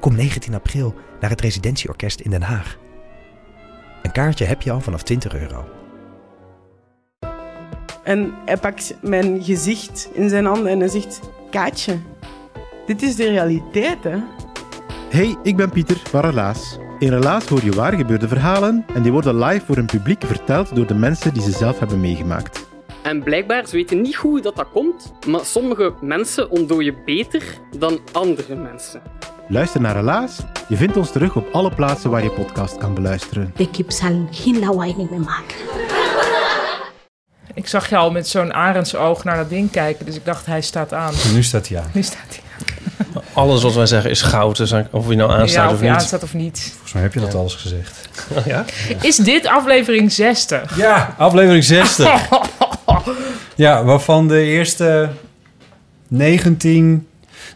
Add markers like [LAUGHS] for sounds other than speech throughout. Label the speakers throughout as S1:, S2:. S1: Kom 19 april naar het Residentieorkest in Den Haag. Een kaartje heb je al vanaf 20 euro.
S2: En hij pakt mijn gezicht in zijn handen en hij zegt: Kaatje, dit is de realiteit, hè?
S3: Hey, ik ben Pieter van Relaas. In Relaas hoor je waar gebeurde verhalen en die worden live voor een publiek verteld door de mensen die ze zelf hebben meegemaakt.
S4: En blijkbaar, ze weten niet goed hoe dat, dat komt, maar sommige mensen ontdooien beter dan andere mensen.
S3: Luister naar Relaas. Je vindt ons terug op alle plaatsen waar je podcast kan beluisteren.
S5: De kip zal geen lawaai niet meer maken.
S6: Ik zag je al met zo'n arendsoog naar dat ding kijken, dus ik dacht hij staat aan.
S7: Nu staat hij aan.
S6: Nu staat hij.
S8: Alles wat wij zeggen is goud, dus of je nou aanstaat
S6: ja, of
S8: of
S6: hij
S8: niet.
S6: aanstaat of niet.
S7: Volgens mij heb je dat alles gezegd.
S8: Oh, Ja?
S6: Is dit aflevering 60?
S7: Ja, aflevering
S6: [LAUGHS]
S7: 60. ja, waarvan de eerste 19...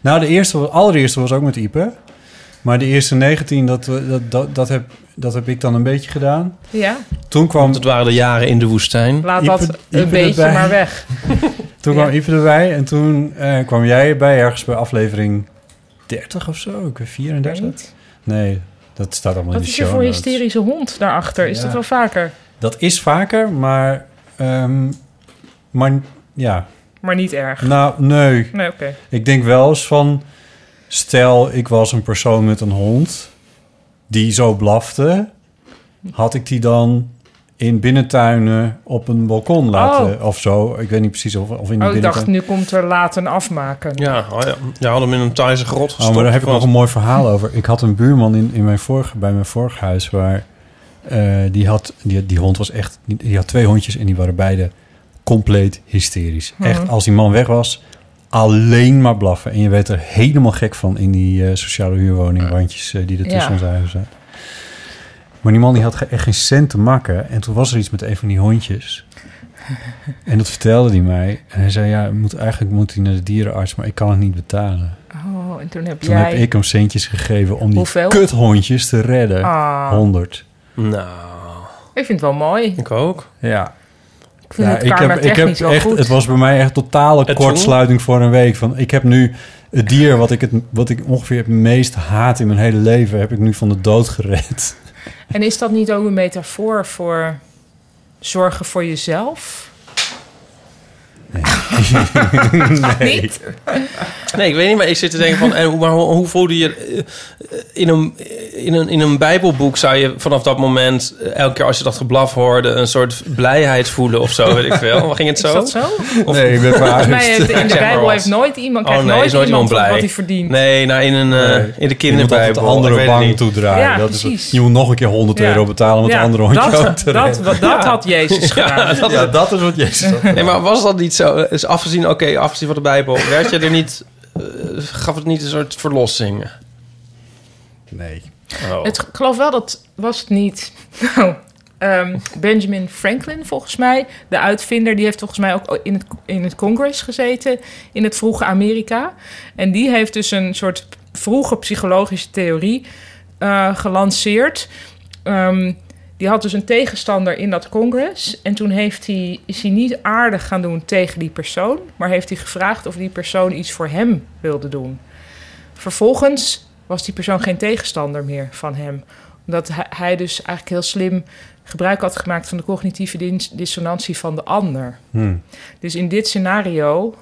S7: Nou, de eerste, was- allereerste was ook met Ipe. Maar de eerste 19, dat, we- dat, dat, dat, heb, dat heb ik dan een beetje gedaan.
S6: Ja,
S7: Toen kwam,
S8: Want het waren de jaren in de woestijn.
S6: laat
S7: Ieper-
S6: dat
S7: Ieper
S6: een beetje
S7: erbij.
S6: maar weg.
S7: toen kwam
S6: ja.
S7: Ipe erbij. En toen eh, kwam jij erbij ergens bij aflevering 30 of zo. Ik weet
S6: Ik weet
S7: 34.
S6: niet.
S7: Nee, dat staat allemaal
S6: Wat
S7: in de
S6: is er
S7: show
S6: voor
S7: notes.
S6: hysterische hond daarachter? Is
S7: Ja.
S6: dat wel vaker?
S7: Dat is vaker, maar... ehm, maar ja,
S6: Maar niet erg.
S7: nou, nee.
S6: Nee, oké.
S7: Ik denk wel eens van... Stel, ik was een persoon met een hond... die zo blafte... had ik die dan in binnentuinen op een balkon laten of zo. Ik weet niet precies of, of in de
S6: Oh, ik dacht,
S7: binnentuin...
S6: nu komt er laat een afmaken.
S8: Ja, oh ja, je had hem in een Thaise grot gestopt.
S7: Oh, maar daar heb ik nog
S8: want-
S7: een mooi verhaal over. Ik had een buurman in, in mijn vorige, bij mijn vorig huis... waar eh, die, had, die, die hond was echt... Die had twee hondjes en die waren beide compleet hysterisch. Echt, als die man weg was... Alleen maar blaffen. En je werd er helemaal gek van in die eh, sociale huurwoningrandjes eh, die er
S6: Ja.
S7: tussen ons huizen zaten. Maar die man die had ge- echt geen cent te makken. En toen was er iets met een van die hondjes. En dat vertelde hij mij. En hij zei, ja, moet, eigenlijk moet hij naar de dierenarts, maar ik kan het niet betalen.
S6: Oh, en toen heb
S7: Toen
S6: jij...
S7: heb ik hem centjes gegeven om die
S6: Hoeveel?
S7: kuthondjes te redden.
S6: Ah.
S7: 100.
S8: Nou,
S6: Ik vind het wel mooi.
S8: ik ook.
S7: Ja.
S6: Ik vind het
S7: ik heb, ik heb
S6: karma-technisch wel
S7: echt,
S6: goed.
S7: het was bij mij echt totale
S8: toen?
S7: kortsluiting voor een week. Van, ik heb nu het dier wat ik, het, wat ik ongeveer het meest haat in mijn hele leven... heb ik nu van de dood gered.
S6: En is dat niet ook een metafoor voor zorgen voor jezelf? [LAUGHS] Nee. niet?
S8: Nee, ik weet niet, maar ik zit te denken van... En, hoe- maar hoe, hoe voelde je... eh, In een, in, een, in een bijbelboek zou je vanaf dat moment... eh, elke keer als je dat geblaf hoorde... een soort blijheid voelen of zo, weet ik
S6: [LAUGHS]
S8: veel. Ging het
S6: Is
S8: zo?
S6: dat zo? Volgens
S7: Nee, ik
S8: [LAUGHS]
S7: ben
S6: mij heeft, in de
S8: Zeg maar
S6: Bijbel
S8: wat.
S6: heeft nooit iemand,
S8: Oh,
S6: krijgt
S8: nee,
S6: nooit
S8: is nooit
S6: iemand
S8: iemand blij.
S6: wat hij verdient.
S8: Nee, nou, in, een,
S7: Je
S8: eh, in de
S7: moet altijd de
S8: kinderbijbel. Ik
S7: andere
S8: weet het
S7: bang
S8: niet.
S7: toedraaien.
S6: Ja,
S7: dat is,
S6: precies.
S7: je moet nog een keer 100
S6: Ja.
S7: euro betalen om het
S6: Ja,
S7: andere hondje
S6: dat,
S7: ook te
S6: dat,
S7: redden.
S6: wat, dat
S8: [LAUGHS]
S6: had Jezus gedaan.
S7: Dat, ja, dat is wat Jezus had.
S8: Nee, maar was dat niet zo? Is afgezien, oké, afgezien van de Bijbel, werd je er niet, eh, gaf het niet een soort verlossing?
S7: Nee.
S8: Oh.
S6: Het, ik geloof wel dat was het niet. [LAUGHS] Nou, ehm, Benjamin Franklin, volgens mij, de uitvinder, die heeft volgens mij ook in het, in het congres gezeten in het vroege Amerika. En die heeft dus een soort vroege psychologische theorie eh, gelanceerd. Ehm, die had dus een tegenstander in dat congres. En toen heeft hij, is hij niet aardig gaan doen tegen die persoon, maar heeft hij gevraagd of die persoon iets voor hem wilde doen. Vervolgens was die persoon geen tegenstander meer van hem. Omdat hij- hij dus eigenlijk heel slim gebruik had gemaakt van de cognitieve dis- dissonantie van de ander.
S8: Hmm.
S6: Dus in dit scenario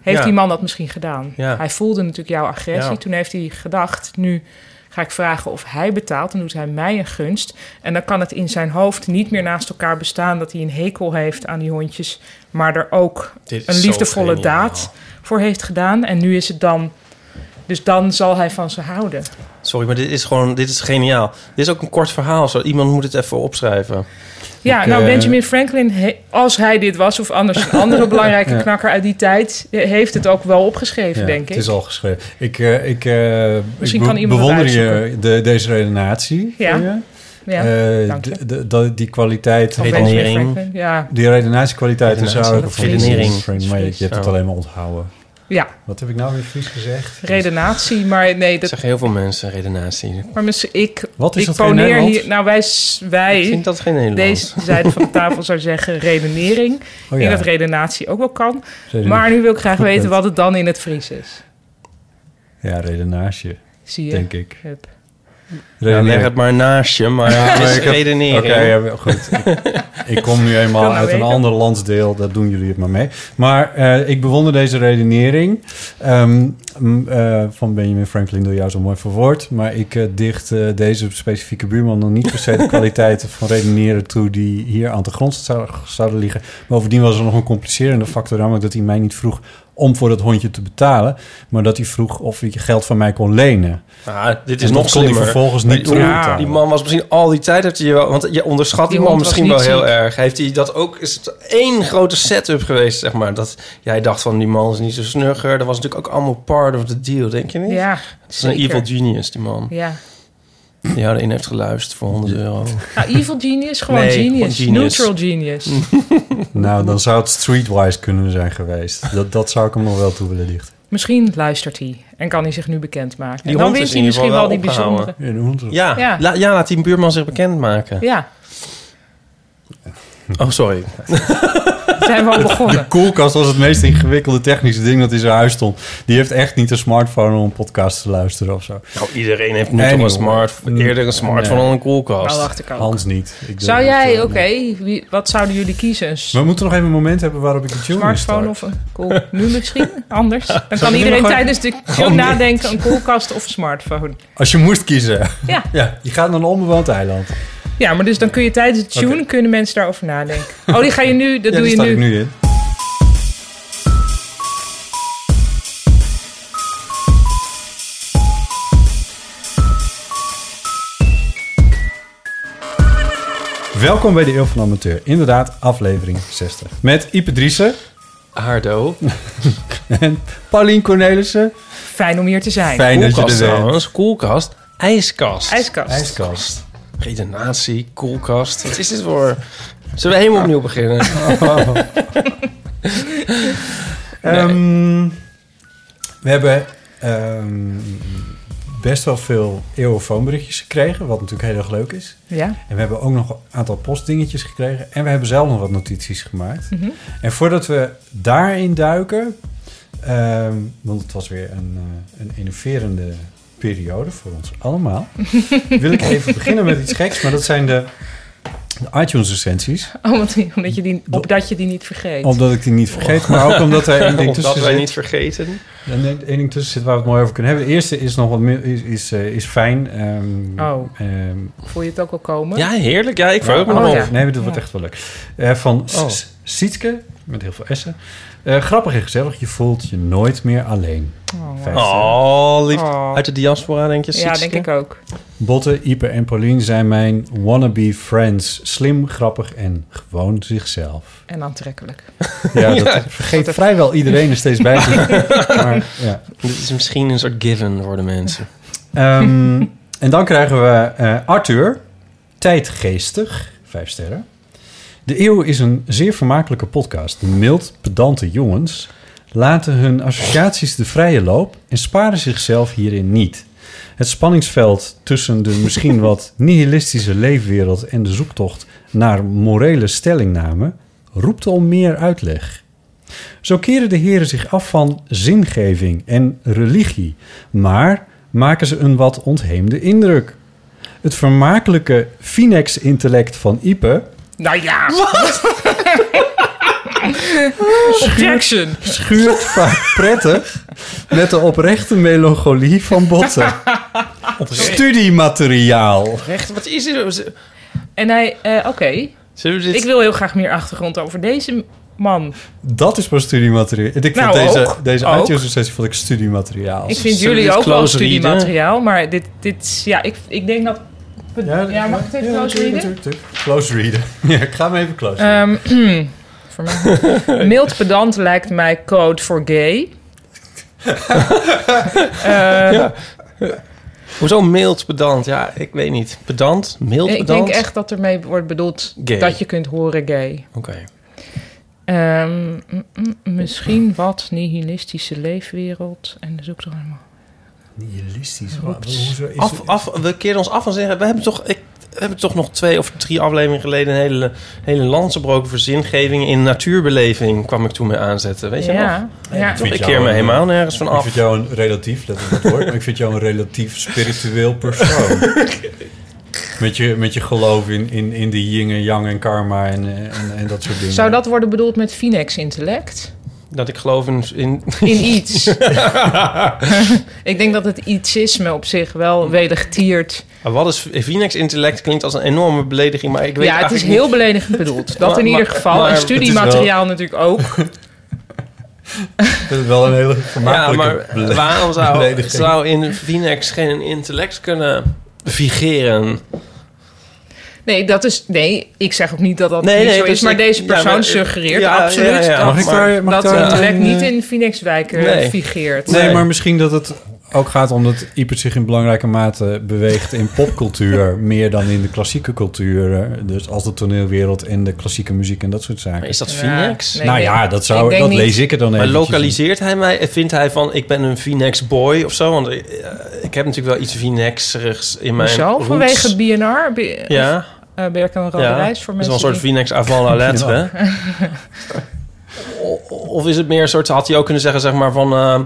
S6: heeft
S8: Ja.
S6: die man dat misschien gedaan.
S8: Ja.
S6: Hij voelde natuurlijk jouw agressie.
S8: Ja.
S6: Toen heeft hij gedacht, nu ga ik vragen of hij betaalt. Dan doet hij mij een gunst. En dan kan het in zijn hoofd niet meer naast elkaar bestaan... dat hij een hekel heeft aan die hondjes... maar er ook
S8: Dit is
S6: een
S8: zo
S6: liefdevolle
S8: geniaal.
S6: daad voor heeft gedaan. En nu is het dan... Dus dan zal hij van ze houden.
S8: Sorry, maar dit is gewoon, dit is geniaal. Dit is ook een kort verhaal. Zo, iemand moet het even opschrijven.
S6: Ja,
S7: Ik,
S6: nou
S7: eh,
S6: Benjamin Franklin, he- als hij dit was of anders een
S7: [LAUGHS]
S6: andere belangrijke
S7: Ja.
S6: knakker uit die tijd, eh, heeft het ook wel opgeschreven,
S7: Ja,
S6: denk ik.
S7: Het is al geschreven. Ik, eh, ik, eh,
S6: Misschien
S7: ik
S6: kan iemand het
S7: bewonder je de, deze redenatie.
S6: Ja.
S7: van je.
S6: ja,
S7: Eh,
S6: dank je.
S7: d- d- dat- die kwaliteit
S6: van
S7: van...
S8: Redenering.
S6: Benjamin Franklin. Ja,
S7: Die redenatiekwaliteiten
S8: Redenatie, Oh.
S7: zou ik...
S8: dat
S7: of
S8: is Redenering.
S7: Redenering, Maar je, je hebt het
S8: Ja.
S7: alleen maar onthouden.
S6: ja,
S7: Wat heb ik nou weer Fries gezegd?
S6: redenatie, maar nee,
S8: Dat
S6: dat,
S8: zeggen heel veel mensen, redenatie.
S6: maar misschien- ik,
S7: Wat is
S6: ik
S7: dat geen
S6: poneer
S7: Nederlands?
S6: hier, nou wij, s-
S8: Ik
S6: wij
S8: vind dat geen Nederlands.
S6: deze zijde van de tafel zou zeggen redenering.
S7: [LAUGHS] Oh
S6: Ik
S7: ja,
S6: denk dat redenatie ook wel kan,
S7: redenering.
S6: maar nu wil ik graag
S7: Goed
S6: weten
S7: punt.
S6: wat het dan in het Fries is.
S7: Ja, redenage,
S6: Zie je?
S7: denk ik.
S6: Hup.
S8: Ja, Nou, leg
S7: Redenering.
S8: het maar naast
S7: [LAUGHS]
S8: je, maar
S7: Ja,
S8: [LAUGHS] het
S7: maar
S8: is
S7: ik heb-
S8: redenering.
S7: Oké, ja, wel
S8: [LAUGHS]
S7: goed. ik, ik kom nu
S6: Wil
S7: eenmaal
S6: nou
S7: uit een
S6: weten.
S7: ander landsdeel, daar doen jullie het maar mee. Maar eh, ik bewonder deze redenering ehm, m, eh, van Benjamin Franklin door jou zo mooi verwoord. Maar ik eh, dicht eh, deze specifieke buurman nog niet per se
S8: [LAUGHS]
S7: de kwaliteiten van redeneren toe die hier aan de grond zou- zouden liggen. Bovendien was er nog een complicerende factor, namelijk dat hij mij niet vroeg om voor dat hondje te betalen, maar dat hij vroeg of hij geld van mij kon lenen.
S8: Ah, dit is
S7: En dat
S8: nog
S7: kon hij
S8: slimmer.
S7: vervolgens niet
S8: Maar die-
S7: terugbetalen.
S8: Die man was misschien al die tijd... Heeft hij, wel- want je onderschat die,
S6: Die
S8: man
S6: hond was
S8: misschien wel
S6: niet
S8: heel
S6: ziek.
S8: erg. Heeft hij dat ook... Is het één grote setup geweest, zeg maar. Dat jij dacht van, die man is niet zo snugger. Dat was natuurlijk ook allemaal part of the deal, denk je niet?
S6: Ja,
S8: Dat is een
S6: zeker.
S8: evil genius, die man.
S6: Ja.
S8: Die jou erin heeft geluisterd voor 100 euro.
S6: Nou, evil genius, gewoon
S8: Nee,
S6: genius.
S8: gewoon genius. Mm.
S6: Neutral genius.
S7: Nou, dan zou het streetwise kunnen zijn geweest. Dat, dat zou ik hem nog wel toe willen dichten.
S6: [LAUGHS] Misschien luistert hij en kan hij zich nu bekendmaken. en
S8: Die
S6: dan
S8: hond is
S6: wint
S8: in
S6: hij
S8: ieder
S6: misschien wel
S8: geval wel
S6: die bijzondere.
S8: opgehouden.
S7: Ja.
S8: Ja,
S6: Ja.
S8: La, ja, laat die buurman zich bekendmaken.
S6: Ja,
S8: Oh, sorry.
S6: zijn we
S7: [LAUGHS]
S6: al begonnen.
S7: De koelkast was het meest ingewikkelde technische ding dat in zijn huis stond. Die heeft echt niet een smartphone om podcasts te luisteren of zo.
S8: Nou, iedereen heeft nu
S7: Nee,
S8: toch een
S7: joh.
S8: smartphone. Eerder een smartphone
S7: Mm. Nee.
S8: dan een koelkast.
S6: Nou, wacht ik ook.
S7: Hans niet. Ik denk
S6: Zou
S7: dat, eh,
S6: jij, oké,
S7: nee.
S6: wie- wat zouden jullie kiezen? Een
S7: We moeten nog even een moment hebben waarop ik de tune
S6: smartphone of een koel? Nu misschien?
S7: [LAUGHS]
S6: Anders? Dan kan iedereen
S7: nog
S6: tijdens de show nadenken, een koelkast of een smartphone.
S7: Als je moest kiezen. [LAUGHS]
S6: Ja.
S7: ja. Je gaat naar een onbewoond eiland.
S6: Ja, maar dus dan kun je tijdens het tune,
S7: Oké.
S6: kunnen mensen daarover nadenken. Oh, die ga je nu, dat
S7: ja,
S6: doe
S7: die
S6: je
S7: sta
S6: nu.
S7: ik nu in. Welkom bij de Eeuw van de Amateur. Inderdaad, aflevering 60. Met Ipe Driessen [LAUGHS]
S8: Hardo.
S7: en Paulien Cornelissen.
S6: Fijn om hier te zijn.
S7: Fijn dat je
S8: Koelkast
S7: er bent.
S8: trouwens. Koelkast. IJskast.
S6: IJskast.
S7: IJskast.
S8: Redenatie, koelkast. Wat is dit voor...
S7: [LAUGHS]
S8: Zullen we helemaal opnieuw beginnen?
S7: Oh.
S8: [LAUGHS]
S7: Ehm, we hebben ehm, best wel veel eeuwenfoonberichtjes gekregen, wat natuurlijk heel erg leuk is.
S6: Ja,
S7: En we hebben ook nog een aantal postdingetjes gekregen. En we hebben zelf nog wat notities gemaakt. En voordat we daarin duiken... ehm, want het was weer een, eh, een innoverende periode voor ons allemaal... wil ik even beginnen met iets geks. Maar dat zijn de, de iTunes-recensies.
S6: oh, want die- omdat je die, opdat je die niet vergeet.
S7: Omdat ik die niet vergeet. Maar ook omdat er één ding
S8: Dat
S7: tussen
S8: wij
S7: zit.
S8: niet vergeten.
S7: En één ding tussen zit waar we het mooi over kunnen hebben. De eerste is nog wat meer, is, is, eh, is fijn. ehm,
S6: Oh.
S7: ehm,
S6: Voel je het ook al komen?
S8: Ja, heerlijk. Ja, ik verheug me
S6: Oh,
S8: erop.
S6: ja.
S7: Nee, maar dat wordt echt wel leuk. Eh, van S-
S8: Oh.
S7: S- Sietske, met heel veel S'en. Eh, grappig en gezellig, je voelt je nooit meer alleen.
S6: Oh,
S7: Vijf sterren.
S8: Oh, lief.
S6: Oh.
S8: Uit de diaspora, denk je?
S6: ja, denk ik ook.
S7: Botte, Ipe en Paulien zijn mijn wannabe friends. Slim, grappig en gewoon zichzelf.
S6: En aantrekkelijk. [LAUGHS]
S7: Ja, dat vergeet vrijwel iedereen er steeds bij. maar, ja.
S8: Dit is misschien een soort given voor de mensen.
S7: Ehm, [LAUGHS] en dan krijgen we eh, Arthur, tijdgeestig, vijf sterren. De Eeuw is een zeer vermakelijke podcast. De mild, pedante jongens laten hun associaties de vrije loop en sparen zichzelf hierin niet. Het spanningsveld tussen de misschien wat nihilistische leefwereld en de zoektocht naar morele stellingnamen roept om meer uitleg. Zo keren de heren zich af van zingeving en religie, maar maken ze een wat ontheemde indruk. Het vermakelijke Finex-intellect van Ipe
S6: Nou ja! [LAUGHS] Objection! [LAUGHS]
S7: schuurt vaak prettig met de oprechte melancholie
S6: [LAUGHS]
S7: van botten. Studiemateriaal.
S8: Echt, wat is dit?
S6: En hij, eh, oké,
S8: Zullen we dit...
S6: ik wil heel graag meer achtergrond over deze man.
S7: Dat is pas studiemateriaal. Ik
S6: Nou,
S7: vond deze,
S6: ook.
S7: deze
S6: Ook.
S7: uitjaarsrecensie vond ik studiemateriaal.
S6: Ik vind
S8: zullen we
S6: jullie
S8: dit
S6: ook wel
S8: close readen?
S6: studiemateriaal, maar dit, dit is- ja, ik, ik denk dat... Ja, mag ik het even close
S7: natuurlijk,
S6: readen?
S7: natuurlijk, natuurlijk. Close readen. [LAUGHS] Ja, ik ga hem even close readen.
S6: Ehm [CLEARS THROAT] voor [LAUGHS] mij. Mild pedant lijkt mij code voor [LAUGHS] gay. Eh,
S8: Hoezo mild pedant? Ja, ik weet niet. Pedant? Mild
S6: ik
S8: pedant?
S6: denk echt dat ermee wordt bedoeld
S8: Gay.
S6: dat je kunt horen gay.
S8: Oké.
S6: Ehm, mm, mm, misschien wat nihilistische leefwereld. En de zoektocht helemaal.
S7: Nihilistisch.
S6: Oeps.
S7: wat- Hoezo is
S8: Af, af, we keren ons af en zeggen... We hebben toch, ik, we hebben toch nog twee of drie afleveringen geleden... een hele, hele lans gebroken voor zingeving in natuurbeleving... kwam ik toen mee aanzetten. Weet je nog?
S6: ja, ja.
S7: vind
S8: Ik
S7: jou
S8: keer me
S7: een- eh,
S8: helemaal nergens van
S7: Ik
S8: af.
S7: vind jou een relatief, let op dat woord, maar ik vind jou een relatief spiritueel
S6: [LAUGHS]
S7: persoon. Met je, met je geloof in, in, in de yin en yang en karma en, eh, en, en dat soort dingen.
S6: Zou dat worden bedoeld met Phoenix
S8: [LAUGHS]
S6: intellect?
S8: Dat ik geloof in... in
S6: In iets. [LAUGHS] ik denk dat het ietsisme op zich wel wedergetiert.
S8: Ah, wat is... Phoenix intellect klinkt als een enorme belediging... maar ik weet
S6: Ja, het is
S8: eigenlijk
S6: heel beledigend bedoeld. Dat in
S8: Maar-
S6: ieder geval.
S8: maar
S6: En
S8: het is wel-
S6: studiemateriaal natuurlijk ook.
S7: [LAUGHS] Dat is wel een hele
S8: Ja,
S7: vermakelijke...
S8: maar eh,
S7: bele-
S8: waarom zou,
S7: belediging.
S8: zou in Phoenix geen intellect kunnen vigeren?
S6: Nee, dat is, nee, ik zeg ook niet dat dat
S8: Nee,
S6: niet
S8: nee,
S6: zo
S8: dus
S6: is. Maar
S8: ik-
S6: deze persoon
S8: ja, maar-
S6: suggereert
S8: ja,
S6: absoluut
S8: ja, ja.
S6: dat,
S7: Mag ik
S8: maar-
S7: daar, mag ik
S6: dat
S7: daar
S6: het intellect
S7: een, eh,
S6: niet in Phoenixwijk eh,
S8: Nee.
S6: figeert.
S8: Nee.
S7: Nee, maar misschien dat het ook gaat omdat Iepert zich in belangrijke mate beweegt in
S8: [LAUGHS]
S7: popcultuur... meer dan in de klassieke cultuur. eh, Dus als de toneelwereld en de klassieke muziek en dat soort zaken.
S8: Maar is dat
S6: Ja,
S8: Phoenix?
S6: nee,
S7: nou
S6: ik
S7: ja,
S6: denk-
S7: dat,
S6: ik
S7: zou,
S6: denk
S7: dat
S6: niet.
S7: lees ik er dan
S8: Maar
S7: even.
S8: lokaliseert hij mij? Vindt hij van, ik ben een Phoenix boy of zo? Want eh, ik heb natuurlijk wel iets Phoenixerigs in mijn
S6: Hoezo?
S8: roots.
S6: Vanwege BNR? Be-
S8: Ja,
S6: eh, Berk en Rode
S8: ja.
S6: Reis voor mensen
S8: is wel een soort
S6: die-
S8: Phoenix avant la lettre.
S7: Ja.
S8: hè? O- Of is het meer een soort, had hij ook kunnen zeggen, zeg maar van eh,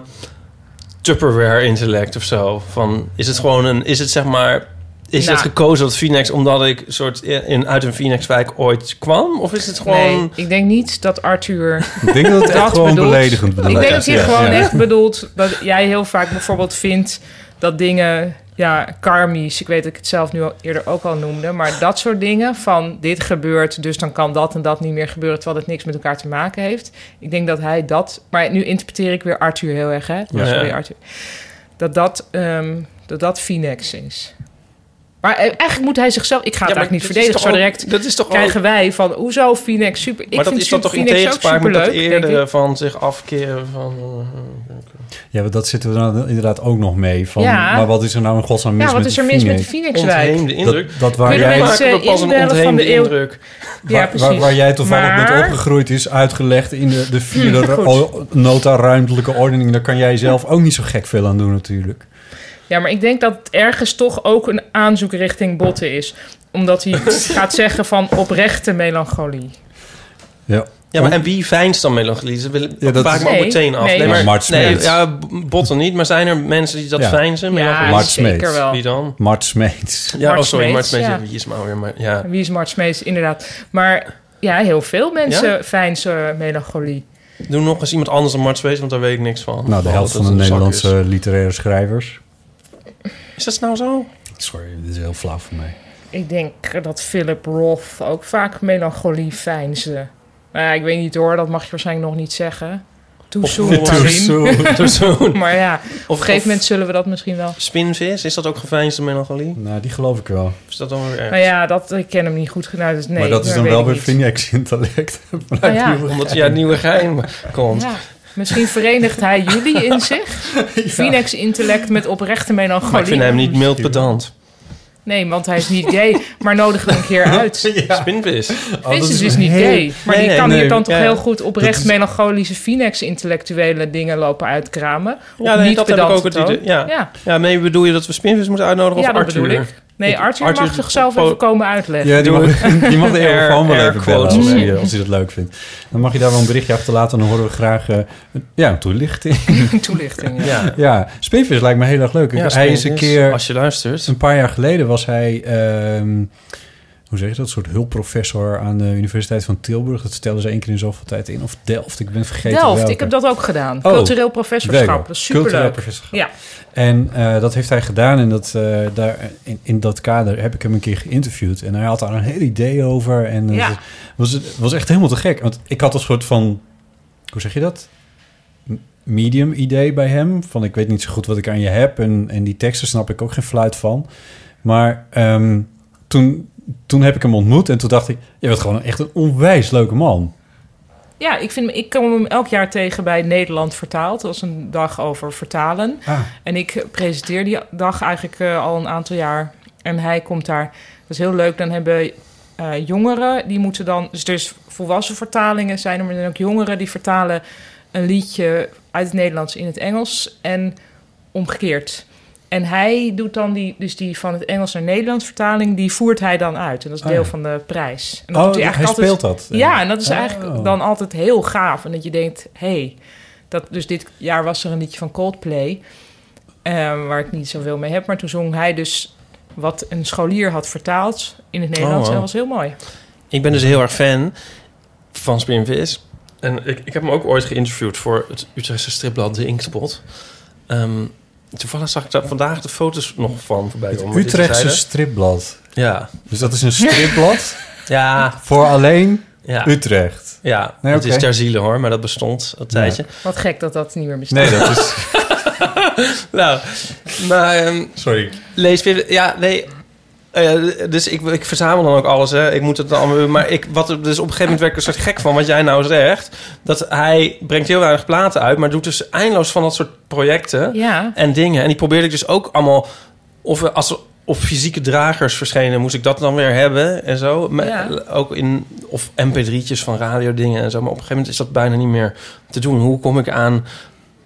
S8: Tupperware intellect of zo? Van, is het gewoon een, is het zeg maar, is
S6: Nou.
S8: het gekozen dat Phoenix omdat ik soort eh, in, uit een Phoenixwijk ooit kwam? Of is het gewoon...
S6: Nee, ik denk niet dat Arthur...
S7: Ik denk dat het echt
S6: Dat
S7: gewoon
S6: bedoelt-
S7: beledigend bedoeld
S6: ik denk dat hij
S7: Ja.
S6: gewoon
S7: Ja.
S6: echt bedoelt dat jij heel vaak bijvoorbeeld vindt dat dingen... Ja, karmisch. Ik weet dat ik het zelf nu al eerder ook al noemde. Maar dat soort dingen van dit gebeurt, dus dan kan dat en dat niet meer gebeuren... terwijl het niks met elkaar te maken heeft. Ik denk dat hij dat... Maar nu interpreteer ik weer Arthur heel erg, hè?
S8: Ja.
S6: Sorry,
S8: Ja.
S6: Arthur. Dat dat, ehm, dat dat Phoenix is. Maar eh, eigenlijk moet hij zichzelf... Ik ga
S8: Ja,
S6: het
S8: maar
S6: eigenlijk niet
S8: dat
S6: verdedigen
S8: is
S6: zo
S8: toch ook-
S6: direct
S8: Dat is toch ook
S6: krijgen wij van hoezo Phoenix super. Ik
S8: maar dat
S6: vind
S8: is dan toch in
S6: Phoenix ook
S8: tegenspraak met dat
S6: superleuk, denk ik.
S8: eerdere van zich afkeren van... eh,
S7: Ja, want dat zitten we dan inderdaad ook nog mee. Van,
S6: Ja.
S7: Maar wat is er nou in godsnaam mis
S6: Ja, wat
S7: met
S6: is
S7: die
S6: er mis met de
S7: Phoenix?
S8: eh,
S6: Phoenixwijk?
S8: ontheemde indruk.
S7: Dat, dat waar,
S6: Kunnen
S7: jij,
S6: mensen-
S7: waar,
S8: maken we pas een
S6: inbellen van
S8: ontheemde
S6: de eeuw.
S8: indruk.
S6: Ja,
S7: waar- waar jij toevallig
S6: Maar-
S7: bent opgegroeid is uitgelegd in de, de vierde
S6: Hm, [LAUGHS] goed.
S7: o- nota ruimtelijke ordening. Daar kan jij zelf ook niet zo gek veel aan doen natuurlijk.
S6: Ja, maar ik denk dat het ergens toch ook een aanzoek richting Botten is. Omdat
S8: [LAUGHS]
S6: hij gaat zeggen van oprechte melancholie.
S7: Ja.
S8: Ja, maar en wie fijnst dan melancholie? Ze willen
S7: Ja, dat-
S8: vaak me ook
S6: Nee,
S8: meteen af.
S6: nee.
S8: maar,
S7: Ja, Mart
S8: nee,
S7: Smeets.
S8: ja, b- botten niet, maar zijn er mensen die dat
S7: Ja.
S8: fijnsen?
S6: Ja,
S8: Melancholie?
S7: Mart
S6: zeker
S7: Smeets.
S6: wel.
S8: Wie dan?
S7: Mart Smeets.
S8: Ja,
S6: Mart
S8: oh, sorry, Mart
S6: Smeets,
S8: Smeets.
S6: ja.
S8: Wie is maar weer, maar ja.
S6: Wie is Mart Smeets? Inderdaad. Maar ja, heel veel mensen
S8: Ja?
S6: fijnsen melancholie.
S8: Doe nog eens iemand anders dan Mart Smeets, want daar weet ik niks van.
S7: Nou, de
S8: Oh,
S7: helft
S8: dat
S7: van de
S8: het een zak is.
S7: Nederlandse literaire schrijvers.
S8: Is dat nou zo?
S7: Sorry, dit is heel flauw voor mij.
S6: Ik denk dat Philip Roth ook vaak melancholie fijnsen. Nou ja, ik weet niet hoor, dat mag je waarschijnlijk nog niet zeggen. Too
S8: Of-
S6: soon,
S8: [LAUGHS] Too
S6: Karin.
S8: Door
S6: [LAUGHS]
S8: zo'n-
S6: Maar ja,
S8: Of
S6: op een gegeven moment zullen we dat misschien wel.
S8: Spinvis, is dat ook geveinsde melancholie?
S7: Nou, die geloof ik wel.
S8: Of is dat dan weer erg?
S6: Nou ja, dat, ik ken hem niet goed genoeg. Dus nee,
S7: maar dat is dan
S6: weet
S7: wel
S6: ik
S7: weer
S6: niet.
S7: Phoenix-intellect.
S6: Ah, ja.
S8: Omdat ja, nieuwe geheim komt.
S6: Ja, misschien verenigt hij jullie
S8: [LAUGHS]
S6: in zich. Phoenix intellect met oprechte melancholie.
S8: Maar ik vind hem niet mild pedant.
S6: Nee, want hij is niet gay. Maar nodig hem een
S8: [LAUGHS]
S6: keer uit.
S8: Spinvis.
S6: Vincent is, dus niet gay. Maar
S8: Nee,
S6: die
S8: nee,
S6: kan
S8: nee.
S6: hier dan toch
S8: Ja.
S6: heel goed oprecht
S7: Dat is-
S6: melancholische Phoenix intellectuele dingen lopen uitkramen. Op
S8: Ja, nee,
S6: niet
S8: dat heb ik
S6: pedante
S8: ook het
S6: toon.
S8: idee. Ja.
S6: ja.
S8: Ja, nee, bedoel je dat we Spinvis moeten uitnodigen
S6: Ja,
S8: of
S6: dat
S8: Arthur?
S6: bedoel ik. Nee,
S8: Ik-
S6: Arthur,
S8: Arthur
S6: mag
S8: is-
S6: zichzelf
S8: po-
S6: even komen uitleggen.
S7: Ja, die mag, [LAUGHS] die mag de
S8: Air-
S7: airfoon wel
S8: air
S7: even bellen als
S8: quotes.
S7: hij, eh, als hij dat leuk vindt. Dan mag je daar wel een berichtje achterlaten. Dan horen we graag eh, een- ja, een toelichting.
S6: [LAUGHS] Toelichting. Ja.
S8: Ja.
S7: ja, Spinvis lijkt me heel erg leuk.
S8: Ja,
S7: hij is een
S8: Spinvis,
S7: keer,
S8: Als je luistert.
S7: een paar jaar geleden was hij ehm, hoe zeg je dat, een soort hulpprofessor aan de Universiteit van Tilburg. Dat stellen ze één keer in zoveel tijd in. Of Delft, ik ben vergeten
S6: Delft,
S7: welke.
S6: ik heb dat ook gedaan.
S7: Oh,
S6: Cultureel professorschap,
S7: Wego,
S6: dat is superleuk.
S7: Cultureel professorschap.
S6: Ja,
S7: En eh, dat heeft hij gedaan. En dat, eh, daar, in, in dat kader heb ik hem een keer geïnterviewd. En hij had daar een heel idee over. En
S6: Ja.
S7: het was, het was echt helemaal te gek. Want ik had een soort van, hoe zeg je dat? M- Medium idee bij hem. Van ik weet niet zo goed wat ik aan je heb. En, en die teksten snap ik ook geen fluit van. Maar ehm, toen, toen heb ik hem ontmoet. En toen dacht ik, je bent gewoon echt een onwijs leuke man.
S6: ja ik, vind, ik kom hem elk jaar tegen bij Nederland Vertaald. Dat was een dag over vertalen.
S7: Ah.
S6: En ik presenteer die dag eigenlijk eh, al een aantal jaar. En hij komt daar. Dat is heel leuk. Dan hebben eh, jongeren, die moeten dan... Dus, dus volwassen vertalingen zijn er, maar er zijn ook jongeren... die vertalen een liedje uit het Nederlands in het Engels. En omgekeerd. En hij doet dan die, dus die van het Engels naar Nederlands vertaling... die voert hij dan uit. En dat is
S7: Ah,
S6: deel
S7: ja.
S6: van de prijs. En dat
S7: Oh,
S6: doet
S7: hij,
S6: eigenlijk altijd-
S7: speelt dat.
S6: ja, en dat is eigenlijk
S7: Oh.
S6: dan altijd heel gaaf. En dat je denkt, hé, hey, dat- dus dit jaar was er een liedje van Coldplay... eh, waar ik niet zoveel mee heb. Maar toen zong hij dus wat een scholier had vertaald in het Nederlands.
S8: Oh, wow.
S6: En dat was heel mooi.
S8: Ik ben dus heel erg fan van Spinvis. En ik, ik heb hem ook ooit geïnterviewd voor het Utrechtse stripblad De Inkspot. Ehm, toevallig zag ik daar vandaag de foto's nog van voorbij
S7: Het
S8: komen. maar dit
S7: Utrechtse
S8: terzijde.
S7: stripblad.
S8: Ja.
S7: Dus dat is een stripblad
S8: [LAUGHS] Ja,
S7: voor alleen
S8: ja.
S7: Utrecht.
S8: Ja,
S7: Nee,
S8: het
S7: oké.
S8: is ter ziele hoor, maar dat bestond een tijdje.
S6: Wat gek dat dat niet meer bestaat. [LAUGHS]
S7: Nee, dat is...
S8: [LAUGHS] Nou, maar ehm,
S7: Sorry.
S8: lees weer... Ja, nee... eh, dus ik, ik verzamel dan ook alles, hè. Ik moet het dan allemaal... Maar ik, wat, er- dus op een gegeven moment werd ik er soort gek van wat jij nou zegt. Dat hij brengt heel weinig platen uit, maar doet dus eindeloos van dat soort projecten.
S6: Ja,
S8: en dingen. En die probeerde ik dus ook allemaal... Of we- als er op fysieke dragers verschenen, moest ik dat dan weer hebben en zo. Maar
S6: Ja.
S8: Ook in, of mp3'tjes van radiodingen en zo. Maar op een gegeven moment is dat bijna niet meer te doen. Hoe kom ik aan...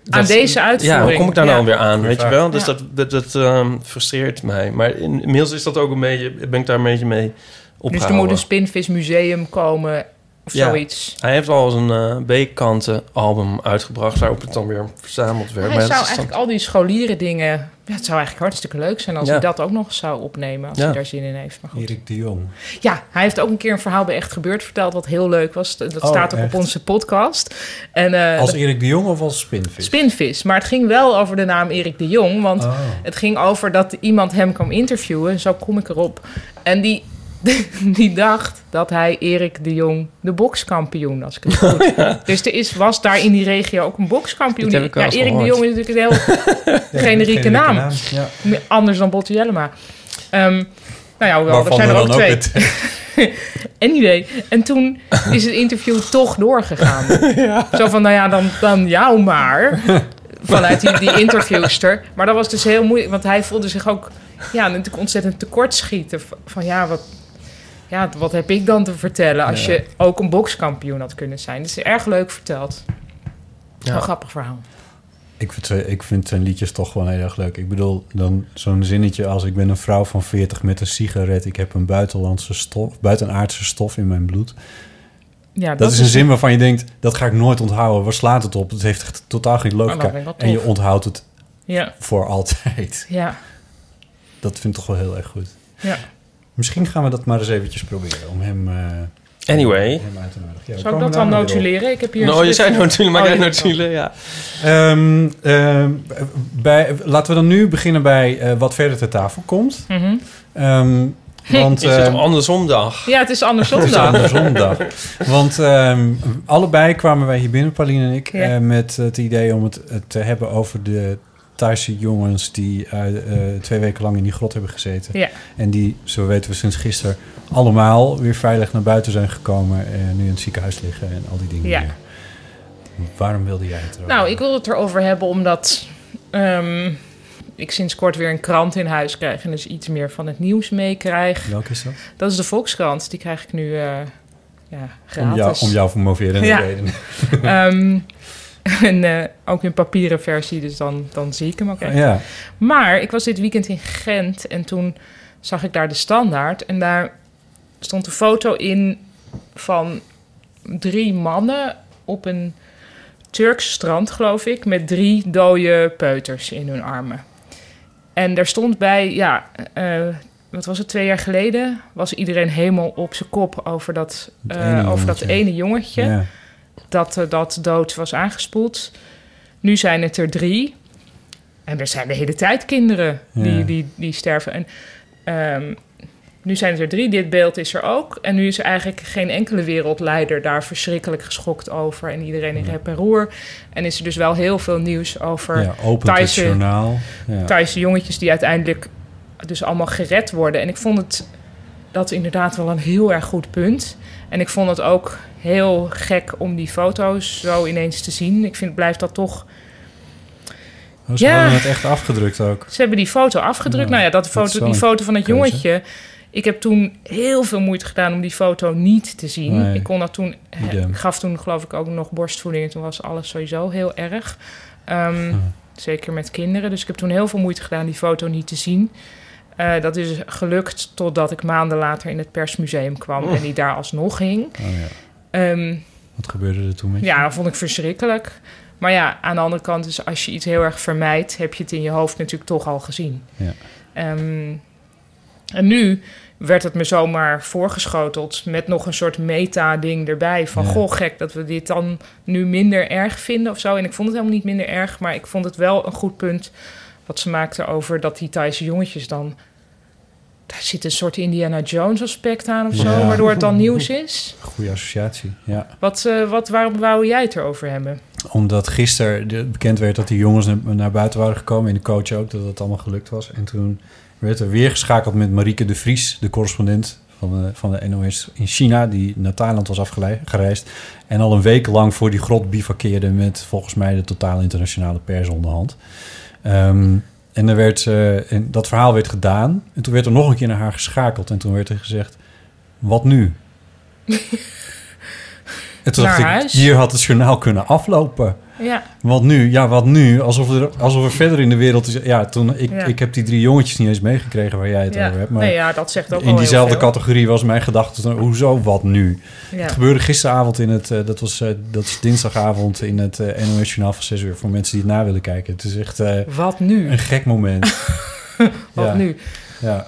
S6: aan deze uitvoering.
S8: Ja, hoe kom ik daar
S6: Ja.
S8: dan weer aan, weet
S7: vraag.
S8: je wel? Dus
S6: Ja.
S8: dat, dat, dat ehm, frustreert mij. Maar in- inmiddels is dat ook een beetje, ben ik daar een beetje mee
S6: Dus
S8: opgehouden.
S6: er moet een Spinvismuseum komen of
S8: Ja.
S6: zoiets.
S8: Hij heeft al eens een eh B-kanten album uitgebracht... waarop het dan weer verzameld werd.
S6: Hij
S8: Maar
S6: zou
S8: dat is dan-
S6: eigenlijk al die scholieren dingen... Ja, het zou eigenlijk hartstikke leuk zijn als
S8: Ja.
S6: hij dat ook nog zou opnemen. Als
S8: Ja.
S6: hij daar zin in heeft. Maar goed.
S7: Erik de Jong.
S6: Ja, hij heeft ook een keer een verhaal bij Echt Gebeurd verteld... wat heel leuk was. Dat
S7: Oh,
S6: staat ook
S7: echt?
S6: op onze podcast. En, eh,
S7: Als
S6: de-
S7: Erik de Jong of als Spinvis?
S6: Spinvis. Maar het ging wel over de naam Erik de Jong. Want
S7: Oh.
S6: het ging over dat iemand hem kwam interviewen. Zo kom ik erop. En die, [LAUGHS] die dacht dat hij Erik de Jong de bokskampioen, als ik het goed Dus er is, was daar in die regio ook een bokskampioen.
S8: Dit heb ik wel
S6: ja,
S8: eens
S6: Erik de
S8: gehoord.
S6: Jong is natuurlijk een heel generieke naam.
S7: Ja.
S6: Anders dan Botte Jellema. Ehm, nou ja, hoewel, er
S7: Waarvan
S6: zijn er
S7: we
S6: ook
S7: dan
S6: twee.
S7: het-
S6: [LAUGHS] Anyway, en toen is het interview toch
S7: [LAUGHS]
S6: doorgegaan. Zo van, nou ja, dan, dan jou maar. Vanuit die, die interviewster. Maar dat was dus heel moeilijk, want hij voelde zich ook... Ja, natuurlijk ontzettend tekortschieten. Van, Van ja, wat, ja, wat heb ik dan te vertellen... als je ook een bokskampioen had kunnen zijn. Dus erg leuk verteld.
S8: Ja.
S6: Een grappig verhaal.
S7: Ik vind, zijn- ik vind zijn liedjes toch gewoon heel erg leuk. Ik bedoel, dan zo'n zinnetje als... ik ben een vrouw van 40 met een sigaret... ik heb een buitenlandse stof, buitenaardse stof in mijn bloed.
S6: Ja,
S7: Dat, is een zin waarvan je denkt... dat ga ik nooit onthouden. Waar slaat het op? Het heeft echt totaal geen
S6: Oh, dat
S7: logica.
S6: vind ik wel
S7: en je
S6: tof.
S7: onthoudt het
S6: Ja,
S7: voor altijd.
S6: ja,
S7: Dat vind ik toch wel heel erg goed.
S6: ja.
S7: Misschien gaan we dat maar eens eventjes proberen om hem, eh,
S8: Anyway...
S7: hem uit te nodigen. Ja,
S6: Zou
S7: we
S6: ik
S7: komen
S6: dat
S7: daar
S6: dan
S7: nog weer op.
S6: notuleren? Ik heb hier een
S8: Nou, je
S6: stukje-
S8: zei notulen, maar
S6: Oh,
S8: jij
S6: ja.
S8: notulen, ja.
S7: Ehm, ehm, bij, laten we dan nu beginnen bij eh, wat verder ter tafel komt.
S6: Mhm. [LAUGHS]
S7: Ehm, want,
S8: Is het
S7: ehm,
S8: een andersom dag?
S6: Ja, het is andersom
S7: Het is
S6: dan.
S7: andersom
S6: [LAUGHS]
S7: dag. Want ehm, allebei kwamen wij hier binnen, Pauline en ik,
S6: Ja.
S7: eh, met het idee om het eh, te hebben over de Thaise jongens die eh, eh, twee weken lang in die grot hebben gezeten.
S6: Ja.
S7: En die, zo weten we sinds gisteren, allemaal weer veilig naar buiten zijn gekomen en nu in het ziekenhuis liggen en al die dingen.
S6: Ja.
S7: meer. Waarom wilde jij het erover?
S6: Nou, ik wil het erover hebben omdat ehm, ik sinds kort weer een krant in huis krijg en dus iets meer van het nieuws meekrijg.
S7: Welke is dat?
S6: Dat is de Volkskrant, die krijg ik nu eh, ja,
S7: Om jou,
S6: gratis.
S7: om jou promoveren
S6: Ja.
S7: reden.
S6: [LAUGHS]
S7: [LAUGHS]
S6: Ehm, en eh, ook in papieren versie, dus dan, dan zie ik hem ook echt.
S7: Ja.
S6: Maar ik was dit weekend in Gent en toen zag ik daar de standaard. En daar stond een foto in van drie mannen op een Turks strand, geloof ik, met drie dode peuters in hun armen. En daar stond bij, ja, eh, wat was het, twee jaar geleden, was iedereen helemaal op zijn kop over dat,
S7: Dat
S6: eh,
S7: ene
S6: over dat
S7: jongetje.
S6: ene jongetje.
S7: Ja.
S6: Dat eh, dat dood was aangespoeld. Nu zijn het er drie. En er zijn de hele tijd kinderen die,
S7: Ja.
S6: die, die sterven. En, ehm, nu zijn het er drie, dit beeld is er ook. En nu is eigenlijk geen enkele wereldleider daar verschrikkelijk geschokt over. En iedereen in rep en roer. En is er dus wel heel veel nieuws over
S7: Ja, opent het
S6: Thaise-
S7: journaal. Ja.
S6: Thaise jongetjes die uiteindelijk dus allemaal gered worden. En ik vond het dat inderdaad wel een heel erg goed punt. En ik vond het ook heel gek om die foto's zo ineens te zien. Ik vind, blijft dat toch...
S7: Oh, ze
S6: Ja.
S7: hadden het echt afgedrukt ook.
S6: Ze hebben die foto afgedrukt.
S7: Ja,
S6: nou ja, dat
S7: dat
S6: foto,
S7: is wel
S6: die
S7: een
S6: foto van het
S7: keuze.
S6: jongetje... Ik heb toen heel veel moeite gedaan om die foto niet te zien.
S7: Nee.
S6: Ik kon dat toen... eh,
S7: Idem.
S6: Ik gaf toen geloof ik ook nog borstvoeding. En toen was alles sowieso heel erg. Ehm, Zeker met kinderen. Dus ik heb toen heel veel moeite gedaan die foto niet te zien. Eh, dat is gelukt totdat ik maanden later in het persmuseum kwam en die daar alsnog hing.
S7: Oh, ja.
S6: Ehm,
S7: Wat gebeurde er toen met je?
S6: ja, dat vond ik verschrikkelijk. Maar ja, aan de andere kant is als je iets heel erg vermijdt, heb je het in je hoofd natuurlijk toch al gezien.
S7: Ja.
S6: Ehm, en nu werd het me zomaar voorgeschoteld met nog een soort meta-ding erbij. Van
S7: Ja.
S6: goh, gek dat we dit dan nu minder erg vinden of zo. En ik vond het helemaal niet minder erg, maar ik vond het wel een goed punt wat ze maakten over dat die Thaise jongetjes dan. Daar zit een soort Indiana Jones aspect aan of zo,
S7: Ja.
S6: waardoor het dan nieuws is.
S7: Goede associatie. Ja.
S6: Wat, eh, wat, waarom wou jij het erover hebben?
S7: Omdat gisteren bekend werd dat die jongens naar, naar buiten waren gekomen. En de coach ook, dat dat allemaal gelukt was. En toen werd er weer geschakeld met Marieke de Vries, de correspondent van de, van de NOS in China. Die naar Thailand was afgereisd. En al een week lang voor die grot bivakkeerde met volgens mij de totale internationale pers onderhand. Ehm, en, er werd, eh, en dat verhaal werd gedaan. En toen werd er nog een keer naar haar geschakeld. En toen werd er gezegd, wat
S6: [LAUGHS]
S7: nu? en toen
S6: Naar
S7: dacht ik,
S6: huis?
S7: hier had het journaal kunnen aflopen.
S6: Ja,
S7: Wat nu? Ja, wat nu? Alsof er, alsof er verder in de wereld is... Ja, toen, ik,
S6: Ja.
S7: ik heb die drie jongetjes niet eens meegekregen waar jij het
S6: ja.
S7: over hebt. Maar
S6: nee, ja, dat zegt ook wel
S7: in diezelfde
S6: heel veel.
S7: categorie was mijn gedachte... toen, hoezo, wat nu? Het
S6: Ja.
S7: gebeurde gisteravond in het... eh, dat, was, eh, dat is dinsdagavond in het eh, NOS Journaal van 6 uur... voor mensen die het na willen kijken. Het is echt eh,
S6: Wat nu?
S7: een gek
S6: [LAUGHS]
S7: moment.
S6: Wat
S7: ja,
S6: nu?
S7: Ja.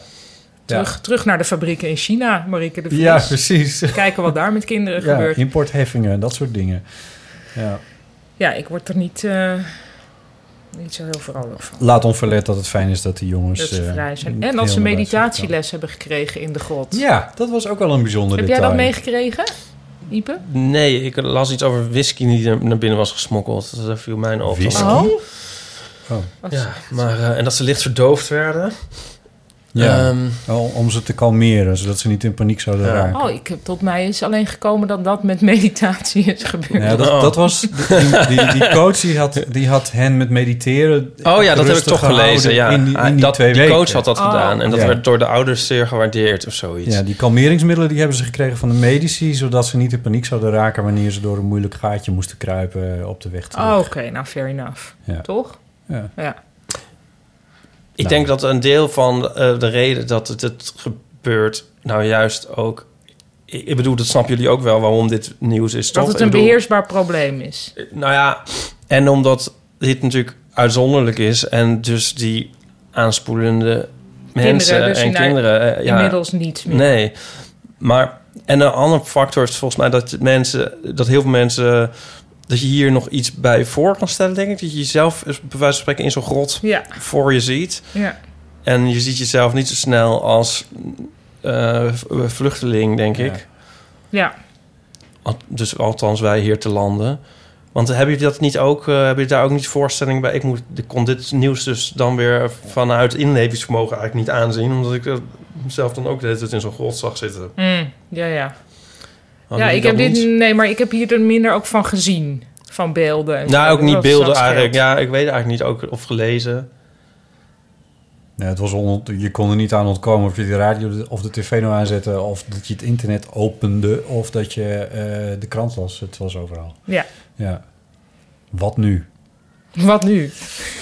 S6: Terug, terug naar de fabrieken in China, Marieke de Vries.
S7: ja, precies.
S6: [LAUGHS] Kijken wat daar met kinderen
S7: Ja,
S6: gebeurt.
S7: importheffingen, dat soort dingen. Ja.
S6: Ja, ik word er niet, eh, niet zo heel vrolijk van.
S7: Laat onverlet dat het fijn is dat die jongens...
S6: Dat ze
S7: eh,
S6: vrij zijn.
S7: heel
S6: En dat ze
S7: naar buiten gaan.
S6: meditatieles hebben gekregen in de grot.
S7: Ja, dat was ook wel een bijzonder
S6: Heb jij
S7: detail.
S6: dat meegekregen, Ipe?
S8: Nee, ik las iets over whisky die er naar binnen was gesmokkeld. Dat viel mijn op.
S7: Whisky?
S6: Oh,
S7: Oh.
S6: Wat-
S8: Ja, maar, eh, en dat ze licht verdoofd werden.
S7: Ja,
S8: Ehm,
S7: wel om ze te kalmeren, zodat ze niet in paniek zouden
S8: Ja.
S7: raken.
S6: oh, ik heb, tot mij is alleen gekomen dat dat met meditatie is gebeurd.
S7: Nou ja, dat,
S8: Oh.
S7: dat was die, die, die coach die had, die had hen met mediteren.
S8: oh ja, dat heb ik
S7: rustig
S8: toch
S7: gehouden
S8: gelezen. Ja.
S7: in die, in
S8: Ah,
S7: die
S8: dat,
S7: twee
S8: die
S7: weken.
S8: coach had dat
S6: Oh.
S8: gedaan. En dat
S7: Ja.
S8: werd door de ouders zeer gewaardeerd of zoiets.
S7: Ja, die kalmeringsmiddelen die hebben ze gekregen van de medici, zodat ze niet in paniek zouden raken wanneer ze door een moeilijk gaatje moesten kruipen eh, op de weg terug.
S6: Oh, oké, nou fair enough.
S7: Ja.
S6: Toch?
S7: Ja.
S6: Ja.
S8: Ik
S7: Nou.
S8: denk dat een deel van eh, de reden dat het, het gebeurt, nou juist ook. Ik ik bedoel, dat snappen jullie ook wel waarom dit nieuws is.
S6: Dat
S8: toch?
S6: het een
S8: Ik bedoel,
S6: beheersbaar probleem is.
S8: Nou ja, en omdat dit natuurlijk uitzonderlijk is en dus die aanspoelende mensen
S6: dus
S8: en
S6: naar-
S8: kinderen. eh, ja,
S6: inmiddels niet meer.
S8: Nee, maar en een andere factor is volgens mij dat mensen, dat heel veel mensen, dat je hier nog iets bij voor kan stellen, denk ik, dat je jezelf eens bij wijze van spreken in zo'n grot
S6: Ja,
S8: voor je ziet
S6: ja.
S8: en je ziet jezelf niet zo snel als eh, v- vluchteling, denk
S7: Ja.
S8: ik.
S6: ja.
S8: Al- Dus althans wij hier te landen. Want hebben jullie dat niet ook? eh, hebben jullie daar ook niet voorstellingen bij? Ik moet, ik kon dit nieuws dus dan weer vanuit inlevingsvermogen eigenlijk niet aanzien, omdat ik eh, mezelf dan ook de hele tijd in zo'n grot zag zitten.
S6: Mm, ja, ja.
S8: Hadden
S6: ja
S8: jullie
S6: ik heb
S8: dat
S6: dit,
S8: niet?
S6: nee, maar ik heb hier er minder ook van gezien. Van beelden. en
S8: Nou,
S6: zo.
S8: ook niet
S6: Dat-
S8: beelden
S6: dat scheelt.
S8: eigenlijk. Ja, ik weet eigenlijk niet ook of gelezen.
S7: Ja, Nou, het was on- je kon er niet aan ontkomen of je de radio of de tv nou aanzette, of dat je het internet opende, of dat je eh, de krant las. Het was overal.
S6: Ja.
S7: Ja. Wat nu?
S6: Wat nu?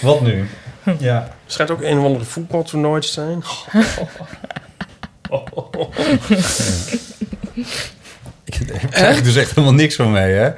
S7: Wat nu?
S6: Hm.
S7: Ja.
S8: Het schijnt ook een of andere voetbaltoernooi te
S6: [LAUGHS]
S8: zijn. Oh.
S6: [LAUGHS]
S7: Ik krijg er dus echt helemaal niks van mee, hè?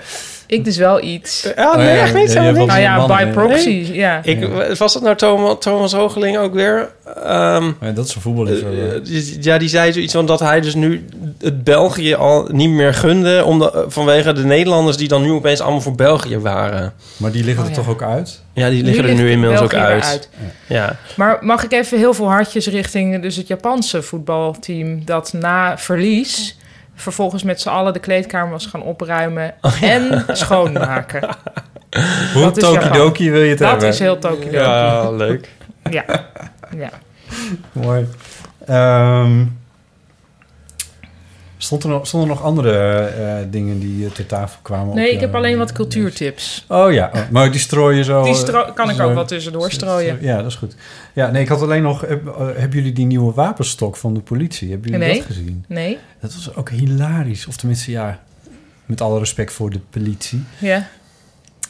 S6: Ik dus wel iets.
S8: Ja, nee, Oh, echt niet
S7: jij
S8: zo. niks.
S7: was
S6: Nou
S7: een
S6: ja,
S7: man,
S6: by
S7: hè?
S6: proxy, ja.
S8: Ik, was dat nou Thomas, Thomas Hoogeling ook weer? Ehm,
S7: Ja, dat is een voetballer.
S8: eh, die- ja, die zei zoiets van dat hij dus nu het België al niet meer gunde... Omdat, vanwege de Nederlanders die dan nu opeens allemaal voor België waren.
S7: maar die liggen
S6: Oh,
S7: er
S6: ja.
S7: toch ook uit?
S8: Ja, die liggen er
S6: ligt
S8: nu inmiddels ook
S6: België
S8: uit.
S6: eruit.
S8: Ja.
S6: Maar mag ik even heel veel hartjes richting dus het Japanse voetbalteam... dat na verlies vervolgens met z'n allen de kleedkamer was gaan opruimen...
S8: Oh,
S6: en schoonmaken.
S8: [LAUGHS]
S7: Hoe
S6: Dat is Japan.
S7: tokidoki wil je het
S6: Dat
S7: hebben?
S6: is heel Tokio. Ja.
S8: ja, leuk.
S6: Ja. ja.
S7: [LAUGHS] Mooi. Ehm, stond er nog, stonden er nog andere eh, dingen die eh, ter tafel kwamen?
S6: Nee,
S7: op,
S6: ik heb
S7: eh,
S6: alleen wat cultuurtips.
S7: Oh ja, oh, maar die strooi je zo...
S6: Die
S7: eh,
S6: stro- kan ik
S7: zo-
S6: ook wat tussendoor strooien.
S7: Ja, dat is goed. Ja, nee, ik had alleen nog... heb- eh, Hebben jullie die nieuwe wapenstok van de politie? Hebben jullie
S6: Nee.
S7: dat gezien?
S6: Nee?
S7: Dat was ook hilarisch. Of tenminste, ja... Met alle respect voor de politie.
S6: Ja.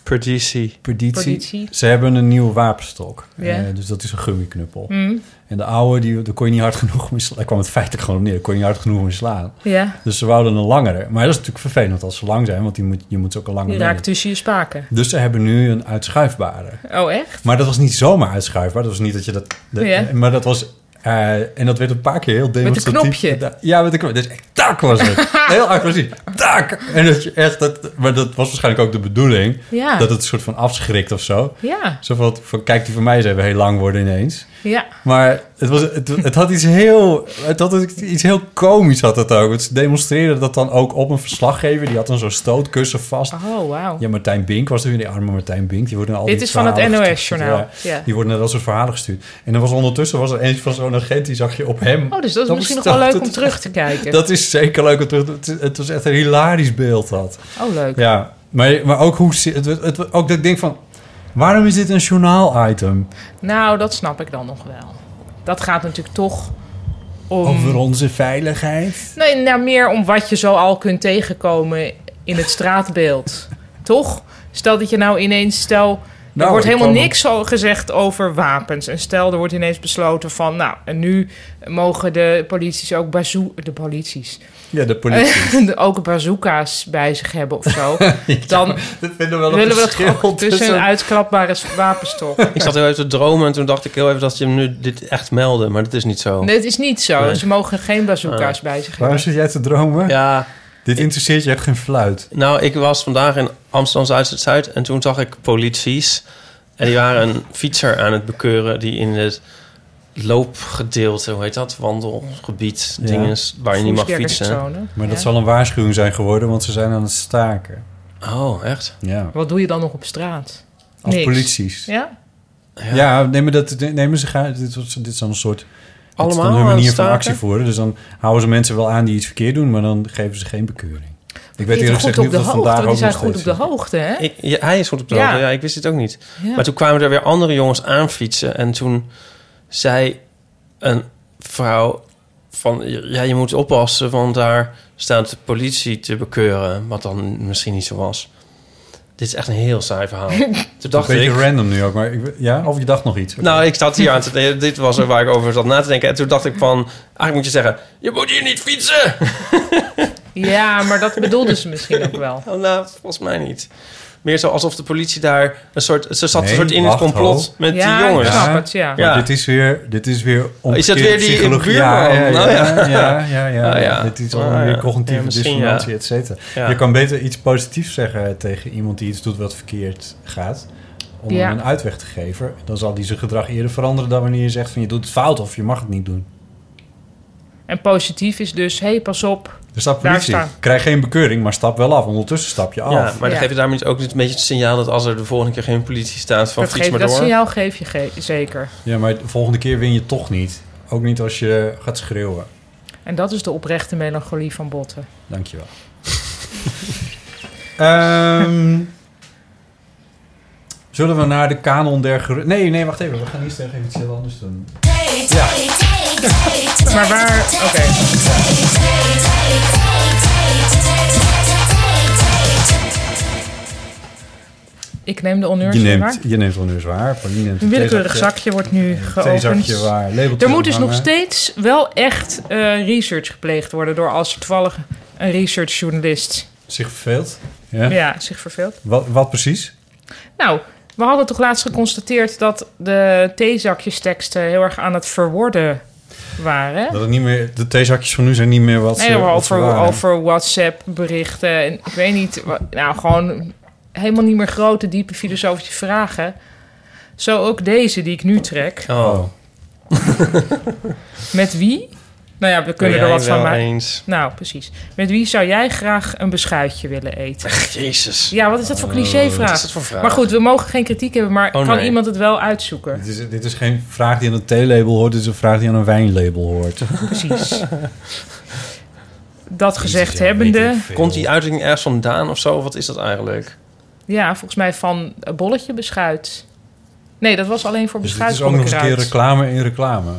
S8: Perditie.
S7: Politie.
S6: Politie.
S7: Ze hebben een nieuwe wapenstok.
S6: Ja.
S7: Eh, dus dat is een gummiknuppel.
S6: Hm.
S7: En de oude, die, daar kon je niet hard genoeg mee slaan. Daar kwam het feitelijk gewoon op neer. Daar kon je niet hard genoeg mee slaan.
S6: Ja.
S7: Dus ze wouden een langere. Maar dat is natuurlijk vervelend als ze lang zijn. Want die moet, je moet ze ook een lange
S6: Die
S7: nemen.
S6: raakt tussen je spaken.
S7: Dus ze hebben nu een uitschuifbare.
S6: Oh, echt?
S7: Maar dat was niet zomaar uitschuifbaar. Dat was niet dat je dat... dat-
S6: Ja.
S7: Maar dat was... eh, en dat werd een paar keer heel demonstratief.
S6: knopje.
S7: gedaan. Ja, met een knopje. Dus echt, tak was
S6: [LAUGHS]
S7: het. heel agressief. Tak! En dat je echt... Dat, maar dat was waarschijnlijk ook de bedoeling.
S6: Ja.
S7: Dat het een soort van afschrikt of zo.
S6: Ja.
S7: Zo van, van, kijk, die van mij is even heel lang worden ineens.
S6: Ja.
S7: Maar het, was, het, het had iets heel... Het had ook iets heel komisch had het ook. Het demonstreerde dat dan ook op een verslaggever. Die had dan zo'n stootkussen vast.
S6: Oh, wauw.
S7: Ja, Martijn Bink was er weer. Die arme Martijn Bink. Die wordt in al
S6: Dit
S7: die
S6: is van het
S7: verhalen
S6: NOS-journaal.
S7: gestuurd. Ja,
S6: Ja.
S7: Die wordt naar dat soort verhalen gestuurd. En er was ondertussen was er eentje van zo'n agent. Die zag je op hem.
S6: Oh, dus dat is
S7: Dan
S6: misschien nog
S7: staat
S6: wel leuk
S7: het-
S6: om terug te kijken.
S7: [LAUGHS] Dat is zeker leuk. om terug te- Het, het was echt een hilarisch beeld dat.
S6: Oh, leuk.
S7: Ja, maar, maar ook hoe... ze- Het, het, het- ook dat ik denk van... Waarom is dit een journaal-item?
S6: Nou, dat snap ik dan nog wel. Dat gaat natuurlijk toch om...
S7: Over onze veiligheid.
S6: Nee, nou, meer om wat je zo al kunt tegenkomen in het straatbeeld. toch? Stel dat je nou ineens... Stel,
S7: Nou,
S6: er wordt
S7: ik
S6: helemaal
S7: kwam-
S6: niks zo gezegd over wapens. En stel, er wordt ineens besloten van... Nou, en nu mogen de polities ook bazoo... De polities.
S7: Ja, de politie.
S6: [LAUGHS] de- ook bazooka's bij zich hebben of
S7: [LAUGHS]
S6: zo. Dan
S7: dat vinden we wel
S6: willen we dat
S7: verschil
S6: gewoon tussen een uitklapbare wapenstok.
S8: [LAUGHS] Ik zat heel even te dromen en toen dacht ik heel even dat ze hem nu dit echt melden. Maar dat is niet zo.
S6: Nee, het is niet zo.
S8: Nee. Ah.
S6: Ze mogen geen bazooka's bij zich
S7: Waarom
S6: hebben.
S7: zit jij te dromen?
S8: Ja,
S7: Dit interesseert je echt geen fluit.
S8: nou, ik was vandaag in Amsterdam Zuid-Zuid en toen zag ik polities. En die waren een fietser aan het bekeuren die in het loopgedeelte, hoe heet dat, wandelgebied,
S7: Ja.
S8: dingen waar je niet mag fietsen.
S6: Voetgangerszone.
S7: Maar dat
S6: Ja.
S7: zal een waarschuwing zijn geworden, want ze zijn aan het staken.
S8: Oh, echt?
S7: Ja.
S6: Wat doe je dan nog op straat?
S7: Als
S6: Niks.
S7: polities. Ja,
S6: Ja?
S7: nee, maar dat, nee, maar ze gaan, dit, was- dit is dan een soort... dit is
S8: Allemaal
S7: dan hun
S8: aan het
S7: manier van
S8: staken?
S7: actie voeren. Dus dan houden ze mensen wel aan die iets verkeerd doen, maar dan geven ze geen bekeuring. Ik weet
S6: Die
S7: eerlijk
S6: zijn
S7: gezegd
S6: goed
S7: niet
S6: op de
S7: of dat
S6: hoogte.
S7: vandaag
S6: want
S7: ook
S6: Die
S7: nog
S6: zijn goed
S7: steeds
S6: op de hoogte, hè?
S8: Ik- ja, hij is goed op de
S6: Ja.
S8: hoogte. ja, ik wist het ook niet.
S6: Ja.
S8: Maar toen kwamen er weer andere jongens aanfietsen. En toen zei een vrouw van... Ja, je moet oppassen, want daar staat de politie te bekeuren. Wat dan misschien niet zo was. Dit is echt een heel
S6: [LAUGHS]
S8: saai verhaal. toen dacht
S7: Een beetje
S8: ik...
S7: random nu ook, maar ik, ja, of je dacht nog iets.
S8: Nou, ik zat hier aan te... Dit was er waar ik over zat na te denken. En toen dacht ik van... Eigenlijk moet je zeggen... Je moet hier niet fietsen!
S6: [LAUGHS] Ja, maar dat bedoelden ze misschien ook wel.
S8: Oh, [LAUGHS] nou, volgens mij niet. Meer zo alsof de politie daar een soort... Ze zat
S7: Nee,
S8: een soort in het
S7: wacht,
S8: complot
S7: ho.
S8: met
S6: Ja,
S8: die jongens.
S6: ik snap het, ja.
S7: Maar
S8: Ja. Oh,
S7: dit is weer, dit is weer omgekeerd
S8: weer die
S7: psychologie.
S8: buurman?
S7: Ja, ja, ja,
S8: Nou
S7: ja,
S8: ja.
S7: ja, ja, ja.
S8: Nou ja.
S7: Dit is al
S8: Nou
S7: weer
S8: ja.
S7: cognitieve
S8: Ja, misschien
S7: dissonantie,
S8: ja.
S7: et cetera.
S8: Ja.
S7: Je kan beter iets positiefs zeggen tegen iemand die iets doet wat verkeerd gaat, om
S6: Ja.
S7: hem een uitweg te geven. Dan zal die zijn gedrag eerder veranderen dan wanneer je zegt van je doet het fout of je mag het niet doen.
S6: En positief is dus, hé, hey, pas op.
S7: Er staat
S6: Daar
S7: Dus politie.
S6: staan.
S7: Krijg geen bekeuring, maar stap wel af. Ondertussen stap je af.
S8: Ja, maar dan
S6: Ja.
S8: geef je daarmee ook een beetje het signaal dat als er de volgende keer geen politie staat, van
S6: dat
S8: fiets
S6: geef,
S8: maar
S6: dat
S8: door.
S6: signaal geef je ge- zeker.
S7: Ja, maar de volgende keer win je toch niet. Ook niet als je gaat schreeuwen.
S6: En dat is de oprechte melancholie van botten.
S7: Dankjewel. [LAUGHS] Ehm zullen we naar de kanon der geru- Nee, nee, wacht even. We gaan eerst even iets heel anders doen. Ja.
S6: Maar waar... Oké. Ik neem de
S7: Je
S6: honneurs waar.
S7: neemt, je neemt wel nu zwaar. Pauline neemt
S6: Een
S7: een
S6: willekeurig
S7: theezakje-
S6: zakje wordt nu
S7: eh, theezakje
S6: geopend.
S7: waar. labeltjes
S6: Er moet dus
S7: ophangen.
S6: nog steeds wel echt eh, research gepleegd worden door als er toevallig een researchjournalist
S7: Zich verveelt. Ja?
S6: Ja, zich verveelt.
S7: Wat, wat precies?
S6: Nou, we hadden toch laatst geconstateerd dat de theezakjesteksten heel erg aan het verworden waren.
S7: Dat het niet meer, de theezakjes van nu zijn niet meer wat ze,
S6: nee, maar
S7: wat ze
S6: over,
S7: waren.
S6: over WhatsApp-berichten. en Ik weet niet, wa- nou gewoon helemaal niet meer grote, diepe filosofische vragen. Zo ook deze die ik nu trek.
S8: Oh,
S6: Met wie? Nou ja, we kunnen
S8: ben
S6: er
S8: jij
S6: wat van
S8: wel
S6: maken.
S8: eens.
S6: Nou, precies. Met wie zou jij graag een beschuitje willen eten?
S8: Jezus.
S6: Ja, wat is dat voor
S8: Wat is
S6: clichévraag?
S8: dat voor vraag?
S6: Maar goed, we mogen geen kritiek hebben, maar
S8: Oh,
S6: kan
S8: nee.
S6: iemand het wel uitzoeken?
S7: Dit is, dit is geen vraag die aan een theelabel hoort, dit is een vraag die aan een wijnlabel hoort.
S8: [LAUGHS]
S6: Precies. Dat gezegd
S7: Jezus, ja, weet
S6: hebbende,
S7: ik veel.
S8: Komt die uitdrukking ergens vandaan of zo? Wat is dat eigenlijk?
S6: ja, volgens mij van een bolletje beschuit. Nee, dat was alleen voor
S7: Dus dit
S6: beschuit.
S7: is ook
S6: kom
S7: nog
S6: ik
S7: eens een keer
S6: eruit.
S7: reclame in reclame.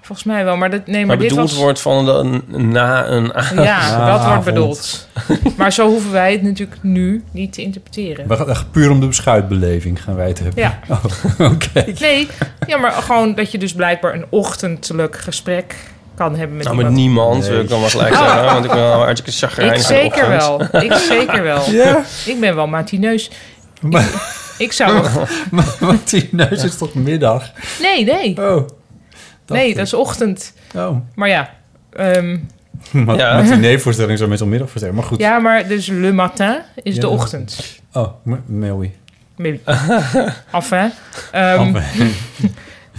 S6: Volgens mij wel, maar, dat, nee, maar,
S8: maar
S6: dit
S8: bedoeld
S6: was...
S8: wordt van de, na een [LAUGHS] a-
S6: Ja,
S7: Ja,
S6: dat wordt
S7: Ah, avond.
S6: bedoeld. Maar zo hoeven wij het natuurlijk nu niet te interpreteren.
S7: [LAUGHS] We gaan echt puur om de beschuitbeleving gaan wij het hebben.
S6: Ja.
S7: [LAUGHS] Oh, Oké.
S6: [LAUGHS] Nee, ja, maar gewoon dat je dus blijkbaar een ochtendelijk gesprek kan hebben met
S8: Nou, met
S6: iemand. Oh.
S8: niemand,
S7: Nee.
S8: wil ik dan wel gelijk zeggen. Want ik ben wel hartstikke chagrijnig
S6: Ik
S8: aan de
S6: zeker
S8: ochtend.
S6: wel.
S8: [LAUGHS]
S6: Ik zeker wel.
S7: Ja.
S6: Ik ben wel matineus.
S7: Maar,
S6: Ik
S7: [LAUGHS]
S6: zou nog...
S7: maar want die neus is tot middag.
S6: Nee, nee.
S7: Oh. dacht
S6: Nee,
S7: ik.
S6: dat is ochtend.
S7: Oh.
S6: Maar ja. ehm,
S7: [LAUGHS] Maar
S8: Ja.
S7: met die nee-voorstelling zou middelmiddag voorstellen. Maar goed.
S6: ja, maar dus le matin is
S7: Ja,
S6: de
S7: dat-
S6: ochtend.
S7: Oh, m- Melwie.
S8: [LAUGHS]
S6: Maybe. Enfin. Ehm,
S7: Amper.
S6: [LAUGHS]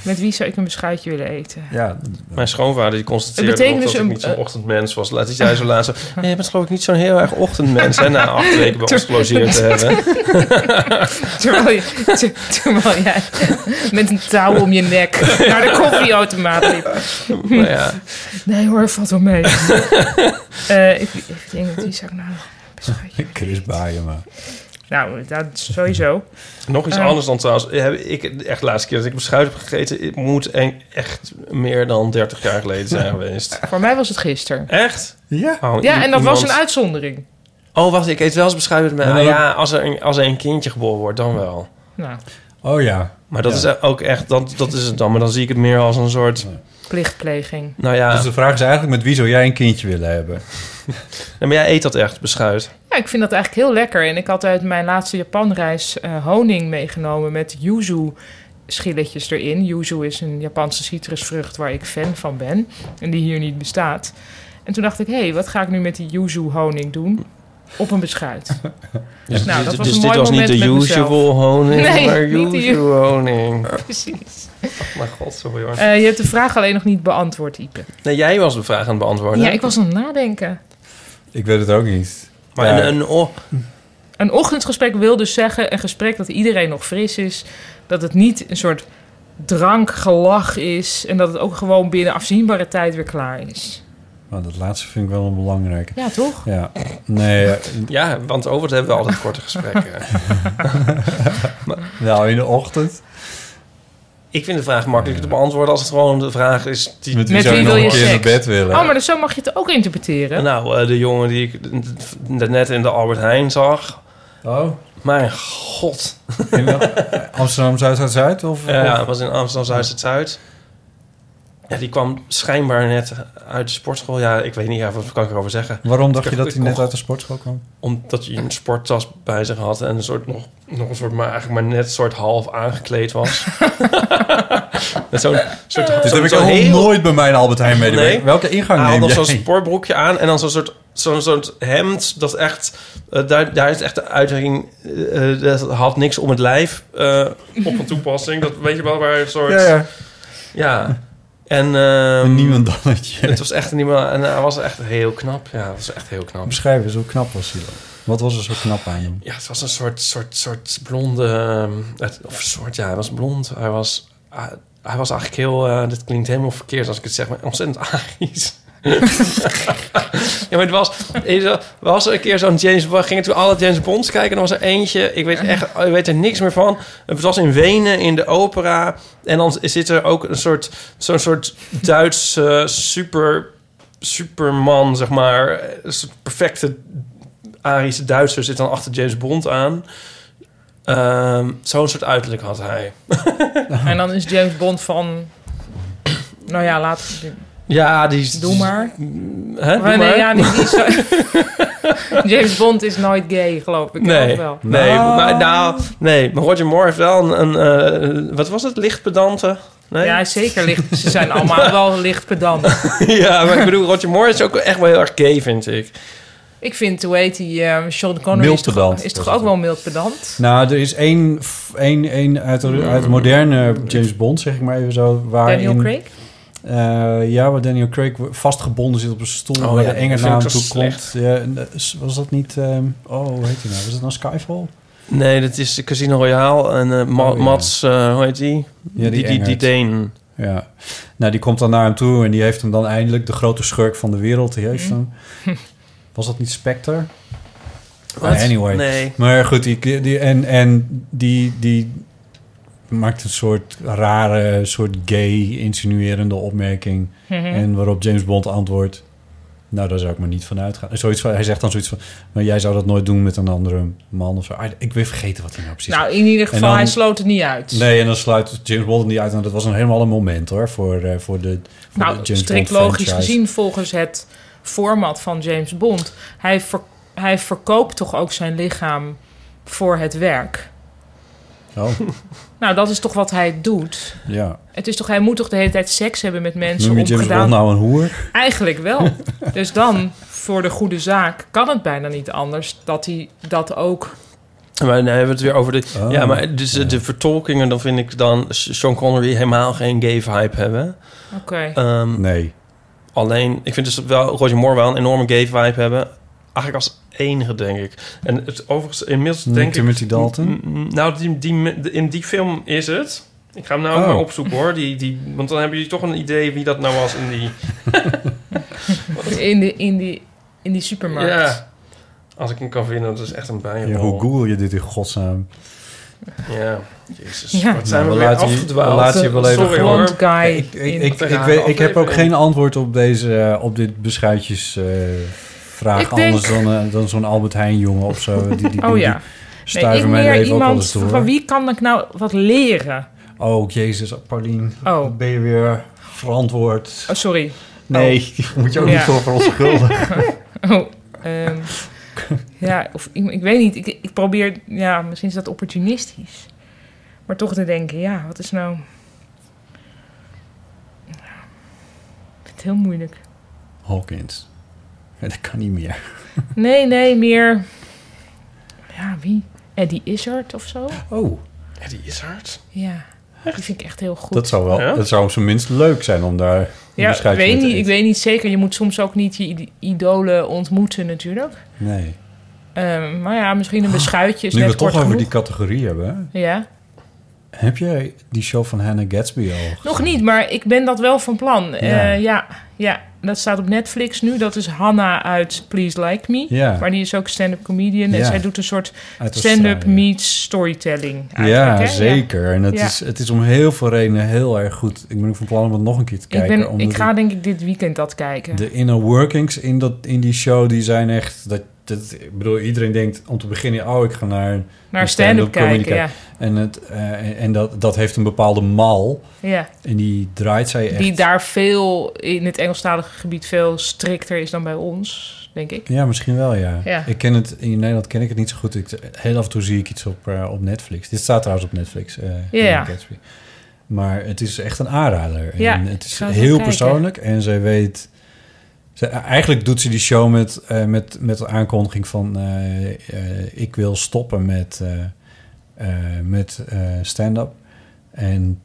S6: met wie zou ik een beschuitje willen eten?
S7: ja.
S8: Mijn schoonvader die constateerde
S6: Het betekent
S8: nog
S6: dus
S8: dat
S6: een-
S8: ik niet zo'n ochtendmens was. Laat hij zei zo
S6: [LAUGHS]
S8: laatst... zo, "Nee, je bent geloof ik niet zo'n heel erg ochtendmens, hè? Na acht weken bij ons gelogeerd te
S6: [LAUGHS]
S8: hebben.
S6: Terwijl, je, ter- terwijl jij met een touw om je nek naar de koffieautomaat liep.
S8: Maar Nou ja,
S6: Nee hoor, valt wel mee. [LAUGHS] Eh, ik, ik denk dat die zou ik nou een beschuitje...
S7: [LAUGHS] Chris Baaien, maar.
S6: Nou, dat is sowieso.
S8: nog iets
S6: Eh.
S8: anders dan trouwens. Heb ik echt de laatste keer dat ik beschuit heb gegeten... Het moet en- echt meer dan 30 jaar geleden
S6: [LAUGHS]
S8: zijn geweest.
S6: Voor mij was het gisteren.
S8: Echt?
S7: Ja.
S8: Oh,
S6: Ja,
S8: i-
S6: en dat was
S8: iemand-
S6: een uitzondering.
S8: Oh, wacht, ik eet wel eens beschuit met mij.
S7: Ja, dan-
S8: ja, als er, een, als er een kindje geboren wordt, dan wel.
S6: Nou,
S7: Oh ja.
S8: Maar dat
S7: Ja.
S8: is ook echt, dat, dat is het dan. Maar dan zie ik het meer als een soort,
S6: plichtpleging.
S8: nou ja...
S7: Dus de vraag is eigenlijk met wie zou jij een kindje willen hebben?
S8: [LAUGHS] Nee, maar jij eet dat echt, beschuit.
S6: Ja, ik vind dat eigenlijk heel lekker. En ik had uit mijn laatste Japanreis eh, honing meegenomen met yuzu schilletjes erin. Yuzu is een Japanse citrusvrucht waar ik fan van ben en die hier niet bestaat. En toen dacht ik, hé, hey, wat ga ik nu met die yuzu honing doen? Op een beschuit.
S8: Dus,
S6: Nou,
S8: dit-
S6: dat was
S8: dus
S6: een
S8: dit
S6: mooi
S8: was niet
S6: moment
S8: de
S6: met mezelf.
S8: usual honing,
S6: Nee,
S8: maar
S6: niet de
S8: usual honing.
S6: [LAUGHS] Precies.
S8: Oh, mijn god, sorry hoor.
S6: Eh, je hebt de vraag alleen nog niet beantwoord, Ipe.
S8: Nee, jij was de vraag aan het beantwoorden.
S6: Ja, ik was aan het nadenken.
S7: Ik weet het ook niet.
S8: Maar
S7: Ja.
S8: een, een oh,
S6: Een ochtendgesprek wil dus zeggen een gesprek dat iedereen nog fris is. Dat het niet een soort drankgelach is. En dat het ook gewoon binnen afzienbare tijd weer klaar is.
S7: Maar dat laatste vind ik wel een belangrijke.
S6: Ja, toch?
S7: Ja. Nee, eh,
S8: ja, want over het hebben we altijd korte
S7: [LAUGHS]
S8: gesprekken.
S7: nou in de ochtend.
S8: ik vind de vraag makkelijker te beantwoorden als het gewoon de vraag is die...
S7: Met wie
S6: Met
S7: zou
S6: wie
S7: je nog
S6: wil je
S7: een keer naar
S6: seks?
S7: bed willen?
S6: Oh, maar dus zo mag je het ook interpreteren.
S8: Nou, eh, de jongen die ik d- net in de Albert Heijn zag.
S7: Oh,
S8: Mijn god.
S7: in eh, Amsterdam Zuid-Zuid-Zuid? Of,
S8: Ja,
S7: of-
S8: het was in Amsterdam Zuid het Zuid. Ja, die kwam schijnbaar net uit de sportschool. Ja, ik weet niet, ja, wat kan ik erover zeggen?
S7: Waarom dacht je
S8: Ik-
S7: dat
S8: ik
S7: hij net
S8: kon-
S7: uit de sportschool kwam?
S8: Omdat hij een sporttas bij zich had en een soort nog, nog een soort, maar eigenlijk maar net een soort half aangekleed was. Met zo'n soort.
S7: Dit
S8: zo'n-
S7: heb ik
S8: zo'n
S7: al
S8: heel-
S7: nooit bij mijn Albert Heijn medewerker.
S8: Nee.
S7: Welke ingang
S8: Hij had
S7: neem
S8: nog
S7: jij?
S8: zo'n sportbroekje aan en dan zo'n soort, zo'n soort hemd. Dat echt, eh, daar, daar is echt de uitdrukking. eh, eh, dat had niks om het lijf eh, op een toepassing. Dat weet je wel waar een soort.
S7: Ja,
S8: Ja.
S7: ja.
S8: En ehm,
S7: Een niemendalletje.
S8: Het was echt niet En hij was echt heel knap. Ja, het was echt heel knap.
S7: Beschrijf eens, hoe knap was hij dan? Wat was er zo knap aan hem?
S8: Ja, het was een soort, soort, soort blonde... ehm, het- Of een soort, ja, hij was blond. Hij was, ah, hij was eigenlijk heel... eh, dit klinkt helemaal verkeerd als ik het zeg, maar ontzettend Arisch. ja, maar het was... Er was een keer zo'n James Bond... Gingen toen alle James Bonds kijken en er was er eentje... Ik weet, echt, ik weet er niks meer van. Het was in Wenen, in de opera. En dan zit er ook een soort... Zo'n soort Duits eh, super... Superman, zeg maar. Een soort perfecte Arische Duitser zit dan achter James Bond aan. Ehm, Zo'n soort uiterlijk had hij.
S6: En dan is James Bond van... Nou ja, laat...
S8: Ja, die is...
S6: Doe maar.
S8: Hè, doe
S6: Maar nee,
S8: maar.
S6: ja, die, die is zo- [LAUGHS] James Bond is nooit gay,
S8: [LAUGHS]
S6: geloof ik.
S8: Nee,
S6: ook wel. Oh.
S8: nee,
S7: Nou.
S8: maar, nou, nee, maar Roger Moore heeft wel een, een, eh, wat was het, lichtpedante? Nee?
S6: Ja, zeker licht. Ze zijn allemaal wel licht pedant.
S8: [LAUGHS] Ja, maar ik bedoel, Roger Moore is ook echt wel heel erg gay, vind ik.
S6: Ik vind, hoe heet die, eh, Sean Connery
S7: Mild
S6: is toch,
S7: pedant.
S6: is toch ook wel mild pedant?
S7: Nou, er is één, f- één, één uit, de, uit moderne James Bond, zeg ik maar even zo. Waar
S6: Daniel
S7: in-
S6: Craig?
S7: Eh, ja, waar Daniel Craig vastgebonden zit op een stoel
S8: Oh,
S7: waar
S8: ja,
S7: de enge
S8: dat vind ik
S7: naam
S8: zo
S7: toe
S8: slecht.
S7: komt. Ja, en, eh, s- was dat niet... ehm, oh, hoe heet hij nou? Was dat nou Skyfall?
S8: Nee, dat is Casino Royale en eh, Ma-
S7: Oh, ja.
S8: Mats, eh, hoe heet die?
S7: Ja, die
S8: die, die,
S7: Engert.
S8: Deen.
S7: Ja. Nou, die komt dan naar hem toe en die heeft hem dan eindelijk... de grote schurk van de wereld, die heeft hem. Was dat niet Spectre?
S8: Wat?
S7: anyway.
S8: Nee.
S7: Maar goed, die, die, en, en die, die maakt een soort rare, soort gay, insinuerende opmerking. En waarop James Bond antwoordt... Nou, daar zou ik maar niet van uitgaan. Zoiets van, hij zegt dan zoiets van... Maar jij zou dat nooit doen met een andere man of zo. Ah, Ik ben vergeten wat hij nou precies...
S6: Nou, in ieder geval,
S7: dan-
S6: hij sloot het niet uit.
S7: Nee, en dan sluit James Bond het niet uit. En dat was een helemaal een moment hoor, voor, eh, voor de voor de
S6: Nou,
S7: James
S6: strikt
S7: Bond
S6: logisch
S7: franchise.
S6: gezien volgens het format van James Bond. Hij, ver- hij verkoopt toch ook zijn lichaam voor het werk.
S7: Oh,
S6: [LAUGHS] Nou, dat is toch wat hij doet.
S7: ja.
S6: Het is toch, hij moet toch de hele tijd seks hebben met mensen
S7: Noem je
S6: om
S7: James
S6: gedaan...
S7: Bond nou een hoer?
S6: Eigenlijk
S7: [LAUGHS]
S6: wel. dus dan, voor de goede zaak, kan het bijna niet anders dat hij dat ook...
S8: Maar dan hebben we het weer over de...
S7: Oh,
S8: ja, maar dus, de- de vertolkingen, dan vind ik dan Sean Connery helemaal geen gay vibe hebben.
S6: Oké.
S8: Ehm,
S7: Nee.
S8: Alleen, ik vind dus wel Roger Moore wel een enorme gay vibe hebben. Eigenlijk als enige, denk ik. En het, overigens, inmiddels
S7: Niet
S8: denk ik...
S7: Timothy Dalton?
S8: Mm, mm, Nou, die, die, in die film is het. Ik ga hem nou
S7: Oh.
S8: maar opzoeken, hoor. Die, die, want dan hebben jullie toch een idee wie dat nou was in die...
S6: In, de, in, die, in die supermarkt.
S8: Ja. Als ik hem kan vinden, dat is echt een bijna.
S7: Ja, hoe google je dit in godsnaam?
S8: Ja. Jezus,
S6: Ja.
S8: wat zijn
S7: Nou, we
S8: we, weer
S7: laten je- we
S8: afgedwaald.
S7: laten je wel even
S8: Sorry,
S7: gewoon-
S8: hoor.
S6: Blond guy.
S7: Ik,
S6: in-
S7: ik, ik,
S8: een
S7: ik,
S8: rare
S7: weet, ik heb ook
S8: aflevering.
S7: geen antwoord op, deze, eh, op dit beschuitjesvraag.
S6: Ik denk-
S7: Anders dan, eh, dan zo'n Albert Heijn jongen of zo. Die, die, die,
S6: [LAUGHS] oh ja.
S7: die
S6: Nee, ik
S7: stuiven mijn
S6: meer
S7: leven ook wel
S6: iemand
S7: eens door.
S6: van wie kan ik nou wat leren?
S7: Oh, jezus, Paulien.
S6: Oh.
S7: Ben je weer verantwoord?
S6: Oh, sorry. Oh.
S7: Nee, [LAUGHS] moet je ook
S6: Ja.
S7: niet voor verontschuldigen.
S6: [LAUGHS] Oh, ehm, ja, of ik, ik weet niet. Ik, ik probeer, ja, misschien is dat opportunistisch. Maar toch te denken, ja, wat is nou... Ik vind het heel moeilijk.
S7: Hawkins. Ja, dat kan niet meer.
S6: Nee, nee, meer... Ja, wie? Eddie Izzard of zo?
S7: Oh,
S8: Eddie Izzard?
S6: Ja, die vind ik echt heel goed.
S7: dat zou wel.
S8: Ja?
S7: Dat zou op zijn minst leuk zijn om daar. een
S6: ja, ik
S7: beschuitje
S6: weet,
S7: mee te
S6: niet, ik
S7: eten.
S6: weet niet zeker. Je moet soms ook niet je ide- idolen ontmoeten natuurlijk.
S7: Nee.
S6: Ehm, maar ja, misschien een beschuitje is
S7: Oh, Nu we
S6: net
S7: het toch
S6: kort
S7: over
S6: genoeg.
S7: die categorie hebben.
S6: Ja.
S7: Heb jij die show van Hannah Gatsby al? gezien?
S6: Nog niet, maar ik ben dat wel van plan. Ja, ja, ja dat staat op Netflix nu. Dat is Hanna uit Please Like Me.
S7: Ja.
S6: Maar die is ook stand-up comedian. En
S7: Ja.
S6: zij doet een soort
S7: Uit
S6: stand-up
S7: Australië.
S6: meets storytelling. eigenlijk,
S7: Ja,
S6: hè?
S7: zeker. En het,
S6: Ja.
S7: is, het is om heel veel redenen heel erg goed. Ik ben ook van plan om het nog een keer te
S6: Ik,
S7: kijken.
S6: ben,
S7: omdat
S6: ik ga denk ik dit weekend dat kijken.
S7: De inner workings in, dat, in die show, die zijn echt... Dat, dat, ik bedoel, iedereen denkt om te beginnen... Oh, ik ga naar... een-
S6: Naar
S7: een
S6: stand-up
S7: comedy
S6: kijken, ja.
S7: En, het, eh, en dat, dat heeft een bepaalde mal.
S6: ja.
S7: En die draait zij echt...
S6: Die daar veel, in het Engelstalige gebied, veel strikter is dan bij ons, denk ik.
S7: Ja, misschien wel, ja.
S6: Ja.
S7: Ik ken het, in Nederland ken ik het niet zo goed. Ik, heel af en toe zie ik iets op, eh, op Netflix. Dit staat trouwens op Netflix. eh,
S6: Ja.
S7: Hannah Gatsby. Maar het is echt een aanrader.
S6: Ja,
S7: en het
S6: ik
S7: is
S6: ga het
S7: heel
S6: wel
S7: persoonlijk. En zij weet... Ze, eigenlijk doet ze die show met, eh, met, met de aankondiging van... eh, eh, ik wil stoppen met, eh, eh, met eh, stand-up. En,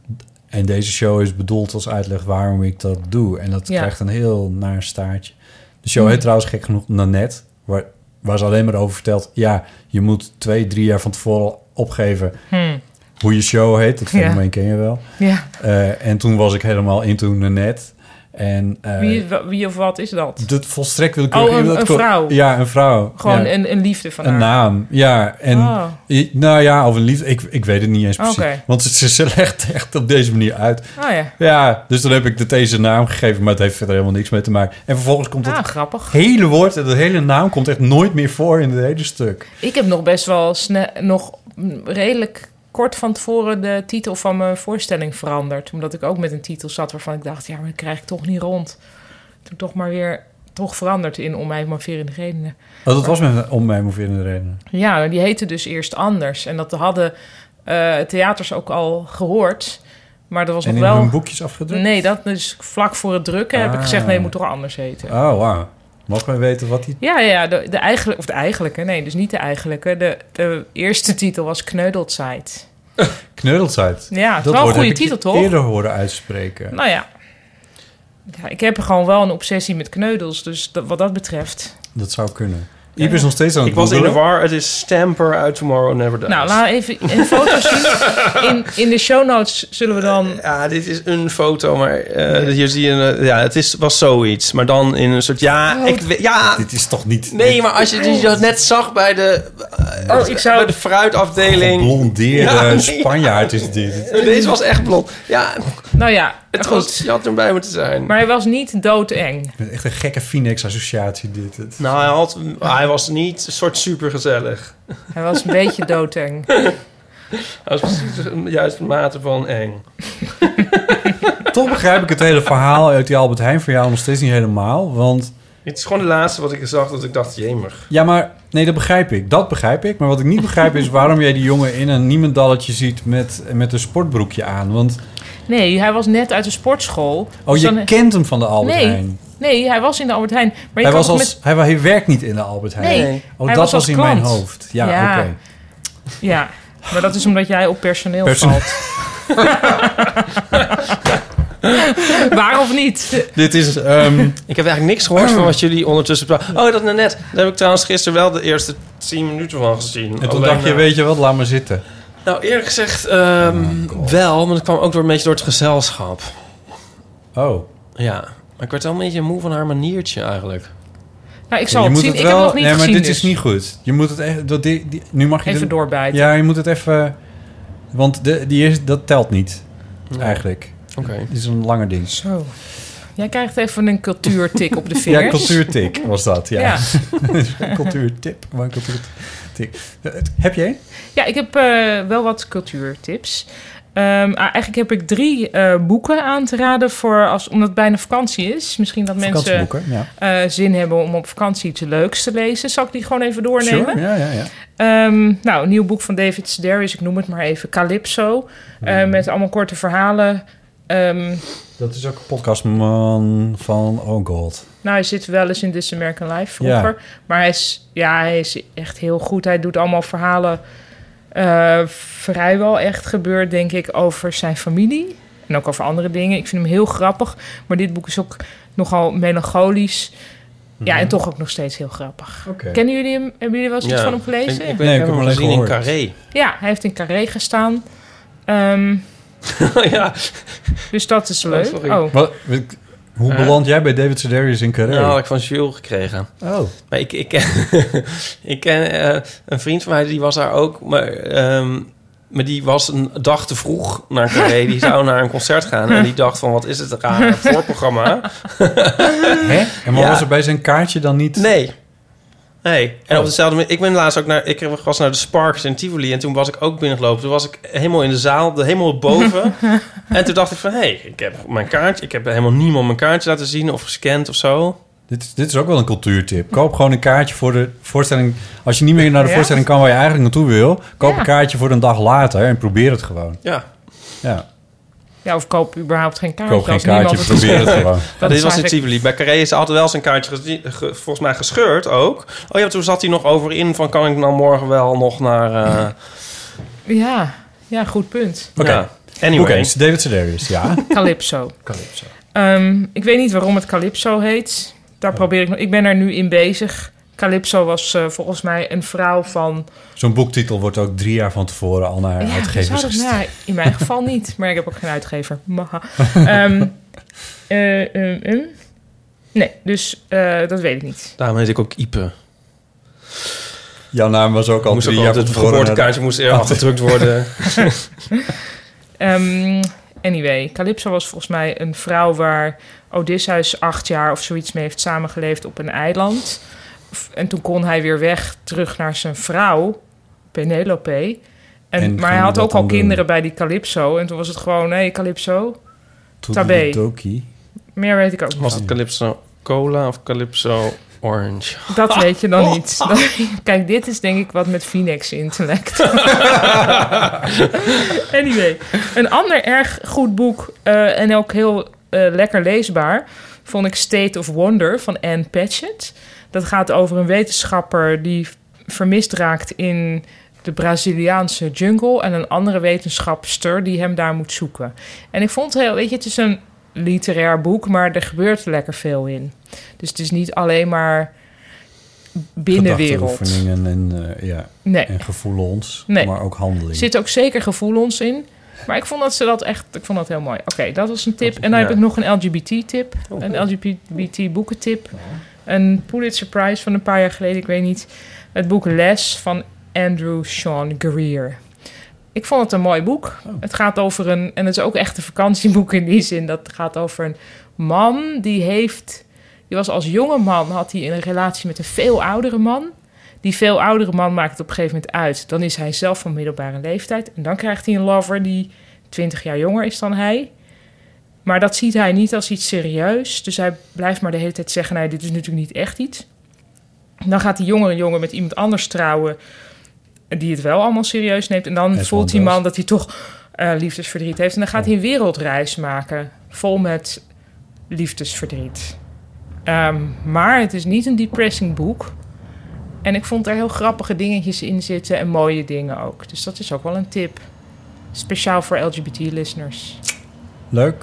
S7: en deze show is bedoeld als uitleg waarom ik dat doe. En dat
S6: Ja. Mm.
S7: krijgt een heel naar staartje. De show heet trouwens gek genoeg Nanette. Waar, waar ze alleen maar over vertelt... ja, je moet twee, drie jaar van tevoren opgeven...
S6: Hmm.
S7: hoe je show heet. Dat
S6: Ja.
S7: fenomeen ken je wel.
S6: Ja.
S7: Eh, en toen was ik helemaal into Nanette. En, eh,
S6: Wie, wie of wat is dat?
S7: Dat volstrekt wil ik
S6: Oh, een-
S7: dat
S6: een
S7: klopt.
S6: vrouw.
S7: Ja, een vrouw.
S6: Gewoon
S7: Ja.
S6: een, een liefde van
S7: Een
S6: haar.
S7: naam, ja. En,
S6: Oh.
S7: i- Nou ja, of een liefde. Ik, ik weet het niet eens precies.
S6: Oké.
S7: Want ze, ze [LAUGHS] legt echt op deze manier uit.
S6: Oh ja.
S7: Ja, dus dan heb ik de deze naam gegeven, maar het heeft verder helemaal niks mee te maken. En vervolgens komt
S6: Ah,
S7: het
S6: grappig.
S7: hele woord en de hele naam komt echt nooit meer voor in het hele stuk.
S6: Ik heb nog best wel sne- nog mm, redelijk kort van tevoren de titel van mijn voorstelling veranderd. Omdat ik ook met een titel zat waarvan ik dacht, ja, maar dat krijg ik toch niet rond. Toen toch maar weer toch veranderd in Om mij moverende redenen.
S7: Oh, dat was met om mij moverende redenen.
S6: Ja, die heette dus eerst anders. En dat hadden eh, theaters ook al gehoord. Maar dat was
S7: En
S6: nog
S7: in
S6: wel...
S7: hun boekjes afgedrukt?
S6: Nee, dat dus vlak voor het drukken heb ik
S7: Ah.
S6: gezegd... nee, het moet toch anders heten.
S7: Oh, wauw. Mogen we weten wat die...
S6: Ja, ja, de, de eigenlijke... Of de eigenlijke, nee, dus niet de eigenlijke. De, de eerste titel was Kneudeldzeit.
S7: Kneudelzeit.
S6: Ja, het is
S7: dat
S6: wel een
S7: woord
S6: goede
S7: heb ik je
S6: titel, toch?
S7: eerder horen uitspreken.
S6: Nou ja. ja. Ik heb gewoon wel een obsessie met kneudels. Dus dat, wat dat betreft...
S7: Dat zou kunnen. Iep is nog steeds aan het
S8: Ik was in de
S7: googelen.
S8: war. Het is Stamper uit Tomorrow Never Dies. Eh,
S6: Nou, laat even een foto zien. In, in de show notes zullen we dan...
S8: Ja, dit is een foto, maar eh, hier zie je... een, eh, ja, het is, was zoiets, maar dan in een soort...
S6: Oh.
S8: Ja, ik, we- ja
S7: Dit is toch niet...
S8: nee, maar als je dus dat net zag bij de, eh,
S6: Oh, ik zou-
S8: bij de fruitafdeling...
S7: Geblondeerde
S8: Ja, nee.
S7: Spanjaard is dit.
S8: Deze was echt blond. Ja,
S6: Nou ja,
S8: het was,
S6: goed.
S8: je had erbij moeten zijn.
S6: Maar hij was niet doodeng.
S7: Met Echt een gekke Phoenix-associatie dit. Het-
S8: Nou, hij, had, hij was niet een soort supergezellig.
S6: Hij was
S8: [LAUGHS]
S6: een beetje doodeng.
S8: Hij was precies de juiste mate van eng.
S7: Toch begrijp ik het hele verhaal uit die Albert Heijn voor jou nog steeds niet helemaal. Want
S8: Het is gewoon de laatste wat ik zag dat ik dacht, jemig.
S7: ja, maar nee, dat begrijp ik. Dat begrijp ik. Maar wat ik niet begrijp is waarom jij die jongen in een niemendalletje ziet met, met een sportbroekje aan. Want
S6: Nee, hij was net uit de sportschool.
S7: oh,
S6: Dus
S7: je
S6: dan-
S7: kent hem van de Albert
S6: Nee,
S7: Heijn.
S6: Nee, hij was in de Albert Heijn. Maar je
S7: Hij,
S6: kan
S7: was
S6: toch
S7: als,
S6: met...
S7: hij, wa- hij werkt niet in de Albert Heijn.
S6: Nee,
S8: Nee.
S7: Oh,
S6: hij
S7: dat
S6: was
S7: was,
S6: als
S7: in
S6: klant.
S7: mijn hoofd. Ja,
S6: Ja.
S7: oké.
S6: Ja, maar dat is omdat jij op personeel
S7: Perso-
S6: valt. [LAUGHS] Waar of niet?
S7: Dit is... ehm,
S8: Ik heb eigenlijk niks gehoord van wat jullie ondertussen praten. Oh, dat net. Daar heb ik trouwens gisteren wel de eerste 10 minuten van gezien.
S7: en toen
S8: Alleen,
S7: dacht je,
S8: eh,
S7: weet je Oh wat, laat maar zitten.
S8: Nou, eerlijk gezegd ehm, wel, maar dat kwam ook door een beetje door het gezelschap.
S7: Oh.
S8: Ja, maar ik werd wel een beetje moe van haar maniertje eigenlijk.
S6: Nou, ik zal
S7: je
S6: het
S7: moet
S6: zien.
S7: het
S6: ik
S7: wel-
S6: heb nog niet
S7: nee, maar
S6: gezien
S7: dit
S6: dus.
S7: is niet goed. Je moet het echt... Dat, die, die- nu mag je...
S6: Even
S7: de-
S6: doorbijten.
S7: Ja, je moet het even... Want de, die is, dat telt niet, eigenlijk.
S8: Oké.
S7: Het is een langer ding.
S6: Zo. Jij krijgt even een cultuurtik op de vingers.
S7: Ja, cultuurtik was dat, ja. [LAUGHS]
S6: Ja.
S7: cultuurtip, maar een cultuurtik. Eh, Heb jij?
S6: Ja, ik heb eh, wel wat cultuurtips. Ehm, ah, eigenlijk heb ik drie eh, boeken aan te raden voor als, omdat het bijna vakantie is. Misschien dat mensen
S7: Vakantieboeken, ja.
S6: eh, zin hebben om op vakantie iets leuks te lezen. Zal ik die gewoon even doornemen?
S7: Sure, ja, ja, ja.
S6: Ehm, nou, een nieuw boek van David Sedaris, ik noem het maar even, Calypso.
S7: Hmm.
S6: eh, Met allemaal korte verhalen. Ehm,
S7: Dat is ook een podcastman van Oh God.
S6: nou, hij zit wel eens in This American Life vroeger. Maar hij is, ja, hij is echt heel goed. Hij doet allemaal verhalen eh, vrijwel echt gebeurd, denk ik, over zijn familie. En ook over andere dingen. Ik vind hem heel grappig. Maar dit boek is ook nogal melancholisch. Ja, en toch ook nog steeds heel grappig.
S7: Mhm. Oké.
S6: Kennen jullie hem? Hebben jullie wel eens iets
S8: Ja,
S6: van hem gelezen?
S8: Ik, ik,
S7: Nee, ik
S8: heb
S7: heb
S8: hem
S7: alleen
S8: gezien in
S7: gehoord.
S8: Carré.
S6: Ja, hij heeft in Carré gestaan. Ehm,
S8: [LAUGHS] ja.
S6: dus dat is leuk.
S8: sorry. Eh.
S6: Oh,
S7: Wat, hoe beland jij bij David Sedaris in Carré?
S8: Nou, had ik van Jules gekregen.
S7: oh.
S8: Maar ik, ik, [LAUGHS] ik ken eh, een vriend van mij, die was daar ook. Maar, ehm, maar die was een dag te vroeg naar
S7: [LAUGHS]
S8: Carré. Die zou naar een concert gaan. En die dacht van, wat is het een raar voorprogramma.
S7: [LAUGHS] Hè? En maar
S8: Ja.
S7: was er bij zijn kaartje dan niet...
S8: Nee. Nee. En
S7: Oh.
S8: op dezelfde manier... Ik ben laatst ook naar... Ik was naar de Sparks in Tivoli. En toen was ik ook binnengelopen. Toen was ik helemaal in de zaal. de-
S7: [LAUGHS]
S8: Helemaal boven. en toen dacht ik van... Hé, hey, ik heb mijn kaartje... Ik heb helemaal niemand mijn kaartje laten zien. Of gescand of zo.
S7: Dit, is- dit is ook wel een cultuurtip. Koop gewoon een kaartje voor de voorstelling. Als je niet meer naar de
S6: Ja.
S7: voorstelling kan waar je eigenlijk naartoe wil, koop
S6: Ja.
S7: een kaartje voor een dag later en probeer het gewoon.
S8: Ja.
S7: Ja,
S6: ja, of koop überhaupt geen kaartje.
S7: koop geen
S6: als
S7: kaartje,
S6: niemand het-
S7: probeer het
S8: [LAUGHS]
S7: gewoon.
S6: Dat
S8: dit
S6: is
S8: was in
S6: eigenlijk-
S8: Tivoli. Bij Carré is altijd wel zijn kaartje gezi- ge- volgens mij gescheurd ook. Oh ja, toen zat hij nog over in van... Kan ik nou morgen wel nog naar... eh,
S6: Ja, ja, goed punt.
S7: Oké.
S8: ja. Anyway.
S7: Oké, dus David Sedaris,
S6: [LAUGHS]
S7: ja.
S6: Calypso.
S7: Calypso.
S6: Ehm, ik weet niet waarom het Calypso heet. Daar probeer ik nog... Ik ben er nu in bezig. Calypso was eh, volgens mij een vrouw van...
S7: Zo'n boektitel wordt ook drie jaar van tevoren al naar
S6: Ja,
S7: uitgevers
S6: zou dat-
S7: gestuurd.
S6: nou, in mijn geval niet, maar ik heb ook geen uitgever. Maha. Ehm, eh, ehm, ehm. Nee, dus eh, dat weet ik niet.
S8: Daarom heet ik ook Ipe.
S7: Jouw naam was ook al
S8: Moest ook
S7: drie jaar van
S8: altijd, het
S7: tevoren. eh, naar de-
S8: geboortekaartje moest eerder afgedrukt
S7: [LAUGHS]
S8: [LAUGHS] worden.
S6: [LAUGHS] Ehm, anyway, Calypso was volgens mij een vrouw waar Odysseus acht jaar of zoiets mee heeft samengeleefd op een eiland. F- En toen kon hij weer weg terug naar zijn vrouw, Penelope. En,
S7: En
S6: maar hij
S7: ging
S6: had
S7: dat
S6: ook al
S7: dan doen?
S6: kinderen bij die Calypso. En toen was het gewoon, hé, Calypso. Tabé.
S7: Toki.
S6: Meer weet ik ook niet.
S8: Was het Calypso Cola of Calypso Orange? [LAUGHS]
S6: Dat weet je dan niet. [LAUGHS] Dan- Kijk, dit is denk ik wat met Phoenix intellect. [LAUGHS] anyway, een ander erg goed boek eh, en ook heel eh, lekker leesbaar vond ik State of Wonder van Anne Patchett. Dat gaat over een wetenschapper die vermist raakt in de Braziliaanse jungle en een andere wetenschapster die hem daar moet zoeken. En ik vond het heel, weet je, het is een literair boek, maar er gebeurt lekker veel in. Dus het is niet alleen maar binnenwereld.
S7: Gedachtenoefeningen en, eh, ja,
S6: Nee,
S7: en gevoelens,
S6: Nee.
S7: maar ook
S6: er
S7: handeling.
S6: zit ook zeker gevoelens in. Maar ik vond dat ze dat echt, ik vond dat heel mooi. Oké, dat was een tip. En dan heb
S8: ja.
S6: ik nog een LGBT-tip,
S7: Oh,
S6: een LGBT boekentip. Een Pulitzer Prize van een paar jaar geleden, ik weet niet. Het boek Les van Andrew Sean Greer. Ik vond het een mooi boek. Het gaat over een, en het is ook echt een vakantieboek in die zin. Dat gaat over een man die heeft, die was als jonge man, had hij een relatie met een veel oudere man. Die veel oudere man maakt het op een gegeven moment uit. Dan is hij zelf van middelbare leeftijd. En dan krijgt hij een lover die 20 jaar jonger is dan hij. Maar dat ziet hij niet als iets serieus. Dus hij blijft maar de hele tijd zeggen: nee, dit is natuurlijk niet echt iets. Dan gaat die jongere jongen met iemand anders trouwen. Die het wel allemaal serieus neemt. En dan
S7: Het
S6: voelt die
S7: anders.
S6: man dat hij toch eh, liefdesverdriet heeft. En dan gaat hij een wereldreis maken. Vol met liefdesverdriet. Ehm, maar het is niet een depressing boek. En ik vond er heel grappige dingetjes in zitten en mooie dingen ook. Dus dat is ook wel een tip. Speciaal voor LGBT-listeners.
S7: Leuk.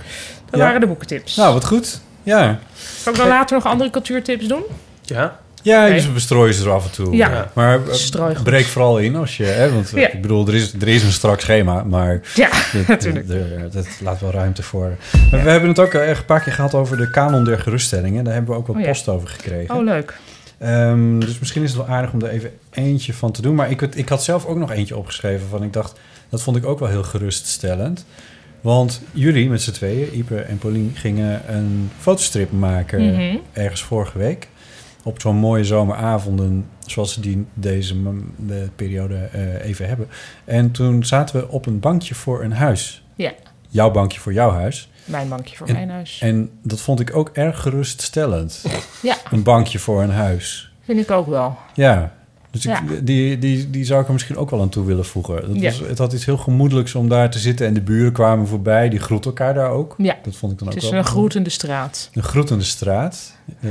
S6: Dat
S7: Ja.
S6: waren de boekentips.
S7: Nou, wat goed. Ja,
S6: Zal ik dan later nog andere cultuurtips doen?
S8: Ja.
S7: ja
S6: Oké.
S7: dus we bestrooien ze er af en toe.
S6: Ja.
S8: Ja.
S7: Maar eh,
S6: Strooigoed.
S7: breek vooral in als je... Hè, want eh,
S6: Ja.
S7: ik bedoel, er is, er is een strak schema, maar...
S6: Ja, [LAUGHS]
S7: Dat, eh,
S6: natuurlijk.
S7: dat- dat laat wel ruimte voor. Maar We hebben het ook eh, een paar keer gehad over de kanon der geruststellingen. Daar hebben we ook wat
S6: Oh ja.
S7: post over gekregen.
S6: Oh, leuk.
S7: Ehm, dus misschien is het wel aardig om er even eentje van te doen. Maar ik, had- ik had zelf ook nog eentje opgeschreven van ik dacht, dat vond ik ook wel heel geruststellend. Want jullie met z'n tweeën, Ipe en Paulien, gingen een fotostrip maken
S6: Mhm.
S7: ergens vorige week. Op zo'n mooie zomeravonden, zoals ze die deze m- de periode eh, even hebben. En toen zaten we op een bankje voor een huis.
S6: Ja.
S7: Jouw bankje voor jouw huis.
S6: Mijn bankje voor
S7: En-
S6: mijn huis.
S7: En dat vond ik ook erg geruststellend.
S6: Ja.
S7: Een bankje voor een huis.
S6: Vind ik ook wel.
S7: Ja, dus ik-
S6: Ja.
S7: Die, die, die zou ik er misschien ook wel aan toe willen voegen.
S6: Ja.
S7: Dat was, het had iets heel gemoedelijks om daar te zitten. En de buren kwamen voorbij, die groeten elkaar daar ook.
S6: Ja.
S7: Dat vond ik dan
S6: Het
S7: ook
S6: is
S7: wel...
S6: een groetende straat.
S7: Een groetende straat. Eh,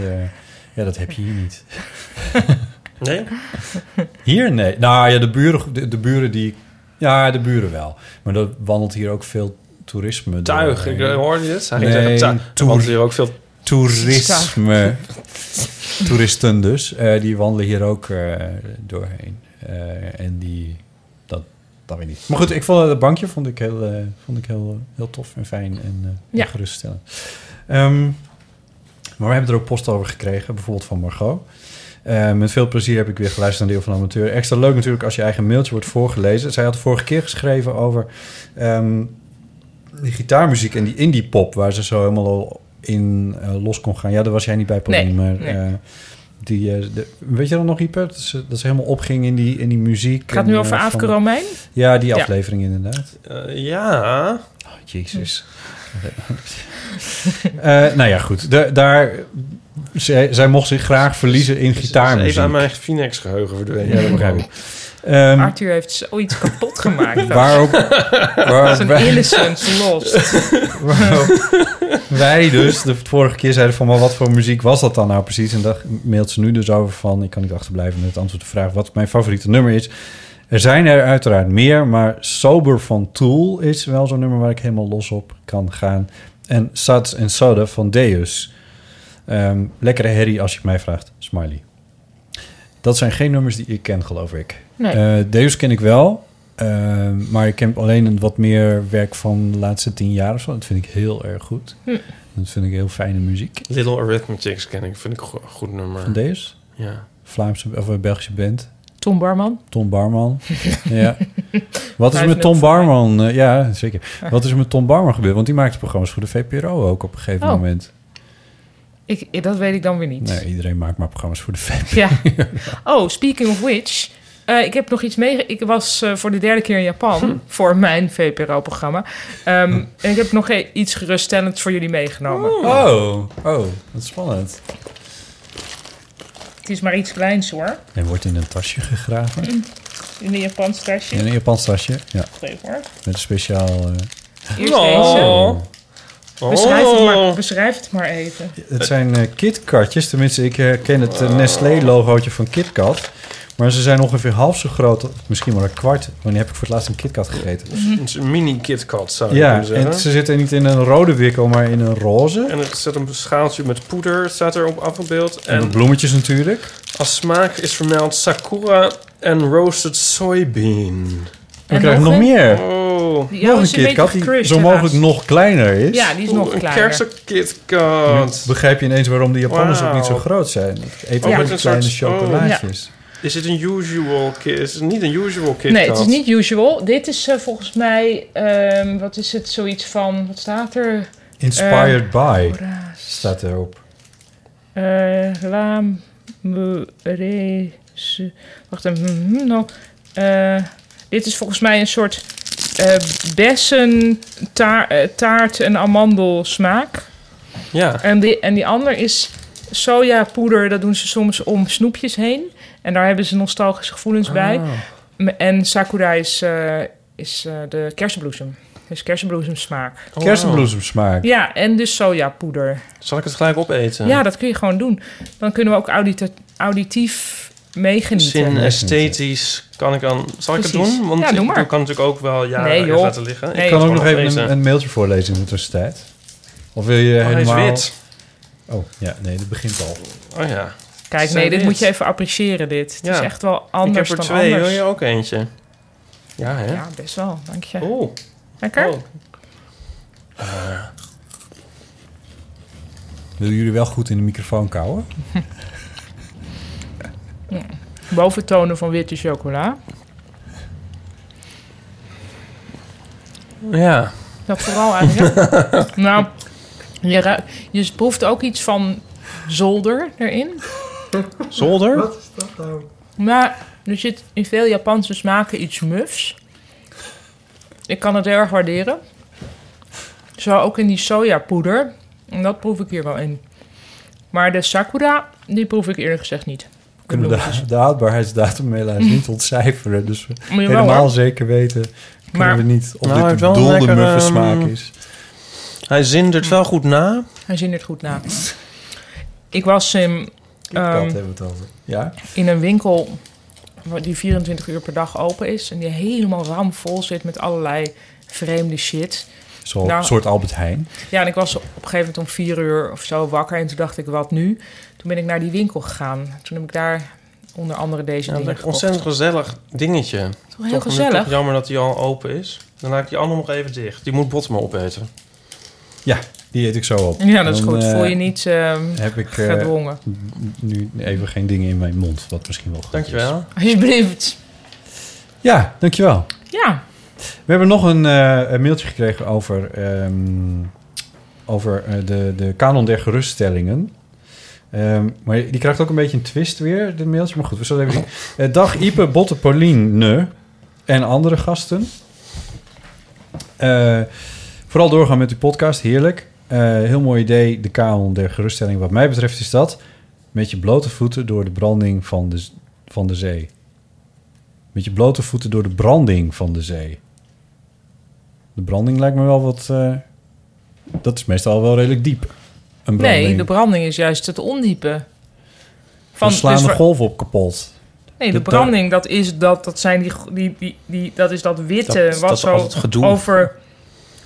S7: ja, dat heb je hier niet.
S8: [LAUGHS] Nee?
S7: Hier? Nee. Nou ja, de buren, de, de buren die... Ja, de buren wel. Maar dat wandelt hier ook veel toerisme.
S8: Tuig. Ik
S7: doorheen.
S8: eh, hoorde je het. Hij
S7: Nee,
S8: nee,
S7: toer.
S8: Want hier ook veel...
S7: Toerisme. Toeristen dus. eh, die wandelen hier ook eh, doorheen. Eh, en die... Dat, dat weet ik niet. Maar goed, ik vond het bankje vond ik heel, eh, vond ik heel, heel tof en fijn en, eh, en
S6: Ja.
S7: geruststellend. Ehm, maar we hebben er ook post over gekregen. Bijvoorbeeld van Margot. Eh, met veel plezier heb ik weer geluisterd naar Deel van de Amateur. Extra leuk natuurlijk als je eigen mailtje wordt voorgelezen. Zij had de vorige keer geschreven over ehm, die gitaarmuziek en die indie pop, waar ze zo helemaal al in eh, los kon gaan. Ja, daar was jij niet bij, Pauline,
S6: Nee,
S7: maar
S6: nee.
S7: eh, die, eh, de- weet je dan nog, Ieper? Dat ze, dat ze helemaal opging in die, in die muziek.
S6: Het gaat
S7: en,
S6: nu
S7: eh,
S6: over
S7: van-
S6: Aafke Romein.
S7: Ja, die
S6: Ja.
S7: aflevering inderdaad. [LAUGHS]
S8: eh, ja.
S7: Oh, Jezus. Eh, nou ja, goed. Da- daar, zij, zij mocht zich graag verliezen in
S8: Is
S7: gitaarmuziek.
S8: Even aan mijn Phoenix geheugen verdwenen.
S7: Ja, dat begrijp ik. [LAUGHS] Ehm,
S6: Arthur heeft zoiets kapot gemaakt.
S7: [LAUGHS] waarop,
S6: Dat is
S7: waarop,
S6: een
S7: wij,
S6: innocence lost.
S7: [LAUGHS] waarop [LAUGHS] wij dus de vorige keer zeiden van... maar wat voor muziek was dat dan nou precies? En daar mailt ze nu dus over van... ik kan niet achterblijven met het antwoord op de vraag... wat mijn favoriete nummer is. Er zijn er uiteraard meer, maar Sober van Tool... is wel zo'n nummer waar ik helemaal los op kan gaan. En Sats en Soda van Deus. Ehm, lekkere herrie als je het mij vraagt. Smiley. Dat zijn geen nummers die ik ken, geloof ik.
S6: Nee.
S7: Eh, Deus ken ik wel. eh, maar ik ken alleen een wat meer werk van de laatste tien jaar of zo. Dat vind ik heel erg goed.
S6: Hm.
S7: Dat vind ik heel fijne muziek.
S8: Little Arithmetics ken ik. Vind ik een go- goed nummer.
S7: Van Deus.
S8: Ja.
S7: Vlaamse of eh, Belgische band.
S6: Tom Barman.
S7: Tom
S6: [LAUGHS]
S7: Barman. ja. Wat is
S6: Vijf
S7: met Tom
S6: nul voor mij.
S7: Barman? Eh, ja, zeker. Wat is met Tom Barman gebeurd? Want die maakte programma's voor de VPRO ook op een gegeven
S6: Oh.
S7: moment.
S6: Ik, dat weet ik dan weer niet.
S7: Nee, iedereen maakt maar programma's voor de VPRO.
S6: Ja. Oh, speaking of which. Eh, ik heb nog iets mee. Ik was eh, voor de derde keer in Japan voor mijn VPRO-programma. Ehm, En ik heb nog e- iets geruststellends voor jullie meegenomen.
S7: Hm. Oh, oh, wat spannend.
S6: Het is maar iets kleins hoor.
S7: En wordt in een tasje gegraven.
S6: In een Japans tasje.
S7: Hm. In een Japans tasje. Ja,
S6: Wacht even hoor.
S7: met een speciaal... eh,
S6: Eerst deze.
S4: Oh.
S6: Beschrijf
S7: Oh.
S6: het, maar, beschrijf het maar even.
S7: Het zijn eh KitKatjes. Tenminste, ik herken het eh,
S8: Oh.
S7: Nestlé-logootje van KitKat. Maar ze zijn ongeveer half zo groot, misschien wel een kwart. Wanneer heb ik voor het laatst een KitKat gegeten?
S8: Het is een mini KitKat, zou je
S7: Ja,
S8: kunnen zeggen.
S7: en ze zitten niet in een rode wikkel, maar in een roze.
S8: En er zit een schaaltje met poeder, staat erop afgebeeld.
S7: En,
S8: En
S7: bloemetjes natuurlijk.
S8: als smaak is vermeld sakura en roasted soybean.
S7: En we
S6: En
S7: krijgen nog
S6: nog een?
S7: meer.
S8: Oh,
S6: Die
S7: nog
S6: is
S7: een
S6: beetje
S7: KitKat die
S6: gecrushed,
S7: zo mogelijk
S6: helaas.
S7: nog kleiner is.
S6: Ja, die is nog
S8: een
S6: kleiner.
S8: kersen KitKat.
S7: Begrijp je ineens waarom de Japanners ook niet zo
S8: Oh, Wauw.
S7: groot zijn. Eten
S8: Oh,
S7: ook
S8: met
S7: met
S8: een
S7: kleine
S8: soort- oh.
S7: chocolaatjes.
S8: Is het een usual kit? Is het niet een usual KitKat?
S6: Nee, het is niet usual. Dit is eh, volgens mij, ehm, wat is het, zoiets van, wat staat er? Eh,
S7: Inspired by
S6: Raas.
S7: staat erop.
S6: Eh, Laam, mu, re, su- Wacht even. hmm, hmm, nou. Eh, dit is volgens mij een soort eh, bessen, taar- eh, taart en amandelsmaak.
S8: Ja.
S6: En die, en die ander is sojapoeder. Dat doen ze soms om snoepjes heen. En daar hebben ze nostalgische gevoelens
S8: Ah.
S6: bij. M- En sakura is, eh, is eh, de kersenbloesem. Dus kersenbloesemsmaak.
S8: Oh,
S7: Kersenbloesemsmaak.
S6: Ja, en dus sojapoeder.
S8: wauw. Zal ik het gelijk opeten?
S6: Ja, dat kun je gewoon doen. Dan kunnen we ook audita- auditief meegenieten.
S8: Zin esthetisch kan ik dan... Zal ik het
S6: Precies.
S8: doen? Want
S6: Ja, doe
S8: ik
S6: maar.
S8: doe- kan natuurlijk ook wel jaren
S6: Nee,
S8: ergens
S6: joh.
S8: laten liggen.
S6: Nee,
S8: ik
S7: Ik kan
S8: het
S7: ook nog
S8: gewoon
S7: even
S8: opeten.
S7: een, een mailtje voorlezen in de tussentijd. Of wil je
S8: Oh, hij is
S7: helemaal...
S8: wit.
S7: Oh, ja, nee, dat begint al.
S8: Oh ja.
S6: Kijk,
S8: Zijn
S6: nee, dit
S8: dit.
S6: moet je even appreciëren, dit. Het
S8: Ja.
S6: is echt wel
S8: ik heb
S6: anders
S8: er
S6: dan
S8: twee.
S6: anders.
S8: Wil je ook eentje? Ja, hè?
S6: Ja, best wel. Dank je.
S8: Oh.
S6: Lekker?
S8: oh.
S7: Eh, Willen jullie wel goed in de microfoon kouwen?
S6: Boventonen van witte chocola.
S8: Ja.
S6: Dat vooral eigenlijk. nou, je, ruikt- je proeft ook iets van zolder erin.
S8: Zolder?
S6: Maar er zit in veel Japanse smaken iets mufs. Ik kan het heel erg waarderen. Zo ook in die sojapoeder. En dat proef ik hier wel in. Maar de sakura, die proef ik eerlijk gezegd niet. De
S7: Kunnen we
S6: bloemetjes.
S7: de, de houdbaarheidsdatum helaas niet ontcijferen. Dus we
S6: Maar jawel,
S7: helemaal
S6: hoor.
S7: zeker weten kunnen
S6: Maar-
S7: we niet of
S8: Nou, hij
S7: dit
S8: heeft
S7: de
S8: wel een
S7: dolde
S8: lekker,
S7: muffe
S8: ehm,
S7: smaak is.
S8: Hij zindert wel goed na.
S6: Hij zin het goed na. Ik was in,
S7: Dat
S6: ehm,
S7: hebben we het over. Ja?
S6: in een winkel waar- die 24 uur per dag open is. En die helemaal ramvol zit met allerlei vreemde shit.
S7: Zo'n
S6: nou-
S7: soort Albert Heijn.
S6: Ja, en ik was op een gegeven moment om vier uur of zo wakker. En toen dacht ik, wat nu? Toen ben ik naar die winkel gegaan. Toen heb ik daar onder andere deze
S8: Ja, dat
S6: dingen
S8: is een
S6: gekocht.
S8: ontzettend gezellig dingetje.
S6: Toch heel
S8: Toch-
S6: gezellig.
S8: toch jammer dat die al open is. Dan laat ik die andere nog even dicht. Die moet Bot maar opeten.
S7: Ja, die eet ik zo op.
S6: Ja, dat is
S7: Dan,
S6: goed.
S7: eh,
S6: Voel je niet ehm,
S7: Heb ik eh,
S6: gedwongen.
S7: nu even geen dingen in mijn mond, wat misschien wel goed is.
S8: Dankjewel.
S6: Alsjeblieft.
S7: Ja, dankjewel.
S6: Ja,
S7: We hebben nog een, eh, een mailtje gekregen over, ehm, over eh, de, de kanon der geruststellingen. Ehm, maar die krijgt ook een beetje een twist weer, dit mailtje. Maar goed, we zullen even zien. Eh, dag Ipe, Botte, Pauline en andere gasten. Eh, vooral doorgaan met uw podcast, heerlijk. Eh, heel mooi idee, de kanon der geruststelling. Wat mij betreft is dat met je blote voeten door de branding van de, z- van de zee. Met je blote voeten door de branding van de zee. De branding lijkt me wel wat. eh, dat is meestal wel redelijk diep. Een branding.
S6: nee, de branding is juist het ondiepe.
S7: van slaan
S6: dus
S7: de
S6: wa-
S7: golven op kapot.
S6: Nee, de
S7: de
S6: branding, dat is dat, dat, zijn die, gro- die, die, die, dat, is dat witte
S8: Dat-
S6: wat
S8: dat is
S6: zo
S8: altijd gedoe.
S6: over,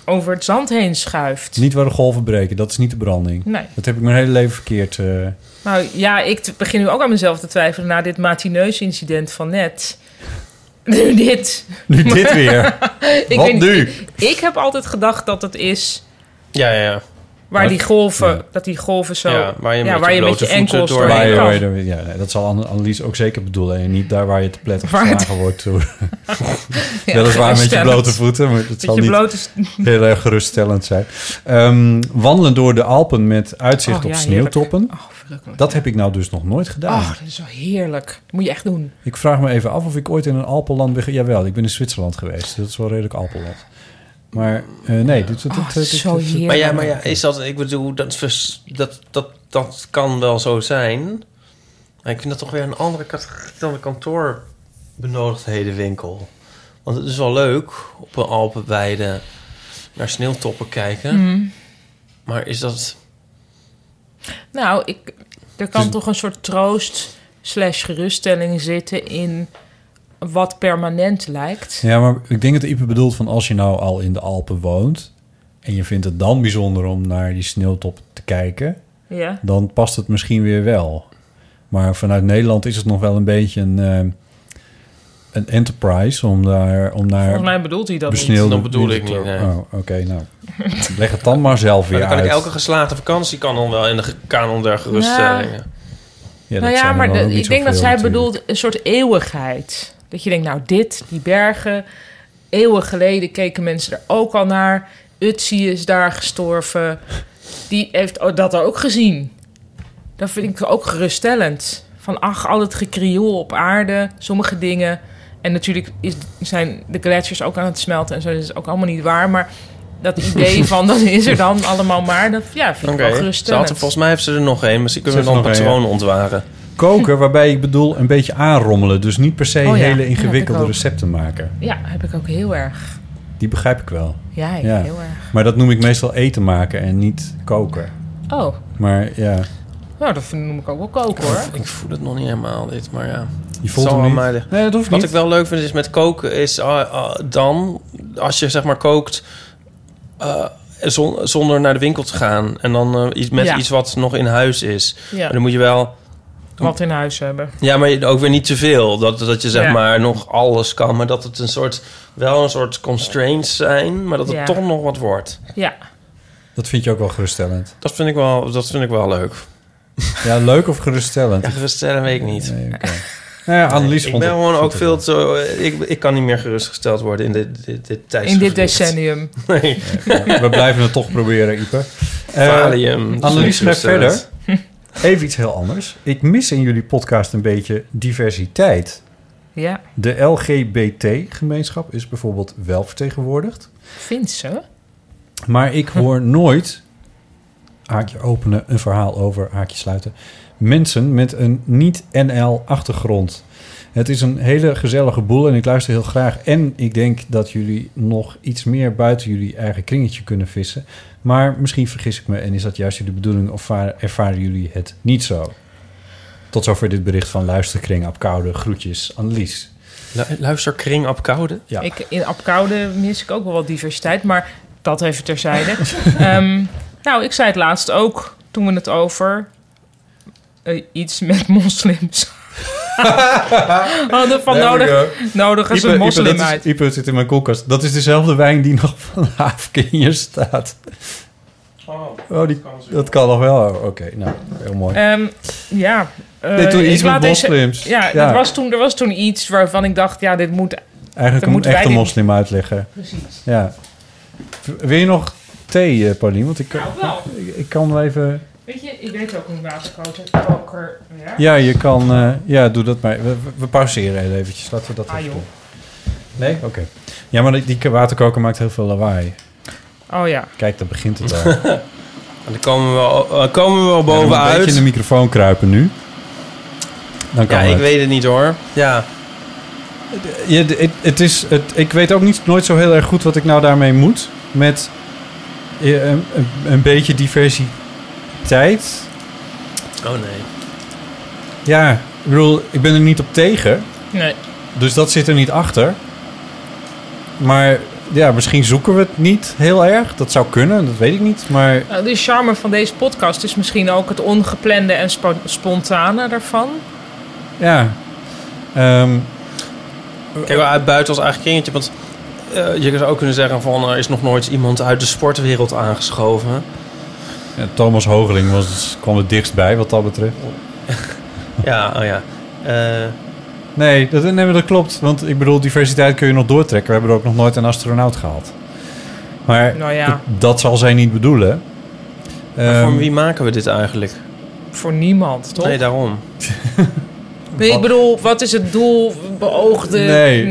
S6: over het zand heen schuift.
S7: Niet waar de golven breken, dat is niet de branding.
S6: Nee.
S7: Dat heb ik mijn hele leven verkeerd. eh.
S6: Nou ja, ik t- begin nu ook aan mezelf te twijfelen na dit matineus incident van net. [LAUGHS] Nu dit.
S7: nu
S6: [LAUGHS]
S7: dit weer.
S6: Ik
S7: Wat
S6: weet niet,
S7: nu?
S6: Ik, ik heb altijd gedacht dat het is
S8: Ja, ja, ja.
S6: Waar
S7: Wat?
S6: die golven,
S7: Ja.
S6: dat die golven zo...
S8: Ja, waar je met je blote voeten
S6: enkels
S8: door-
S7: Waar
S6: doorheen
S7: je-
S6: kan.
S7: waar je er- ja, nee, dat zal Anne- Annelies ook zeker bedoelen. En niet daar waar je te plet
S6: Waar het-
S7: geslagen wordt. door-
S6: [LAUGHS] Ja,
S7: Weliswaar met je
S6: geruststellend.
S7: blote voeten, maar het
S6: Met
S7: zal
S6: je
S7: niet
S6: blote... s- [LAUGHS]
S7: heel erg geruststellend zijn. Ehm, wandelen door de Alpen met uitzicht
S6: Oh,
S7: op
S6: ja,
S7: sneeuwtoppen.
S6: heerlijk. Oh, verrukkelijk.
S7: Dat heb ik nou dus nog nooit gedaan.
S6: Oh, dat is zo heerlijk. Dat moet je echt doen.
S7: Ik vraag me even af of ik ooit in een Alpenland ben. ge- Jawel, ik ben in Zwitserland geweest. Dat is wel redelijk Alpenland. Maar eh, nee, dit, dit,
S6: Oh,
S7: dit-
S6: dat is
S7: dit-
S6: zo
S7: dit- dit-
S6: heerlijk.
S8: Maar ja, maar ja, is dat, ik bedoel, dat, vers- dat, dat, dat kan wel zo zijn. Maar ik vind dat toch weer een andere categorie dan de kantoorbenodigdhedenwinkel. Want het is wel leuk op een Alpenweide naar sneeuwtoppen kijken.
S6: Mm.
S8: Maar is dat...
S6: Nou, ik, er kan toch een soort troost slash geruststelling zitten in wat permanent lijkt.
S7: Ja, maar ik denk dat Ipe bedoelt van als je nou al in de Alpen woont... en je vindt het dan bijzonder om naar die sneeuwtop te kijken...
S6: Ja.
S7: dan past het misschien weer wel. Maar vanuit Nederland is het nog wel een beetje een, eh, een enterprise om daar om naar
S6: Volgens mij bedoelt hij dat niet.
S7: besneeuwde...
S8: Dat bedoel ik niet, nee.
S7: Oh, oké, nou. Leg het dan maar zelf weer
S8: Maar dan kan
S7: uit.
S8: ik elke geslaagde vakantie kan dan wel in de ge- kanon der geruststellingen.
S7: Ja,
S6: nou
S7: dat
S6: ja,
S7: zijn er
S6: maar
S7: dan
S6: de-
S7: ook niet
S6: ik denk dat
S7: zoveel
S6: zij
S7: natuurlijk.
S6: bedoelt een soort eeuwigheid. Dat je denkt, nou dit, die bergen, eeuwen geleden keken mensen er ook al naar. Utsi is daar gestorven. Die heeft o- dat ook gezien. Dat vind ik ook geruststellend. Van ach, al het gekrioel op aarde, sommige dingen. En natuurlijk is, zijn de gletsjers ook aan het smelten en zo. Dat is ook allemaal niet waar, maar... Dat
S7: [LAUGHS]
S6: idee van dat is er dan allemaal maar, dat ja, vind ik wel
S8: Oké, ze had
S6: geruststellend.
S8: er- volgens mij heeft ze er nog één. Misschien kunnen we
S7: Ze
S8: dan een
S7: heeft er nog
S8: patroon ontwaren.
S7: Koken, waarbij ik bedoel een beetje aanrommelen. Dus niet per se
S6: Oh ja,
S7: hele
S6: ja, dat
S7: ingewikkelde
S6: heb ik ook.
S7: recepten maken.
S6: Ja, heb ik ook heel erg.
S7: Die begrijp ik wel.
S6: Ja, ik
S7: Ja.
S6: heel erg.
S7: Maar dat noem ik meestal eten maken en niet koken.
S6: Oh,
S7: Maar ja,
S6: nou, dat vind- noem ik ook wel koken hoor.
S8: Ik voel het nog niet helemaal dit, maar ja.
S7: je voelt
S8: Zal
S7: hem
S8: wel
S7: niet.
S8: maar de-
S7: Nee, dat hoeft
S8: Wat
S7: niet.
S8: ik wel leuk vind is met koken is ah, ah, dan als je zeg maar kookt eh, zon- zonder naar de winkel te gaan en dan eh, iets met
S6: Ja.
S8: iets wat nog in huis is. Maar
S6: Ja,
S8: dan moet je wel,
S6: wat in huis hebben.
S8: ja, maar je- ook weer niet te veel. Dat, dat je zeg
S6: Ja.
S8: maar nog alles kan, maar dat het een soort wel een soort constraints zijn, maar dat het
S6: Ja.
S8: toch nog wat wordt.
S6: Ja,
S7: Dat vind je ook wel geruststellend.
S8: Dat vind ik wel, Dus dat vind ik wel leuk. [LAUGHS]
S7: Ja, leuk of geruststellend?
S8: Ja, geruststellen weet ik niet.
S7: Nee, oké. Nou ja, Annelies
S8: Ik
S7: vond
S8: ben
S7: het-
S8: gewoon
S7: vond
S8: ook
S7: het
S8: veel te... Ik, ik kan niet meer gerustgesteld worden in dit, dit, dit
S6: in dit
S8: tijdsgebied.
S6: decennium.
S8: [LAUGHS] Nee.
S7: wel. We blijven het toch proberen, Ipe. Eh,
S8: Valium. Dat is
S7: Annelies
S8: niet
S7: schrijft
S8: geruststellend.
S7: verder. even iets heel anders. Ik mis in jullie podcast een beetje diversiteit.
S6: Ja,
S7: De LGBT-gemeenschap is bijvoorbeeld wel vertegenwoordigd.
S6: vindt ze?
S7: Maar ik hoor nooit, haakje openen, een verhaal over, haakje sluiten, mensen met een niet-NL-achtergrond. Het is een hele gezellige boel en ik luister heel graag. En ik denk dat jullie nog iets meer buiten jullie eigen kringetje kunnen vissen. Maar misschien vergis ik me en is dat juist jullie bedoeling of vaar- ervaren jullie het niet zo? Tot zover dit bericht van Luisterkring op Koude. Groetjes, Annelies.
S8: Lu- Luister Kring op Koude.
S7: Ja.
S6: Ik, in Apkoude mis ik ook wel wat diversiteit, maar dat even
S7: [LAUGHS]
S6: terzijde. Ehm, nou, ik zei het laatst ook toen we het over eh, iets met
S7: [LAUGHS]
S6: moslims hadden van nodig, nodig als
S7: Ipe,
S6: een
S7: eh, Ipe, dat
S6: moslim
S7: is-
S6: uit.
S7: Ipe, het zit in mijn koelkast. Dat is dezelfde wijn die nog van Haafke in je staat. Oh, die, dat kan nog wel. Oh, Oké, nou, heel mooi.
S6: Ehm, ja. eh,
S7: nee, toen
S6: ik
S7: iets met
S6: laat deze-
S7: moslims.
S6: Ja, Er, was toen, er was toen iets waarvan ik dacht, ja, dit moet...
S7: Eigenlijk
S6: dan
S7: een
S6: moeten wij
S7: echte
S6: dit-
S7: moslim uitleggen.
S6: Precies.
S7: Ja. V- Wil je nog thee, eh, Paulien? Want ik, kan-
S6: Nou, wel.
S7: ik, ik kan wel even...
S6: Weet je, ik weet ook hoe waterkoker werkt.
S7: Ja, je kan... eh, ja, doe dat maar. We, we- we pauzeren heel eventjes. Laten we dat
S6: Ah,
S7: even
S6: joh.
S7: doen. Nee? Oké. Ja, maar die, die waterkoker maakt heel veel lawaai.
S6: Oh ja.
S7: Kijk, daar begint het
S6: [LAUGHS]
S7: al.
S8: En [LAUGHS] dan komen we wel, eh, komen
S7: Ja, dan
S8: we wel
S7: moet Een
S8: bovenuit.
S7: beetje in de microfoon kruipen nu. Dan kan
S8: Ja, ik
S7: het.
S8: weet het niet hoor. Ja,
S7: Ja, d- het, het is, het, ik weet ook niet, nooit zo heel erg goed wat ik nou daarmee moet. Met eh, een, een- een beetje diversiteit.
S8: oh nee.
S7: Ja, ik bedoel, ik ben er niet op tegen.
S6: Nee.
S7: Dus dat zit er niet achter. Maar ja, misschien zoeken we het niet heel erg. Dat zou kunnen, dat weet ik niet. Maar
S6: Nou, de charme van deze podcast is misschien ook het ongeplande en spo- spontane daarvan.
S7: ja. Ehm,
S8: Kijk, wel uit buiten als eigen kringetje. Want eh, je zou ook kunnen zeggen van... Er is nog nooit iemand uit de sportwereld aangeschoven.
S7: Ja, Thomas Hogeling was, kwam het dichtst bij wat dat betreft.
S8: [LAUGHS] Ja, oh ja. Eh,
S7: Nee dat, nee, maar dat klopt. Want ik bedoel, diversiteit kun je nog doortrekken. We hebben er ook nog nooit een astronaut gehad. Maar
S6: Nou ja.
S7: dat, dat zal zij niet bedoelen.
S8: maar
S7: Ehm,
S8: voor wie maken we dit eigenlijk?
S6: Voor niemand, toch?
S8: Nee,
S6: Nee,
S8: daarom.
S6: ik bedoogde. bedoel, wat is het doel? Beoogde.
S7: Nee.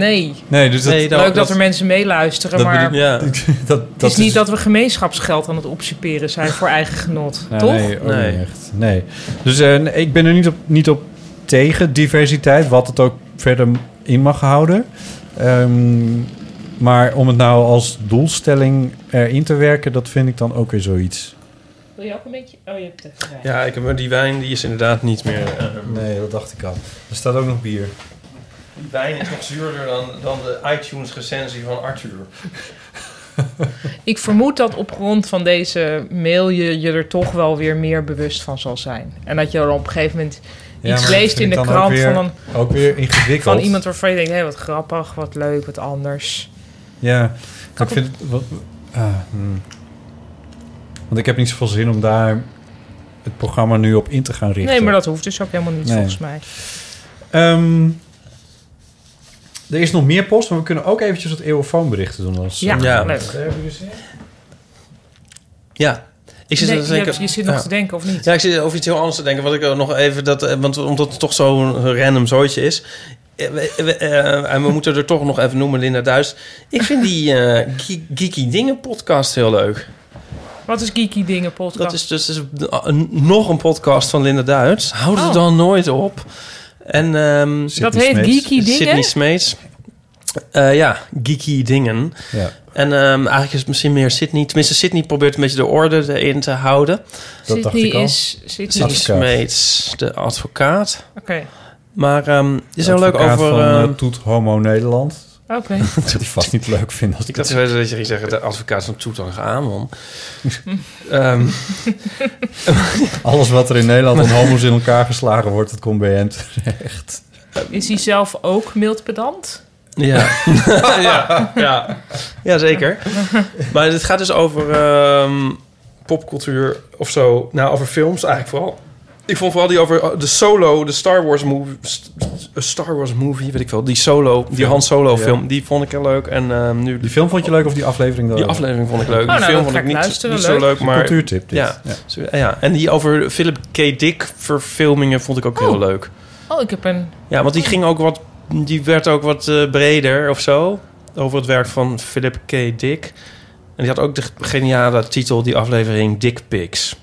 S7: Nee, dus dat,
S8: Nee,
S6: Leuk
S8: daarom-
S6: dat, er mensen meeluisteren,
S7: dat
S6: maar
S7: bedoel- [LAUGHS]
S8: Ja.
S7: dat, dat
S6: het is, niet dat we gemeenschapsgeld aan het opsuperen zijn voor eigen genot,
S7: Nee,
S6: toch?
S7: Nee, ook
S8: Nee.
S7: niet echt. Nee. Dus eh, nee, ik ben er niet op, niet op tegen diversiteit, wat het ook verder in mag houden. Ehm, maar om het nou als doelstelling erin te werken, dat vind ik dan ook weer zoiets.
S6: Wil je ook een beetje? Oh, je hebt het.
S8: Ja, ik heb, die wijn die is inderdaad niet meer... eh,
S7: Nee, dat dacht ik al. Er staat ook nog bier.
S8: Die wijn is nog zuurder dan, dan de iTunes recensie van Arthur.
S6: Ik vermoed dat op grond van deze mail je je er toch wel weer meer bewust van zal zijn. En dat je er op een gegeven moment iets leest in de krant van, een,
S7: Ook weer ingewikkeld.
S6: van iemand waarvan je denkt, hé, wat grappig, wat leuk, wat anders.
S7: Ja, ik vind het... Wat, ah, hmm. Want ik heb niet zoveel zin om daar het programma nu op in te gaan richten.
S6: Nee, maar dat hoeft dus ook helemaal niet,
S7: Nee.
S6: volgens mij.
S7: Ehm, er is nog meer post, maar we kunnen ook eventjes wat eeuwenfoonberichten doen. Als, eh,
S6: Ja,
S8: Ja.
S6: leuk.
S8: Ja. Ik zit
S6: Nee,
S8: er
S6: je,
S8: zeker-
S6: hebt- je zit nog
S8: ja.
S6: te denken, of niet?
S8: Ja, ik zit over iets heel anders te denken. Wat ik ook nog even dat, eh, want omdat het toch zo'n random zooitje is. Eh, we- we- eh, en we moeten er toch nog even noemen, Linda Duis. Ik vind die eh, Ge- Geeky Dingen podcast heel leuk.
S6: Wat is Geeky Dingen podcast?
S8: Dat is dus dus een- nog een podcast van Linda Duis. Houd het
S6: Oh.
S8: dan nooit op. En ehm
S6: Dat
S7: Sydney
S6: heet
S7: Smeets.
S6: Geeky Dingen?
S8: Sydney Smeets. Eh, ja, Geeky Dingen.
S7: Ja,
S8: En ehm, eigenlijk is het misschien meer Sydney. Tenminste, Sydney probeert een beetje de orde erin te houden.
S7: dat dacht ik
S6: Sydney
S7: al.
S6: is... Sydney
S8: Sydney
S6: is...
S7: Advocaat.
S8: Smeets, de advocaat.
S6: Oké,
S8: Maar ehm, het is heel leuk
S7: Advocaat
S8: over...
S7: van eh,
S8: ehm,
S7: Toet Homo Nederland.
S6: Oh, oké.
S7: [LAUGHS] Dat die vast niet leuk vinden als
S8: ik
S7: ik
S8: dacht
S7: dat...
S8: wel dat je ging zeggen, de advocaat
S7: [LAUGHS]
S8: van Toetangamon. Ehm
S7: Alles wat er in Nederland aan homo's in elkaar geslagen wordt, dat komt bij hen terecht.
S6: Is hij zelf ook mild pedant?
S8: ja.
S6: [LAUGHS]
S8: ja, ja. [LAUGHS] Ja, zeker. Maar het gaat dus over ehm, popcultuur of zo. Nou, over films eigenlijk vooral. Ik vond vooral die over oh, de solo, de Star Wars movie, st- Star Wars movie, weet ik wel. Die solo, die
S7: Film.
S8: Han Solo
S7: Ja.
S8: film, die vond ik heel leuk. En ehm, nu
S7: Die film vond je leuk of die aflevering dan?
S8: die aflevering vond ik leuk.
S6: Oh, nou,
S8: die film
S6: dat
S8: vond
S6: ga
S8: ik
S6: ik
S8: niet,
S6: luisteren,
S8: niet zo
S6: leuk.
S8: leuk, maar
S7: Cultuurtip dit.
S8: Ja. Zo, Ja, en die over Philip K. Dick verfilmingen vond ik ook heel
S6: Oh.
S8: leuk.
S6: Oh, ik heb een...
S8: Ja, want die ging ook wat, die werd ook wat eh, breder of zo over het werk van Philip K. Dick. En die had ook de geniale titel die aflevering Dick Pics.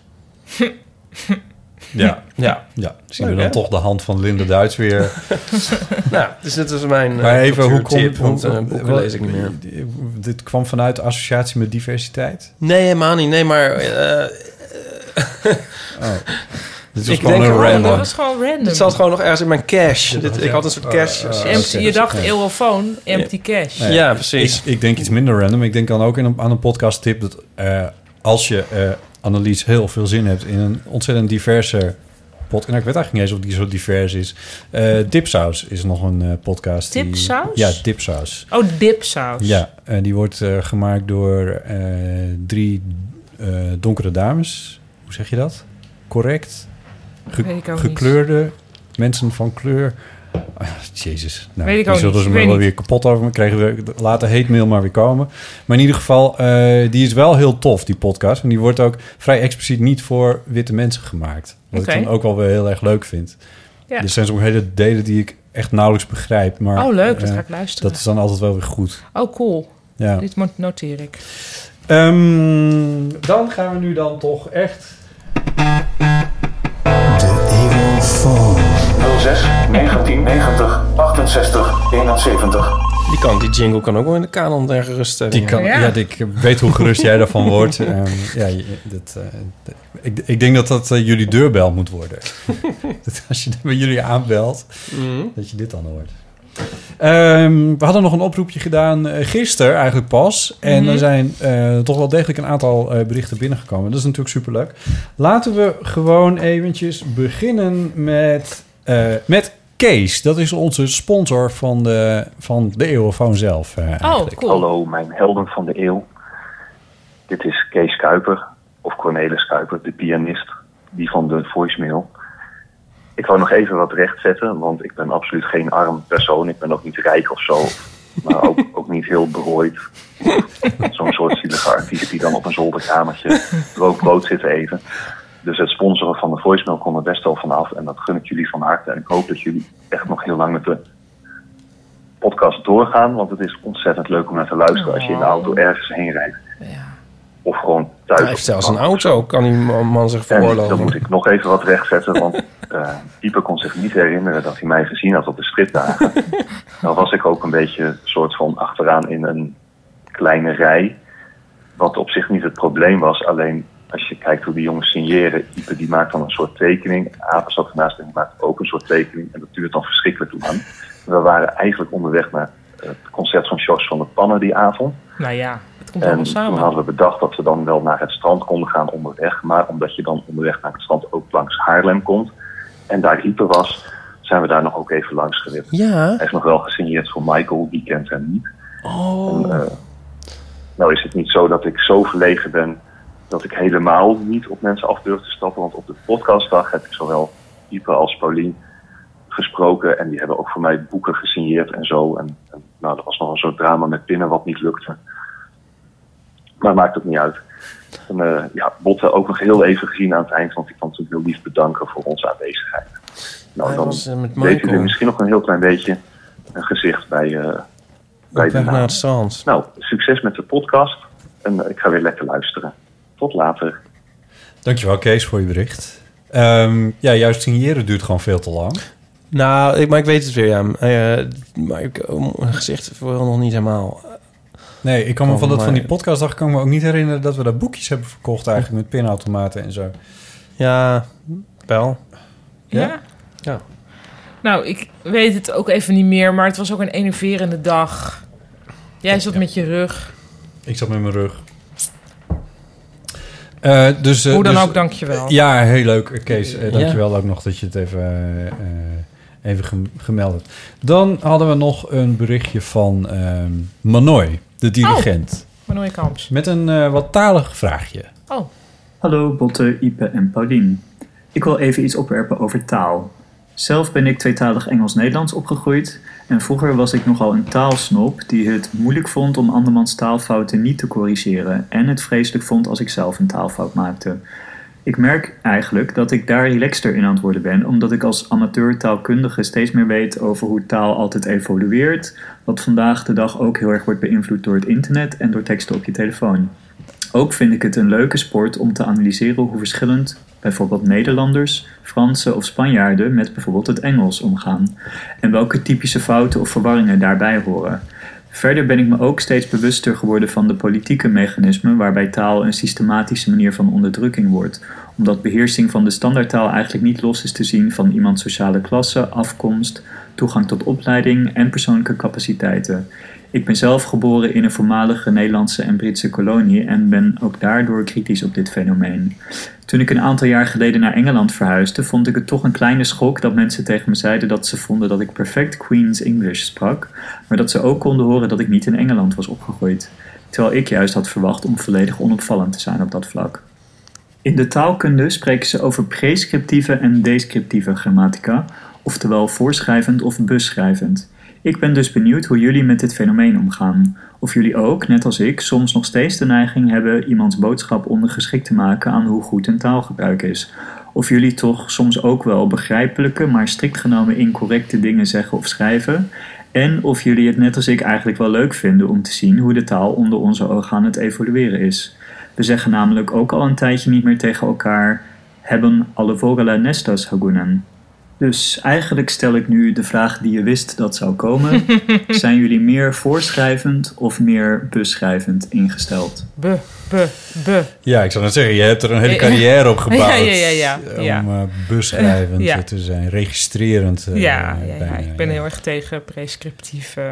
S7: Ja.
S8: Ja,
S7: Ja, zien
S8: Leuk,
S7: we dan
S8: hè?
S7: toch de hand van Linde Duits
S8: [LAUGHS]
S7: weer.
S8: nou, dus dit was mijn eh,
S7: maar even, hoe
S8: cultuurtip,
S7: komt...
S8: want
S7: hoe-
S8: eh, boeken
S7: wel-
S8: lees ik niet meer.
S7: Dit kwam vanuit de associatie met diversiteit?
S8: Nee, helemaal niet. Nee, maar eh,
S7: Oh.
S8: [LAUGHS]
S7: Dit
S8: Ik denk
S6: Oh,
S8: wel Random.
S6: dat was gewoon random.
S8: dit zat gewoon nog ergens in mijn cash. Dit, ik
S7: ja.
S8: had een soort cash.
S7: Oh, oh, oh.
S6: Empty-
S7: oké.
S6: je dacht
S7: Ja.
S6: eeuwofoon, empty cash.
S7: Nee.
S8: Ja, precies.
S7: Ik, ik denk iets minder random. Ik denk dan ook in een, aan een podcast tip dat eh, als je eh Annelies heel veel zin hebt in een ontzettend diverse podcast. En ik weet eigenlijk niet eens of die zo divers is. Eh, Dipsaus is nog een eh, podcast. die-
S6: Dipsaus?
S7: ja, Dipsaus.
S6: Oh, dipsaus.
S7: Ja, en die wordt eh, gemaakt door eh, drie eh, donkere dames. Hoe zeg je dat? Correct? Ge-
S6: Weet ik ook niet.
S7: gekleurde mensen van kleur. [LAUGHS] Ah, Jezus. Nou,
S6: Weet ik
S7: die
S6: ook
S7: zullen
S6: niet.
S7: ze
S6: Weet
S7: me wel
S6: niet.
S7: weer kapot over me krijgen. We laten hate mail maar weer komen. Maar in ieder geval, eh, die is wel heel tof, die podcast. En die wordt ook vrij expliciet niet voor witte mensen gemaakt. Wat
S6: Oké.
S7: ik dan ook wel weer heel erg leuk vind.
S6: Ja.
S7: Er zijn soms hele delen die ik echt nauwelijks begrijp. Maar,
S6: Oh, leuk, dat
S7: eh,
S6: ga ik luisteren.
S7: dat is dan altijd wel weer goed.
S6: Oh, cool.
S7: Ja.
S6: Dit mo- noteer ik.
S7: Ehm, dan gaan we nu dan toch echt...
S9: 06 1990 68 71.
S8: Die, kan, die jingle kan ook wel in de kanon der geruststelling.
S7: Die kan, ja.
S6: Ja.
S7: ik weet hoe gerust jij
S8: [LAUGHS]
S7: daarvan [LAUGHS] wordt.
S8: Mm-hmm.
S7: Ehm, ja, je- dat, eh, dat- ik, ik denk dat dat eh, jullie deurbel moet worden. dat als je bij jullie aanbelt,
S8: Mm-hmm.
S7: dat je dit dan hoort. Ehm, we hadden nog een oproepje gedaan eh, gisteren eigenlijk pas. En er zijn eh, toch wel degelijk een aantal eh, berichten binnengekomen. Dat is natuurlijk superleuk. Laten we gewoon eventjes beginnen met, eh, met Kees. Dat is onze sponsor van de, van de Eeuwofoon zelf. eh,
S6: Oh,
S7: eigenlijk.
S6: cool.
S9: Hallo, mijn helden van de eeuw. Dit is Kees Kuiper. Of Cornelis Kuiper, de pianist, die van de voicemail. Ik wou nog even wat rechtzetten, want ik ben absoluut geen arm persoon. Ik ben ook niet rijk of zo. Maar
S6: [LAUGHS]
S9: ook, ook niet heel berooid. Zo'n soort zielige artiest die dan op een zolderkamertje rookbrood zit even. Dus het sponsoren van de voicemail kon er best wel vanaf. En dat gun ik jullie van harte. En ik hoop dat jullie echt nog heel lang met de podcast doorgaan. Want het is ontzettend leuk om naar te luisteren als je in de auto ergens heen rijdt. Of gewoon thuis.
S8: Hij heeft
S9: op de
S8: zelfs een
S9: bank.
S8: auto, kan die man man zich
S9: En dan
S8: veroorloven.
S9: moet ik nog even wat rechtzetten, want [LAUGHS] eh Pieper kon zich niet herinneren dat hij mij gezien had op de stripdagen. Dan was ik ook een beetje soort van achteraan in een kleine rij. Wat op zich niet het probleem was, alleen als je kijkt hoe die jongens signeren. Pieper die maakt dan een soort tekening. Apen zat ernaast en die maakt ook een soort tekening. En dat duurt dan verschrikkelijk lang. We waren eigenlijk onderweg naar het concert van George van der Pannen die avond.
S6: Nou ja, het komt
S9: En
S6: allemaal
S9: toen
S6: samen.
S9: hadden we bedacht dat we dan wel naar het strand konden gaan onderweg. Maar omdat je dan onderweg naar het strand ook langs Haarlem komt. En daar Riepen was, zijn we daar nog ook even langs gewipt.
S8: Ja.
S9: Hij is nog wel gesigneerd voor Michael, die kent hem niet.
S8: Oh.
S9: En, eh, nou is het niet zo dat ik zo verlegen ben dat ik helemaal niet op mensen af durf te stappen. Want op de podcastdag heb ik zowel Ipe als Paulien gesproken. En die hebben ook voor mij boeken gesigneerd en zo. En, en nou, er was nog een soort drama met pinnen wat niet lukte. Maar maakt ook niet uit. En, eh, ja, Botte ook nog heel even gezien aan het eind. Want ik kan natuurlijk heel lief bedanken voor onze aanwezigheid. Nou,
S8: Hij
S9: dan
S8: was, eh, met
S9: weet u
S8: Michael.
S9: er misschien nog een heel klein beetje een gezicht bij, eh, bij
S8: Op
S9: de
S8: weg
S9: naam.
S8: naar het strand.
S9: Nou, succes met de podcast. En eh, ik ga weer lekker luisteren. Tot later.
S7: Dankjewel Kees voor je bericht. Ehm, ja, juist signeren duurt gewoon veel te lang.
S8: Nou, ik, maar ik weet het weer, ja. Eh, maar ik, oh, mijn gezicht is wel nog niet helemaal. eh,
S7: Nee, ik kan me
S8: Oh,
S7: van, dat,
S8: maar-
S7: van die podcastdag kan ik me ook niet herinneren dat we daar boekjes hebben verkocht eigenlijk met pinautomaten en zo.
S8: Ja, wel.
S6: Ja?
S8: Ja.
S6: Nou, ik weet het ook even niet meer, maar het was ook een enerverende dag. Jij zat met je rug.
S7: Ik zat met mijn rug. Eh, dus, eh,
S6: Hoe dan
S7: dus-
S6: ook, dankjewel.
S7: Ja, heel leuk, Kees. Eh, dankjewel ook nog dat je het even, eh, eh, even gem- gemeld hebt. Dan hadden we nog een berichtje van ehm Manoy, de dirigent.
S6: Oh, Manoy Kamps.
S7: Met een eh, wat talig vraagje.
S6: Oh,
S10: Hallo Botte, Ipe en Paulien. Ik wil even iets opwerpen over taal. Zelf ben ik tweetalig Engels-Nederlands opgegroeid en vroeger was ik nogal een taalsnop die het moeilijk vond om andermans taalfouten niet te corrigeren en het vreselijk vond als ik zelf een taalfout maakte. Ik merk eigenlijk dat ik daar relaxter in aan het worden ben, omdat ik als amateur taalkundige steeds meer weet over hoe taal altijd evolueert, wat vandaag de dag ook heel erg wordt beïnvloed door het internet en door teksten op je telefoon. Ook vind ik het een leuke sport om te analyseren hoe verschillend bijvoorbeeld Nederlanders, Fransen of Spanjaarden met bijvoorbeeld het Engels omgaan en welke typische fouten of verwarringen daarbij horen. Verder ben ik me ook steeds bewuster geworden van de politieke mechanismen waarbij taal een systematische manier van onderdrukking wordt, omdat beheersing van de standaardtaal eigenlijk niet los is te zien van iemands sociale klasse, afkomst, toegang tot opleiding en persoonlijke capaciteiten. Ik ben zelf geboren in een voormalige Nederlandse en Britse kolonie en ben ook daardoor kritisch op dit fenomeen. Toen ik een aantal jaar geleden naar Engeland verhuisde, vond ik het toch een kleine schok dat mensen tegen me zeiden dat ze vonden dat ik perfect Queen's English sprak, maar dat ze ook konden horen dat ik niet in Engeland was opgegroeid. Terwijl ik juist had verwacht om volledig onopvallend te zijn op dat vlak. In de taalkunde spreken ze over prescriptieve en descriptieve grammatica, oftewel voorschrijvend of beschrijvend. Ik ben dus benieuwd hoe jullie met dit fenomeen omgaan. Of jullie ook, net als ik, soms nog steeds de neiging hebben iemands boodschap ondergeschikt te maken aan hoe goed een taalgebruik is. Of jullie toch soms ook wel begrijpelijke, maar strikt genomen incorrecte dingen zeggen of schrijven. En of jullie het net als ik eigenlijk wel leuk vinden om te zien hoe de taal onder onze ogen aan het evolueren is. We zeggen namelijk ook al een tijdje niet meer tegen elkaar: hebben alle vogela nestas hagunen. Dus eigenlijk stel ik nu de vraag die je wist dat zou komen:
S6: [LAUGHS]
S10: zijn jullie meer voorschrijvend of meer beschrijvend ingesteld?
S6: be, be, be.
S7: Ja, ik zou net zeggen, je hebt er een hele
S6: Ja.
S7: carrière op gebouwd.
S6: Eh, [LAUGHS] Ja, ja, ja, ja, ja.
S7: Om eh, beschrijvend
S6: Ja.
S7: eh, te zijn, registrerend. eh,
S6: ja, ja, ja,
S7: bijna,
S6: ik ben
S7: ja.
S6: heel erg tegen prescriptieve...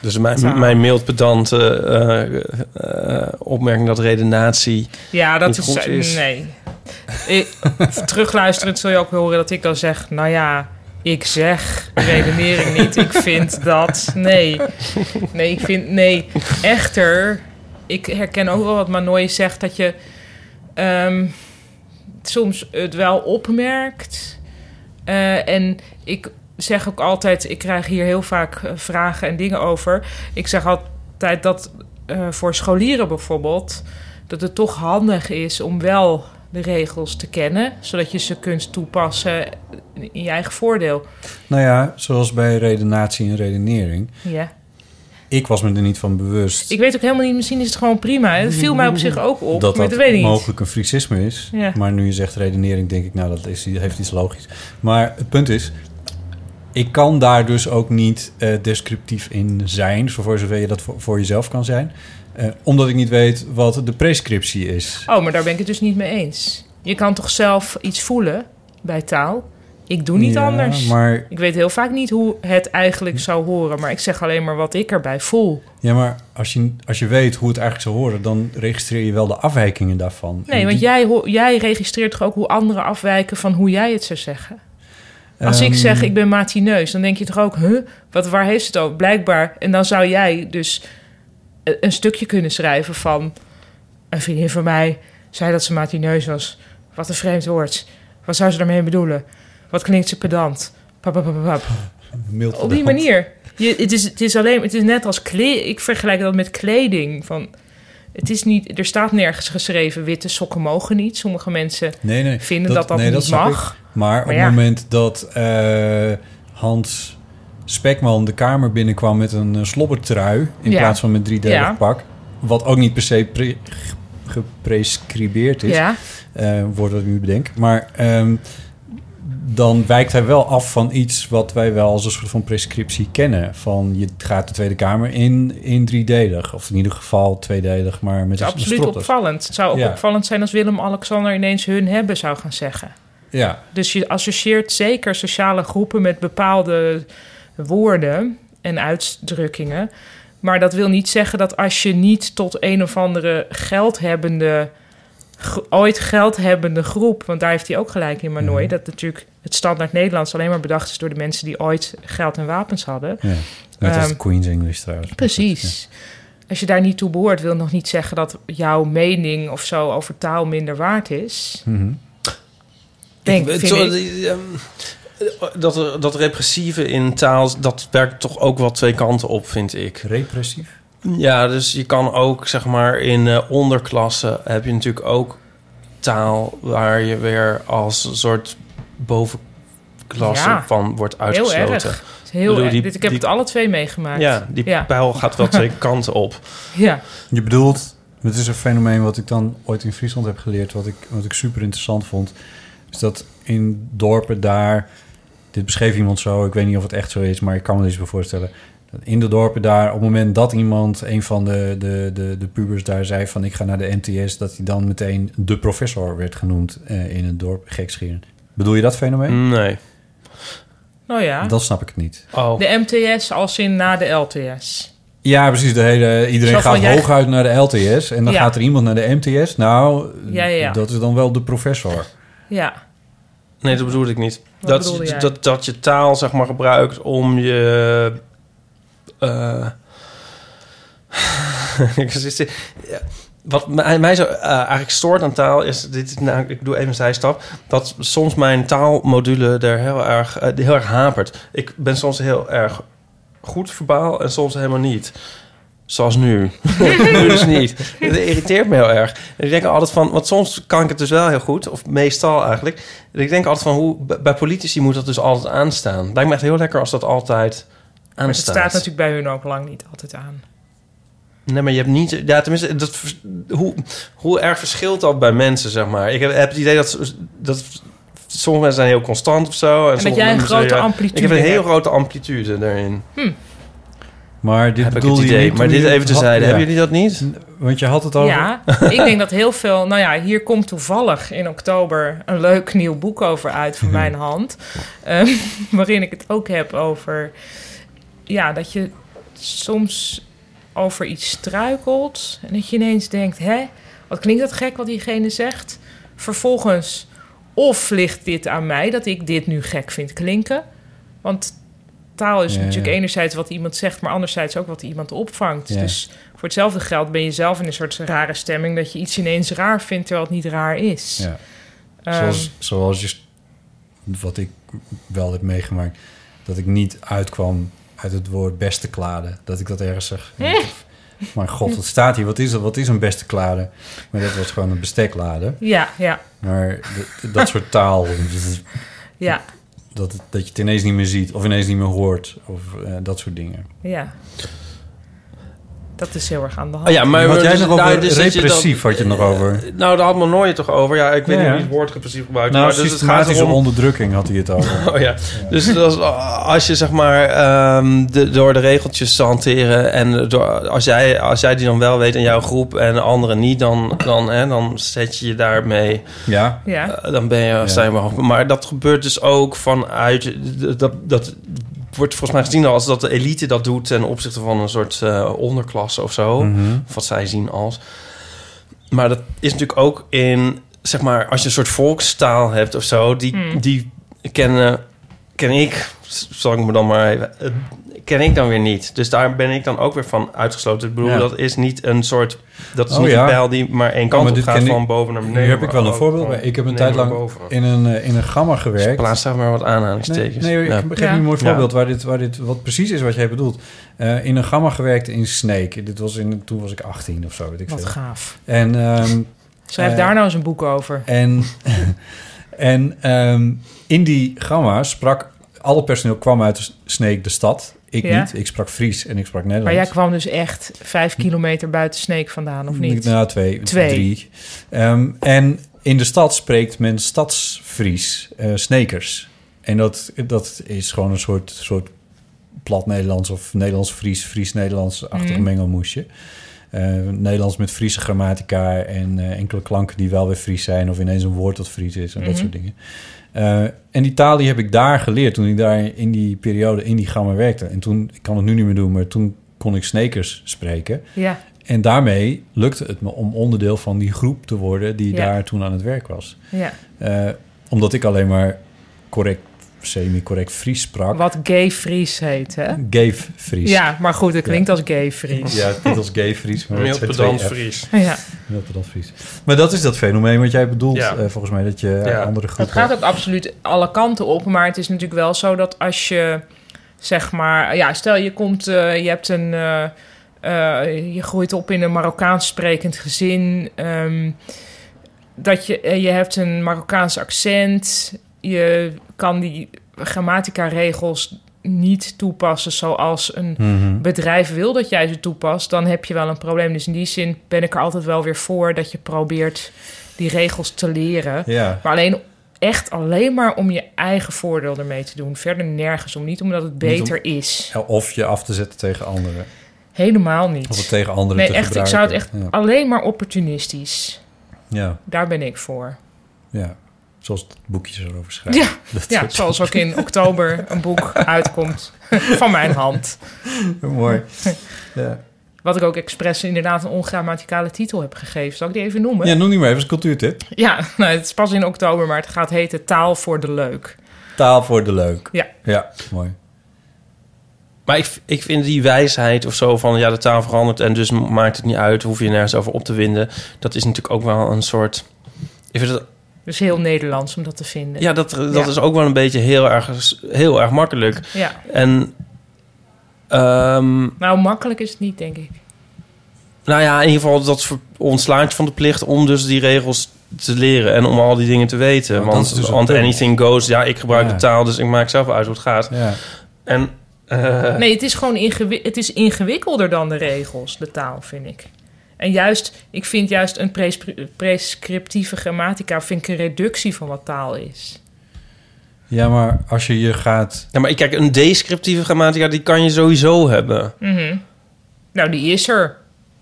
S8: Dus mijn,
S6: Ja.
S8: mijn mild pedante eh, eh, opmerking dat redenatie.
S6: Ja, dat
S8: niet
S6: is, eh,
S8: goed is.
S6: Nee. Ik, terugluisterend zul je ook horen dat ik dan zeg... Nou ja, ik zeg redenering niet. Ik vind dat... Nee. Nee, ik vind... Nee. Echter, ik herken ook wel wat Manoy zegt... dat je ehm, soms het wel opmerkt. Eh, en ik zeg ook altijd, ik krijg hier heel vaak eh, vragen en dingen over. Ik zeg altijd dat eh, voor scholieren bijvoorbeeld, dat het toch handig is om wel de regels te kennen, zodat je ze kunt toepassen in je eigen voordeel.
S7: Nou ja, zoals bij redenatie en redenering.
S6: Ja.
S7: Ik was me er niet van bewust
S6: Ik weet ook helemaal niet, misschien is het gewoon prima. Het viel mij op zich ook op,
S7: dat
S6: maar
S7: dat
S6: dat weet ik niet.
S7: mogelijk een fricisme is.
S6: Ja.
S7: Maar nu je zegt redenering, denk ik, nou, dat is, heeft iets logisch. Maar het punt is, ik kan daar dus ook niet eh, descriptief in zijn... voor- voor zover je dat voor, voor jezelf kan zijn. Eh, omdat ik niet weet wat de prescriptie is.
S6: Oh, maar daar ben ik het dus niet mee eens. Je kan toch zelf iets voelen bij taal? Ik doe niet
S7: Ja,
S6: anders.
S7: maar-
S6: Ik weet heel vaak niet hoe het eigenlijk zou horen, maar ik zeg alleen maar wat ik erbij voel.
S7: Ja, maar als je, als je weet hoe het eigenlijk zou horen... dan registreer je wel de afwijkingen daarvan. En
S6: Nee, want jij, ho- jij registreert toch ook hoe anderen afwijken van hoe jij het zou zeggen? Als ik
S7: Ehm.
S6: zeg ik ben matineus, dan denk je toch ook, huh, wat, waar heeft het over? Blijkbaar. En dan zou jij dus e- een stukje kunnen schrijven van een vriendin van mij zei dat ze matineus was. Wat een vreemd woord. Wat zou ze daarmee bedoelen? Wat klinkt ze pedant? Pap, pap, pap, pap.
S7: Mild
S6: Op die
S7: verdacht.
S6: manier. Je, het, is, het is alleen, het is net als kleding. Ik vergelijk dat met kleding. Van, het is niet, er staat nergens geschreven: witte sokken mogen niet. Sommige mensen
S7: Nee, nee.
S6: vinden dat dat,
S7: nee,
S6: niet
S7: snap
S6: mag.
S7: ik. Maar, op
S6: ja.
S7: het moment dat eh, Hans Spekman de kamer binnenkwam met een eh, slobbertrui... in
S6: Ja.
S7: plaats van met driedelig
S6: Ja.
S7: pak... wat ook niet per se pre- geprescribeerd is...
S6: Ja.
S7: eh, woord dat ik nu bedenk. Maar ehm, dan wijkt hij wel af van iets wat wij wel als een soort van prescriptie kennen. Van je gaat de Tweede Kamer in, in driedelig. Of in ieder geval tweedelig, maar met
S6: Het is
S7: een
S6: absoluut
S7: stropdas.
S6: opvallend. Het zou ook
S7: Ja.
S6: opvallend zijn als Willem-Alexander ineens hun hebben zou gaan zeggen.
S7: Ja.
S6: Dus je associeert zeker sociale groepen met bepaalde woorden en uitdrukkingen. Maar dat wil niet zeggen dat als je niet tot een of andere geldhebbende, gro- ooit geldhebbende groep, want daar heeft hij ook gelijk in, maar
S7: Mhm.
S6: nooit, dat natuurlijk het standaard Nederlands alleen maar bedacht is door de mensen die ooit geld en wapens hadden.
S7: ja. Net als
S6: Ehm,
S7: het Queen's English trouwens.
S6: Precies. Als je daar niet toe behoort, wil nog niet zeggen dat jouw mening of zo over taal minder waard is.
S7: Mhm.
S6: Denk,
S8: Ik-
S6: vind
S8: zo-
S6: ik.
S8: die, ehm, dat, er- dat repressieve in taal, dat werkt toch ook wel twee kanten op, vind ik.
S7: Repressief?
S8: Ja, dus je kan ook, zeg maar, in eh, onderklassen heb je natuurlijk ook taal waar je weer als een soort bovenklasse
S6: Ja,
S8: van wordt uitgesloten.
S6: Heel erg. Heel
S8: bedoel,
S6: erg.
S8: die-
S6: Dit- ik heb
S8: die-
S6: het alle twee meegemaakt.
S8: Ja, die pijl
S6: [LAUGHS]
S8: gaat wel twee kanten op.
S6: Ja.
S7: Je bedoelt, het is een fenomeen wat ik dan ooit in Friesland heb geleerd, wat ik, wat ik super interessant vond, is dat in dorpen daar, dit beschreef iemand zo, ik weet niet of het echt zo is, maar ik kan me er iets bij voorstellen. dat In de dorpen daar, op het moment dat iemand, een van de, de, de, de pubers daar zei van ik ga naar de MTS, dat hij dan meteen de professor werd genoemd eh, in het dorp, gekscheren. Bedoel je dat fenomeen?
S8: Nee.
S6: Nou ja.
S7: Dan snap ik het niet.
S8: Oh.
S6: De MTS als in na de LTS.
S7: Ja, precies. De hele, iedereen
S6: Zo van,
S7: gaat
S6: jij-
S7: hooguit naar de LTS en dan
S6: Ja.
S7: gaat er iemand naar de MTS. Nou,
S6: Ja, ja, ja.
S7: dat is dan wel de professor.
S6: Ja.
S8: Nee, dat bedoelde ik niet.
S6: Wat
S8: Dat,
S6: bedoelde jij?
S8: dat, dat je taal, zeg maar, gebruikt om je... eh, [LAUGHS] ik zit- ja. Wat mij, mij zo eh, eigenlijk stoort aan taal is... Dit, is nou, ik doe even een zijstap. Dat soms mijn taalmodule er heel erg, eh, heel erg hapert. Ik ben soms heel erg goed verbaal en soms helemaal niet. Zoals nu. [LAUGHS] nu dus niet. Dat irriteert me heel erg. En ik denk altijd van... Want soms kan ik het dus wel heel goed. Of meestal eigenlijk. En ik denk altijd van... Hoe, b- bij politici moet dat dus altijd aanstaan. Lijkt me echt heel lekker als dat altijd
S6: Maar het
S8: aanstaat.
S6: staat natuurlijk bij hun ook lang niet altijd aan.
S8: Nee, maar je hebt niet... Ja, tenminste, dat, vers- hoe, hoe erg verschilt dat bij mensen, zeg maar? Ik heb, heb het idee dat, dat sommige mensen zijn heel constant of zo. En,
S6: dat
S8: sommige
S6: jij een
S8: mensen-
S6: grote
S8: ja,
S6: amplitude
S8: Ik heb een heel
S6: hebt.
S8: grote amplitude daarin.
S7: Maar dit
S8: Heb ik
S7: bedoelde
S8: het
S7: je
S8: idee.
S7: niet
S8: Maar
S7: toen
S8: dit
S7: je
S8: even
S7: het
S8: tezijde.
S7: had- ja.
S8: Hebben jullie dat niet?
S7: Want je had het over... [LAUGHS]
S6: Ja, ik denk dat heel veel... Nou ja, hier komt toevallig in oktober een leuk nieuw boek over uit
S7: Mhm.
S6: van mijn hand. Ehm, [LAUGHS] waarin ik het ook heb over... Ja, dat je soms over iets struikelt... en dat je ineens denkt, hè, wat klinkt dat gek wat diegene zegt? Vervolgens, of ligt dit aan mij dat ik dit nu gek vind klinken... Want taal is
S7: Ja,
S6: natuurlijk
S7: ja.
S6: enerzijds wat iemand zegt, maar anderzijds ook wat iemand opvangt.
S7: Ja.
S6: Dus voor hetzelfde geld ben je zelf in een soort rare stemming dat je iets ineens raar vindt terwijl het niet raar is.
S7: Ja.
S6: Ehm,
S7: zoals, zoals je, wat ik wel heb meegemaakt, dat ik niet uitkwam uit het woord beste klade. Dat ik dat ergens
S6: [LAUGHS]
S7: zeg. [LAUGHS]
S6: Eh.
S7: Maar god, wat staat hier? Wat is dat? Wat is een beste klade? Maar dat was gewoon een besteklade.
S6: Ja, ja.
S7: Maar d- dat soort taal,
S6: ja,
S7: dat, dat je het ineens niet meer ziet of ineens niet meer hoort. Of eh, dat soort dingen.
S6: ja. Dat is heel erg aan de hand.
S7: Oh ja, maar
S8: wat
S7: had jij het nog over
S8: dat je
S7: repressief, had je het nog over.
S8: Nou, daar had Manoy het toch over. Ja, ik weet
S7: Ja,
S8: niet
S7: ja.
S8: wie het woord repressief gebruikt.
S7: nou,
S8: maar dus het gaat
S7: systematische
S8: erom...
S7: onderdrukking had hij het over.
S8: [LAUGHS] Oh ja. Dus dat is- als je zeg maar ehm, de, door de regeltjes te hanteren en door, als, jij, als jij die dan wel weet in jouw groep en de anderen niet, dan, dan, hè, dan zet je je daarmee.
S7: Ja.
S6: Ja.
S8: Eh, dan ben je, sta je maar hoog. Maar dat gebeurt dus ook vanuit. Dat, dat wordt volgens mij gezien als dat de elite dat doet ten opzichte van een soort eh, onderklasse of zo.
S7: Mhm.
S8: Of wat zij zien als. Maar dat is natuurlijk ook in, zeg maar, als je een soort volkstaal hebt of zo, die,
S11: Mm.
S8: die kennen, ken ik, s- zal ik me dan maar even, eh, ken ik dan weer niet. Dus daar ben ik dan ook weer van uitgesloten. Ik bedoel,
S7: Ja.
S8: dat is niet een soort, dat is
S7: Oh
S8: niet
S7: ja.
S8: een pijl die maar één
S7: Oh,
S8: kant
S7: maar
S8: op
S7: dit
S8: gaat,
S7: ken ik-
S8: van boven naar beneden.
S7: Nu heb ik
S8: maar
S7: wel een
S8: ook
S7: voorbeeld.
S8: van
S7: bij. Ik heb een
S8: beneden
S7: tijd
S8: naar
S7: lang
S8: boven. Dus
S7: in een, eh, in een gamma gewerkt.
S8: Plaats daar maar wat aanhalingstekens.
S7: Nee, nee,
S8: Ja.
S7: ik geef
S8: Ja.
S7: je een mooi
S8: Ja.
S7: voorbeeld waar dit, waar dit wat precies is wat jij bedoelt. Eh, in een gamma gewerkt in Snake. Dit was in, toen was ik 18 of zo. Weet ik
S6: Wat
S7: veel.
S6: gaaf.
S7: En, ehm,
S6: Schrijf
S7: eh,
S6: daar nou eens een boek over.
S7: En, [LAUGHS] en ehm, in die gamma sprak alle personeel kwam uit Snake de stad. Ik
S6: Ja.
S7: niet. Ik sprak Fries en ik sprak Nederlands.
S6: Maar jij kwam dus echt vijf kilometer buiten Sneek vandaan, of niet?
S7: Nou, twee.
S6: Twee.
S7: Drie. Ehm, en in de stad spreekt men stadsfries, eh snekers. En dat, dat is gewoon een soort, soort plat Nederlands of Nederlands-Fries, Fries-Nederlands-achtig
S6: Mm.
S7: mengelmoesje. Eh, Nederlands met Friese grammatica en eh, enkele klanken die wel weer Fries zijn... of ineens een woord dat Fries is en dat
S6: Mhm.
S7: soort dingen. Eh, en die taal die heb ik daar geleerd toen ik daar in die periode in die gamma werkte. En toen, ik kan het nu niet meer doen, maar toen kon ik snekers spreken.
S6: Ja.
S7: En daarmee lukte het me om onderdeel van die groep te worden die
S6: Ja.
S7: daar toen aan het werk was.
S6: Ja.
S7: Eh, omdat ik alleen maar correct, semi-correct Fries sprak.
S6: Wat gay Fries heet, hè?
S7: Gay Fries.
S6: Ja, maar goed, het klinkt als gay Fries.
S7: Ja, het klinkt als gay Fries. Maar
S8: Heel
S7: het zijn
S8: pedant
S7: twee F's.
S8: Fries.
S6: Ja.
S7: Heel pedant Fries. Maar dat is dat fenomeen wat jij bedoelt,
S6: Ja.
S7: eh, volgens mij, dat je
S6: Ja.
S7: andere
S6: Het
S7: groepen...
S6: gaat ook absoluut alle kanten op, maar het is natuurlijk wel zo dat als je, zeg maar, ja, stel je komt, eh, je hebt een, eh, eh, je groeit op in een Marokkaans sprekend gezin, ehm, dat je, eh, je hebt een Marokkaans accent, je kan die grammatica regels niet toepassen zoals een
S7: Mhm.
S6: bedrijf wil dat jij ze toepast, dan heb je wel een probleem. Dus in die zin ben ik er altijd wel weer voor dat je probeert die regels te leren.
S7: Ja.
S6: Maar alleen echt alleen maar om je eigen voordeel ermee te doen. Verder nergens om. Niet omdat het
S7: Niet om-
S6: beter is.
S7: Of je af te zetten tegen anderen.
S6: Helemaal niet.
S7: Of het tegen anderen
S6: nee,
S7: te
S6: echt, ik zou het echt
S7: gebruiken. Ja.
S6: alleen maar opportunistisch.
S7: Ja,
S6: Daar ben ik voor.
S7: ja. Zoals boekjes erover schrijven.
S6: Ja,
S7: [LAUGHS] Dat
S6: ja
S7: soort-
S6: zoals ook in oktober een
S7: [LAUGHS]
S6: boek uitkomt van mijn hand.
S7: Mooi. Ja.
S6: Wat ik ook expres inderdaad een ongrammaticale titel heb gegeven. Zal ik die even noemen?
S7: ja, noem die maar even als cultuurtip.
S6: Ja, nou, het is pas in oktober, maar het gaat heten Taal voor de Leuk.
S7: Taal voor de leuk.
S6: Ja.
S7: Ja, mooi.
S8: Maar ik, ik vind die wijsheid of zo van ja, de taal verandert en dus maakt het niet uit, hoef je nergens over op te winden. Dat is natuurlijk ook wel een soort. Ik vind dat,
S6: Dus heel Nederlands om dat te vinden.
S8: Hm. ja, dat, dat
S6: Ja.
S8: is ook wel een beetje heel erg, heel erg makkelijk.
S6: Ja.
S8: En. ehm,
S6: Nou, makkelijk is het niet, denk ik.
S8: nou ja, in ieder geval, dat ver- ontslaat je van de plicht om dus die regels te leren en om al die dingen te weten.
S7: Want dat
S8: want
S7: is dus het
S8: want
S7: punt.
S8: anything goes, ja, ik gebruik
S7: Ja.
S8: de taal, dus ik maak zelf uit hoe het gaat.
S7: Ja.
S8: En. eh,
S6: Nee, het is gewoon ingewi- het is ingewikkelder dan de regels, de taal, vind ik. En juist, ik vind juist een pres- prescriptieve grammatica vind ik een reductie van wat taal is.
S7: Ja, maar als je je gaat...
S8: Ja, maar kijk, een descriptieve grammatica, die kan je sowieso hebben.
S6: Mhm. Nou, die is er.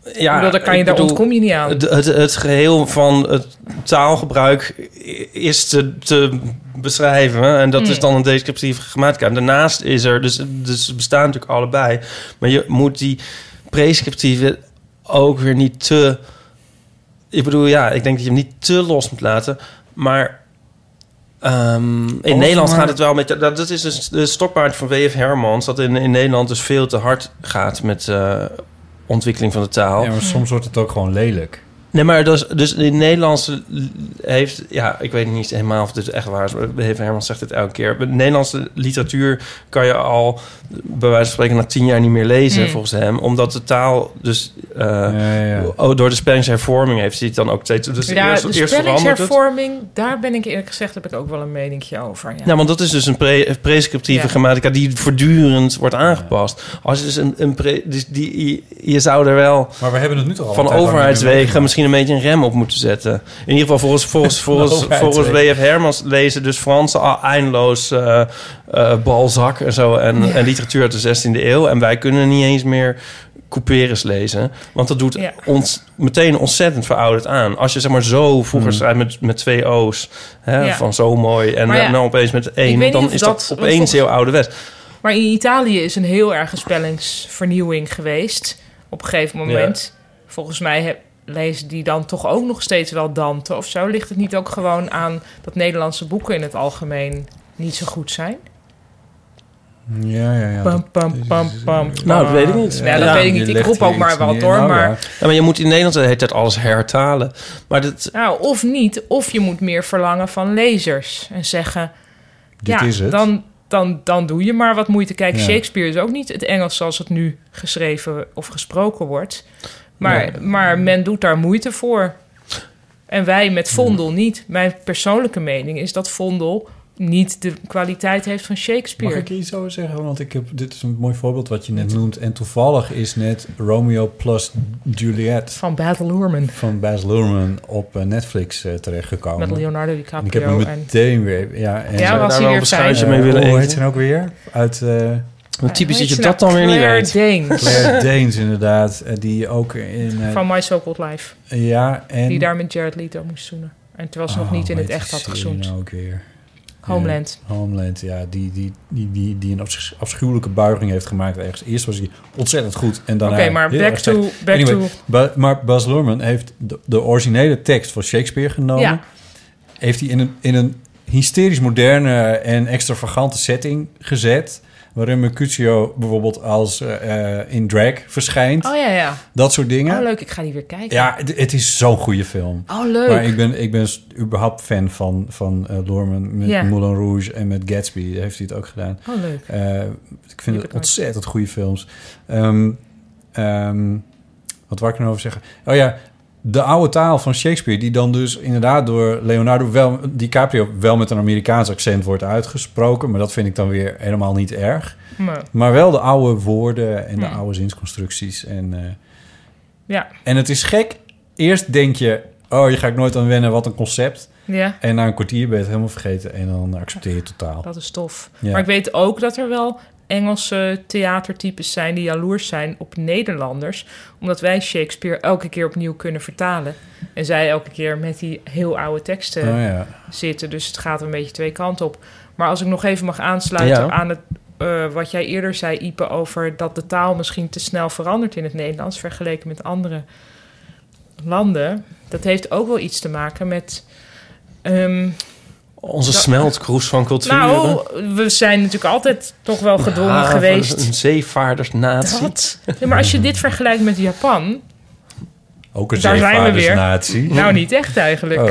S8: Ja,
S6: Ja, daar, kan je,
S8: ik
S6: daar
S8: bedoel,
S6: ontkom je niet aan.
S8: Het, het, het geheel van het taalgebruik i- is te, te beschrijven. En dat
S6: Mm.
S8: is dan een descriptieve grammatica. En daarnaast is er, dus, dus het bestaan natuurlijk allebei. Maar je moet die prescriptieve ook weer niet te... Ik bedoel, ja, ik denk dat je hem niet te los moet laten. Maar... ehm, Ehm, in
S10: Als
S8: Nederland
S10: maar-
S8: gaat het wel met... Dat, dat is dus de stokpaard van W.F. Hermans... dat in, in Nederland dus veel te hard gaat met eh, ontwikkeling van de taal.
S7: Ja,
S6: Oh.
S7: maar soms wordt het ook gewoon lelijk.
S8: Nee, maar dus, dus in het Nederlands heeft... Ja, ik weet niet helemaal of dit echt waar is. maar Even Hermans zegt het elke keer. Maar de Nederlandse literatuur kan je al... bij wijze van spreken na tien jaar niet meer lezen,
S6: Hmm.
S7: Mm.
S8: volgens hem. Omdat de taal dus... eh, oh, Door de spellingshervorming heeft hij het dan ook steeds... Dus
S6: ja,
S8: eerst,
S6: de
S8: eerst verandert het.
S6: spellingshervorming, daar ben ik eerlijk gezegd, heb ik ook wel een meningje over. Ja.
S8: Nou, want dat is dus een pre- prescriptieve
S6: Ja.
S8: grammatica die voortdurend wordt aangepast. Als je dus een, een pre- dus die, je- je zou er wel
S7: Maar we hebben het nu toch al
S8: van
S7: een tijd lang niet meer
S8: overheidswegen misschien een beetje een rem op moeten zetten. In ieder geval volgens,
S7: [LAUGHS]
S8: volgens, volgens,
S7: Overheidswegen.
S8: volgens W.F. Hermans lezen dus Fransen al eindeloos eh eh, Balzac en zo en,
S7: Ja.
S8: en literatuur uit de 16e eeuw. En wij kunnen niet eens meer couperus lezen. Want dat doet
S7: Ja.
S8: ons meteen ontzettend verouderd aan. Als je zeg maar zo vroeger
S7: Hmm.
S8: schrijft met, met twee O's, hè,
S6: Ja.
S8: van zo mooi en
S6: Maar ja,
S8: dan opeens met
S6: ik
S8: één,
S6: weet niet
S8: dan
S6: of
S8: is
S6: dat-
S8: dat,
S6: want
S8: opeens
S6: volgens-
S8: heel ouderwets.
S6: Maar in Italië is een heel erge spellingsvernieuwing geweest. Op een gegeven moment. Volgens mij he- lezen die dan toch ook nog steeds wel Dante of zo. Ligt het niet ook gewoon aan dat Nederlandse boeken in het algemeen niet zo goed zijn?
S7: Ja, ja, ja.
S6: Pam, pam, pam, pam.
S8: Nou, dat weet ik niet.
S6: Ja, dat weet ik niet. Ik roep ook maar wel
S7: Nou
S6: door. Maar,
S8: Ja, maar je moet in Nederland de hele tijd alles hertalen. Maar dat,
S6: nou, of niet. Of je moet meer verlangen van lezers. En zeggen...
S8: Dit
S6: ja,
S8: is het.
S6: Dan, dan, dan doe je maar wat moeite. Kijk,
S8: Ja.
S6: Shakespeare is ook niet het Engels zoals het nu geschreven of gesproken wordt. Maar,
S8: Nee.
S6: maar men doet daar moeite voor. En wij met Vondel niet. Mijn persoonlijke mening is dat Vondel niet de kwaliteit heeft van Shakespeare.
S7: Mag ik iets over zeggen? Want ik heb, dit is een mooi voorbeeld wat je net noemt. En toevallig is net Romeo plus Juliet...
S6: Van Baz Luhrmann.
S7: Van Baz Luhrmann op eh, Netflix eh, terechtgekomen.
S6: Met Leonardo
S7: En ik heb
S6: DiCaprio.
S7: hem
S6: en...
S7: meteen weer... Ja,
S6: Ja,
S7: en
S6: Zou je was daar hij wel weer een fijn? beschuitje mee
S7: Eh,
S8: willen
S7: Hoe
S8: eten?
S7: heet ze nou ook weer? Uit... eh
S8: typisch
S6: hoe
S8: dat je
S6: heet
S8: dat
S6: ze nou?
S8: dan weer niet
S6: Claire
S8: weet.
S6: Danes.
S7: Claire Danes, inderdaad. eh, Die ook in... eh,
S6: Van My So-Called Life.
S7: Ja, en...
S6: Die daar met Jared Leto moest zoenen. En terwijl ze nog
S7: Oh,
S6: niet in
S7: hoe
S6: het
S7: heet
S6: echt
S7: die
S6: had
S7: serie
S6: gezoend.
S7: nou ook weer.
S6: Homeland.
S7: Ja, Homeland, ja. Die, die, die, die, die een afsch- afschuwelijke buiging heeft gemaakt ergens. Eerst was hij ontzettend goed en daarna...
S6: Oké, maar
S7: heel
S6: back
S7: erg slecht.
S6: to- back to-
S7: Ba- maar Bas Luhrmann heeft de, de originele tekst van Shakespeare genomen.
S6: Ja.
S7: Heeft hij in een, in een hysterisch moderne en extravagante setting gezet... waarin Mercutio bijvoorbeeld als eh, eh, in drag verschijnt.
S6: Oh ja, ja.
S7: Dat soort dingen.
S6: Oh leuk, ik ga die weer kijken.
S7: Ja, het, het is zo'n goede film.
S6: Oh, leuk.
S7: Maar ik ben, ik ben s- überhaupt fan van, van eh Lorman met
S6: Ja.
S7: Moulin Rouge en met Gatsby. Daar heeft hij het ook gedaan.
S6: Oh, leuk.
S7: Eh, ik vind
S6: het
S7: het ontzettend goede films. Ehm, ehm, wat wou ik nou over zeggen? Oh ja, de oude taal van Shakespeare... die dan dus inderdaad door Leonardo wel, DiCaprio... wel met een Amerikaans accent wordt uitgesproken. Maar dat vind ik dan weer helemaal niet erg.
S6: Nee.
S7: Maar wel de oude woorden en de
S6: Hmm.
S7: oude zinsconstructies. En, eh,
S6: Ja.
S7: en het is gek. Eerst denk je, oh, je ga ik nooit aan wennen, wat een concept.
S6: Ja.
S7: En na een kwartier ben je het helemaal vergeten en dan accepteer je het totaal.
S6: Dat is tof.
S7: Ja.
S6: Maar ik weet ook dat er wel Engelse theatertypes zijn die jaloers zijn op Nederlanders. Omdat wij Shakespeare elke keer opnieuw kunnen vertalen. En zij elke keer met die heel oude teksten
S7: Oh ja.
S6: zitten. Dus het gaat een beetje twee kanten op. Maar als ik nog even mag aansluiten
S7: Ja.
S6: aan het, eh, wat jij eerder zei, Ipe, over dat de taal misschien te snel verandert in het Nederlands vergeleken met andere landen. Dat heeft ook wel iets te maken met. ehm,
S8: Onze
S6: dat-
S8: smeltkroes van culturen.
S6: nou, we zijn natuurlijk altijd toch wel gedwongen
S8: Ja,
S6: geweest.
S8: Ah, Een zeevaardersnatie.
S6: Wat? Ja, maar als je dit vergelijkt met Japan,
S7: Ook een
S6: daar zijn we weer.
S7: zeevaardersnatie.
S6: Nou, niet echt eigenlijk.
S7: Oh.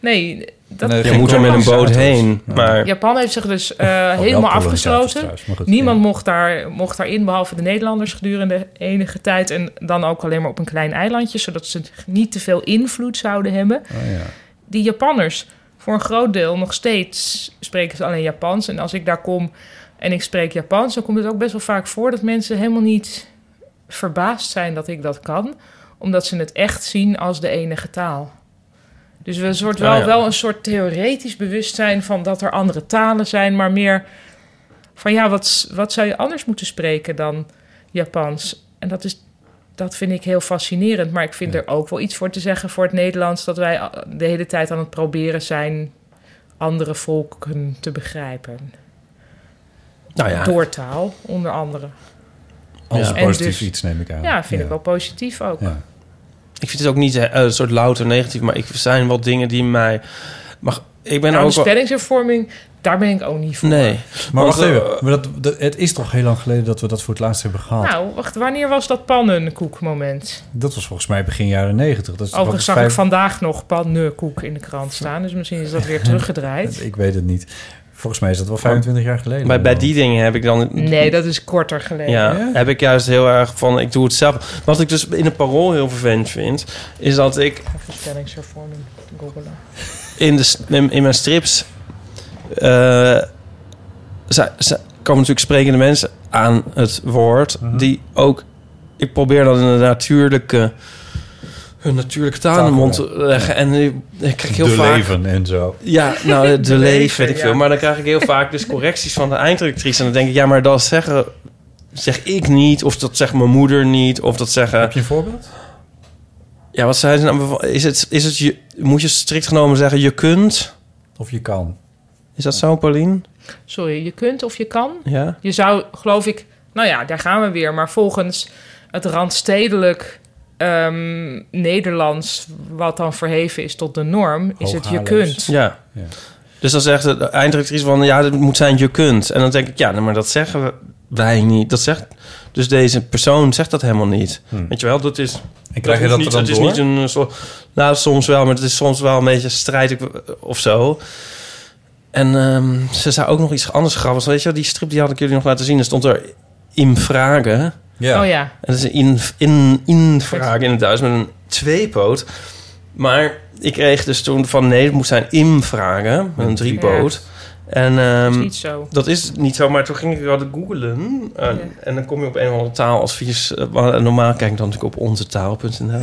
S6: Nee, dat
S7: Nee,
S8: je
S7: geen
S8: moet er met een
S7: kolonisator.
S8: boot heen. Maar
S6: Japan heeft zich dus eh,
S7: Oh, wel
S6: helemaal
S7: kolonisators
S6: afgesloten.
S7: trouwens, maar goed,
S6: Niemand mocht, daar, mocht daarin, behalve de Nederlanders gedurende enige tijd. En dan ook alleen maar op een klein eilandje, zodat ze niet te veel invloed zouden hebben.
S7: Oh ja.
S6: Die Japanners, voor een groot deel nog steeds spreken ze alleen Japans. En als ik daar kom en ik spreek Japans, dan komt het ook best wel vaak voor dat mensen helemaal niet verbaasd zijn dat ik dat kan, omdat ze het echt zien als de enige taal. Dus we soort wel,
S8: Ah, ja.
S6: wel een soort theoretisch bewustzijn van dat er andere talen zijn, maar meer van ja, wat, s- wat zou je anders moeten spreken dan Japans? En dat, is, dat vind ik heel fascinerend, maar ik vind er ook wel iets voor te zeggen voor het Nederlands dat wij a- de hele tijd aan het proberen zijn andere volken te begrijpen.
S8: Nou ja.
S6: Door taal, onder andere.
S7: Als een
S6: En dus-
S7: positief iets, neem ik aan.
S6: Ja, vind
S7: Ja.
S6: ik wel positief ook.
S7: Ja.
S8: ik vind het ook niet eh, een soort louter negatief. Maar ik er zijn wel dingen die mij Maar ik ben
S6: nou,
S8: ook
S6: de
S8: wel...
S6: spellingshervorming, daar ben ik ook niet voor.
S8: Nee.
S7: Maar
S8: Want,
S7: wacht even,
S8: eh,
S7: maar dat, dat- het is toch heel lang geleden dat we dat voor het laatst hebben gehad?
S6: Nou, wacht, wanneer was dat pannenkoekmoment?
S7: Dat was volgens mij begin jaren negentig. Dat is
S6: Overigens
S7: wat
S6: zag ik
S7: [LAUGHS] vijf-
S6: vandaag nog pannenkoek in de krant staan. Dus misschien is dat weer
S8: [LAUGHS]
S6: teruggedraaid.
S7: Ik weet het niet. Volgens mij is dat wel 25 jaar geleden.
S8: Bij, bij die dingen heb ik dan...
S6: Nee, dat is korter geleden.
S8: Ja, heb ik juist heel erg van, ik doe het zelf. Wat ik dus in het parool heel vervelend vind, is dat ik
S6: Spellingshervorming, googelen.
S8: in, de, s- in, in mijn strips... eh, ze, ze komen natuurlijk sprekende mensen aan het woord, die ook... Ik probeer dat in een natuurlijke, een natuurlijke taal in de mond te leggen. En ik, ik krijg heel
S7: de
S8: vaak...
S7: leven en zo.
S8: Ja,
S6: [LAUGHS]
S7: [LAUGHS]
S8: nou, de, de leef
S7: leven,
S8: weet ik veel.
S7: ja.
S8: Maar dan krijg ik heel vaak dus correcties van de eindredactrice. En dan denk ik, ja, maar dat zeggen, zeg ik niet. Of dat zegt mijn moeder niet. Of dat zeggen... Heb
S7: je een voorbeeld?
S8: Ja, wat zei ze nou? bijvo- Is het, is het je, moet je strikt genomen zeggen, je kunt?
S7: Of je kan.
S8: Is dat zo, Paulien?
S6: Sorry, je kunt of je kan.
S8: Ja.
S6: Je zou, geloof ik, nou ja, daar gaan we weer. Maar volgens het randstedelijk ehm, Nederlands, wat dan verheven is tot de norm, is het je kunt.
S8: Ja. Dus dan zegt de eindredactrice van, ja, het moet zijn, je kunt. En dan denk ik, ja, nou, maar dat zeggen we- wij niet. Dat zegt... Dus deze persoon zegt dat helemaal niet. Weet je wel, dat is...
S7: Hmm. En krijg je dat
S8: hoeft
S7: er
S8: niet,
S7: dan
S8: is
S7: door?
S8: niet een eh, soort... Nou, soms wel, maar het is soms wel een beetje strijd ik- of zo. En ehm, ze zei ook nog iets anders grappigs. Weet je wel, die strip die had ik jullie nog laten zien. Er stond er in vragen.
S6: Ja. Oh ja. En
S8: dat is een in, in, in vragen in het Duits met een tweepoot. Maar ik kreeg dus toen van nee, het moet zijn in vragen met een driepoot. En, ehm,
S6: Dat is niet zo.
S8: Dat is niet zo, maar toen ging ik wel googlen. eh, En dan kom je op een of andere taaladvies. eh, waar- normaal kijk ik dan natuurlijk op onzetaal.nl.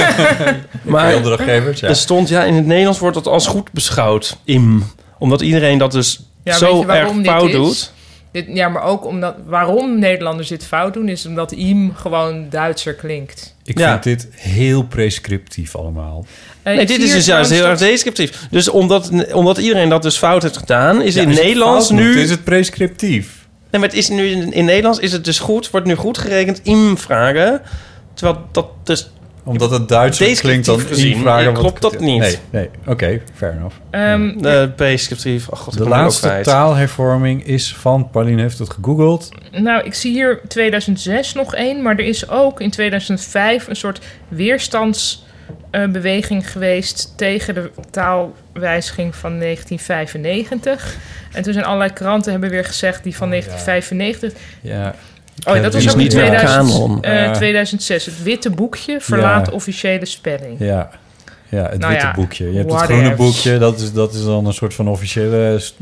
S6: [LAUGHS]
S8: [LAUGHS] maar
S7: Opdrachtgevers, ja.
S8: er stond, ja, in het Nederlands wordt dat als goed beschouwd. Im. Omdat iedereen dat dus
S6: Ja, weet
S8: zo
S6: je waarom dit
S8: erg fout
S6: is?
S8: doet.
S6: Dit, ja, maar ook omdat waarom Nederlanders dit fout doen, is omdat im gewoon Duitser klinkt.
S7: Ik vind dit heel prescriptief allemaal.
S6: Eh,
S8: nee,
S6: ik
S8: dit
S6: zie
S8: is
S6: hier
S8: dus juist
S6: trouwens
S8: heel erg
S6: dat-
S8: descriptief. Dus omdat, omdat iedereen dat dus fout heeft gedaan, is
S7: Ja,
S8: in
S7: is het
S8: Nederlands
S7: fout?
S8: nu...
S7: Is het prescriptief?
S8: Nee, maar het is nu in, in Nederlands is het dus goed, wordt nu goed gerekend in vragen. Terwijl dat dus...
S7: Omdat het Duits
S8: Descriptief
S7: klinkt dan
S8: gezien,
S7: invragen
S8: eh,
S7: wat-
S8: klopt dat niet.
S7: Nee, nee. oké, fair enough.
S6: Ehm,
S8: de prescriptief. Ach, god, ik
S7: De
S8: ben het ook
S7: laatste
S8: kwijt.
S7: taalhervorming is van, Pauline heeft het gegoogeld.
S6: Nou, ik zie hier 2006 nog één, maar er is ook in 2005 een soort weerstandsbeweging geweest tegen de taalwijziging van 1995. En toen zijn allerlei kranten hebben weer gezegd die van 1995.
S7: Ja.
S6: Oh, dat was ook in
S8: niet meer
S6: 2000,
S8: kanon.
S6: eh,
S7: Ja.
S6: 2006. Het witte boekje verlaat officiële spelling.
S7: Ja, ja het
S6: Nou
S7: witte
S6: ja,
S7: boekje. Je hebt het
S6: whatever.
S7: groene boekje, dat is, dat is dan een soort van officiële s-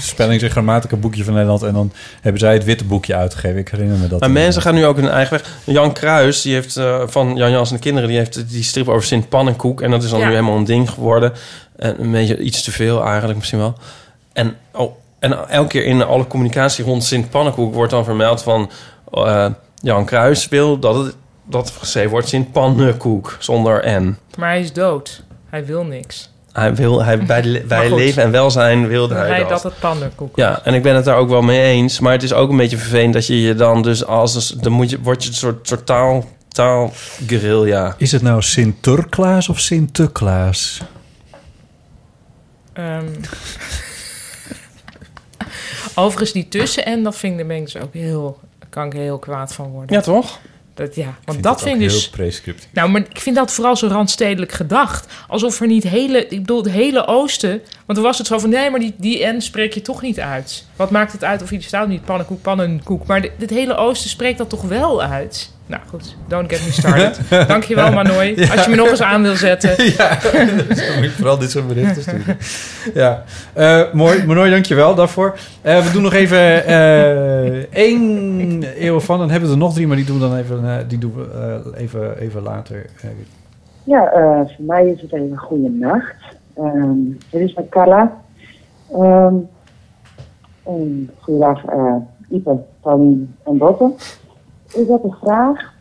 S7: spellings- en grammatica boekje van Nederland. En dan hebben zij het witte boekje uitgegeven. Ik herinner me dat.
S8: Maar mensen gaan nu ook hun eigen weg. Jan Kruis, die heeft eh, van Jan Jans en de kinderen, die heeft die strip over Sint Pannenkoek. En dat is dan
S7: Ja.
S8: nu helemaal een ding geworden. En een beetje iets te veel eigenlijk misschien wel. En, oh, en elke keer in alle communicatie rond Sint Pannenkoek wordt dan vermeld van eh, Jan Kruis wil dat het dat geschreven wordt Sint Pannenkoek zonder N.
S6: Maar hij is dood. Hij wil niks.
S8: Hij wil, hij, bij, le-
S6: Maar
S8: bij
S6: goed.
S8: leven en welzijn wilde hij,
S6: Hij
S8: dat.
S6: dat het panderkoek
S8: Ja, en ik ben het daar ook wel mee eens. Maar het is ook een beetje vervelend dat je je dan dus als... Dan moet je, word je een soort, soort taal, taal guerrilla.
S7: Is het nou Sinterklaas of Sinterklaas?
S6: Ehm. Overigens, die tussen en dat vind ik, daar ben ik dus ook heel, daar kan ik heel kwaad van worden.
S8: Ja, toch?
S6: Dat, ja, want
S7: vind
S6: dat
S7: dat
S6: vind
S7: ook
S6: ik
S7: heel
S6: dus.
S7: prescriptief.
S6: Nou, maar ik vind dat vooral zo randstedelijk gedacht. Alsof er niet hele, ik bedoel, het hele Oosten. Want dan was het zo van nee, maar die, die N spreek je toch niet uit. Wat maakt het uit of je die staat niet? Pannenkoek, pannenkoek. Maar dit, dit hele Oosten spreekt dat toch wel uit? Nou goed, don't get me
S7: [LAUGHS]
S6: started. Dankjewel, Manoy.
S7: Ja.
S6: Als je me nog eens aan wil zetten.
S7: [LAUGHS]
S6: [LAUGHS]
S7: Ja, zo moet ik vooral dit soort berichten sturen. Ja, Eh, mooi. Manoy, dankjewel daarvoor. Eh, we doen nog even eh één eeuw van. Dan hebben we er nog drie, maar die doen we dan even, eh, die doen we, eh, even, even later. eh.
S11: Ja, eh, voor mij is het even goede nacht. Ehm, dit is met Carla. Ehm en goedendag, eh, Ipe, Pauline en Botte. Ik heb een vraag.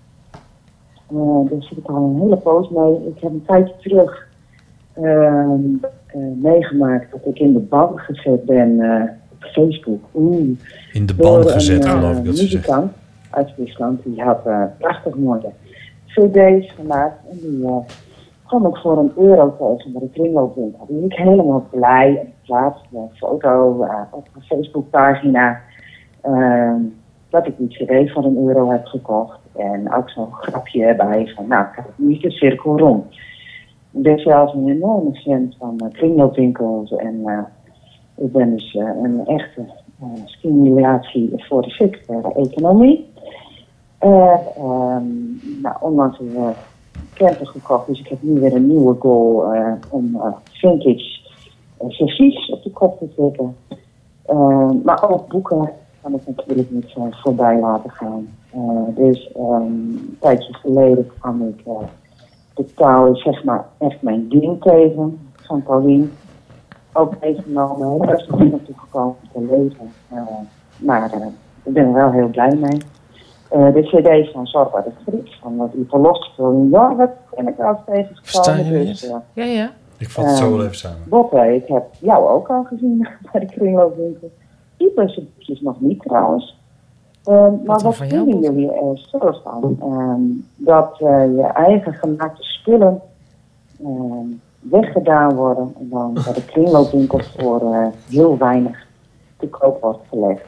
S11: Eh, daar zit ik al een hele poos mee. Ik heb een tijdje terug ehm, eh, meegemaakt dat ik in de ban gezet ben eh, op Facebook. Oeh.
S7: In de
S11: Door
S7: ban gezet,
S11: een,
S7: geloof
S11: eh,
S7: ik dat ze zeggen.
S11: muzikant uit Friesland. Die had eh, prachtig mooie cd's gemaakt. En die eh,
S12: kwam ik voor een euro tegen bij de kringloopwinkel. Die ik helemaal blij en plaatste een foto eh, op mijn Facebookpagina. eh, dat ik die cd van een euro heb gekocht. En ook zo'n grapje erbij van, nou, kijk, nu is de cirkel rond. Ik ben zelf een enorme fan van eh, kringloopwinkels. En eh, ik ben dus eh, een echte eh, stimulatie voor de circulaire economie. Eh, ehm, nou, onlangs een eh, camper gekocht, dus ik heb nu weer een nieuwe goal eh, om eh, vintage eh, servies op de kop te tikken. Eh, maar ook boeken kan ik natuurlijk niet eh, voorbij laten gaan. Eh, dus ehm, een tijdje geleden kwam ik eh, de taal is zeg maar echt mijn ding tegen van Pauline. Ook meegenomen, heel erg goed naartoe gekomen te lezen. Eh, maar eh, ik ben er wel heel blij mee. Eh, de cd van Zorba de Griek, van dat die verlost van Jorrit, ben ik al steeds
S7: Versta je me
S12: Dus, eh,
S6: Ja, ja.
S7: Ik vat het zo
S12: Ehm,
S7: wel even samen.
S12: Botte, ik heb jou ook al gezien [LAUGHS] bij de kringloopwinkel. Iep is het nog niet trouwens. Ehm, maar wat vinden jullie er zelf van? Ehm, dat eh, je eigen gemaakte spullen ehm, weggedaan worden en dan bij de kringloopwinkel voor eh, heel weinig te koop wordt gelegd.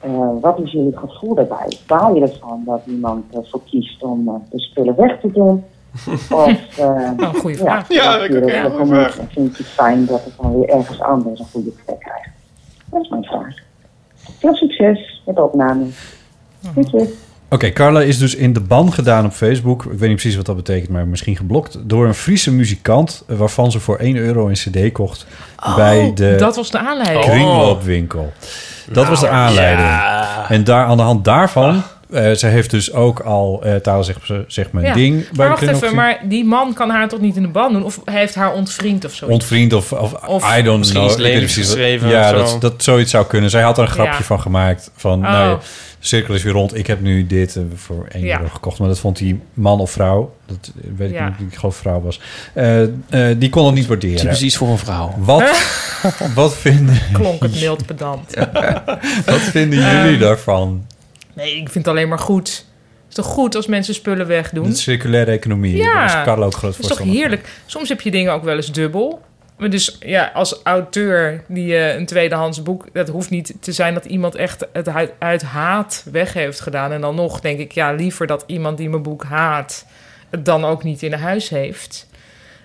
S12: Eh, wat is jullie gevoel daarbij? Baal je ervan dat iemand ervoor kiest om eh, de spullen weg te doen? Of, eh,
S6: goede vraag.
S12: Ja,
S6: Ja,
S12: dat
S6: ik
S12: je
S6: ook, ja,
S12: dat
S6: goeie
S12: dan
S6: vraag.
S12: ook vindt het fijn dat het dan weer ergens anders een goede plek krijgt. Dat is mijn vraag. Veel succes met de opname.
S6: Oh.
S12: Doei.
S7: Oké, Carla is dus in de ban gedaan op Facebook. Ik weet niet precies wat dat betekent, maar misschien geblokt. Door een Friese muzikant, eh, waarvan ze voor 1 euro een cd kocht bij de
S6: Oh, dat was de aanleiding.
S7: kringloopwinkel. Dat was
S8: Nou,
S7: de aanleiding.
S6: ja.
S7: En daar, aan de hand daarvan, eh, ze heeft dus ook al, eh taal zegt, ze- zegt mijn
S6: Ja.
S7: ding. bij
S6: maar
S7: de
S6: wacht even,
S7: kringloopwinkel.
S6: maar die man kan haar toch niet in de ban doen? Of hij heeft haar ontvriend of zo?
S7: Ontvriend of, of,
S6: Of-
S7: I don't know.
S8: Misschien is het
S7: Ik weet
S8: lelijk
S7: niet precies
S8: geschreven
S7: wat- Ja,
S8: of zo.
S7: dat, dat zoiets zou kunnen. Zij had er een grapje
S6: Ja.
S7: van gemaakt. Van,
S6: Oh.
S7: nou ja, de cirkel is weer rond. Ik heb nu dit eh, voor één
S6: Ja.
S7: euro gekocht. Maar dat vond die man of vrouw. Dat weet ik
S6: Ja.
S7: niet. Ik geloof vrouw was. eh, eh, die kon het niet waarderen.
S8: Typisch iets voor een vrouw.
S7: Wat, [LAUGHS] wat, vinden,
S6: Klonk
S7: [LAUGHS]
S6: het mild pedant. Ehm.
S7: wat vinden jullie daarvan?
S6: Eh, Nee, ik vind het alleen maar goed. Het is toch goed als mensen spullen wegdoen?
S7: De circulaire economie. Daar is Carlo ook groot
S6: dat is toch
S7: voorstander.
S6: heerlijk. Soms heb je dingen ook wel eens dubbel. Maar dus ja, als auteur die eh, een tweedehands boek... dat hoeft niet te zijn dat iemand echt het uit, uit haat weg heeft gedaan. En dan nog denk ik, ja, liever dat iemand die mijn boek haat... het dan ook niet in huis heeft.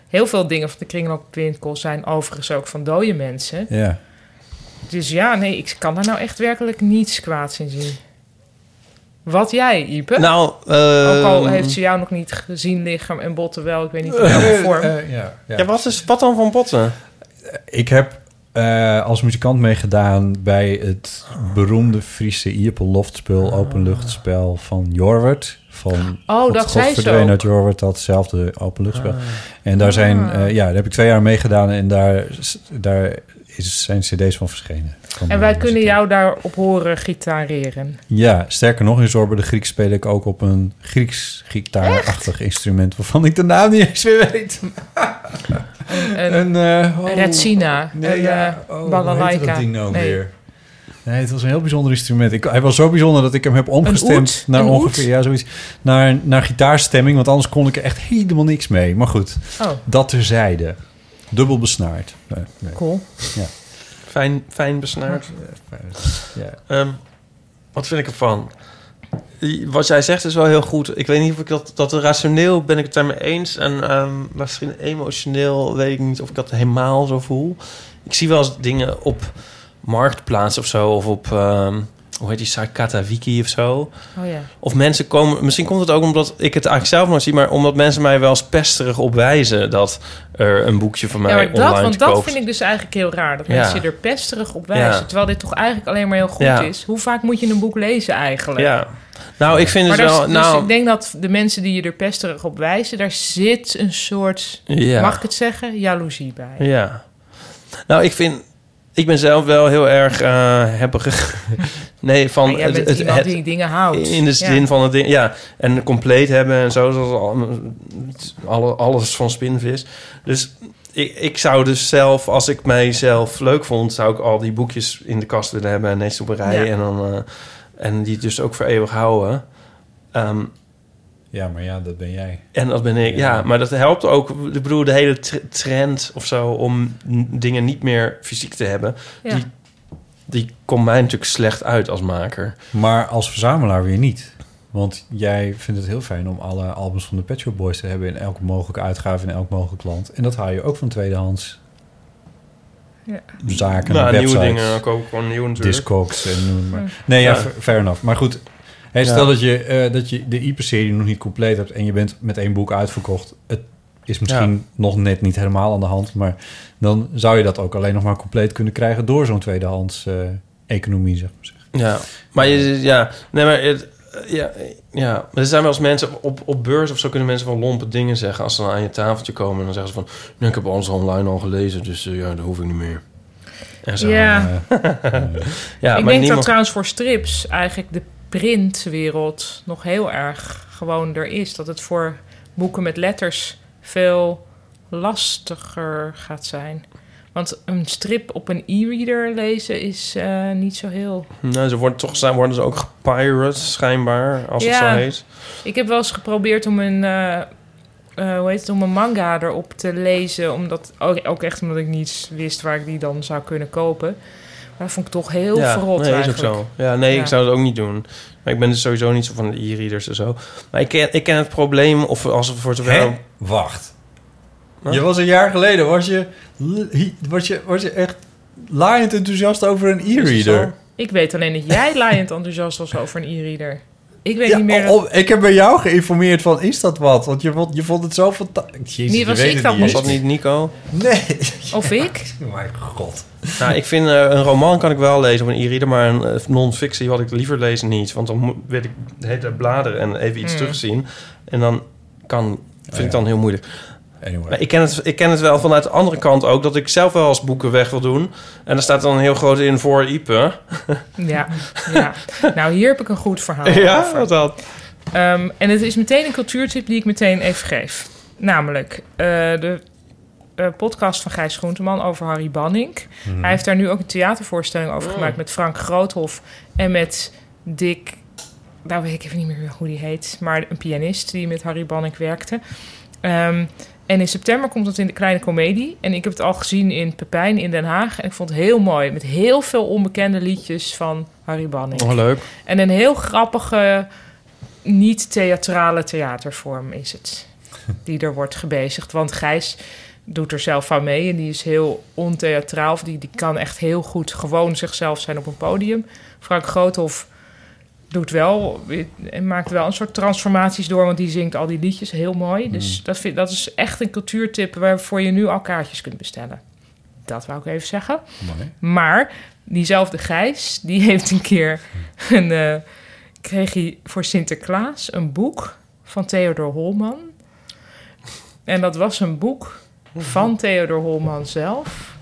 S6: Heel veel dingen van de kringloopwinkel zijn overigens ook van dode mensen.
S7: Ja.
S6: Dus ja, nee, ik kan daar nou echt werkelijk niets kwaads in zien. Wat jij, Ipe?
S8: Nou,
S6: Ook al
S8: ehm,
S6: heeft ze jou nog niet gezien liggen en botten wel. Ik weet niet in welke vorm.
S7: Eh, ja, ja.
S8: Ja, wat, is, wat dan van botten?
S7: Ik heb eh, als muzikant meegedaan bij het beroemde Friese Ierpeloftspul openluchtspel van Jorwert. Van
S6: Ah. Oh,
S7: God-
S6: dat
S7: God
S6: zei ze
S7: verdween
S6: ook. Ah.
S7: uit Jorwert, datzelfde openluchtspel. En daar zijn, eh, ja, daar heb ik twee jaar meegedaan en daar, s- daar is, zijn cd's van verschenen. Van,
S6: En
S7: eh,
S6: wij kunnen jou daarop horen
S7: [LAUGHS]
S6: gitareren.
S7: Ja, sterker nog, in Zorber de Griek speel ik ook op een Grieks gitaarachtig instrument... waarvan ik de naam niet eens meer weet.
S6: Een,
S7: eh,
S6: oh, Retsina.
S7: nee,
S6: een
S7: ja,
S6: eh,
S7: oh, hoe
S6: balalaika.
S7: heette dat ding nou
S6: Nee.
S7: weer? Nee, het was een heel bijzonder instrument. Ik, hij was zo bijzonder dat ik hem heb omgestemd
S6: oud?
S7: naar
S6: Een
S7: ongeveer
S6: oud?
S7: ja, zoiets, naar, naar gitaarstemming, want anders kon ik er echt helemaal niks mee. Maar goed,
S6: Oh.
S7: dat terzijde. Dubbel besnaard. Nee, nee.
S6: Cool.
S7: Ja.
S8: Fijn, fijn besnaard.
S7: Ja.
S8: Ehm, wat vind ik ervan? I- Wat jij zegt is wel heel goed. Ik weet niet of ik dat, dat rationeel ben ik het daarmee eens. En ehm, misschien emotioneel weet ik niet of ik dat helemaal zo voel. Ik zie wel eens dingen op marktplaats of zo. Of op, ehm, hoe heet die site, Katawiki of zo.
S6: Oh ja.
S8: Of mensen komen, misschien komt het ook omdat ik het eigenlijk zelf nog zie, maar omdat mensen mij wel eens pesterig op wijzen dat er een boekje van mij
S6: Ja, maar
S8: online
S6: dat, want
S8: te koop
S6: dat vind ik dus eigenlijk heel raar. Dat
S8: Ja.
S6: mensen je er pesterig op wijzen.
S8: Ja.
S6: Terwijl dit toch eigenlijk alleen maar heel goed
S8: Ja.
S6: is. Hoe vaak moet je een boek lezen eigenlijk?
S8: Ja. Nou, ik vind
S6: Maar
S8: het
S6: daar
S8: wel.
S6: is- dus
S8: nou,
S6: ik denk dat de mensen die je er pesterig op wijzen, daar zit een soort,
S8: Ja.
S6: mag ik het zeggen, jaloezie bij.
S8: Ja. Nou, ik vind... Ik ben zelf wel heel erg eh hebberig. [LAUGHS] nee, van...
S6: Maar jij bent iemand die dingen houdt.
S8: In de
S6: Ja.
S8: zin van het ding... Ja, en compleet hebben en zo. Zoals al- alle, alles van spinvis. Dus ik, ik zou dus zelf... Als ik mijzelf leuk vond... zou ik al die boekjes in de kast willen hebben... en netjes op een rij.
S6: Ja.
S8: En, dan, eh, en die dus ook voor eeuwig houden. Ehm,
S7: Ja, maar ja, dat ben jij.
S8: En dat ben ik, ja. Maar dat helpt ook, ik bedoel, de hele tr- trend of zo... om n- dingen niet meer fysiek te hebben...
S6: Ja.
S8: die, die komt mij natuurlijk slecht uit als maker.
S7: Maar als verzamelaar weer niet. Want jij vindt het heel fijn om alle albums van de Pet Shop Boys te hebben... in elke mogelijke uitgave, in elk mogelijk land. En dat haal je ook van tweedehands
S6: Ja.
S7: zaken,
S8: Nou, nieuwe
S7: websites.
S8: dingen, ook- ook gewoon nieuw natuurlijk.
S7: Discogs en noem maar. Nee, ja,
S8: Ja.
S7: fa- fair enough. Maar goed, hey,
S8: Ja.
S7: stel dat, je, eh, dat je de IP-serie nog niet compleet hebt... en je bent met één boek uitverkocht. Het is misschien
S8: Ja.
S7: nog net niet helemaal aan de hand... maar dan zou je dat ook alleen nog maar compleet kunnen krijgen... door zo'n tweedehands eh, economie, zeg maar.
S8: Ja, maar je, ja, nee, maar het, ja, ja, maar er zijn wel eens mensen op, op beurs of zo kunnen mensen wel lompe dingen zeggen als ze dan aan je tafeltje komen en dan zeggen ze van, nee, ik heb alles online al gelezen, dus eh, ja, dat hoef ik niet meer. En zo,
S6: Ja.
S8: [LAUGHS] eh, ja,
S6: ik
S8: maar
S6: denk dat
S8: niemand,
S6: trouwens voor strips eigenlijk de printwereld nog heel erg gewoon er is. Dat het voor boeken met letters veel lastiger gaat zijn. Want een strip op een e-reader lezen is eh, niet zo heel
S8: nou, ze worden toch zijn worden ze ook gepirate schijnbaar als het
S6: Ja.
S8: zo heet.
S6: Ik heb wel eens geprobeerd om een, eh, eh, hoe heet het, om een manga erop te lezen. Omdat, ook, ook echt omdat ik niets wist waar ik die dan zou kunnen kopen. Maar dat vond ik toch heel
S8: ja,
S6: verrot
S8: nee, is ook
S6: eigenlijk.
S8: zo. Ja, nee,
S6: Ja.
S8: ik zou het ook niet doen. Maar ik ben dus sowieso niet zo van de e-readers en zo. Maar ik ken, ik ken het probleem of als het voor zover.
S7: Hè? Wacht. Je was een jaar geleden, was je, was je, was je echt laaiend enthousiast over een e-reader.
S6: Ik weet alleen dat
S8: [LAUGHS]
S6: jij laaiend enthousiast was over een e-reader. Ik weet niet meer...
S7: Oh, oh, ik heb bij jou geïnformeerd van, is dat wat? Want je vond, je vond het zo fantastisch.
S6: Nee, was ik dat
S8: Was dat niet Nico?
S7: Nee. Oh
S6: Of
S7: [LAUGHS]
S6: ik?
S7: Mijn god.
S8: Nou, ik vind eh, een roman kan ik wel lezen of een e-reader, maar een eh, non-fictie had ik liever lezen niet. Want dan moet, weet ik de hele tijd bladeren en even iets
S6: Mm.
S8: terugzien. En dan kan, vind ik dan heel moeilijk.
S7: Anyway.
S8: Maar ik ken, het, ik ken het wel vanuit de andere kant ook, dat ik zelf wel als boeken weg wil doen. En daar staat dan heel groot in voor Ipe. [LAUGHS]
S6: Ja, ja. Nou, hier heb ik een goed verhaal
S8: Ja,
S6: over.
S8: wat dan?
S6: Ehm, en het is meteen een cultuurtip die ik meteen even geef. Namelijk eh, de eh, podcast van Gijs Groenteman over Harry Banning.
S13: Mhm.
S6: Hij heeft daar nu ook een theatervoorstelling over
S13: Oh.
S6: gemaakt met Frank Groothof en met Dick. Nou weet ik even niet meer hoe die heet, maar een pianist die met Harry Banning werkte. Ehm, en in september komt het in de Kleine Comedie. En ik heb het al gezien in Pepijn in Den Haag. En ik vond het heel mooi. Met heel veel onbekende liedjes van Harry Banning.
S8: Oh, leuk.
S6: En een heel grappige, niet-theatrale theatervorm is het. Die er wordt gebezigd. Want Gijs doet er zelf aan mee. En die is heel ontheatraal. Of Die, die kan echt heel goed gewoon zichzelf zijn op een podium. Frank Groothoff doet wel, en maakt wel een soort transformaties door, want die zingt al die liedjes heel
S8: Hmm.
S6: mooi. Dus dat, vind, dat is echt een cultuurtip waarvoor je nu al kaartjes kunt bestellen. Dat wou ik even zeggen.
S7: Mooi.
S6: Maar diezelfde Gijs, die heeft een keer een, eh, kreeg hij voor Sinterklaas een boek van Theodor Holman. En dat was een boek van Theodor Holman zelf,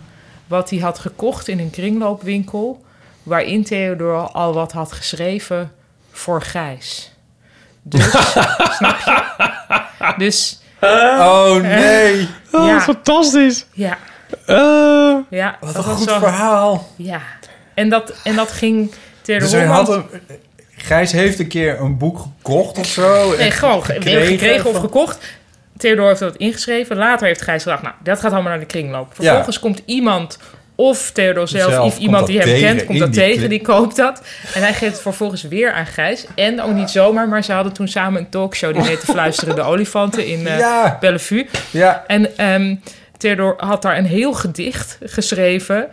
S6: wat hij had gekocht in een kringloopwinkel, waarin Theodor al wat had geschreven voor Gijs.
S7: [LAUGHS]
S6: Dus, snap je? Dus.
S7: Oh nee!
S6: Oh, Ja.
S8: fantastisch!
S6: Ja. ja
S7: wat
S6: dat
S7: een
S6: was
S7: goed
S6: wel-
S7: verhaal.
S6: Ja. En dat, en dat ging Theodor
S7: Dus hij
S6: Holman-
S7: had een, Gijs heeft een keer een boek gekocht of zo.
S6: Nee,
S7: en
S6: gewoon ge- gekregen, of
S7: Oh, van-
S6: gekocht. Theodor heeft dat ingeschreven. Later heeft Gijs gedacht, nou, dat gaat allemaal naar de kringloop. Vervolgens komt iemand, of Theodor zelf,
S13: Zelf
S6: of
S13: komt
S6: iemand
S13: dat
S6: die hem
S13: tegen
S6: kent, komt
S13: in
S6: dat
S13: die
S6: tegen,
S13: kring-
S6: die koopt dat. En hij geeft het vervolgens weer aan Gijs. En ook niet zomaar, maar ze hadden toen samen een talkshow... die
S7: [LAUGHS]
S6: heette Fluisterende Olifanten in eh
S13: Ja.
S6: Bellevue.
S7: Ja.
S6: En ehm, Theodor had daar een heel gedicht geschreven...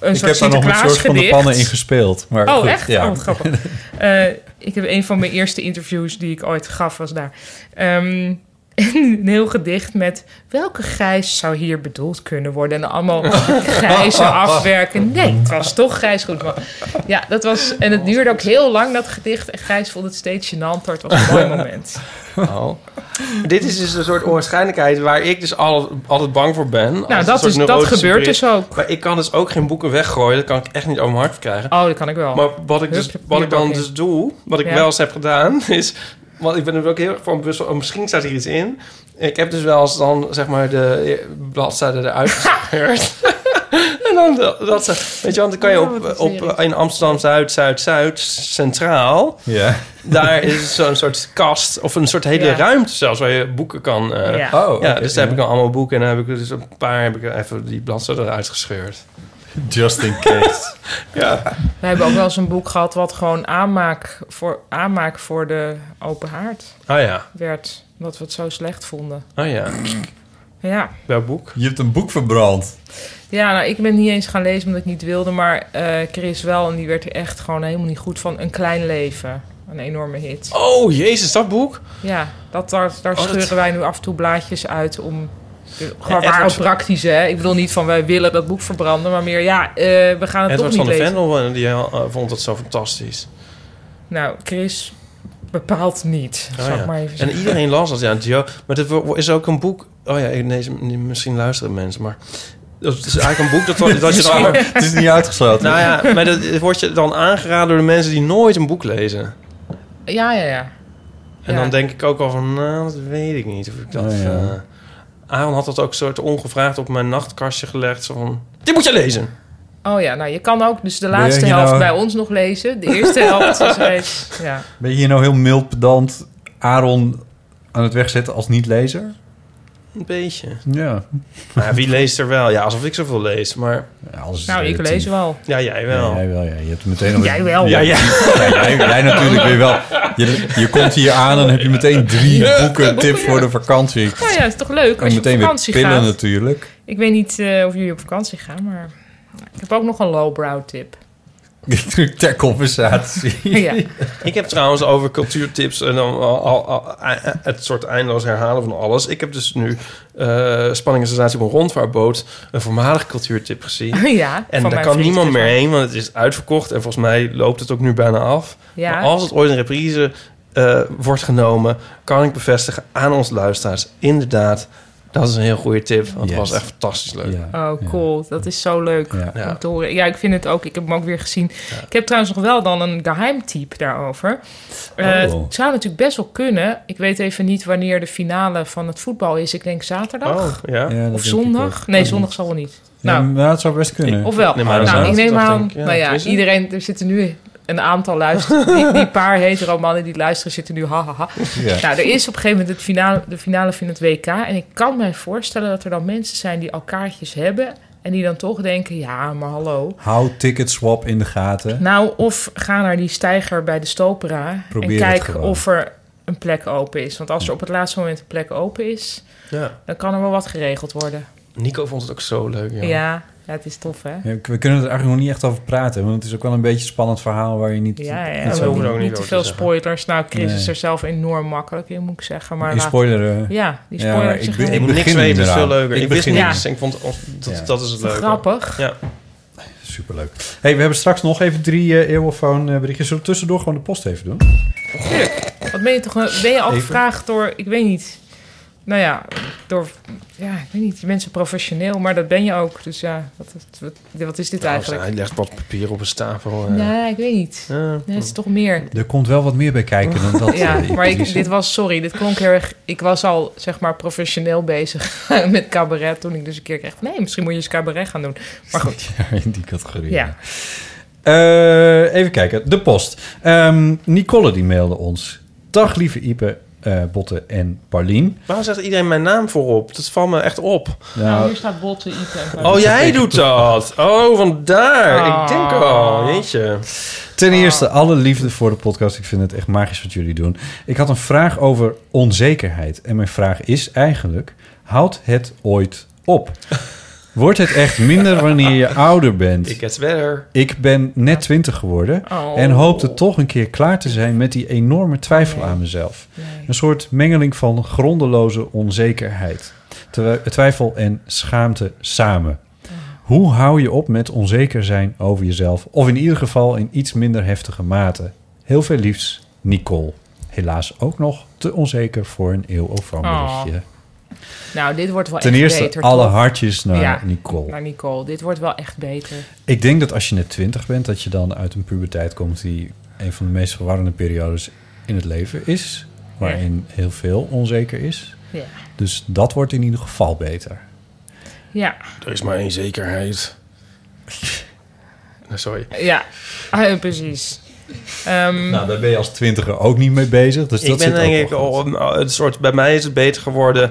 S6: Een
S7: ik
S6: soort
S7: heb daar nog met
S6: Sinterklaas
S7: George van de
S6: gedicht.
S7: Pannen in gespeeld. Maar
S6: oh,
S7: goed,
S6: echt?
S7: Ja.
S6: Oh, wat
S7: [LAUGHS]
S6: grappig. Eh, ik heb een van mijn eerste interviews die ik ooit gaf, was daar. Ehm, een heel gedicht met welke grijs zou hier bedoeld kunnen worden? En allemaal grijzen afwerken. Nee, het was toch grijs goed. ja, dat was, en het duurde ook heel lang, dat gedicht. En grijs vond het steeds gênanter. Het was een mooi moment.
S8: Oh. Dit is dus een soort onwaarschijnlijkheid waar ik dus al- altijd bang voor ben. Als een
S6: Nou, dat
S8: soort
S6: is- dat
S8: neurotische
S6: gebeurt
S8: bericht.
S6: dus ook.
S8: Maar ik kan dus ook geen boeken weggooien. Dat kan ik echt niet over mijn hart krijgen.
S6: Oh, dat kan ik wel.
S8: Maar wat ik, dus,
S6: Hup,
S8: wat ik dan
S6: papierbak in.
S8: dus doe, wat ik
S6: Ja.
S8: wel eens heb gedaan, [LAUGHS] is... Want ik ben er ook heel erg van bewust van, oh, misschien staat hier iets in.
S6: [LAUGHS]
S8: Ik heb dus wel eens dan, zeg maar, de bladzijde eruit gescheurd. [LAUGHS] en dan dat ze... Weet je, want dan kan je op, op, in Amsterdam Zuid, Zuid, Zuid, Centraal...
S13: Ja.
S8: Daar is zo'n soort kast of een soort hele
S13: Ja.
S8: ruimte zelfs waar je boeken kan... eh,
S13: Ja. Oh,
S8: ja,
S13: oké,
S8: dus daar
S13: ja.
S8: heb ik dan allemaal boeken en daar heb ik dus een paar heb ik even die bladzijden eruit gescheurd.
S13: Just in case.
S8: [LAUGHS] ja.
S6: We hebben ook wel eens een boek gehad wat gewoon aanmaak voor, aanmaak voor de open haard
S8: Oh ja.
S6: werd. Omdat we het zo slecht vonden.
S7: Ah
S8: Oh ja.
S6: Ja.
S8: Welk boek?
S13: Je hebt een boek verbrand.
S6: Ja, nou, ik ben niet eens gaan lezen omdat ik niet wilde. Maar eh, Chris wel. En die werd er echt gewoon helemaal niet goed van. Een klein leven. Een enorme hit.
S8: Oh, jezus, dat boek?
S6: Ja, dat, daar, daar
S8: dat-
S6: scheuren wij nu af en toe blaadjes uit om... Gewoon
S8: Edward-
S6: waar ook praktisch, hè? Ik bedoel niet van wij willen dat boek verbranden, maar meer ja, eh, we gaan het
S8: Edward
S6: toch
S8: van
S6: niet
S8: de
S6: lezen.
S8: Vendel eh, die eh, vond het zo fantastisch.
S6: Nou, Chris bepaalt niet,
S8: Oh,
S6: zal ik
S8: ja.
S6: maar even
S8: en
S6: zeggen.
S8: iedereen las dat, ja. Joe. Maar het wo- is ook een boek... Oh ja, nee, ze- misschien luisteren mensen, maar... Het is eigenlijk een boek dat, dat je dan...
S13: Misschien. [LAUGHS] Het is niet uitgesloten.
S8: Nou ja, maar dat wordt je dan aangeraden door de mensen die nooit een boek lezen.
S6: Ja, ja, ja.
S8: En
S6: Ja.
S8: dan denk ik ook al van, nou, dat weet ik niet. Of ik dat...
S13: Oh, ja.
S8: eh, Aaron had dat ook soort ongevraagd op mijn nachtkastje gelegd. Zo van, dit moet je lezen!
S6: Oh ja, nou je kan ook dus de
S13: Ben je
S6: laatste
S13: hier
S6: helft
S13: nou-
S6: bij ons nog lezen. De eerste helft
S8: [LAUGHS]
S6: is
S7: [LAUGHS]
S6: reeds. Ja.
S7: Ben je hier nou heel mild pedant Aaron aan het wegzetten als niet-lezer?
S8: Een beetje.
S7: Ja.
S8: Maar wie leest er wel? Nou Ja, alsof ik zoveel lees, maar...
S6: Nou, ik lees wel.
S8: Ja, jij wel.
S7: Ja, jij wel, ja. [LAUGHS] Je hebt meteen al...
S6: Jij wel.
S7: Ja,
S6: Ja,
S7: ja.
S6: ja.
S7: jij, jij natuurlijk weer wel. Je, je komt hier aan en heb je meteen drie boeken tip voor de vakantie.
S6: Nou ja, is toch leuk als je
S7: En
S6: op
S7: meteen weer
S6: vakantie
S7: pillen
S6: gaat.
S7: natuurlijk.
S6: Ik weet niet eh, of jullie op vakantie gaan, maar ik heb ook nog een lowbrow
S8: [LAUGHS]
S6: tip.
S7: Ter compensatie.
S6: Ja.
S8: Ik heb trouwens over cultuurtips en dan al, al- al- eh, het soort eindeloos herhalen van alles. Ik heb dus nu eh, spanning en sensatie op een rondvaartboot een voormalig cultuurtip gezien.
S6: [LAUGHS] Ja, van
S8: en daar
S6: mijn
S8: kan
S6: vriend
S8: niemand meer heen, want het is uitverkocht en volgens mij loopt het ook nu bijna af.
S6: Ja.
S8: Maar als het ooit een reprise eh, wordt genomen, kan ik bevestigen aan onze luisteraars inderdaad. Dat is een heel goede tip, want het was echt fantastisch leuk.
S6: Oh, cool. Dat is zo leuk
S8: Ja.
S6: om te horen. Ja, ik vind het ook. Ik heb hem ook weer gezien. Ik heb trouwens nog wel dan een geheimtype daarover. Eh,
S14: Oh.
S6: het zou natuurlijk best wel kunnen. Ik weet even niet wanneer de finale van het voetbal is. Ik denk zaterdag
S8: Oh, ja. Ja, dat denk
S6: of
S8: ik
S6: zondag.
S8: ook.
S6: Nee, zondag zal wel niet.
S7: Nou, maar het zou best kunnen.
S6: Of wel?
S7: maar
S6: nou, ik neem aan.
S7: ja,
S6: nou ja,
S7: het is het.
S6: iedereen, er zitten nu een aantal
S7: [LAUGHS]
S6: luisteren. die, die paar hetero mannen die luisteren zitten nu ha ha ha.
S14: Ja.
S6: Nou, er is op een gegeven moment het finale, de finale van het WK. En ik kan mij voorstellen dat er dan mensen zijn die al kaartjes hebben. En die dan toch denken, ja, maar hallo.
S7: Hou ticket swap in de gaten.
S6: Nou, of ga naar die steiger bij de Stopera.
S7: Probeer
S6: en
S7: het
S6: kijk
S7: gewoon.
S6: of er een plek open is. Want als er op het laatste moment een plek open is...
S8: Ja.
S6: dan kan er wel wat geregeld worden.
S8: Nico vond het ook zo leuk.
S6: Ja,
S8: Ja.
S6: ja, het is tof, hè?
S7: Ja, we kunnen er eigenlijk nog niet echt over praten, want het is ook wel een beetje een spannend verhaal waar je niet.
S6: Ja, ja,
S7: niet
S6: we
S7: zo-
S6: hoeven ook niet te veel spoilers. Nou, Chris
S7: Nee.
S6: is er zelf enorm makkelijk in, moet ik zeggen. Maar
S7: Die
S6: laat-
S7: spoileren.
S6: Ja, die
S7: Ja,
S6: spoiler
S7: maar
S6: ik,
S7: ik
S6: zich
S7: be-
S6: wel.
S7: ik
S8: moet niks
S7: begin
S8: weten, is
S7: eraan.
S8: veel leuker.
S7: Ik
S8: Ik, wist
S7: begin-
S8: niks
S7: Ja.
S8: en ik vond... Dat,
S7: Ja.
S8: dat is het leuke.
S6: Grappig.
S8: Ja.
S7: Superleuk. Hey, we hebben straks nog even drie eh eeuwofoon eh, berichtjes. Zullen we tussendoor gewoon de post even doen?
S6: Tuurlijk. Wat ben je toch... een- Ben je al
S7: Even.
S6: gevraagd door... Ik weet niet. Nou ja, door... Ja, ik weet niet. Mensen professioneel, maar dat ben je ook. Dus ja, wat, wat, wat is dit
S8: Nou,
S6: eigenlijk?
S8: Hij legt wat papier op een stapel. eh.
S6: Nee, ik weet niet. Nee, het is toch meer.
S7: Er komt wel wat meer bij kijken
S6: [LAUGHS]
S7: dan dat.
S6: ja,
S7: eh,
S6: maar ik,
S7: Patrice.
S6: dit was, sorry, dit klonk heel erg. Ik was al zeg maar professioneel bezig [LAUGHS] met cabaret toen ik dus een keer kreeg. van, Nee, misschien moet je eens cabaret gaan doen. Maar goed.
S7: [LAUGHS] Ja, in die categorie.
S6: Ja.
S7: Eh, even kijken, de post. Ehm, Nicole die mailde ons. Dag lieve Ipe, eh Botte en Paulien.
S8: Waarom zegt iedereen mijn naam voorop? Dat valt me echt op.
S7: Nou,
S6: hier staat botten Ipe.
S8: Oh, jij doet dat. Oh, vandaar.
S7: Ah.
S8: Ik denk al. Jeetje.
S7: Ten eerste, alle liefde voor de podcast. Ik vind het echt magisch wat jullie doen. Ik had een vraag over onzekerheid. En mijn vraag is eigenlijk: houdt het ooit op? Wordt het echt minder wanneer
S8: [LAUGHS]
S7: je ouder bent?
S8: Ik get better.
S7: Ik ben net 20 geworden
S8: Oh.
S7: en hoopte toch een keer klaar te zijn met die enorme twijfel aan mezelf. Een soort mengeling van grondeloze onzekerheid, terwijl- eh, twijfel en schaamte samen. Hoe hou je op met onzeker zijn over jezelf? Of in ieder geval in iets minder heftige mate. Heel veel liefs, Nicole. Helaas ook nog te onzeker voor een eeuw of berichtje.
S6: Nou, dit wordt wel
S7: Ten
S6: echt
S7: eerste,
S6: beter.
S7: alle
S6: toch?
S7: hartjes naar Nicole.
S6: Naar Nicole. Dit wordt wel echt beter.
S7: Ik denk dat als je net twintig bent, dat je dan uit een puberteit komt die een van de meest verwarrende periodes in het leven is. Waarin heel veel onzeker is.
S6: Ja.
S7: Dus dat wordt in ieder geval beter.
S6: Ja.
S8: Er is maar één zekerheid. Nou, sorry.
S6: Ja, [LAUGHS] ah, ja, precies. Ehm,
S7: Nou, daar ben je als twintiger ook niet mee bezig. Dus
S8: ik
S7: dat
S8: ben
S7: zit ook
S8: denk
S7: wel
S8: ik al een, een soort. Bij mij is het beter geworden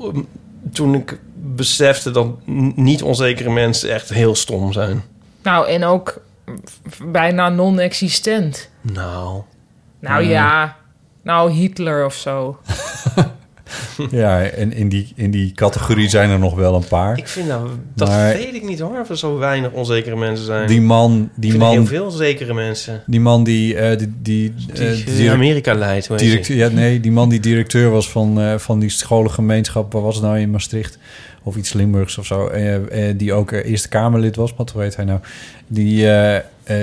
S8: um, toen ik besefte dat n- niet onzekere mensen echt heel stom zijn.
S6: Nou, en ook v- bijna non-existent.
S8: Nou.
S6: Nou
S7: Hmm.
S6: ja, nou Hitler of zo.
S7: Ja, en in die, in die categorie zijn er nog wel een paar.
S8: Ik vind nou, dat
S7: Maar
S8: weet ik niet hoor, of er zo weinig onzekere mensen zijn.
S7: Die man- die
S8: ik vind
S7: man-
S8: heel veel zekere mensen.
S7: Die man die... eh, die, die, eh,
S8: Die
S7: direct-
S8: Amerika leidt, hoe heet
S7: direct-
S8: die?
S7: Ja, nee, die man die directeur was van, eh, van die scholengemeenschap... Waar was het nou in Maastricht? Of iets Limburgs of zo. eh, eh, die ook eh, Eerste Kamerlid was, wat hoe heet hij nou? Die, eh, eh,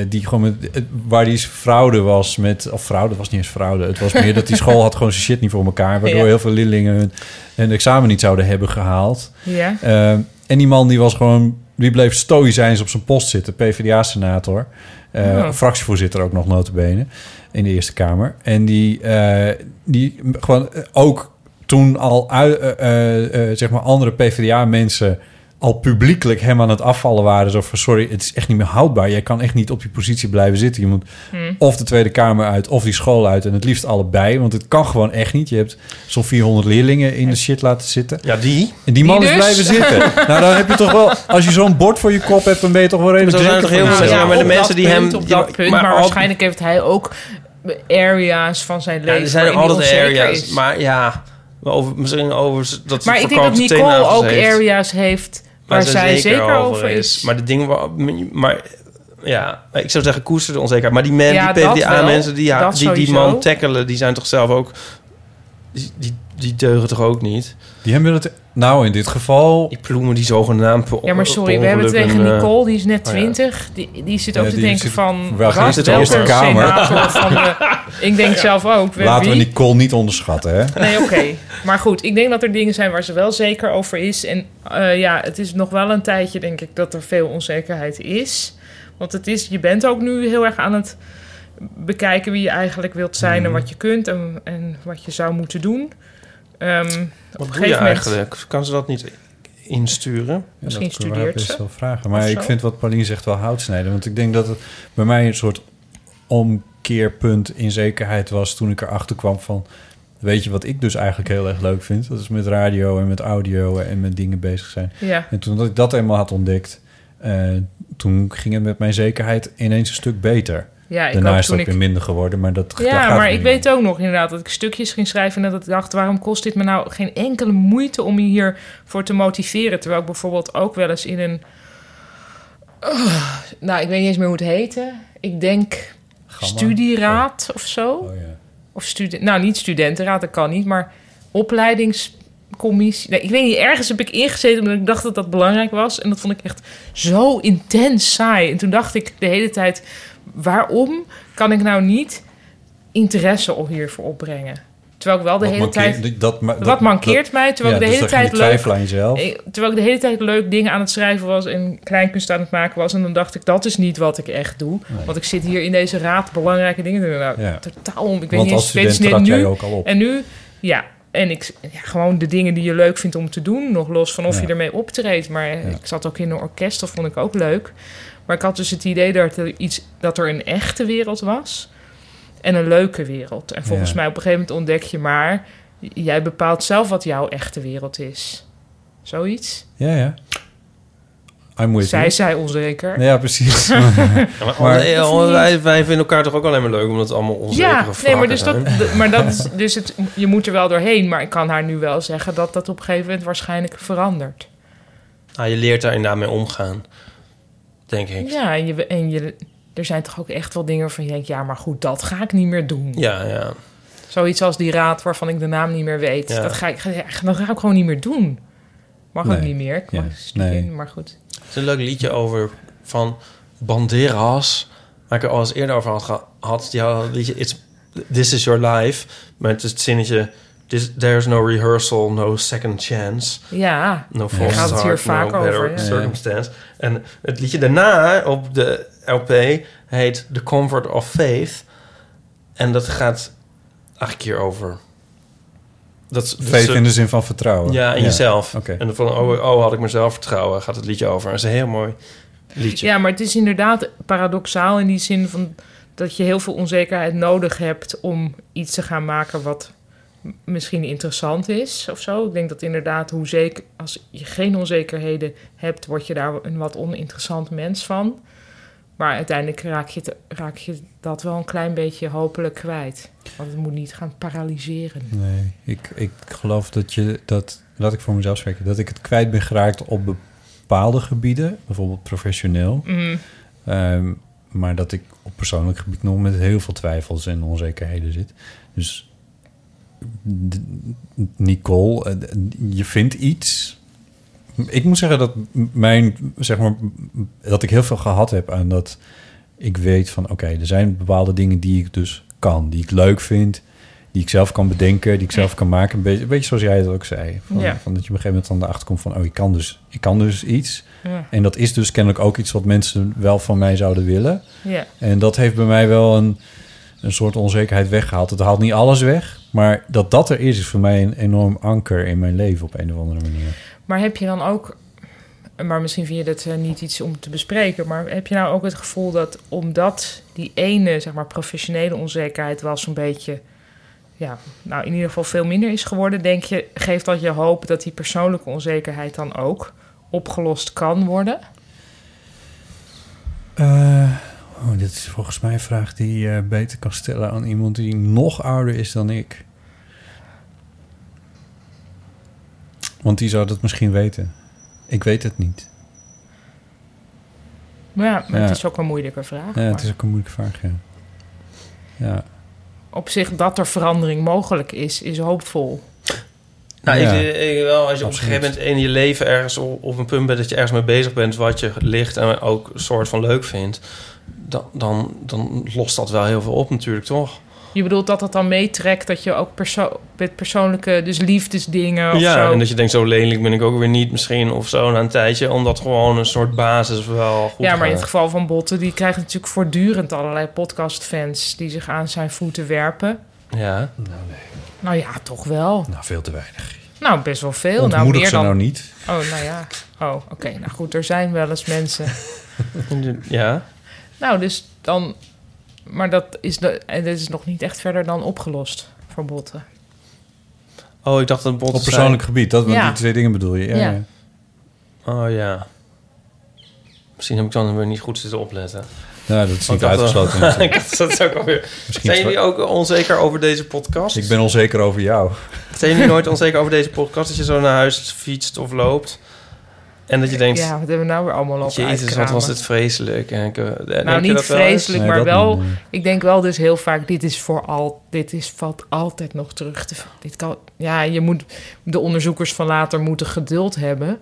S7: die gewoon met, eh, waar die fraude was met... Of fraude, het was niet eens fraude. Het was meer dat die school had gewoon zijn shit niet voor elkaar.
S8: [LAUGHS]
S7: Waardoor
S6: Ja.
S7: heel veel leerlingen hun, hun examen niet zouden hebben gehaald.
S6: Ja.
S7: Eh, en die man die was gewoon, die bleef stoïcijns op zijn post zitten, PvdA-senator. Eh,
S6: Ja.
S7: Fractievoorzitter ook nog notabene in de Eerste Kamer. En die, eh, die gewoon eh, ook toen al ui- eh, eh, eh, zeg maar andere PvdA-mensen al publiekelijk hem aan het afvallen waren. Zo van, sorry, het is echt niet meer houdbaar. Jij kan echt niet op je positie blijven zitten. Je moet
S6: Hmm.
S7: of de Tweede Kamer uit of die school uit. En het liefst allebei, want het kan gewoon echt niet. Je hebt zo'n 400 leerlingen in de shit laten zitten.
S8: Ja, die.
S7: En die man
S8: Die
S7: is
S8: dus.
S7: blijven
S6: [LAUGHS]
S7: zitten. nou, dan heb je toch wel... Als je zo'n bord voor je kop hebt, dan ben je toch wel redelijk
S8: Zo zijn er
S7: zeker
S8: toch heel
S7: van
S8: veel
S7: jezelf.
S8: mensen, maar de
S6: Op
S8: mensen
S6: dat
S8: die hem...
S6: punt, op
S8: die-
S6: dat punt, maar,
S8: al-
S6: waarschijnlijk heeft hij ook areas van zijn
S8: Ja,
S6: leven.
S8: er zijn
S6: waarin
S8: ook
S6: hij
S8: altijd
S6: onzeker
S8: areas,
S6: is.
S8: maar ja... maar Over, misschien over dat ze
S6: maar ik denk dat
S8: verkoopte
S6: Nicole
S8: teennagels
S6: ook
S8: heeft.
S6: areas heeft
S8: Maar
S6: waar zij zeker, over is.
S8: Maar de ding waar, maar ja, ik zou zeggen koester de onzekerheid. Maar die, men,
S6: Ja,
S8: die
S6: dat
S8: PvdA mensen
S6: wel.
S8: die, ja,
S6: Dat
S8: die die
S6: sowieso.
S8: man tackelen, die zijn toch zelf ook, die, die, die deugen toch ook niet.
S7: Die hebben het, nou in dit geval,
S8: die ploemen die zogenaamd.
S6: Ja, maar sorry, we hebben het tegen
S8: eh,
S6: Nicole, die is net 20. Die, die zit ook
S7: Ja,
S6: te
S7: eh, die
S6: denken
S7: zit-
S6: van...
S7: waar
S6: gast,
S7: zit de Eerste
S6: welke
S7: Kamer? [LAUGHS]
S6: senator van
S8: [LAUGHS]
S6: de- ik denk zelf ook. we-
S7: Laten we
S6: wie?
S7: Nicole niet onderschatten, hè?
S6: Nee, oké. Maar goed, ik denk dat er dingen zijn waar ze wel zeker over is. En eh, ja, het is nog wel een tijdje, denk ik, dat er veel onzekerheid is. Want het is, je bent ook nu heel erg aan het bekijken wie je eigenlijk wilt zijn
S8: Mhm.
S6: en wat je kunt en, en wat je zou moeten doen. Ehm, op
S8: Wat
S6: een
S8: doe je
S6: gegeven moment.
S8: eigenlijk? Kan ze dat niet insturen?
S6: Misschien dat kunnen we studeert haar best ze. wel
S7: vragen. Maar
S6: Of
S7: ik
S6: zo.
S7: vind wat Paulien zegt wel hout snijden. Want ik denk dat het bij mij een soort omkeerpunt in zekerheid was toen ik erachter kwam van... Weet je wat ik dus eigenlijk heel erg leuk vind? Dat is met radio en met audio en met dingen bezig zijn.
S6: Ja.
S7: En toen dat ik dat eenmaal had ontdekt, eh, toen ging het met mijn zekerheid ineens een stuk beter.
S6: Ja, ik
S7: Daarna
S6: ook
S7: is
S6: toen
S7: dat
S6: ik-
S7: weer minder geworden, maar dat daar gaat
S6: Ja,
S7: het
S6: maar
S7: niet
S6: ik weet ook nog inderdaad dat ik stukjes ging schrijven en dat ik dacht, waarom kost dit me nou geen enkele moeite om je hiervoor te motiveren? Terwijl ik bijvoorbeeld ook wel eens in een. Ah, nou, ik weet niet eens meer hoe het heette. Ik denk studieraad
S7: Oh.
S6: of zo. Of student, nou, niet studentenraad, dat kan niet, maar opleidingscommissie. Nee, ik weet niet, ergens heb ik ingezeten omdat ik dacht dat dat belangrijk was. En dat vond ik echt zo intens saai. En toen dacht ik de hele tijd, waarom kan ik nou niet interesse op hiervoor opbrengen? Terwijl ik wel de
S7: Wat
S6: hele
S7: mankeert-
S6: tijd...
S7: dat ma- dat-
S6: wat mankeert
S7: dat-
S6: mij? Terwijl
S7: ja,
S6: ik de
S7: dus
S6: hele
S7: dan ga je
S6: tijd leuk...
S7: twijfelen aan jezelf.
S6: Eh, Terwijl ik de hele tijd leuk dingen aan het schrijven was... en kleinkunst aan het maken was. En dan dacht ik, dat is niet wat ik echt doe.
S7: Nee.
S6: Want ik zit hier in deze raad belangrijke dingen te doen. Nou,
S7: Ja.
S6: totaal om. Ik weet
S7: Want
S6: niet
S7: als
S6: eens, ik weet
S7: student
S6: niet-
S7: trad
S6: nu,
S7: jij ook al op.
S6: En nu, ja. En ik, ja, gewoon de dingen die je leuk vindt om te doen. Nog los van of
S7: Ja.
S6: je ermee optreedt. Maar ik zat ook in een orkest, dat vond ik ook leuk. Maar ik had dus het idee dat er, iets, dat er een echte wereld was. En een leuke wereld. En volgens
S7: Ja.
S6: mij op een gegeven moment ontdek je maar... Jij bepaalt zelf wat jouw echte wereld is. Zoiets.
S7: Ja, ja. I'm with
S6: Zij
S7: you.
S6: zei onzeker.
S7: Ja,
S6: [LAUGHS]
S7: precies.
S6: Ja,
S8: Ja, [LAUGHS] maar
S7: Maar-
S8: alle- alle- wij, wij vinden elkaar toch ook alleen maar leuk omdat het allemaal onzekere
S6: Ja, nee, maar,
S8: wrakken
S6: dus dat,
S8: zijn?
S6: d- maar dat
S8: [LAUGHS]
S6: is, dus het, je moet er wel doorheen. Maar ik kan haar nu wel zeggen dat dat op een gegeven moment waarschijnlijk verandert.
S8: Ah, je leert daar inderdaad mee omgaan, denk ik.
S6: Ja, en, je, en je, er zijn toch ook echt wel dingen waarvan je denkt... ja, maar goed, dat ga ik niet meer doen.
S8: Ja, ja.
S6: Zoiets als die raad waarvan ik de naam niet meer weet.
S8: Ja.
S6: Dat, ga ik, ga- dat ga ik gewoon niet meer doen. Mag ook
S8: Nee.
S6: niet meer. Ik
S8: Ja,
S6: mag niet
S8: nee.
S6: in, maar goed.
S8: Het is een leuk liedje over van Banderas, waar ik er al eens eerder over had gehad. Die had het liedje It's, This Is Your Life, met het zinnetje... This, there's no rehearsal, no second chance.
S6: Ja,
S8: no
S6: daar
S8: false
S6: gaat het hier
S8: start,
S6: vaak
S8: no better
S6: over, ja.
S8: circumstance. En het liedje daarna op de LP heet The Comfort of Faith. En dat gaat eigenlijk hier over. Dat, is- dat
S7: Faith
S8: is-
S7: in de zin van vertrouwen.
S8: Dus Ja, in
S7: Ja.
S8: jezelf.
S7: Oké.
S8: oh, En van, oh, oh, had ik mezelf vertrouwen, gaat het liedje over. En dat is een heel mooi liedje.
S6: Ja, maar het is inderdaad paradoxaal in die zin van dat je heel veel onzekerheid nodig hebt om iets te gaan maken wat m- misschien interessant is of zo. Ik denk dat inderdaad, hoe zeker, als je geen onzekerheden hebt, word je daar een wat oninteressant mens van. Maar uiteindelijk raak je, het- raak je dat wel een klein beetje hopelijk kwijt. Want het moet niet gaan paralyseren.
S7: Nee, ik, ik geloof dat je dat, laat ik voor mezelf spreken, dat ik het kwijt ben geraakt op bepaalde gebieden, bijvoorbeeld professioneel.
S6: Mhm.
S7: Ehm, maar dat ik op persoonlijk gebied nog met heel veel twijfels en onzekerheden zit. Dus d- Nicole, eh, d- je vindt iets. Ik moet zeggen dat m- mijn, zeg maar, m- dat ik heel veel gehad heb aan dat ik weet van oké, er zijn bepaalde dingen die ik dus kan, die ik leuk vind, die ik zelf kan bedenken, die ik zelf kan maken. Een beetje, een beetje zoals jij het ook zei. Van,
S6: Ja.
S7: van dat je op een gegeven moment dan erachter komt van oh, ik kan dus, ik kan dus iets.
S6: Ja.
S7: En dat is dus kennelijk ook iets wat mensen wel van mij zouden willen.
S6: Ja.
S7: En dat heeft bij mij wel een, een soort onzekerheid weggehaald. Het haalt niet alles weg, maar dat dat er is, is voor mij een enorm anker in mijn leven op een of andere manier.
S6: Maar heb je dan ook, maar misschien vind je dat eh, niet iets om te bespreken, maar heb je nou ook het gevoel dat omdat die ene, zeg maar, professionele onzekerheid wel zo'n beetje, ja, nou in ieder geval veel minder is geworden, denk je, geeft dat je hoop dat die persoonlijke onzekerheid dan ook opgelost kan worden?
S7: Eh, oh, dit is volgens mij een vraag die je beter kan stellen aan iemand die nog ouder is dan ik. Want die zou dat misschien weten. Ik weet het niet.
S6: Nou Ja, maar
S7: Ja.
S6: het is ook een moeilijke vraag.
S7: Ja,
S6: maar
S7: het is ook een moeilijke vraag, ja. Ja.
S6: Op zich dat er verandering mogelijk is, is hoopvol.
S8: Nou,
S7: Ja.
S8: ik, ik wel. Als je op
S7: Absoluut.
S8: een gegeven moment in je leven ergens op, op een punt bent dat je ergens mee bezig bent, wat je ligt en ook een soort van leuk vindt, dan, dan, dan lost dat wel heel veel op natuurlijk, toch?
S6: Je bedoelt dat dat dan meetrekt dat je ook perso- met persoonlijke, dus liefdesdingen of
S8: ja,
S6: zo.
S8: en dat je denkt, zo lelijk ben ik ook weer niet misschien of zo na een tijdje, omdat gewoon een soort basis wel goed
S6: ja, maar in het
S7: eh,
S8: gaat.
S6: geval van Botten, die krijgt natuurlijk voortdurend allerlei podcastfans die zich aan zijn voeten werpen.
S8: Ja.
S6: Nou ja, toch wel.
S7: Nou, veel te weinig.
S6: Nou, best wel veel. nou,
S7: Ontmoedig
S6: meer
S7: ze
S6: dan...
S7: nou niet.
S6: Oh, nou ja. Oh, oké. Nou goed, er zijn wel eens
S7: [LAUGHS]
S6: mensen.
S8: Ja.
S6: nou, dus dan... Maar dat is, de... en dat is nog niet echt verder dan opgelost voor Botten.
S8: Oh, ik dacht dat botten
S7: Op persoonlijk
S8: zijn.
S7: gebied, dat, want
S6: Ja.
S7: die twee dingen bedoel je. Ja,
S6: Ja.
S7: ja.
S8: Oh ja. Misschien heb ik dan weer niet goed zitten opletten.
S7: Ja, Nou, dat is
S8: Want
S7: niet
S8: dat-
S7: uitgesloten
S8: [LAUGHS] ik
S7: natuurlijk.
S8: dacht, dat is ook alweer.
S7: Misschien
S8: Zijn jullie ook onzeker over deze podcast?
S7: Ik ben onzeker over jou.
S8: Zijn jullie nooit onzeker over deze podcast? Dat je zo naar huis fietst of loopt. En dat je denkt...
S6: Ja, wat hebben we nou weer allemaal lopen
S8: Jezus, wat
S6: uitkramen?
S8: was dit vreselijk. En ik, eh, denk je
S6: Nou, niet
S8: dat wel eens?
S6: vreselijk, maar wel. Ik denk wel dus heel vaak: dit is voor al, dit is valt altijd nog terug te. Dit kan, ja, je moet de onderzoekers van later moeten geduld
S8: [LAUGHS]
S6: hebben.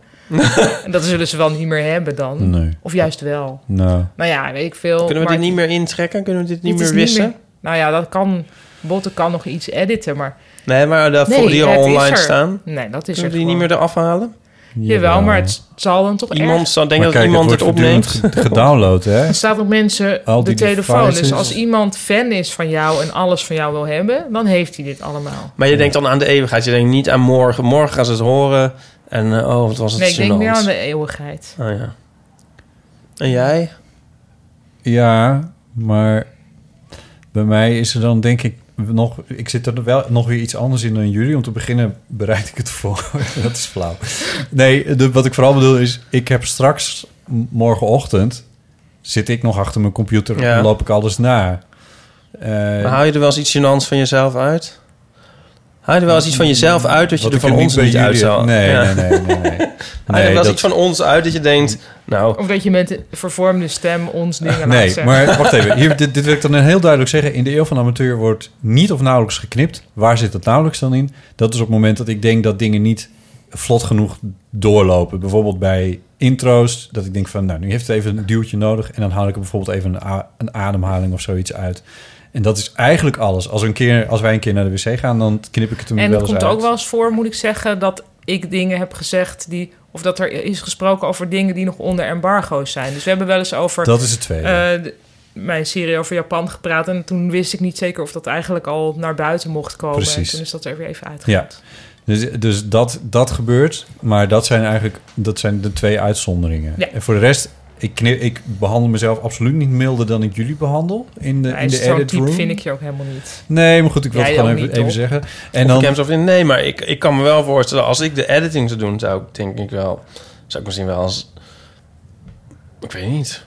S6: en dat zullen ze wel niet meer hebben dan.
S7: Nee.
S6: Of juist wel.
S7: Nou.
S6: Nou ja, weet ik veel.
S8: Kunnen we
S6: maar
S8: dit niet meer intrekken? Kunnen we dit niet
S6: is
S8: meer wissen?
S6: meer- nou ja, dat kan. Botten kan nog iets editen, maar.
S8: Nee, maar eh, de,
S6: Nee,
S8: die al
S6: het is
S8: online
S6: er.
S8: staan.
S6: Nee, dat is er
S8: Kunnen we die niet
S6: gewoon.
S8: meer eraf halen?
S6: Jawel, maar het zal dan toch
S8: Iemand
S6: erg-
S8: zou denken
S7: Maar
S8: dat
S7: kijk,
S8: iemand
S7: het
S8: het,
S7: wordt
S8: opneemt.
S7: voortdurend ge- gedownload, hè?
S6: Er staat op mensen
S7: Al
S6: de
S7: die
S6: telefoon. Dus
S7: devices.
S6: als iemand fan is van jou en alles van jou wil hebben, dan heeft hij dit allemaal.
S8: Maar je denkt dan aan de eeuwigheid. Je denkt niet aan morgen. Morgen gaan ze het horen. En eh, oh, wat was het
S6: Nee, ik denk
S8: gênant.
S6: meer aan de eeuwigheid.
S8: Oh ja. [LAUGHS] En jij?
S7: Ja, maar bij mij is er dan denk ik nog... Ik zit er wel nog weer iets anders in dan jullie. Om te beginnen bereid ik het voor. [LAUGHS] dat is flauw. Nee, de- wat ik vooral bedoel is... Ik heb straks m- morgenochtend... Zit ik nog achter mijn computer
S8: Ja.
S7: en loop ik alles na. Eh,
S8: Maar hou je er wel eens iets gênants van jezelf uit? Haal je er wel eens iets van jezelf uit dat je
S7: Wat
S8: er
S7: Mm, ik er
S8: van
S7: niet
S8: ons
S7: bij jullie-
S8: niet uit zou...
S7: Nee, nee, nee, nee, nee.
S8: [LAUGHS] Haal je er
S7: Nee,
S8: wel eens
S7: dat-
S8: iets van ons uit dat je denkt... Nou,
S6: Of dat je met de vervormde stem ons dingen laat
S7: Nee,
S6: zeggen.
S7: maar wacht even.
S6: [LAUGHS]
S7: Hier, dit, dit wil ik dan heel duidelijk zeggen. In de eeuw van de amateur wordt niet of nauwelijks geknipt. Waar zit dat nauwelijks dan in? Dat is op het moment dat ik denk dat dingen niet vlot genoeg doorlopen. Bijvoorbeeld bij intro's. Dat ik denk van, nou, nu heeft het even een duwtje nodig. En dan haal ik er bijvoorbeeld even een, a- een ademhaling of zoiets uit. En dat is eigenlijk alles. Als, we een keer, als wij een keer naar de wc gaan, dan knip ik het hem
S6: en
S7: wel
S6: het
S7: eens
S6: komt
S7: uit.
S6: ook wel eens voor, moet ik zeggen, dat ik dingen heb gezegd die... Of dat er is gesproken over dingen die nog onder embargo's zijn. Dus we hebben wel eens over...
S7: Dat is het tweede.
S6: eh, de- mijn serie over Japan gepraat. En toen wist ik niet zeker of dat eigenlijk al naar buiten mocht komen.
S7: Precies.
S6: En toen is dat er weer even uitgegaan.
S7: Ja. Dus, dus dat, dat gebeurt, maar dat zijn eigenlijk dat zijn de twee uitzonderingen.
S6: Ja.
S7: En voor de rest Ik, kni- ik behandel mezelf absoluut niet milder dan ik jullie behandel in de, in
S6: En
S7: de
S6: Nou, zo'n
S7: edit
S6: type
S7: room.
S6: vind ik je ook helemaal niet.
S7: Nee, maar goed, ik wil
S6: Jij
S7: het gewoon
S6: ook
S7: even,
S6: niet,
S7: even
S6: toch?
S7: zeggen.
S8: En
S7: En
S8: dan...
S7: dan-
S8: of in, nee, maar ik, ik kan me wel voorstellen... als ik de editing zou doen, zou ik denk ik wel... zou ik misschien wel als... Ik weet niet.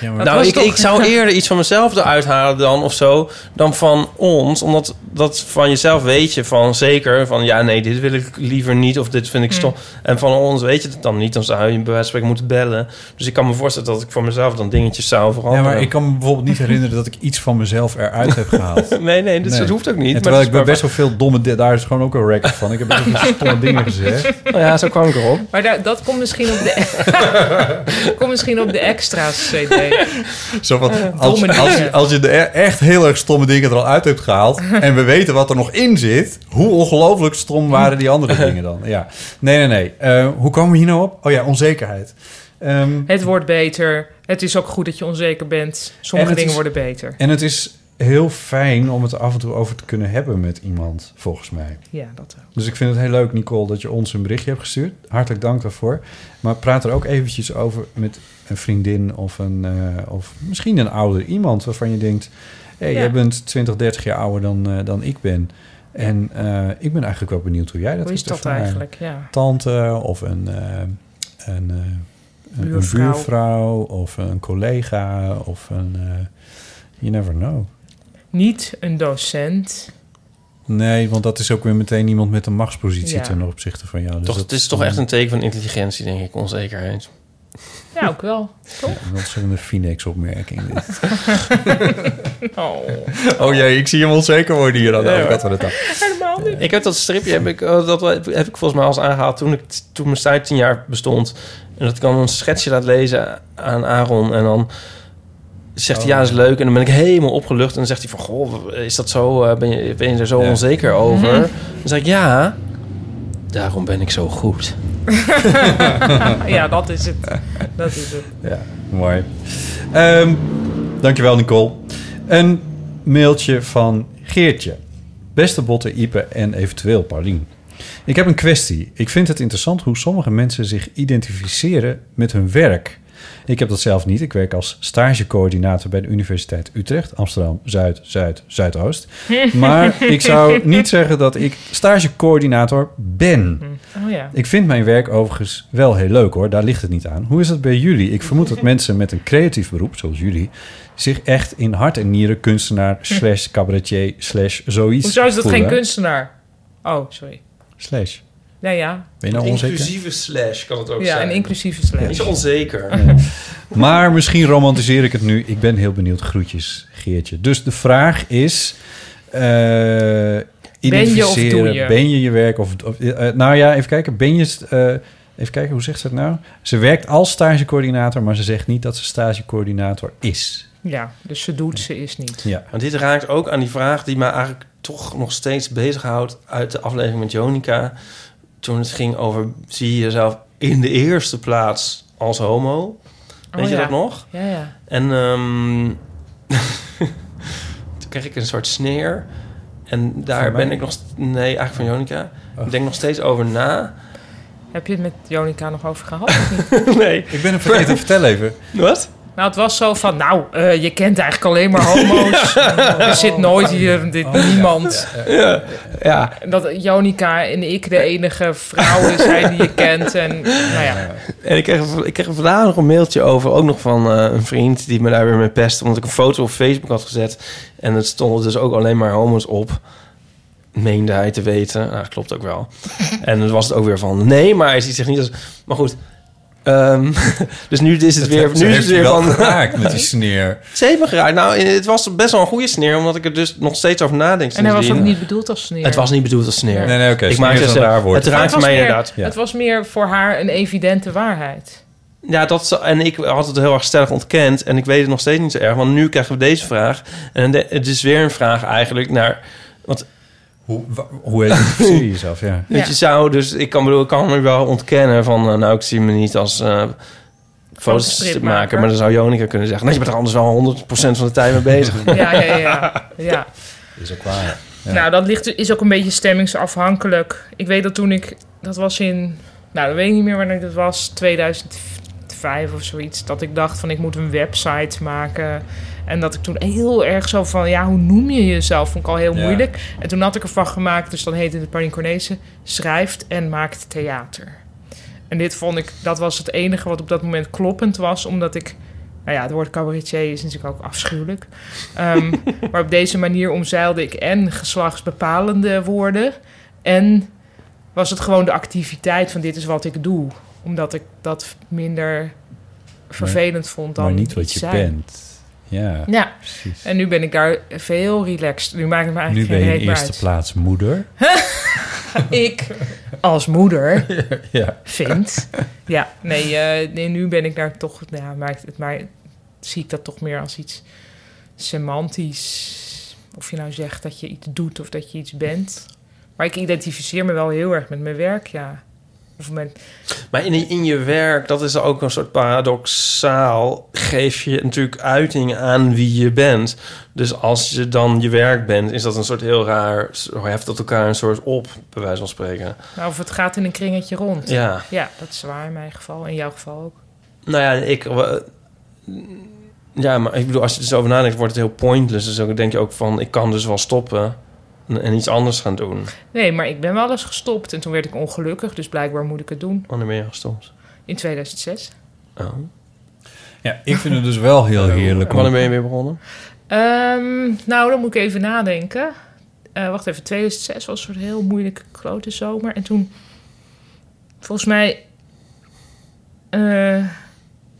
S7: Ja,
S6: maar-
S8: nou,
S6: Dat
S8: ik,
S6: was
S8: ik
S6: toch-
S8: zou eerder iets van mezelf eruit halen dan of zo... dan van ons. Omdat dat van jezelf weet je van zeker... van ja, nee, dit wil ik liever niet of dit
S6: Mm.
S8: vind ik stom. En van ons weet je het dan niet. Dan zou je bij wijze van spreken moeten bellen. Dus ik kan me voorstellen dat ik voor mezelf dan dingetjes zou
S7: Ja,
S8: veranderen.
S7: maar ik kan me bijvoorbeeld niet herinneren dat ik iets van mezelf eruit heb gehaald.
S8: [LAUGHS] Nee, nee, dus dat hoeft ook niet,
S7: En
S8: maar
S7: terwijl
S8: het
S7: ik ben
S8: is
S7: best
S8: maar-
S7: wel veel domme... di- Daar is gewoon ook een record van. Ik heb best wel
S8: [LAUGHS]
S7: veel stomme dingen gezegd.
S8: Nou ja, zo kwam ik erop.
S6: Maar da- dat komt misschien op
S8: [LAUGHS]
S6: de, komt misschien op de extra's CD.
S7: Zo van,
S6: Eh,
S7: als,
S6: domme
S7: als, je,
S6: dingen.
S7: als je de e- echt heel erg stomme dingen er al uit hebt
S6: [LAUGHS]
S7: gehaald... en we weten wat er nog in zit... hoe ongelooflijk stom waren die andere
S6: [LAUGHS]
S7: dingen dan? Ja. Nee, nee, nee. Eh, hoe komen we hier nou op? Oh ja, onzekerheid. Ehm,
S6: Het wordt beter. Het is ook goed dat je onzeker bent. Sommige
S7: En het
S6: dingen
S7: is-
S6: worden beter.
S7: En het is heel fijn om het er af en toe over te kunnen hebben met iemand, volgens mij.
S6: Ja, dat ook.
S7: Dus ik vind het heel leuk, Nicole, dat je ons een berichtje hebt gestuurd. Hartelijk dank daarvoor. Maar praat er ook eventjes over met een vriendin of, een, eh, of misschien een ouder iemand waarvan je denkt... hé, hey,
S6: Ja.
S7: jij bent 20, 30 jaar ouder dan, eh, dan ik ben. En eh, ik ben eigenlijk wel benieuwd hoe jij dat
S6: Hoe is
S7: hebt
S6: dat
S7: ervaren.
S6: eigenlijk, ja.
S7: Tante of een, eh, een, eh, een
S6: Buurvrouw.
S7: buurvrouw buurvrouw of een collega of een... eh, you never know.
S6: Niet een docent.
S7: Nee, want dat is ook weer meteen iemand met een machtspositie
S6: Ja.
S7: ten opzichte van jou. Dus
S8: toch,
S7: dat
S8: het is toch
S7: dan-
S8: echt een teken van intelligentie, denk ik, onzekerheid.
S6: Ja, ook
S7: [LAUGHS]
S6: wel. Toch?
S7: Een ontzettende Phoenix-opmerking.
S8: [LAUGHS]
S6: [LAUGHS] Oh.
S7: oh jee, ik zie hem onzeker worden hier Oh, aan de
S8: Ja,
S7: overkant van
S8: hoor.
S7: de tafel.
S8: Ik heb dat stripje, heb ik, eh, dat heb ik volgens mij al eens aangehaald toen, ik, toen mijn site tien jaar bestond. En dat ik dan een schetsje laat lezen aan Aaron. En dan zegt hij,
S7: Oh.
S8: ja, dat is leuk. En dan ben ik helemaal opgelucht. En dan zegt hij van, goh, is dat zo? eh, Ben je, ben je er zo
S7: Ja.
S8: onzeker over?
S6: Mhm.
S8: Dan zeg ik, ja, daarom ben ik zo goed.
S6: ja, dat is het. [LAUGHS] Dat is het.
S7: Ja, mooi. Ehm, dankjewel, Nicole. Een mailtje van Geertje. Beste Botte, Ipe en eventueel Paulien. Ik heb een kwestie. Ik vind het interessant hoe sommige mensen zich identificeren met hun werk. Ik heb dat zelf niet. Ik werk als stagecoördinator bij de Universiteit Utrecht, Amsterdam, Zuid, Zuid,
S6: [LAUGHS]
S7: Zuidoost. Maar ik zou niet zeggen dat ik stagecoördinator ben.
S6: Oh ja.
S7: Ik vind mijn werk overigens wel heel leuk hoor, daar ligt het niet aan. Hoe is het bij jullie? Ik vermoed dat mensen met een creatief beroep, zoals jullie, zich echt in hart en nieren kunstenaar,
S6: Hm.
S7: slash cabaretier, slash zoiets.
S6: Hoezo is dat
S7: voelen.
S6: geen kunstenaar? Oh, sorry.
S7: Slash.
S6: Nou ja.
S7: Ben je nou onzeker?
S8: Inclusieve slash kan het ook
S6: Ja,
S8: zijn.
S6: een inclusieve slash.
S8: Niet zo onzeker.
S7: [LAUGHS] Maar misschien romantiseer ik het nu. Ik ben heel benieuwd. Groetjes, Geertje. Dus de vraag is... eh, identificeren.
S6: doe je?
S7: Ben je je werk of... of, eh, nou ja, even kijken. Ben je... eh, even kijken, hoe zegt ze het nou? Ze werkt als stagecoördinator, maar ze zegt niet dat ze stagecoördinator is.
S6: Ja, dus ze doet, ze is niet.
S7: Ja.
S8: Maar dit raakt ook aan die vraag die mij eigenlijk toch nog steeds bezighoudt uit de aflevering met Jonica. Toen het ging over zie je jezelf in de eerste plaats als homo. Weet
S6: Oh
S8: je
S6: ja.
S8: dat nog?
S6: Ja, ja.
S8: En ehm, [LAUGHS] toen kreeg ik een soort sneer. En daar
S6: Van mij?
S8: ben ik nog... st- Nee, eigenlijk van Jonica.
S7: Oh.
S8: Ik denk nog steeds over na.
S6: Heb je het met Jonica nog over
S8: [LAUGHS]
S6: gehad? of niet?
S8: nee.
S7: Ik ben hem vergeten.
S6: [LAUGHS]
S7: Vertel even.
S8: Wat?
S6: Nou, het was zo van, nou, eh, je kent eigenlijk alleen maar
S8: [LAUGHS]
S6: homo's. Oh, Er zit nooit hier
S7: Oh,
S6: dit, niemand.
S8: Ja. ja.
S6: En Dat Jonica en ik de enige vrouwen zijn die je kent. En, nou ja.
S8: En ik kreeg, ik kreeg vandaag nog een mailtje over, ook nog van eh, een vriend die me daar weer mee pestte, omdat ik een foto op Facebook had gezet. En het stonden dus ook alleen maar homo's op. Meende hij te weten. Nou, dat klopt ook
S6: [LAUGHS]
S8: wel. En dan was het ook weer van, nee, maar hij ziet zich niet als... Maar goed, ehm, [LAUGHS] dus nu is het
S7: Dat
S8: weer,
S7: heeft-
S8: nu is
S7: heeft
S8: het
S7: je
S8: weer
S7: wel
S8: van... [LAUGHS]
S7: geraakt met die sneer.
S8: Ze heeft me geraakt. Nou, het was best wel een goede sneer, omdat ik er dus nog steeds over nadenk.
S6: en hij was ook
S8: sindsdien.
S6: niet bedoeld als sneer.
S8: Het was niet bedoeld als sneer.
S7: Nee, nee, oké,
S8: Ik
S7: sneer
S8: maakte
S7: is een
S8: zelf-
S7: raar woord.
S8: Het raakte
S6: was
S8: mij
S6: meer-
S8: inderdaad.
S6: Het was meer voor haar een evidente waarheid.
S8: Ja, dat zo- en ik had het heel erg stellig ontkend. En ik weet het nog steeds niet zo erg. Want nu krijgen we deze vraag. En de- het is weer een vraag eigenlijk naar... Want,
S7: hoe, hoe identificeer
S6: [LAUGHS]
S8: [LAUGHS]
S7: je jezelf? Ja.
S8: Weet je, zou dus... Ik kan, bedoel, ik kan me wel ontkennen van... eh, nou, ik zie me niet als... eh, foto's
S6: Fotostripmaker.
S8: maken. Maar dan zou Jonica kunnen zeggen... Nee, je bent er anders wel 100% van de tijd mee bezig.
S6: Ja, ja, ja. ja. ja.
S7: Is ook waar. Ja.
S6: Nou, dat ligt, is ook een beetje stemmingsafhankelijk. Ik weet dat toen ik, dat was in, nou, dat weet ik niet meer wanneer dat was, 2014 vijf of zoiets. Dat ik dacht van ik moet een website maken. En dat ik toen heel erg zo van ja, hoe noem je jezelf? Vond ik al heel
S14: Ja.
S6: moeilijk. En toen had ik ervan gemaakt, dus dan heette het Parinconese, schrijft en maakt theater. En dit vond ik, dat was het enige wat op dat moment kloppend was, omdat ik, nou ja, het woord cabaretier is natuurlijk ook afschuwelijk. Ehm, maar op deze manier omzeilde ik en geslachtsbepalende woorden en was het gewoon de activiteit van dit is wat ik doe, omdat ik dat minder vervelend vond dan
S7: maar niet wat
S6: iets
S7: je
S6: zijn.
S7: bent. Ja,
S6: Ja,
S7: precies.
S6: en nu ben ik daar veel relaxed. Nu maakt het me
S7: nu
S6: eigenlijk
S7: ben
S6: geen
S7: je in
S6: reet meer
S7: eerste
S6: uit.
S7: plaats moeder.
S6: [LAUGHS] ik als moeder
S7: [LAUGHS] Ja.
S6: vind. Ja, nee, eh, nee, nu ben ik daar toch. nou Ja, maakt het maar zie ik dat toch meer als iets semantisch. Of je nou zegt dat je iets doet of dat je iets bent. Maar ik identificeer me wel heel erg met mijn werk, ja. Of met,
S8: Maar in, in je werk, dat is ook een soort paradoxaal, geef je natuurlijk uiting aan wie je bent. Dus als je dan je werk bent, is dat een soort heel raar, zo heft dat elkaar een soort op, bij wijze van spreken.
S6: nou, of het gaat in een kringetje rond.
S8: Ja.
S6: ja, dat is waar in mijn geval. In jouw geval ook.
S8: Nou ja, ik. eh, Ja, maar ik bedoel, als je er zo over nadenkt, wordt het heel pointless. Dus dan denk je ook van, ik kan dus wel stoppen en, en iets anders gaan doen.
S6: Nee, maar ik ben wel eens gestopt en toen werd ik ongelukkig. Dus blijkbaar moet ik het doen.
S8: Wanneer ben je gestopt?
S6: In 2006.
S8: Oh.
S7: Ja, ik vind het dus wel heel heerlijk.
S8: En wanneer ben je weer begonnen?
S6: Ehm, nou, dan moet ik even nadenken. Eh, wacht even, 2006 was een soort heel moeilijke klote zomer. En toen, volgens mij, eh,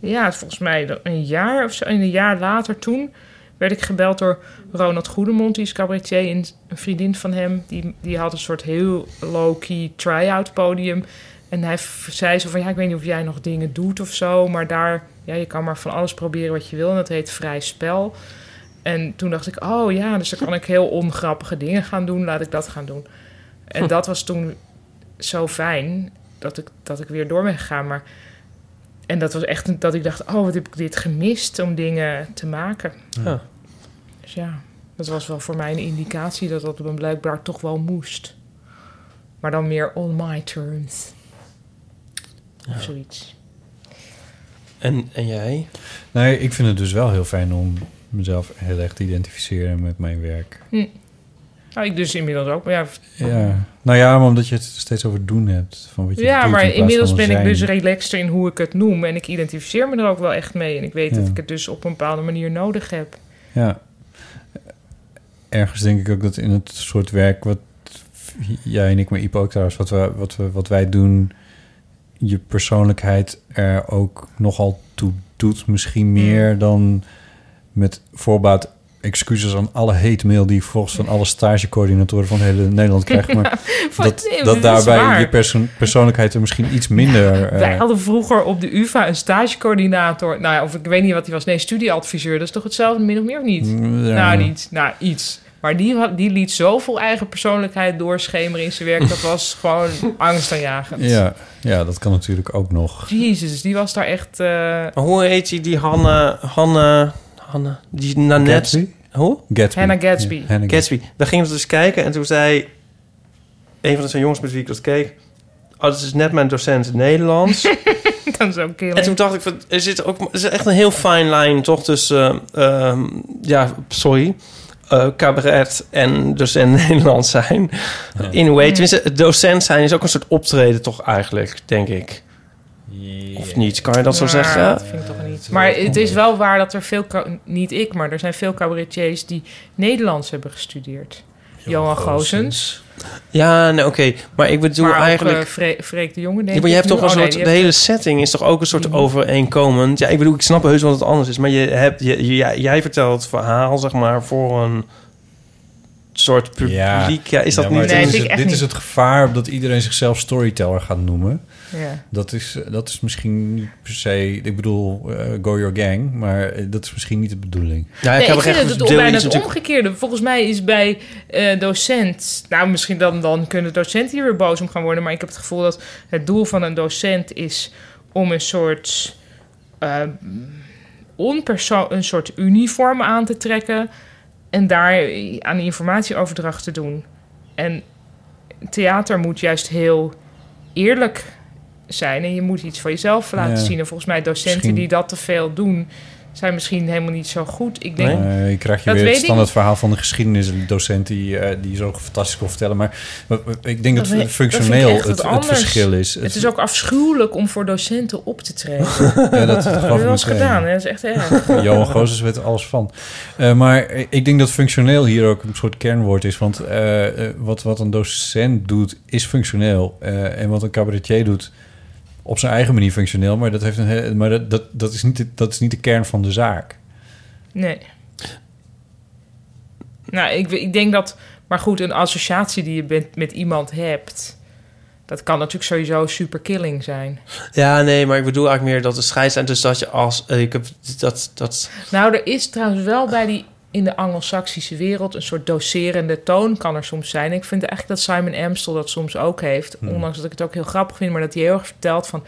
S6: ja, volgens mij een jaar of zo, een jaar later toen, werd ik gebeld door Ronald Goedemond, die is cabaretier, en een vriendin van hem. Die, die had een soort heel low-key try-out podium. En hij v- zei zo van, ja, ik weet niet of jij nog dingen doet of zo, maar daar, ja, je kan maar van alles proberen wat je wil. En dat heet vrij spel. En toen dacht ik, oh ja, dus dan kan ik heel ongrappige dingen gaan doen. Laat ik dat gaan doen. En
S14: Hm.
S6: dat was toen zo fijn dat ik, dat ik weer door ben gegaan. Maar, en dat was echt een- dat ik dacht, oh, wat heb ik dit gemist om dingen te maken.
S8: Ja.
S6: Dus ja, dat was wel voor mij een indicatie dat dat dan blijkbaar toch wel moest. Maar dan meer on my terms. Of zoiets.
S8: En, en jij?
S7: Nee, ik vind het dus wel heel fijn om mezelf heel erg te identificeren met mijn werk.
S6: Hm. Nou, ik dus inmiddels ook. Maar ja,
S7: Ja. Nou ja, maar omdat je het steeds over doen hebt. Van wat je
S6: ja,
S7: doet
S6: maar
S7: in plaats
S6: inmiddels
S7: van
S6: ben ik
S7: zijn.
S6: dus relaxter in hoe ik het noem. En ik identificeer me er ook wel echt mee. En ik weet
S7: Ja.
S6: dat ik het dus op een bepaalde manier nodig heb.
S7: Ja. Ergens denk ik ook dat in het soort werk wat jij en ik, maar Ipe ook trouwens, wat, we, wat, we, wat wij doen, je persoonlijkheid er ook nogal toe doet.
S6: Hmm.
S7: Misschien meer dan met voorbaat excuses aan alle hate mail die ik volgens van alle stagecoördinatoren van heel
S6: [LAUGHS]
S7: Nederland krijg. Maar
S6: Van-
S7: dat,
S6: nee,
S7: dat
S6: is
S7: daarbij
S6: waar.
S7: je perso- persoonlijkheid er misschien iets minder...
S6: [LAUGHS]
S7: eh,
S6: Wij hadden vroeger op de UvA een stagecoördinator. Nou ja, of ik weet niet wat hij was. Nee, studieadviseur. Dat is toch hetzelfde min of meer of niet?
S7: Mm, Ja.
S6: Nou, niet. Nou, iets. Maar die, had- die liet zoveel eigen persoonlijkheid doorschemeren in zijn werk. Dat
S7: [LAUGHS]
S6: was gewoon angstaanjagend.
S7: ja, ja, dat kan natuurlijk ook nog.
S6: Jezus, die was daar echt... eh, [LAUGHS]
S8: Maar hoe heet die, die Hanna, Hanna, Hanna, die Nanette?
S7: Gatsby?
S8: Hoe?
S7: Gatsby.
S6: Hannah Gatsby.
S8: Ja, Hannah Gatsby. Daar gingen we dus kijken en toen zei een van de twee jongens met wie ik dat keek... Oh, dat is net mijn
S6: [LAUGHS]
S8: docent Nederlands.
S6: dat is ook heel...
S8: En toen dacht ik, van, er zit ook er zit echt een heel fine line toch tussen, eh, ehm, ja, sorry, eh, cabaret en [LAUGHS] docent Nederlands zijn. In a way,
S6: Mm.
S8: tenminste, het docent zijn is ook een soort optreden toch eigenlijk, denk ik. Of niet, kan je dat zo
S6: Ja,
S8: zeggen?
S6: dat vind ik toch niet. Maar het is wel waar dat er veel, ca- niet ik, maar er zijn veel cabaretiers die Nederlands hebben gestudeerd. Johan Goosens,
S8: Ja, nee, oké. Maar ik bedoel
S6: maar ook,
S8: eigenlijk...
S6: eh, Fre- Freek de Jonge. Denk
S8: Ja, maar je
S6: ik
S8: hebt toch
S6: nu.
S8: een
S6: Oh, nee,
S8: soort...
S6: die
S8: de
S6: heeft-
S8: hele setting is toch ook een
S6: Mhm.
S8: soort overeenkomend... Ja, ik bedoel, ik snap heus wel dat het anders is. Maar je hebt, je, je- jij- jij vertelt het verhaal, zeg maar, voor een soort publiek. Ja, is dat
S7: maar
S8: niet...
S7: dit is, het, dit is het gevaar dat iedereen zichzelf storyteller gaat noemen.
S6: Ja.
S7: Dat, is, eh, dat is misschien niet per se... Ik bedoel, eh, go your gang. Maar eh, dat is misschien niet de bedoeling.
S8: Ja,
S6: Nee, ik vind het, het bijna het omgekeerde. Volgens mij is bij eh, docent... Nou, misschien dan, dan kunnen docenten hier weer boos om gaan worden... maar ik heb het gevoel dat het doel van een docent is... om een soort... eh, onperso- een soort uniform aan te trekken... en daar aan informatieoverdracht te doen. En theater moet juist heel eerlijk zijn. En je moet iets van jezelf laten
S7: Ja.
S6: zien. En volgens mij docenten
S7: Misschien.
S6: die dat te veel doen, zijn misschien helemaal niet zo goed. Ik denk,
S7: Nee, je krijgt je
S6: dat
S7: weer het
S6: weet ik
S7: standaard verhaal van de geschiedenisdocent die, eh, die zo fantastisch kon vertellen. Maar eh, ik denk dat,
S6: we-
S7: het
S6: vind
S7: functioneel
S6: ik
S7: het,
S6: echt wat
S7: het
S6: anders.
S7: verschil is.
S6: Het, is ook afschuwelijk om voor docenten op te
S7: [LAUGHS]
S6: treden. ja,
S7: dat-
S6: [LAUGHS]
S7: dat geloof ik
S6: wel eens
S7: meteen.
S6: gedaan, hè? dat is echt erg.
S7: [LAUGHS] Johan Gozes weet er alles van. Eh, maar ik denk dat functioneel hier ook een soort kernwoord is. Want eh, eh, wat, wat een docent doet, is functioneel. Eh, en wat een cabaretier doet, op zijn eigen manier functioneel. Maar dat, heeft een, he- maar dat, dat, dat, is, niet de, dat is niet de kern van de zaak.
S6: Nee. Nou, ik, ik denk dat... Maar goed, een associatie die je bent, met iemand hebt... dat kan natuurlijk sowieso super killing zijn.
S8: Ja, nee, maar ik bedoel eigenlijk meer dat de scheid zijn. Dus dat je als... eh, ik heb dat... dat
S6: Nou, er is trouwens wel bij die in de anglo-saxische wereld een soort doserende toon kan er soms zijn. Ik vind eigenlijk dat Simon Amstel dat soms ook heeft,
S14: Hmm.
S6: ondanks dat ik het ook heel grappig vind, maar dat hij heel erg vertelt van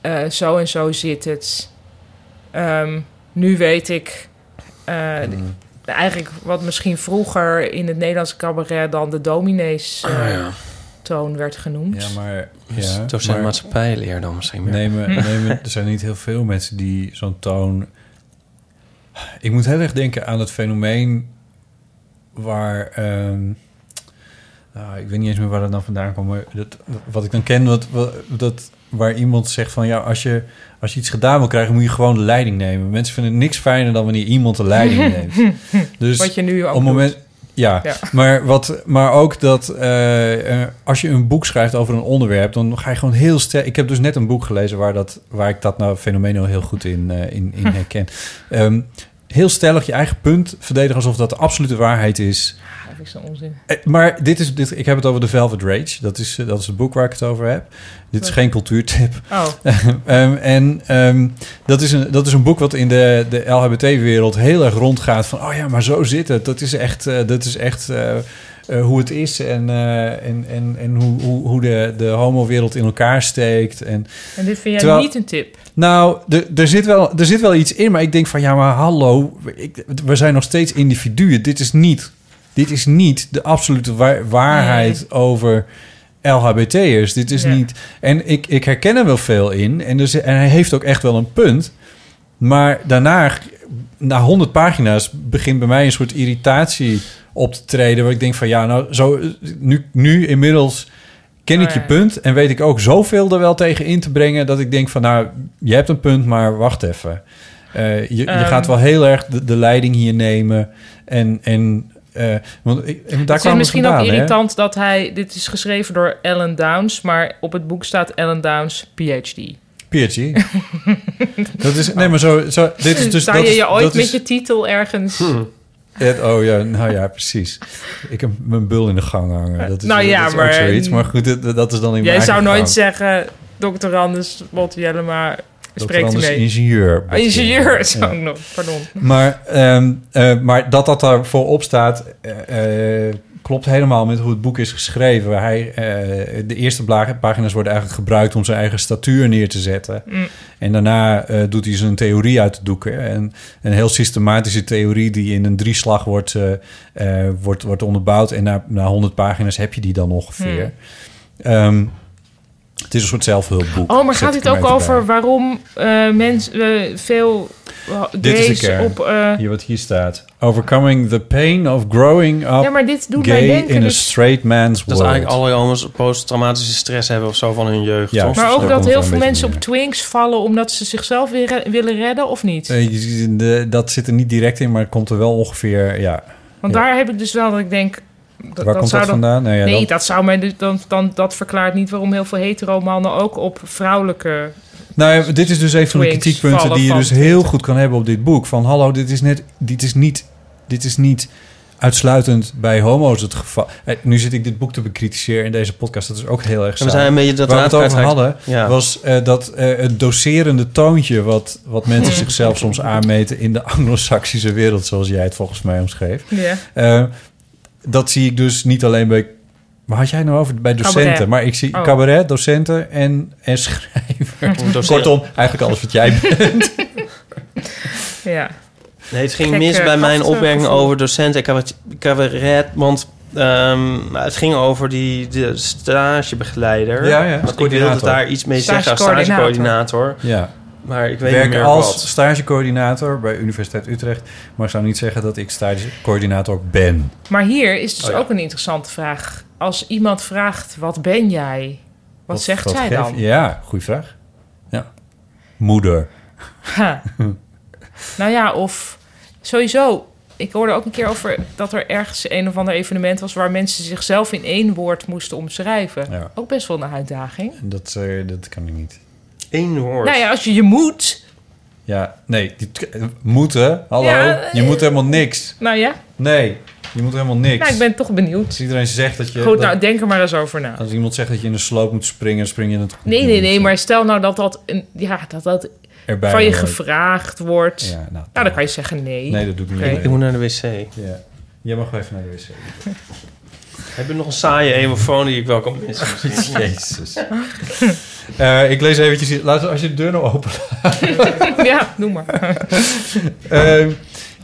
S6: eh, zo en zo zit het. Ehm, nu weet ik eh, eigenlijk wat misschien vroeger in het Nederlandse cabaret dan de dominees eh,
S8: Ah, ja.
S6: toon werd genoemd.
S7: Ja, maar...
S8: Dus docent maatschappijleer dan misschien meer.
S7: Nemen,
S8: Hm.
S7: nemen, er zijn niet heel veel mensen die zo'n toon... Ik moet heel erg denken aan het fenomeen waar... ehm, nou, ik weet niet eens meer waar dat dan vandaan komt. Maar dat, wat ik dan ken, wat, wat- dat, waar iemand zegt van... Ja, als je, als je iets gedaan wil krijgen, moet je gewoon de leiding nemen. Mensen vinden het niks fijner dan wanneer iemand de
S6: [LAUGHS]
S7: leiding neemt. Dus
S6: Wat je nu ook
S7: op het moment,
S6: doet.
S7: Ja,
S6: Ja.
S7: maar, wat, maar ook dat eh, eh, als je een boek schrijft over een onderwerp, dan ga je gewoon heel sterk. Ik heb dus net een boek gelezen waar, dat, waar ik dat nou fenomeen al heel goed in, eh, in, in
S6: [LAUGHS]
S7: herken. Ehm, heel stellig je eigen punt verdedigen alsof dat de absolute waarheid is.
S6: Dat vind ik zo'n onzin.
S7: Eh, Maar dit is, dit, ik heb het over The Velvet Rage. Dat is, eh, dat is het boek waar ik het over heb. Dit is
S6: Wat?
S7: geen cultuurtip.
S6: Oh.
S7: [LAUGHS] Ehm, en ehm, dat, is een, dat is een boek wat in de, de LHBT-wereld heel erg rondgaat. Van, oh ja, maar zo zit het. Dat is echt, eh, dat is echt eh, eh, hoe het is. En, eh, en, en, en hoe, hoe, hoe de, de homo-wereld in elkaar steekt. En,
S6: En dit vind jij
S7: Terwijl-
S6: niet een tip?
S7: nou, d- er zit, wel, er zit wel iets in, maar ik denk van ja, maar hallo, ik, we zijn nog steeds individuen. Dit is niet, dit is niet de absolute wa- waarheid over LHBT'ers. Dit is niet. En ik, ik herken er wel veel in. En, dus, en hij heeft ook echt wel een punt. Maar daarna, na honderd pagina's, begint bij mij een soort irritatie op te treden. Waar ik denk van ja, nou, zo, nu, nu inmiddels ken
S6: Oh
S7: ik je punt. En weet ik ook zoveel er wel tegen in te brengen. Dat ik denk van nou, je hebt een punt, maar wacht even. Eh, je, je
S6: Ehm.
S7: gaat wel heel erg de, de leiding hier nemen. En, en eh, want ik, daar
S6: Het is
S7: kwam
S6: misschien
S7: vandaan,
S6: ook
S7: hè?
S6: irritant dat hij... Dit is geschreven door Ellen Downs, maar op het boek staat Ellen Downs, PhD.
S7: PhD. [LAUGHS] dat is, nee, maar zo, zo dit is dus...
S6: Zou
S7: dat
S6: je
S7: is-
S6: je ooit
S7: dat
S6: met
S7: is- Hm.
S6: je titel ergens...
S7: [LAUGHS] Het- oh ja, nou ja, precies. Ik heb mijn bul in de gang hangen. Dat is,
S6: Nou ja,
S7: dat is ook
S6: maar-
S7: zoiets. Maar goed, dit- dat is dan in mijn
S6: Jij
S7: eigen
S6: zou
S7: gang.
S6: nooit zeggen, dokter Anders Bot Jellema spreekt u
S7: Anders
S6: mee.
S7: dus ingenieur Bot
S6: Ah, ingenieur, [LAUGHS]
S7: Jellema,
S6: is
S7: ja.
S6: ook nog, pardon.
S7: Maar, ehm, eh, maar dat dat daar voorop staat, eh, eh, klopt helemaal met hoe het boek is geschreven. Hij, eh, de eerste bla- pagina's worden eigenlijk gebruikt om zijn eigen statuur neer te zetten.
S6: Mm.
S7: En daarna eh, doet hij zijn theorie uit de doeken. En een heel systematische theorie die in een drieslag wordt, eh, eh, wordt, wordt onderbouwd. En na, na 100 pagina's heb je die dan ongeveer. Ehm, het is een soort zelfhulpboek.
S6: Mm. Oh, maar
S7: zet
S6: gaat
S7: ik
S6: dit
S7: er
S6: ook
S7: even bij.
S6: over waarom mensen veel eh,
S7: Dit is de
S6: gays
S7: kern.
S6: op... eh,
S7: hier wat hier staat. Overcoming the pain of growing up
S6: Ja, maar dit doet
S7: gay
S6: mij denken
S7: in a
S6: dus-
S7: straight man's
S8: Dat
S7: world.
S8: eigenlijk alle jongens posttraumatische stress hebben of zo van hun jeugd.
S7: Ja,
S8: toch?
S6: maar ook dat
S7: komt
S6: heel
S7: wel
S6: veel
S7: een beetje
S6: mensen op twinks vallen omdat ze zichzelf weer re- willen redden, of niet?
S7: Eh, je ziet, de- dat zit er niet direct in, maar het komt er wel ongeveer, ja.
S6: Want
S7: Ja.
S6: daar heb ik dus wel dat ik denk...
S7: Waar komt
S6: zou
S7: dat
S6: dan-
S7: vandaan? Nou ja,
S6: nee,
S7: dat-
S6: dat zou mij dus dan, dan dat verklaart niet waarom heel veel heteromannen ook op vrouwelijke.
S7: Nou ja, dit is dus een van de
S6: Twinks
S7: kritiekpunten
S6: vallen
S7: die je
S6: van
S7: dus heel goed kan hebben op dit boek. Van hallo, dit is, net, dit is, niet, dit is niet uitsluitend bij homo's het geval. Eh, nu zit ik dit boek te bekritiseren in deze podcast. Dat is ook heel erg
S8: En
S7: saai.
S8: we zijn een beetje dat
S7: Waar we het
S8: raad
S7: over
S8: kwijt-
S7: hadden,
S8: Ja.
S7: was eh, dat eh, het doserende toontje... wat, wat mensen zichzelf soms aanmeten in de anglo-saxische wereld... zoals jij het volgens mij omschreef.
S6: Ja.
S7: Eh, dat zie ik dus niet alleen bij... Waar had jij nou over? Bij docenten.
S6: Cabaret.
S7: Maar ik zie
S6: Oh.
S7: cabaret, docenten en, en schrijver.
S8: Docent.
S7: Kortom, eigenlijk alles wat
S6: [LAUGHS]
S7: jij [LAUGHS] bent.
S6: Ja.
S8: Nee, het ging
S6: Gek,
S8: mis
S6: eh,
S8: bij mijn
S6: krachtig
S8: opmerking
S6: gevoel.
S8: over docenten en cabaret- cabaret. Want Ehm, maar het ging over die de stagebegeleider.
S7: Ja, ja,
S8: Want ik wilde
S7: coördinator.
S8: daar iets mee zeggen als
S7: Stagecoördinator.
S8: stagecoördinator.
S7: Ja.
S8: Maar ik weet
S7: werk
S8: niet meer
S7: als
S8: wat.
S7: stagecoördinator bij Universiteit Utrecht, maar ik zou niet zeggen dat ik stagecoördinator ben.
S6: Maar hier is dus
S7: Oh ja.
S6: ook een interessante vraag. Als iemand vraagt, wat ben jij? Wat, zegt zij
S7: geef-
S6: dan?
S7: Ja, goede vraag. Ja. Moeder. [LAUGHS]
S6: Ha. nou ja, of sowieso. Ik hoorde ook een keer over dat er ergens een of ander evenement was waar mensen zichzelf in één woord moesten omschrijven.
S7: Ja.
S6: Ook best wel een uitdaging.
S7: Dat, eh, dat kan ik niet.
S8: Eén woord.
S6: Nou ja, als je je moet.
S7: Ja, nee. Die, moeten, hallo.
S6: Ja, eh,
S7: je moet helemaal niks.
S6: Nou ja,
S7: Nee, je moet helemaal niks.
S6: nou, ik ben toch benieuwd.
S7: Als iedereen zegt dat je...
S6: Goed,
S7: dat-
S6: nou denk er maar eens over na.
S7: Als iemand zegt dat je in de sloop moet springen, spring je in het
S6: Nee, nee, nee, maar stel nou dat dat, een, ja, dat, dat
S7: Erbij
S6: van je
S7: hoort.
S6: gevraagd wordt.
S7: Ja, nou,
S6: nou, dan kan je zeggen nee.
S7: Nee, dat doe ik niet.
S6: Oké.
S7: Nee.
S8: Ik moet naar de wc.
S7: Ja. Jij mag wel even naar de wc.
S8: Heb je nog een saaie emofoon die ik wel kan missen?
S7: [LAUGHS]
S8: misschien?
S7: Jezus. Eh, ik lees eventjes... hier. Laat, als je de deur nou open laat.
S6: [LAUGHS] ja, noem maar.
S7: [LAUGHS]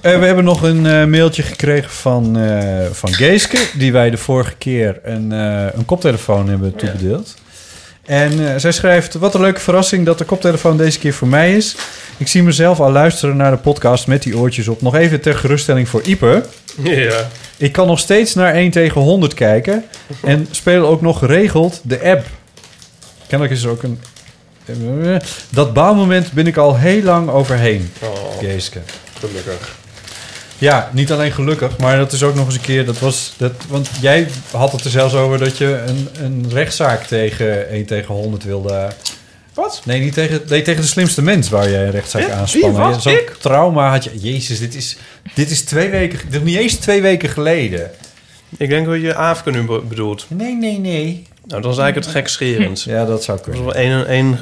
S7: Eh, eh, we hebben nog een eh, mailtje gekregen van, eh, van Geeske... die wij de vorige keer een, eh, een koptelefoon hebben toebedeeld. En eh, zij schrijft... Wat een leuke verrassing dat de koptelefoon deze keer voor mij is. Ik zie mezelf al luisteren naar de podcast met die oortjes op. Nog even ter geruststelling voor Ieper.
S8: [LAUGHS] Ja.
S7: Ik kan nog steeds naar 1 tegen 100 kijken. En speel ook nog geregeld de app. Kennelijk is er ook een... eh, Dat baalmoment ben ik al heel lang overheen. Oh. Geeske.
S8: Gelukkig.
S7: Ja, niet alleen gelukkig, maar dat is ook nog eens een keer. Dat was, dat, want jij had het er zelfs over dat je een, een rechtszaak tegen 1 tegen 100 wilde.
S8: Wat?
S7: Nee, niet tegen, nee, tegen de slimste mens waar jij een rechtszaak
S8: Ik? Wie?
S7: aanspannen.
S8: Wat?
S7: Zo'n
S8: Ik?
S7: trauma had je. Jezus, dit is, dit is twee weken. Dit is niet eens twee weken geleden.
S8: Ik denk dat je Aafke nu be- bedoelt.
S7: Nee, nee, nee.
S8: Nou, dan is eigenlijk het gekscherend.
S7: Ja, dat zou
S8: kunnen. Dat was wel één... één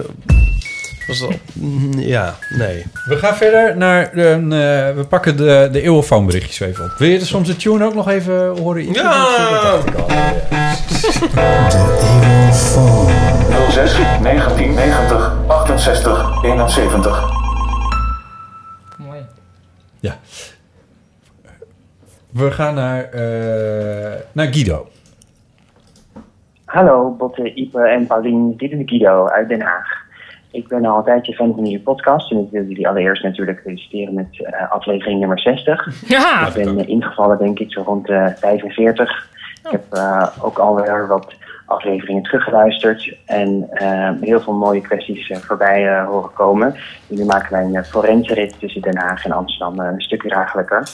S8: was dat, Mm, ja, nee.
S7: We gaan verder naar. De, eh, we pakken de, de eeuwenfoonberichtjes even op. Wil je er soms de tune ook nog even horen?
S8: Ja!
S7: Dat dacht ik al. Ja.
S14: 06 1990 68 71.
S7: We gaan naar, eh, naar Guido.
S11: Hallo Botte, Ipe en Paulien, dit is Guido uit Den Haag. Ik ben al een tijdje fan van jullie podcast en ik wil jullie allereerst natuurlijk feliciteren met eh, aflevering nummer 60.
S6: Ja.
S11: Ik ben eh, ingevallen denk ik zo rond eh 45. Ik heb eh, ook alweer wat afleveringen teruggeluisterd en eh, heel veel mooie kwesties eh, voorbij eh, horen komen. Jullie maken mijn uh, forensenrit tussen Den Haag en Amsterdam eh, een stukje draaglijker.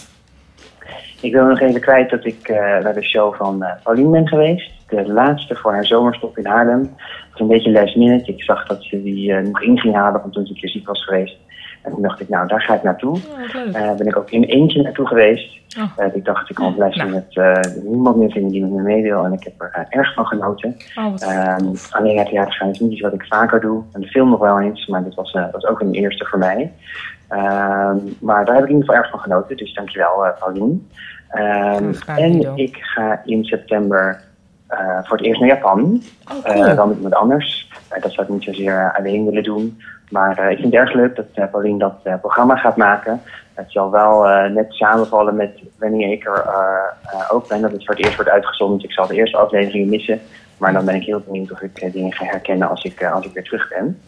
S11: Ik wil nog even kwijt dat ik eh, bij de show van eh Paulien ben geweest. De laatste voor haar zomerstop in Haarlem. Het was een beetje last minute. Ik zag dat ze die eh, nog in ging halen van toen ze een keer ziek was geweest. En toen dacht ik, nou daar ga ik naartoe. Eh ben ik ook in eentje naartoe geweest.
S6: Oh.
S11: Eh, ik dacht, ik kan last minute eh, niemand meer vinden die met me mee wil. En ik heb er eh, erg van genoten.
S6: Oh, wat
S11: Ehm, alleen naar theater gaan is niet iets wat ik vaker doe. En de film nog wel eens, maar dit was, eh, was ook een eerste voor mij. Ehm, maar daar heb ik in ieder geval erg van genoten. Dus dankjewel, eh Paulien. Ehm,
S15: gedaan, Guido.
S11: en ik ga in september eh, voor het eerst naar Japan.
S15: Oh,
S11: Eh,
S15: cool.
S11: dan met iemand anders. Eh, dat zou ik niet zozeer eh, alleen willen doen. Maar eh, ik vind het erg leuk dat eh Paulien dat eh, programma gaat maken. Het zal wel eh, net samenvallen met wanneer ik er eh, eh, ook ben. Dat het voor het eerst wordt uitgezonden. Dus ik zal de eerste afleveringen missen. Maar dan ben ik heel benieuwd of ik eh, dingen ga herkennen als ik, eh, als ik weer terug ben.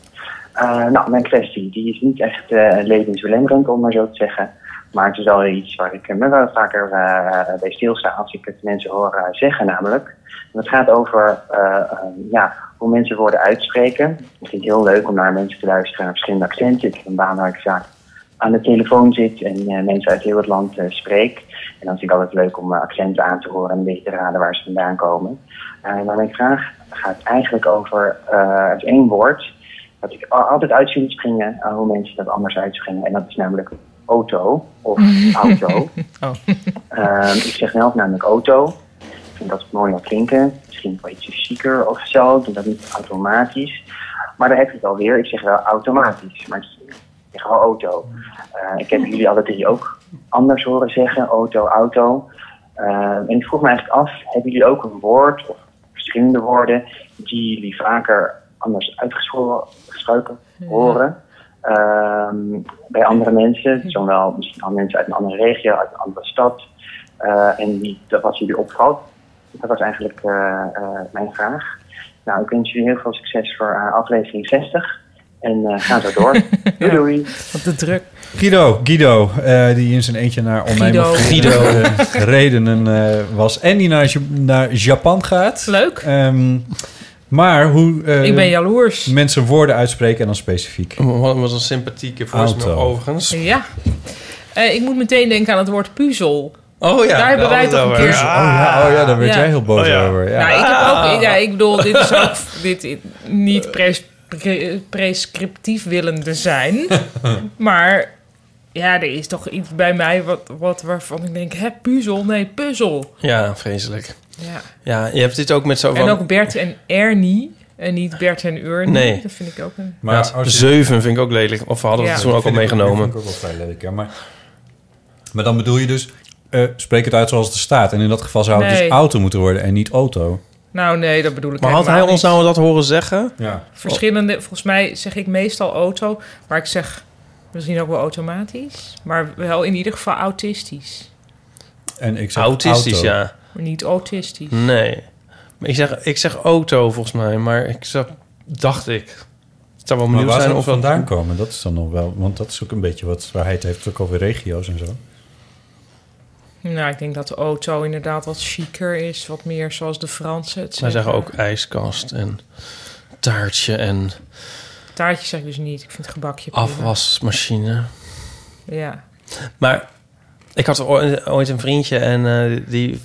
S11: Eh, nou, mijn kwestie die is niet echt eh levensbelemmerend, om maar zo te zeggen. Maar het is wel iets waar ik eh, me wel vaker eh, bij stilsta als ik het mensen hoor eh, zeggen namelijk. En het gaat over eh, eh, ja, hoe mensen woorden uitspreken. Ik vind het heel leuk om naar mensen te luisteren naar verschillende accenten. Ik heb een baan waar ik vaak aan de telefoon zit en eh, mensen uit heel het land eh, spreek. En dan vind ik altijd leuk om eh, accenten aan te horen en een beetje te raden waar ze vandaan komen. Eh, maar mijn vraag gaat eigenlijk over eh, het één woord dat ik al- altijd uit zie springen aan hoe mensen dat anders uitspringen. En dat is namelijk auto
S10: [LAUGHS]
S11: of
S6: [LAUGHS]
S11: auto.
S6: Oh,
S11: Ehm, ik zeg zelf namelijk auto. Ik vind dat het mooier klinken. Misschien wel ietsje chiquer of zo. Ik doe dat niet automatisch. Maar daar heb je het alweer. Ik zeg wel automatisch. Maar ik zeg wel auto. Eh, ik heb jullie alle drie ook anders horen zeggen. Auto, auto. Eh, en ik vroeg me eigenlijk af. Hebben jullie ook een woord of verschillende woorden die jullie vaker anders uitgesproken horen? ehm, bij andere mensen, zowel misschien al mensen uit een andere regio, uit een andere stad. eh, en die, dat wat jullie opvalt.
S15: Dat was eigenlijk eh, eh, mijn vraag. Nou, ik wens jullie heel veel succes voor eh, aflevering 60. En eh, ga zo door. doei doei.
S6: Wat de druk.
S7: Guido, Guido eh, die in zijn eentje naar onneemlijke
S6: Guido.
S7: eh, [LAUGHS] redenen eh, was. En die naar, Ja- naar Japan gaat. Ehm,
S6: Leuk.
S7: maar hoe eh,
S6: Ik ben jaloers.
S7: mensen woorden uitspreken en dan specifiek.
S8: Wat was een sympathieke voicemail
S7: Auto.
S8: overigens.
S6: Ja. Eh, ik moet meteen denken aan het woord puzzel.
S8: Oh ja,
S6: Daar hebben
S8: daar
S6: wij
S8: hadden
S6: toch een
S8: we
S6: keer...
S8: het over. Oh ja, oh ja, daar werd jij heel boos over, ja.
S6: Nou, ik, heb ook,
S8: Ah.
S6: ja, ik bedoel, dit is ook [LAUGHS] dit, i- niet pres- pre- prescriptief willende zijn.
S8: [LAUGHS]
S6: Maar ja, er is toch iets bij mij wat, wat, waarvan ik denk... Hè, puzzel? Nee, puzzel.
S8: Ja, vreselijk.
S6: Ja.
S8: Ja, je hebt dit ook met zo
S6: En
S8: van...
S6: ook Bert en Ernie. En niet Bert en Urnie.
S8: Nee.
S6: Dat vind ik ook een...
S8: Maar
S7: als je-
S8: zeven vind ik ook lelijk. Of we hadden
S6: Ja.
S8: het toen
S7: Dat
S8: ook al
S7: vind ik
S8: meegenomen.
S7: dat vind ik ook wel vrij leuk, ja. Maar, maar dan bedoel je dus, eh, spreek het uit zoals het er staat. En in dat geval zou het
S6: Nee.
S7: dus auto moeten worden en niet auto.
S6: Nou nee, dat bedoel ik
S8: Maar had hij
S6: helemaal
S8: ons nou dat horen zeggen?
S7: Ja.
S6: Verschillende, volgens mij zeg ik meestal auto, maar ik zeg misschien ook wel automatisch, maar wel in ieder geval autistisch,
S7: En ik zeg
S8: Autistisch,
S7: auto.
S8: ja.
S6: maar niet autistisch.
S8: Nee. Maar ik, zeg, ik zeg auto volgens mij, maar ik zag, dacht ik. Het zou wel
S7: Maar
S8: benieuwd
S7: waar
S8: zijn
S7: zou het
S8: of dat-
S7: vandaan komen? Dat is dan nog wel... Want dat is ook een beetje wat waar hij het heeft. Ook over regio's en zo.
S6: Nou, ik denk dat de auto inderdaad wat chiquer is, wat meer zoals de Fransen het
S8: Zij
S6: zeggen.
S8: zeggen ook ijskast en taartje en
S6: Taartje zeg ik dus niet, ik vind het gebakje prima.
S8: afwasmachine.
S6: Ja.
S8: Maar ik had oor- ooit een vriendje en eh, die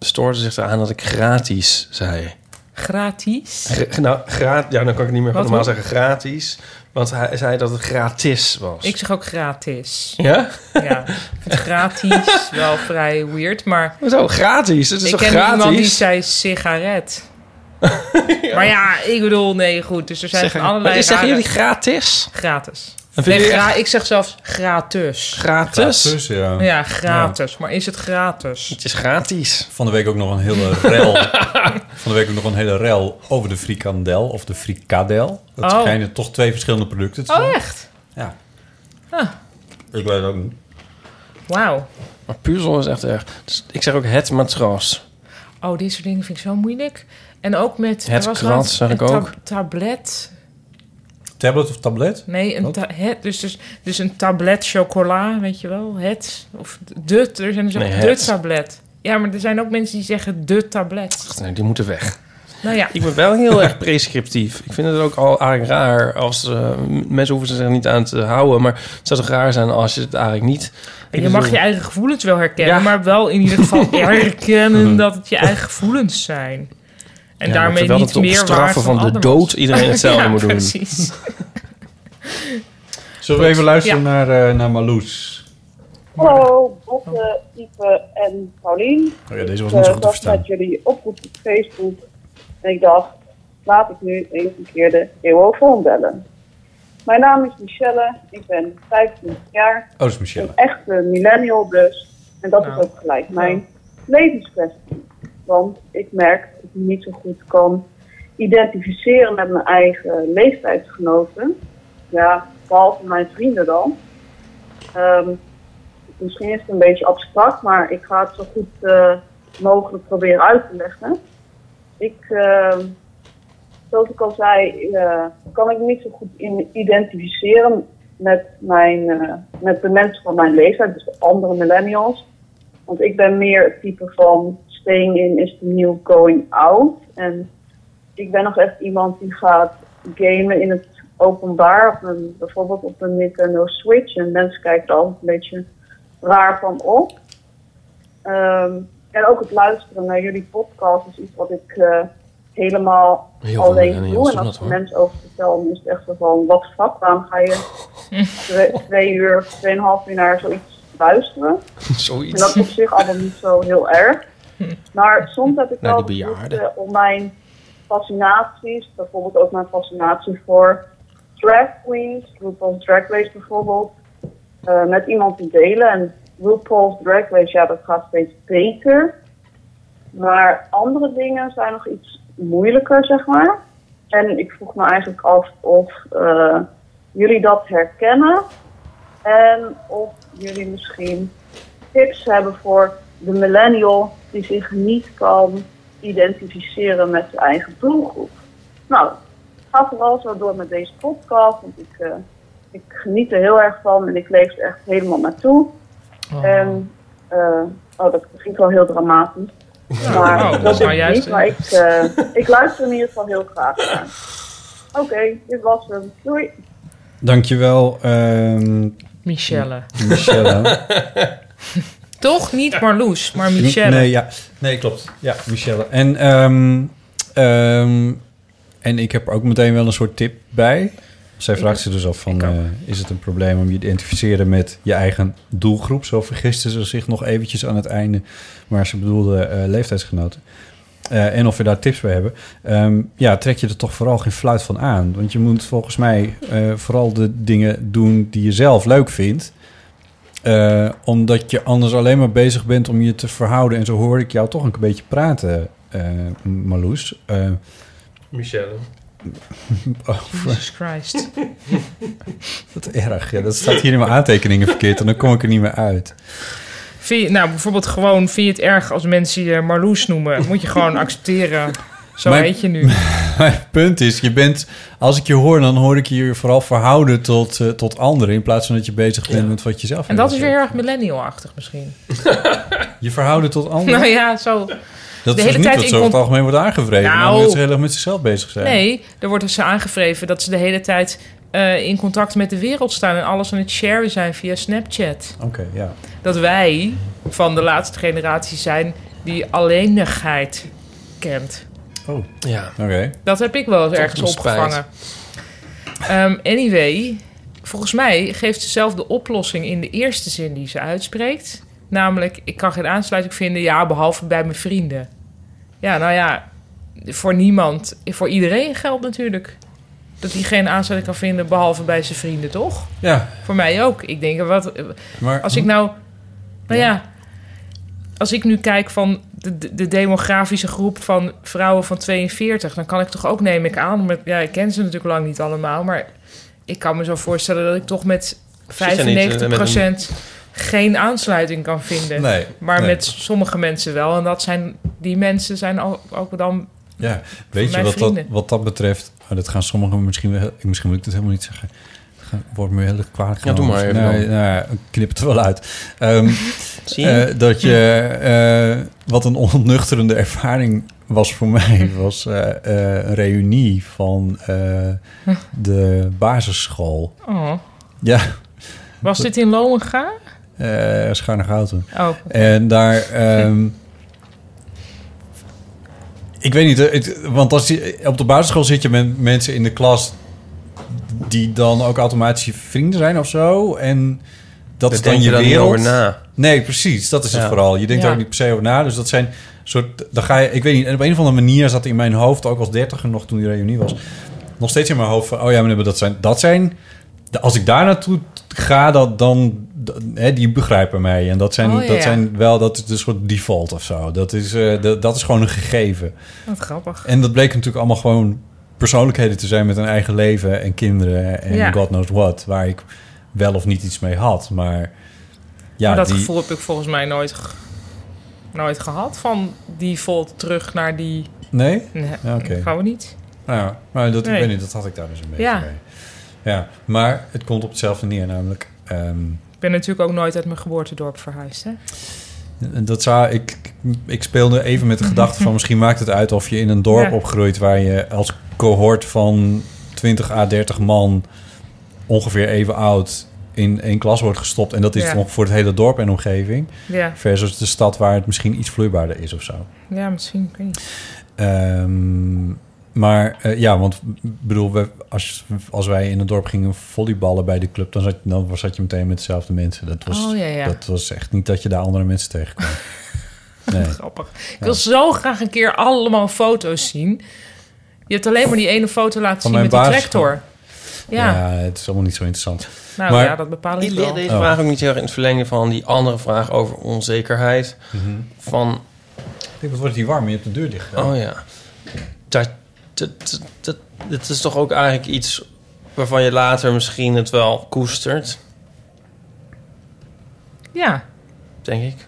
S8: stoorde zich eraan dat ik gratis zei.
S6: Gratis?
S8: Gra- nou, gra- ja, dan kan ik niet meer
S6: Wat,
S8: normaal
S6: hoe?
S8: zeggen gratis. Want hij zei dat het gratis was.
S6: Ik zeg ook gratis.
S8: Ja?
S6: Ja, ik vind gratis wel vrij weird, maar...
S8: Hoezo, gratis? Het is
S6: ik
S8: toch
S6: ken iemand die
S8: gratis?
S6: zei
S8: [LAUGHS]
S6: sigaret. Maar ja, ik bedoel, nee, goed. Dus er zijn
S8: Zeggen-
S6: van allerlei
S8: Maar zeggen
S6: rare-
S8: jullie gratis?
S6: Gratis.
S8: En vind
S6: Nee,
S8: je
S6: gra-
S8: echt-
S6: ik zeg zelfs gratis.
S8: Gratis? Gratis, ja.
S6: Ja, gratis. Maar is het gratis?
S8: Het is gratis.
S7: Van de week ook nog een
S8: [LAUGHS]
S7: hele rel. van de week ook nog een hele rel over de frikandel of de frikadel. Dat
S6: Oh.
S7: schijnen toch twee verschillende producten te zijn.
S6: Oh, echt?
S7: Ja.
S6: Ah,
S7: Ik weet het ook niet.
S6: Wauw.
S8: Maar puzzel is echt erg. Dus ik zeg ook het matras.
S6: Oh, dit soort dingen vind ik zo moeilijk. En ook met...
S8: Het
S6: er was
S8: krat,
S6: laatst
S8: zeg
S6: een
S8: ik ook.
S6: tab- tablet.
S7: Tablet of tablet?
S6: Nee, een ta- het, dus, dus, dus een tablet chocola, weet je wel. Het. Of de. Er zijn dus ook
S8: Nee,
S6: de
S8: het.
S6: tablet. Ja, maar er zijn ook mensen die zeggen de tablet.
S8: Nee, die moeten weg.
S6: Nou ja.
S8: Ik ben wel heel erg prescriptief. Ik vind het ook al eigenlijk raar als eh, m- mensen hoeven zich er niet aan te houden. Maar het zou toch raar zijn als je het eigenlijk niet.
S6: je mag
S8: [LAUGHS]
S6: je eigen gevoelens wel herkennen, maar wel in ieder geval
S8: [LAUGHS]
S6: herkennen dat het je eigen gevoelens zijn. En
S8: Ja, maar
S6: daarmee
S8: terwijl
S6: niet
S8: het op
S6: meer
S8: straffen
S6: waar
S8: van de
S6: anderen. [LAUGHS]
S8: dood iedereen hetzelfde
S6: Ja,
S8: moet doen. [LAUGHS]
S6: Precies.
S7: Zullen we even luisteren
S6: Ja.
S7: naar, eh, naar Marloes?
S16: Hallo, Botte, Ipe en Paulien.
S7: Oh ja, deze was niet zo
S16: Ik,
S7: goed
S16: eh,
S7: te
S16: zag
S7: verstaan.
S16: met jullie oproep op Facebook. En ik dacht, laat ik nu eens een keer de eeuwofoon bellen. Mijn naam is Michelle, ik ben 25 jaar.
S7: Oh, dat is Michelle.
S16: Een echte millennial dus. En dat is ook gelijk mijn levenskwestie. Want ik merk dat ik me niet zo goed kan identificeren met mijn eigen leeftijdsgenoten. Ja, behalve mijn vrienden dan. Ehm, misschien is het een beetje abstract, maar ik ga het zo goed eh, mogelijk proberen uit te leggen. Ik, ehm, zoals ik al zei, eh, kan ik me niet zo goed in identificeren met, mijn, eh, met de mensen van mijn leeftijd, dus de andere millennials. Want ik ben meer het type van staying in is the new going out. En ik ben nog echt iemand die gaat gamen in het openbaar, op een, bijvoorbeeld op een Nintendo Switch. En mensen kijken er altijd een beetje raar van op. Ehm, en ook het luisteren naar jullie podcast is iets wat ik eh, helemaal
S17: Heel veel
S16: alleen
S17: millennials
S16: doe. En als
S17: doen dat,
S16: er
S17: hoor.
S16: mensen over vertellen, is het echt zo van, wat fuck, waarom ga je twee, twee uur, tweeënhalf uur naar zoiets luisteren? En dat
S8: Zoiets.
S16: is op zich allemaal niet zo
S8: [LAUGHS]
S16: heel erg. Maar soms heb ik
S8: Naar
S16: wel
S8: de bejaarden.
S16: behoefte om mijn fascinaties, bijvoorbeeld ook mijn fascinatie voor drag queens, RuPaul's Drag Race bijvoorbeeld, eh, met iemand te delen. En RuPaul's Drag Race, ja, dat gaat steeds beter. Maar andere dingen zijn nog iets moeilijker, zeg maar. En ik vroeg me eigenlijk af of eh, jullie dat herkennen en of jullie misschien tips hebben voor de millennial die zich niet kan identificeren met zijn eigen doelgroep. Nou, ga vooral zo door met deze podcast, want ik, eh, ik geniet er heel erg van en ik leef er echt helemaal naartoe. En, eh, oh, dat klinkt wel heel dramatisch. Maar
S6: Oh,
S16: dat,
S6: dat is
S16: is
S6: nou juist,
S16: niet,
S6: hè?
S16: maar ik, eh, ik luister in ieder geval heel graag naar. Oké, dit was hem. Doei.
S7: Dankjewel. ehm
S6: Michelle.
S7: Michelle.
S6: [LAUGHS] Toch niet Marloes, maar Michelle.
S7: Nee, ja. nee, klopt. Ja, Michelle. En, ehm, ehm, en ik heb er ook meteen wel een soort tip bij. Zij
S6: Ik
S7: vraagt
S6: ook.
S7: zich dus af van, eh, is het een probleem om je te identificeren met je eigen doelgroep? Zo vergiste ze zich nog eventjes aan het einde, maar ze bedoelde eh, leeftijdsgenoten. Eh, en of we daar tips bij hebben. Ehm, ja, trek je er toch vooral geen fluit van aan. Want je moet volgens mij eh, vooral de dingen doen die je zelf leuk vindt. Eh, omdat je anders alleen maar bezig bent om je te verhouden. En zo hoor ik jou toch een beetje praten, eh Marloes. Eh, [LAUGHS]
S8: Michelle.
S7: over-
S6: Jesus Christ.
S7: Wat erg. Ja, Oh, [LAUGHS] dat staat hier in mijn aantekeningen verkeerd. En dan kom ik er niet meer uit.
S6: Vind je- nou, bijvoorbeeld gewoon, vind je het erg als mensen je Marloes noemen? Moet je gewoon accepteren. Zo
S7: Mijn-
S6: heet je nu.
S7: [LAUGHS] Mijn punt is, je bent, als ik je hoor, dan hoor ik je je vooral verhouden tot, eh, tot anderen. In plaats van dat je bezig bent met wat je zelf
S6: En dat
S7: wil.
S6: is weer heel erg millennial-achtig misschien.
S7: Je verhouden tot anderen.
S6: Nou ja, zo.
S7: Oh. Dat is dus niet dat zo over
S6: cont-
S7: het algemeen wordt aangevreven.
S6: Nou.
S7: Nou, mensen heel erg met zichzelf bezig zijn.
S6: Nee, er wordt dus aangevreven dat ze de hele tijd eh, in contact met de wereld staan en alles aan het sharen zijn via Snapchat.
S7: Oké, ja.
S6: Dat wij van de laatste generatie zijn die alleenigheid kent.
S7: Oh.
S8: Ja.
S7: Oké.
S6: Dat heb ik wel eens
S8: Tot
S6: ergens
S8: mijn spijt.
S6: opgevangen. Ehm, anyway, volgens mij geeft ze zelf de oplossing in de eerste zin die ze uitspreekt. Namelijk, ik kan geen aansluiting vinden, ja, behalve bij mijn vrienden. Ja, nou ja, voor niemand, voor iedereen geldt natuurlijk. Dat hij geen aansluiting kan vinden, behalve bij zijn vrienden, toch?
S7: Ja.
S6: Voor mij ook. Ik denk, wat,
S7: Maar-
S6: als ik nou, nou ja, als ik nu kijk van de, de, de demografische groep van vrouwen van 42, dan kan ik toch ook, neem ik aan, met, ja, ik ken ze natuurlijk lang niet allemaal, maar ik kan me zo voorstellen dat ik toch met
S8: Zit je niet, eh, met een-
S6: 95% geen aansluiting kan vinden.
S7: Nee,
S6: maar
S7: nee.
S6: met sommige mensen wel. En dat zijn, die mensen zijn ook, ook dan.
S7: Ja,
S6: voor
S7: weet je
S6: mijn
S7: wat dat,
S6: vrienden.
S7: wat dat betreft? oh, dat gaan sommigen misschien wel... Misschien moet ik dat helemaal niet zeggen. Dat gaat- Wordt me heel erg kwalijk
S8: Ja, doe maar even
S7: Nee,
S8: dan.
S7: nou ja, ik knip het er wel uit. Ehm,
S8: [LAUGHS] Zie je?
S7: eh, dat je... eh, wat een onnuchterende ervaring was voor [LAUGHS] mij... was eh, eh, een reunie van eh, de basisschool.
S6: Oh.
S7: Ja.
S6: Was dit in Lohenga?
S7: eh schuine gouten.
S6: Oh.
S7: En daar... ehm, ik weet niet, eh, het- want als je, op de basisschool zit je met mensen in de klas... die dan ook automatisch je vrienden zijn of zo. En dat
S8: Daar
S7: is dan
S8: denk
S7: je
S8: je dan niet
S7: wereld.
S8: over na.
S7: Nee, precies. Dat is het
S8: Ja.
S7: vooral. Je denkt
S8: Ja.
S7: er ook niet per se over na. Dus dat zijn soort... Dan ga je, ik weet niet, en op een of andere manier zat in mijn hoofd... ook als dertiger nog toen die reunie was... nog steeds in mijn hoofd van... oh ja, maar dat zijn... Dat zijn de- als ik daar naartoe ga, dat, dan... dat- hè, die begrijpen mij. En dat zijn,
S6: Oh, ja,
S7: dat
S6: ja.
S7: zijn wel... Dat is een soort default of zo. Dat is, eh, dat, dat is gewoon een gegeven.
S6: Wat grappig.
S7: En dat bleek natuurlijk allemaal gewoon persoonlijkheden te zijn met een eigen leven en kinderen en
S6: Ja.
S7: god knows what, waar ik wel of niet iets mee had. Maar ja,
S6: maar dat
S7: die,
S6: gevoel heb ik volgens mij nooit, ge- nooit gehad. Van die volt terug naar die.
S7: Nee?
S6: Nee,
S7: Ja, oké.
S6: gaan we niet.
S7: Nou ja, maar dat, ik
S6: Nee.
S7: weet niet, dat had ik daar dus een beetje
S6: Ja.
S7: bij. Ja, maar het komt op hetzelfde neer, namelijk. ehm,
S6: Ik ben natuurlijk ook nooit uit mijn geboortedorp verhuisd. Hè?
S7: En Dat zou, ik, ik speelde even met de
S6: [LAUGHS]
S7: gedachte van misschien maakt het uit of je in een dorp
S6: Ja.
S7: opgroeit waar je als cohort van 20 à 30 man ongeveer even oud in één klas wordt gestopt. En dat is
S6: Ja.
S7: nog voor het hele dorp en omgeving.
S6: Ja.
S7: Versus de stad waar het misschien iets vloeibaarder is of zo.
S6: Ja, misschien. Ik weet niet.
S7: Ehm, maar eh, ja, want m, bedoel, we, als, als wij in het dorp gingen volleyballen bij de club, dan zat, dan zat je meteen met dezelfde mensen. Dat was,
S6: Oh, ja, ja.
S7: dat was echt niet dat je daar andere mensen
S6: [LAUGHS]
S7: tegenkwam. Nee.
S6: Grappig. Ik wil zo graag een keer allemaal foto's zien. Je hebt alleen maar die ene foto laten
S7: Van
S6: zien
S7: mijn
S6: met die
S7: basisschool.
S6: tractor. Ja.
S7: Ja. het is allemaal niet zo interessant.
S6: Nou
S7: Maar-
S6: ja, dat bepaal ik
S8: Ik
S6: wel.
S8: leer
S7: Oh.
S8: deze vraag ook niet heel erg in het verlengde van die andere vraag over onzekerheid.
S7: Mhm.
S8: Van,
S7: Ik denk, wat wordt hier warm? Je hebt de deur dicht. gedaan.
S8: oh ja, dat, dat, dat, dat, dit is toch ook eigenlijk iets waarvan je later misschien het wel koestert,
S6: Oh. Ja,
S8: denk ik.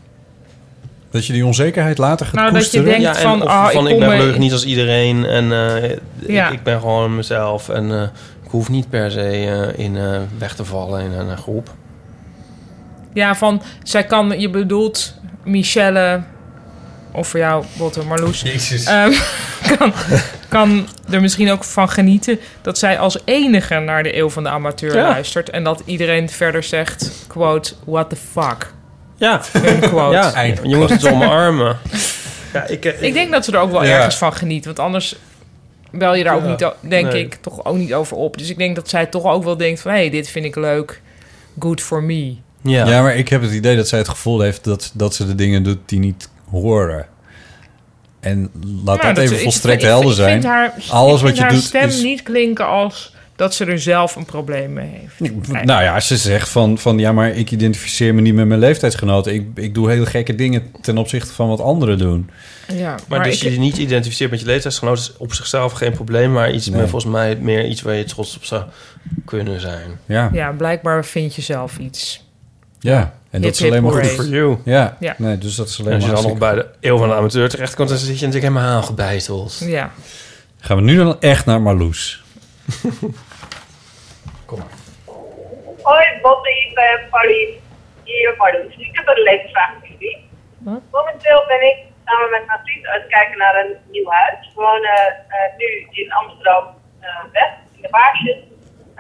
S7: Dat je die onzekerheid later gaat
S6: Nou, dat je
S7: koesteren.
S6: denkt
S7: ja,
S8: Ja, en
S6: van,
S8: of
S6: ah, ik
S8: van ik,
S6: kom
S8: ben
S6: bij-
S8: gelukkig niet als iedereen en eh,
S6: Ja.
S8: ik, ik ben gewoon mezelf en eh, ik hoef niet per se eh, in eh, weg te vallen in een eh, groep.
S6: Ja, van zij kan, je bedoelt Michelle, of voor jou, Botte Marloes.
S8: Jezus.
S6: Ehm, kan, kan er misschien ook van genieten dat zij als enige naar de eeuw van de amateur
S8: Ja.
S6: luistert. En dat iedereen verder zegt, quote, what the fuck.
S8: Ja, [LAUGHS]
S6: quote.
S8: ja. jongens, het is omarmen. Ja, ik, eh,
S6: Ik denk dat ze er ook wel
S8: Ja.
S6: ergens van geniet. Want anders bel je daar ook
S8: Ja,
S6: niet, o- denk
S8: nee.
S6: ik, toch ook niet over op. Dus ik denk dat zij toch ook wel denkt van... hé, hey, dit vind ik leuk. Good for me.
S7: Ja. maar ik heb het idee dat zij het gevoel heeft dat, dat ze de dingen doet die niet horen. En laat
S6: Nou,
S7: dat, even
S6: is-
S7: volstrekt
S6: ik- ik
S7: helder
S6: vind
S7: zijn.
S6: haar- ik
S7: Alles
S6: vind
S7: wat je
S6: haar
S7: doet
S6: stem
S7: is...
S6: niet klinken als dat ze er zelf een probleem mee heeft.
S7: Nou ja, ze zegt van, van ja, maar ik identificeer me niet met mijn leeftijdsgenoten. Ik, ik doe hele gekke dingen ten opzichte van wat anderen doen.
S6: Ja,
S8: maar,
S6: maar
S8: dus
S6: ik-
S8: je niet identificeert met je leeftijdsgenoot is op zichzelf geen probleem, maar iets
S7: Nee.
S8: maar volgens mij meer iets waar je trots op zou kunnen zijn.
S7: Ja.
S6: Ja, blijkbaar vind je zelf iets.
S7: Ah. Ja, en dat
S6: Hip,
S7: is alleen
S6: hip,
S7: maar
S6: hooray.
S7: goed voor jou. Ja.
S6: Ja.
S7: Nee, dus dat is alleen
S8: En als je
S7: maar
S8: dan nog bij de eeuw van de amateur terechtkomt, dan zit je natuurlijk helemaal gebeiteld.
S6: Ja.
S7: Gaan we nu dan echt naar Marloes.
S17: Hoi, Bob, ik ben Paulien. Hier, Marloes. Ik heb een levensvraag voor jullie.
S6: Wat?
S17: Momenteel ben ik samen met mijn vriend aan het kijken naar een nieuw huis. We wonen eh, nu in Amsterdam eh, West, in de Baarsjes.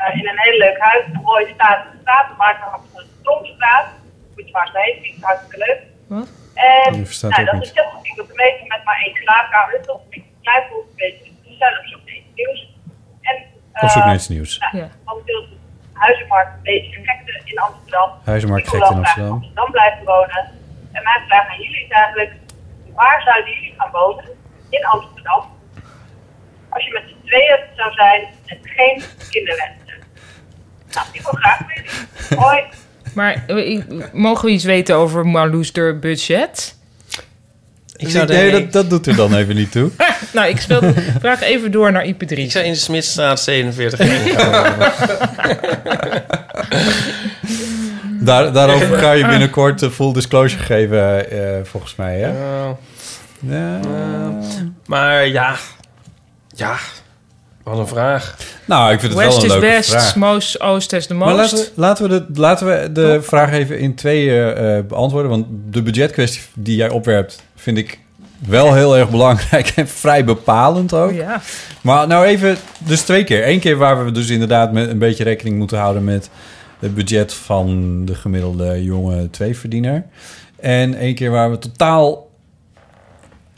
S17: Eh, in een heel leuk huis. Een mooie staat de straat. We maken van de Stromstraat. Moet je maar eens heen, vind ik hartstikke leuk.
S6: Wat?
S17: En
S6: Oh, Die verstaat
S17: nou,
S6: ook
S17: dat
S6: niet.
S17: is heel goed. Ik ben bezig met maar één slaapkamer. Dus Dat is toch een beetje klein Dus voor een beetje. We zijn op zoek naar iets nieuws. En,
S7: Op zoek
S17: eh,
S7: naar iets nieuws.
S17: nou, Momenteel is de huizenmarkt een beetje gekte in Amsterdam.
S7: Huizenmarkt
S17: Ik wil
S7: gekte in
S17: wel graag
S7: Amsterdam.
S17: Amsterdam blijven wonen. En mijn vraag aan jullie is eigenlijk, waar zouden jullie gaan wonen in Amsterdam? Als je met z'n tweeën zou zijn en geen kinderwensen. Nou, ik wil graag weten. Hoi.
S6: Maar eh, ik- mogen we iets weten over Marloes de budget?
S8: Ik
S7: zou Nee, denken- dat- dat doet er dan even niet toe.
S6: [LAUGHS] nou, ik speel, vraag even door naar IP3.
S8: Ik zou in de Smidstraat 47 heen
S7: [LAUGHS]
S8: gaan.
S7: [LAUGHS] Daar, daarover ga je binnenkort eh, full disclosure geven, eh, volgens mij. Hè?
S8: Ja. Maar ja, ja, wat een vraag.
S7: Nou, ik vind het
S6: West
S7: wel een
S6: is
S7: leuke
S6: best,
S7: vraag.
S6: most, oost is de most.
S7: Maar laten we, laten we de, laten we de vraag even in twee eh, eh, beantwoorden. Want de budgetkwestie die jij opwerpt, vind ik wel heel erg belangrijk en vrij bepalend ook.
S6: Oh Ja.
S7: Maar nou even, dus twee keer. Eén keer waar we dus inderdaad met een beetje rekening moeten houden met het budget van de gemiddelde jonge tweeverdiener. En één keer waar we totaal,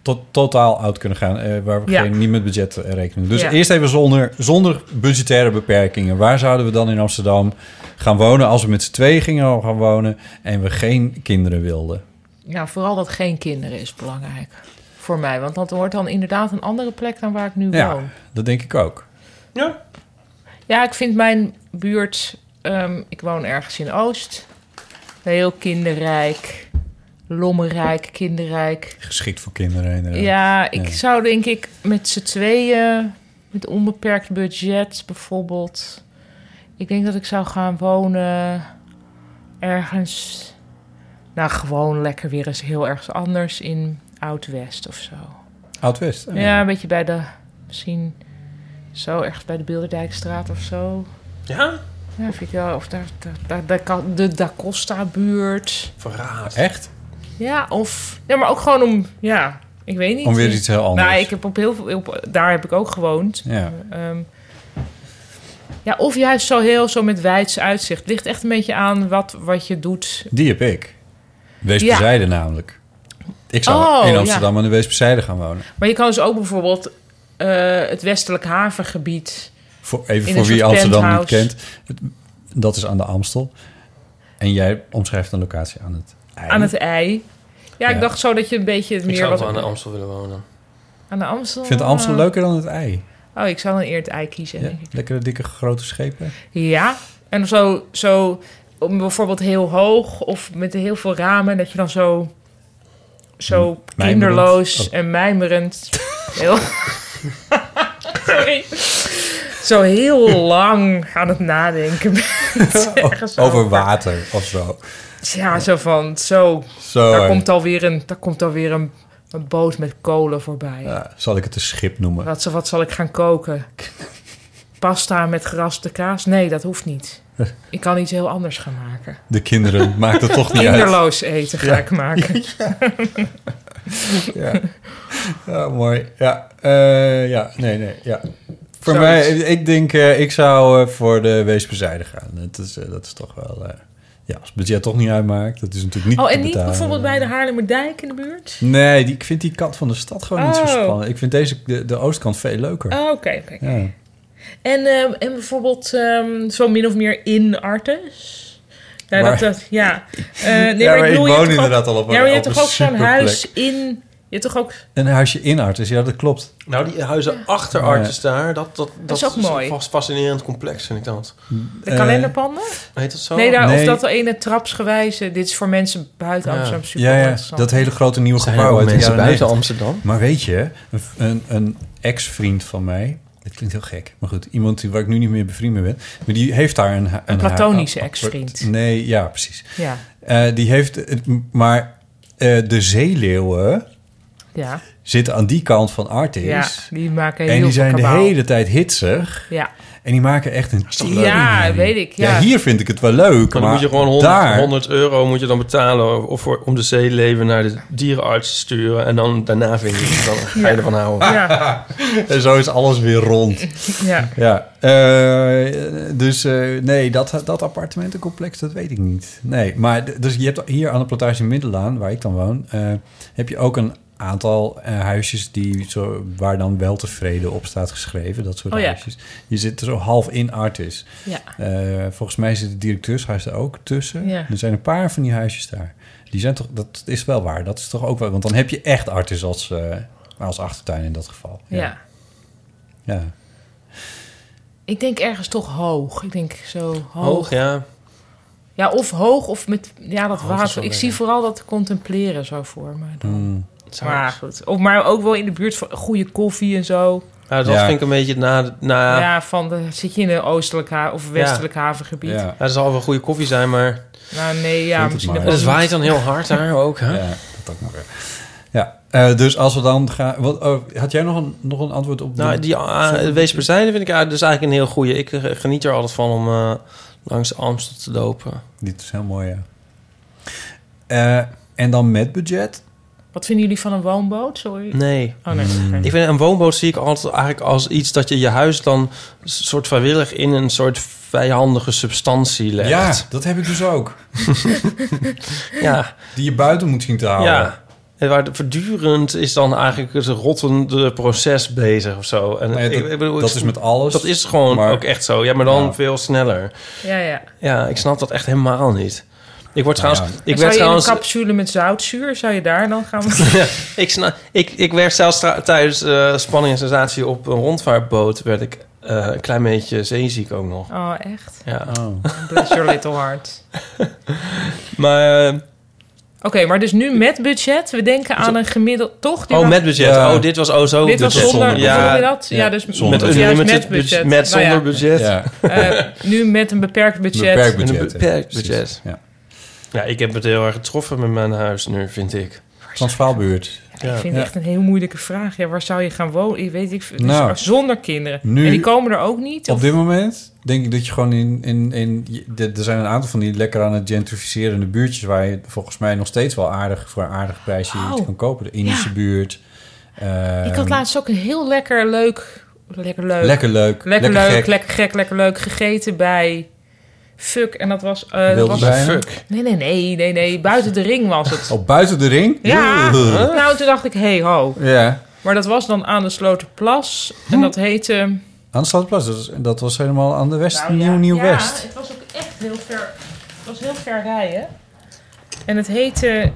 S7: tot, totaal out kunnen gaan, eh, waar we
S6: Ja.
S7: geen, niet met budget eh, rekenen. Dus
S6: Ja.
S7: eerst even zonder, zonder budgettaire beperkingen. Waar zouden we dan in Amsterdam gaan wonen als we met z'n tweeën gingen gaan wonen en we geen kinderen wilden?
S6: Nou, vooral dat geen kinderen is belangrijk voor mij. Want dat wordt dan inderdaad een andere plek dan waar ik nu
S7: Ja,
S6: woon.
S7: dat denk ik ook.
S6: Ja, ik vind mijn buurt... ehm, ik woon ergens in Oost. Heel kinderrijk. Lommerrijk, kinderrijk.
S7: Geschikt voor kinderen.
S6: Ja,
S7: inderdaad.
S6: ik
S7: Ja.
S6: zou denk ik met z'n tweeën... met onbeperkt budget bijvoorbeeld... Ik denk dat ik zou gaan wonen ergens... Nou, gewoon lekker weer eens heel ergens anders in Oud-West of zo.
S7: Oud-West. Oh,
S6: Ja, een beetje bij de... Misschien zo ergens bij de Bilderdijkstraat of zo.
S8: Ja?
S6: Ja, vind ik wel. Of daar, daar, daar, daar kan- de Da Costa-buurt.
S8: Verraad.
S7: Echt?
S6: Ja, of... Ja, maar ook gewoon om... Ja, ik weet niet.
S7: Om weer iets heel anders.
S6: Nou, ik heb op heel veel... op- daar heb ik ook gewoond.
S7: Ja.
S6: Ehm, ja, of juist zo heel zo met wijds uitzicht. Het ligt echt een beetje aan wat, wat je doet.
S7: Die heb ik. Wees
S6: Ja.
S7: bezijden namelijk. Ik zou
S6: Oh,
S7: in
S6: ja.
S7: Amsterdam aan de Wees bezijden gaan wonen.
S6: Maar je kan dus ook bijvoorbeeld eh, het westelijk havengebied...
S7: Voor, even
S6: in
S7: voor
S6: een
S7: wie
S6: soort
S7: Amsterdam
S6: penthouse.
S7: niet kent. Het- Dat is aan de Amstel. En jij omschrijft een locatie aan het ei.
S6: Aan het ei. Ja, ik
S7: Ja.
S6: dacht zo dat je een beetje het
S8: Ik
S6: meer...
S8: zou ook
S6: wat
S8: wel aan de Amstel willen wonen.
S6: Aan de Amstel?
S7: Ik vind Amstel
S6: Ah.
S7: leuker dan het ei.
S6: Oh, ik zou dan eerder het ei kiezen,
S7: Ja,
S6: denk ik.
S7: lekkere dikke grote schepen.
S6: Ja, en zo, zo om bijvoorbeeld heel hoog of met heel veel ramen... dat je dan zo, zo
S7: mijmerend.
S6: kinderloos
S7: [LAUGHS] Oh.
S6: en mijmerend... Heel... Sorry. zo heel lang aan het nadenken
S7: [LAUGHS]
S6: bent. Ergens
S7: Over water of
S6: [LAUGHS]
S7: zo.
S6: Ja, zo van, zo,
S7: Zo,
S6: daar,
S7: hè.
S6: komt alweer een, daar komt alweer een, een boot met kolen voorbij.
S7: Ja, zal ik het een schip noemen?
S6: Wat, wat zal ik gaan koken? Pasta met geraspte kaas? Nee, dat hoeft
S7: [LAUGHS]
S6: niet. Ik kan iets heel anders gaan maken.
S7: De kinderen, maakt het toch niet uit.
S6: Kinderloos eten ga
S7: [LAUGHS] Ja.
S6: ik maken.
S7: Ja. Ja, mooi. Ja, eh, ja, nee, nee, ja. Voor
S6: Zoiets.
S7: mij, ik denk, eh, ik zou eh, voor de weesbezijden gaan. Het is, eh, dat is toch wel, eh, ja, als het budget toch niet uitmaakt, dat is natuurlijk niet
S6: oh, en
S7: te
S6: niet
S7: betalen.
S6: bijvoorbeeld bij de Haarlemmerdijk in de buurt?
S7: Nee, die, ik vind die kant van de stad gewoon niet zo
S6: Oh.
S7: spannend. Ik vind deze, de, de oostkant veel leuker.
S6: Oh, oké, oké. oké.
S7: Ja.
S6: En, ehm, en bijvoorbeeld ehm, zo min of meer in Artes? Ja,
S7: Maar-
S6: dat, dat, ja.
S7: [LAUGHS]
S6: Eh, nee,
S7: Ja,
S6: maar
S7: maar
S6: ik, bedoel,
S7: ik
S6: je
S7: woon
S6: hebt toch ook-
S7: inderdaad al op een-
S6: Ja, maar je
S7: op
S6: hebt toch
S7: een
S6: ook zo'n
S7: superplek.
S6: huis in... Je hebt toch ook...
S7: Een huisje in Artis, ja, dat klopt.
S8: Nou, die huizen achter
S7: Ja.
S8: Artis daar, dat, dat, dat,
S6: is ook mooi.
S8: een vast fascinerend complex, vind ik dat.
S6: De
S7: Eh,
S6: kalenderpanden?
S8: Heet dat zo?
S6: Nee, daar,
S7: Nee.
S6: of dat ene trapsgewijze... Dit is voor mensen buiten
S8: Ja.
S6: Amsterdam super
S7: Ja, ja,
S6: interessant.
S7: dat hele grote nieuwe
S8: Zijn er
S7: gebouw
S8: ook
S7: uit de
S8: mensen
S7: jaren
S8: buiten
S7: 90.
S8: Amsterdam?
S7: Maar weet je, een, een, een ex-vriend van mij... Dit klinkt heel gek, maar goed. Iemand die, waar ik nu niet meer bevriend mee ben. Maar die heeft daar een... Een, een
S6: platonische
S7: een- een-
S6: ex-vriend.
S7: Nee, ja, precies.
S6: Ja.
S7: Eh, die heeft... het- Maar eh, de zeeleeuwen
S6: Ja,
S7: zitten aan die kant van Artis.
S6: ja, die maken heel
S7: en
S6: veel
S7: die zijn
S6: kabaal.
S7: de hele tijd hitsig.
S6: Ja.
S7: En die maken echt een...
S6: Ja, weet ik. Ja.
S7: Ja, hier vind ik het wel leuk, maar,
S8: Maar dan moet je gewoon 100,
S7: daar...
S8: 100 euro moet je dan betalen of voor, om de zeeleven naar de dierenarts te sturen. En dan daarna vind je het. Dan ga je ervan houden.
S6: Ja.
S7: [LAUGHS] En zo is alles weer rond.
S6: Ja.
S7: ja. eh, dus eh, nee, dat, dat appartementencomplex, dat weet ik niet. Nee, maar d- dus je hebt hier aan de plantage Middelaan, waar ik dan woon... eh, heb je ook een aantal eh, huisjes die zo, waar dan wel tevreden op staat geschreven. Dat soort
S6: Oh ja.
S7: huisjes. Je zit er zo half in artis.
S6: Ja.
S7: Eh, volgens mij zit het directeurshuis er ook tussen.
S6: Ja.
S7: Er zijn een paar van die huisjes daar. Die zijn toch, dat is wel waar. Dat is toch ook wel, want dan heb je echt artis als, eh, als achtertuin in dat geval.
S6: Ja.
S7: ja.
S6: Ik denk ergens toch hoog. Ik denk zo hoog.
S8: Hoog, ja.
S6: Ja, of hoog of met ja, dat
S8: Hoog Oh, is
S6: water.
S8: wel
S6: Ik
S8: lekker.
S6: zie vooral dat contempleren zo voor me.
S7: Hmm.
S6: Maar goed. Of, maar ook wel in de buurt van goede koffie en zo.
S8: Ja, dat vind ik een beetje na... na
S6: Ja, van de, zit je in een oostelijk ha- of westelijk havengebied?
S8: Ja. dat zal wel een goede koffie zijn, maar...
S6: Nou nee, ja, misschien
S8: Het,
S6: ook niet.
S8: waait dan heel hard daar ook, hè?
S7: Ja, dat ook nog weer. Ja, eh, dus als we dan gaan... Wat, oh, had jij nog een, nog een antwoord op... de-
S8: Nou, die uh,
S7: Zo-
S8: Weesperzijde vind ik uh, dus eigenlijk een heel goede. Ik eh, geniet er altijd van om eh, langs Amstel te lopen.
S7: Dit is heel mooi, ja. Eh, en dan met budget?
S6: Wat vinden jullie van een woonboot? Sorry.
S8: Nee.
S6: Oh nee. oké.
S8: Ik vind een woonboot zie ik altijd eigenlijk als iets dat je je huis dan s- soort vrijwillig in een soort vijandige substantie legt.
S7: Ja, dat heb ik dus ook.
S8: [LAUGHS] Ja.
S7: Die je buiten moet zien te houden.
S8: Ja. En waar de- voortdurend is dan eigenlijk het rottende proces bezig of zo. En
S7: Nee, dat-
S8: bedoel,
S7: dat is met alles,
S8: Dat is gewoon
S7: maar-
S8: ook echt zo. Ja, maar dan
S7: Ja.
S8: veel sneller.
S6: Ja, ja.
S8: Ja, ik snap dat echt helemaal niet. Ik word trouwens... Ik
S6: Ik zou
S8: werd
S6: je
S8: trouwens...
S6: in een capsule met zoutzuur, zou je daar dan gaan? [LAUGHS] ja,
S8: ik, sna- ik, ik werd zelfs tra- tijdens eh, spanning en sensatie op een rondvaartboot... werd ik eh, een klein beetje zeeziek ook nog.
S6: Oh, echt?
S8: Ja.
S7: Oh.
S6: Bless your little heart.
S8: [LAUGHS] Maar... eh,
S6: Oké, maar dus nu met budget. We denken aan een gemiddeld... Toch? Die
S8: oh,
S6: was-
S8: met budget.
S7: Ja.
S8: Oh, dit was oh zo.
S6: Dit was
S8: budget.
S6: zonder- hoe noem je dat? Ja, dus
S8: met
S6: juist
S8: unlimited
S6: met budget.
S8: budget. Met
S6: Nou ja.
S8: zonder budget.
S7: Ja.
S6: Eh, nu met een beperkt budget.
S7: Beperkt budget.
S8: Met een beperkt
S7: Precies,
S8: budget.
S7: Ja.
S8: Ja, ik heb het heel erg getroffen met mijn huis nu, vind ik.
S7: Transvaalbuurt.
S6: Ja, ik vind het echt een heel moeilijke vraag. Ja, waar zou je gaan wonen? Ik weet ik, veel. dus
S7: Nou,
S6: zonder kinderen.
S7: nu-
S6: en die komen er ook niet?
S7: Op dit moment denk ik dat je gewoon in... in, in je- de- er zijn een aantal van die lekker aan het gentrificerende buurtjes... waar je volgens mij nog steeds wel aardig voor een aardig prijsje
S6: Wauw.
S7: iets kan kopen. De Indische buurt.
S6: ik had
S7: ehm,
S6: laatst ook een heel lekker leuk... Lekker leuk.
S7: Lekker leuk,
S6: Lekker,
S7: lekker
S6: leuk,
S7: gek.
S6: lekker gek, lekker leuk. Gegeten bij... Fuck, en dat was... eh, dat
S7: Wilde
S6: was
S7: bijen? Fuck.
S6: Nee, nee, nee, nee, nee. Buiten de ring was het.
S7: Oh, buiten de ring?
S6: Ja,
S7: Huh?
S6: nou toen dacht ik, hey ho.
S7: Ja.
S6: Maar dat was dan aan de Sloterplas.
S7: Hm.
S6: En dat heette...
S7: Aansluitplas, dat, is- dat was helemaal aan de west,
S6: Nou, ja.
S7: Nieuw
S6: ja,
S7: Nieuw-West.
S6: het was ook echt heel ver... Het was heel ver rijden. En het heette...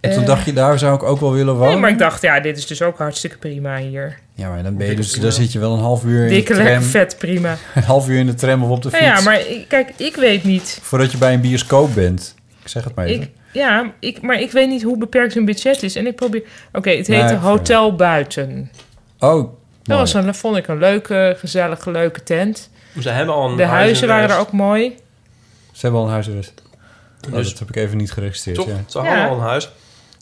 S7: en toen
S6: eh,
S7: dacht je, daar zou ik ook wel willen wonen.
S6: Nee, maar ik dacht, ja, dit is dus ook hartstikke prima hier.
S7: Ja, maar dan ben je dus, daar zit je wel een half uur in
S6: Dikke,
S7: de tram.
S6: lekker, vet, prima.
S7: [LAUGHS] Een half uur in de tram of op de
S6: Nou
S7: fiets.
S6: ja, maar ik- kijk, ik weet niet.
S7: Voordat je bij een bioscoop bent. Ik zeg het maar even.
S6: Ik, ja, ik, maar ik weet niet hoe beperkt hun budget is. En ik probeer... Oké, het
S7: Nee,
S6: heette
S7: ik-
S6: Hotel Buiten.
S7: Oh,
S6: Dat was een, vond ik een leuke, gezellige, leuke tent.
S8: Ze hebben al een
S6: De huizen waren er
S8: huizenrest.
S6: ook mooi.
S7: Ze hebben al een huisarrest. Oh,
S8: Dus-
S7: dat heb ik even niet geregistreerd.
S8: Toch?
S7: ja.
S8: Ze hadden
S6: Ja.
S8: al een huis.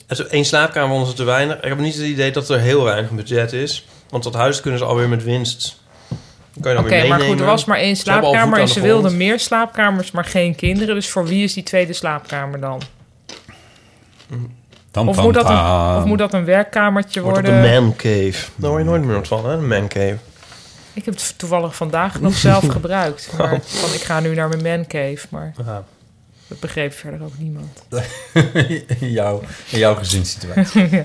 S8: Er is één slaapkamer onder te weinig. Ik heb niet het idee dat er heel weinig budget is. Want dat huis kunnen ze alweer met winst. Dan Kan je dan
S6: Oké,
S8: weer
S6: maar
S8: meenemen.
S6: goed, er was maar één
S8: Ze hebben al
S6: slaapkamer
S8: voet aan
S6: en
S8: de
S6: ze
S8: grond.
S6: wilden meer slaapkamers, maar geen kinderen. Dus voor wie is die tweede slaapkamer dan?
S9: Tam,
S6: Of
S9: tam,
S6: moet dat een,
S9: tam.
S6: of moet dat een werkkamertje
S8: Wordt
S6: worden?
S8: het een man cave. Daar hoor je nooit meer wat van, hè? Een man cave.
S6: Ik heb het toevallig vandaag nog zelf gebruikt. Maar van, ik ga nu naar mijn man cave, maar dat begreep verder ook niemand.
S7: [LAUGHS] in, jouw, in jouw
S6: [LAUGHS]
S7: gezinssituatie.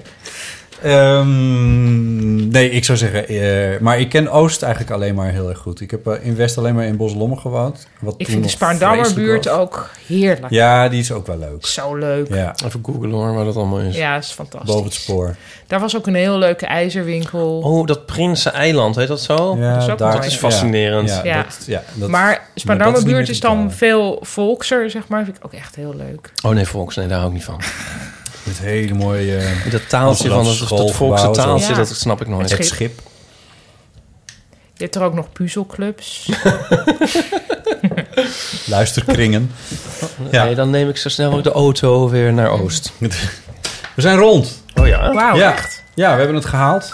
S7: Ehm, nee, ik zou zeggen... eh, maar ik ken Oost eigenlijk alleen maar heel erg goed. Ik heb eh, in West alleen maar in Boslommen gewoond. Wat
S6: Ik
S7: toen
S6: vind de
S7: nog
S6: Spaardammer
S7: vreselijk
S6: buurt
S7: was.
S6: ook heerlijk.
S7: Ja, die is ook wel leuk.
S6: Zo leuk.
S7: Ja.
S8: Even googlen hoor, waar dat allemaal is.
S6: Ja, is fantastisch.
S7: Boven het spoor.
S6: Daar was ook een heel leuke ijzerwinkel.
S8: Oh, dat Prinsen Eiland, heet dat zo?
S7: Ja,
S8: dat is,
S7: Dat is ook daar- mooi.
S8: fascinerend.
S7: Ja,
S6: ja. maar Spaardammerbuurt is dan veel volkser, zeg maar. Vind ik ook echt heel leuk.
S8: Oh nee, volks, nee, daar hou ik
S7: [LAUGHS]
S8: niet van.
S7: Het hele mooie... eh,
S8: Dat taaltje van
S7: Amsterdamse
S8: dat, dat
S7: schoolgebouw,
S8: volkse
S7: zo.
S8: taaltje,
S6: Ja.
S8: dat snap ik nooit.
S6: Het schip. Je hebt er ook nog
S7: [LAUGHS]
S6: puzzelclubs. Eh,
S7: Luisterkringen.
S8: Ja. [LAUGHS] Nee, dan neem ik zo snel mogelijk de auto weer naar
S7: [LAUGHS]
S8: Oost.
S7: We zijn rond.
S8: Oh ja.
S6: Wauw,
S7: ja.
S6: echt.
S7: Ja, we hebben het gehaald.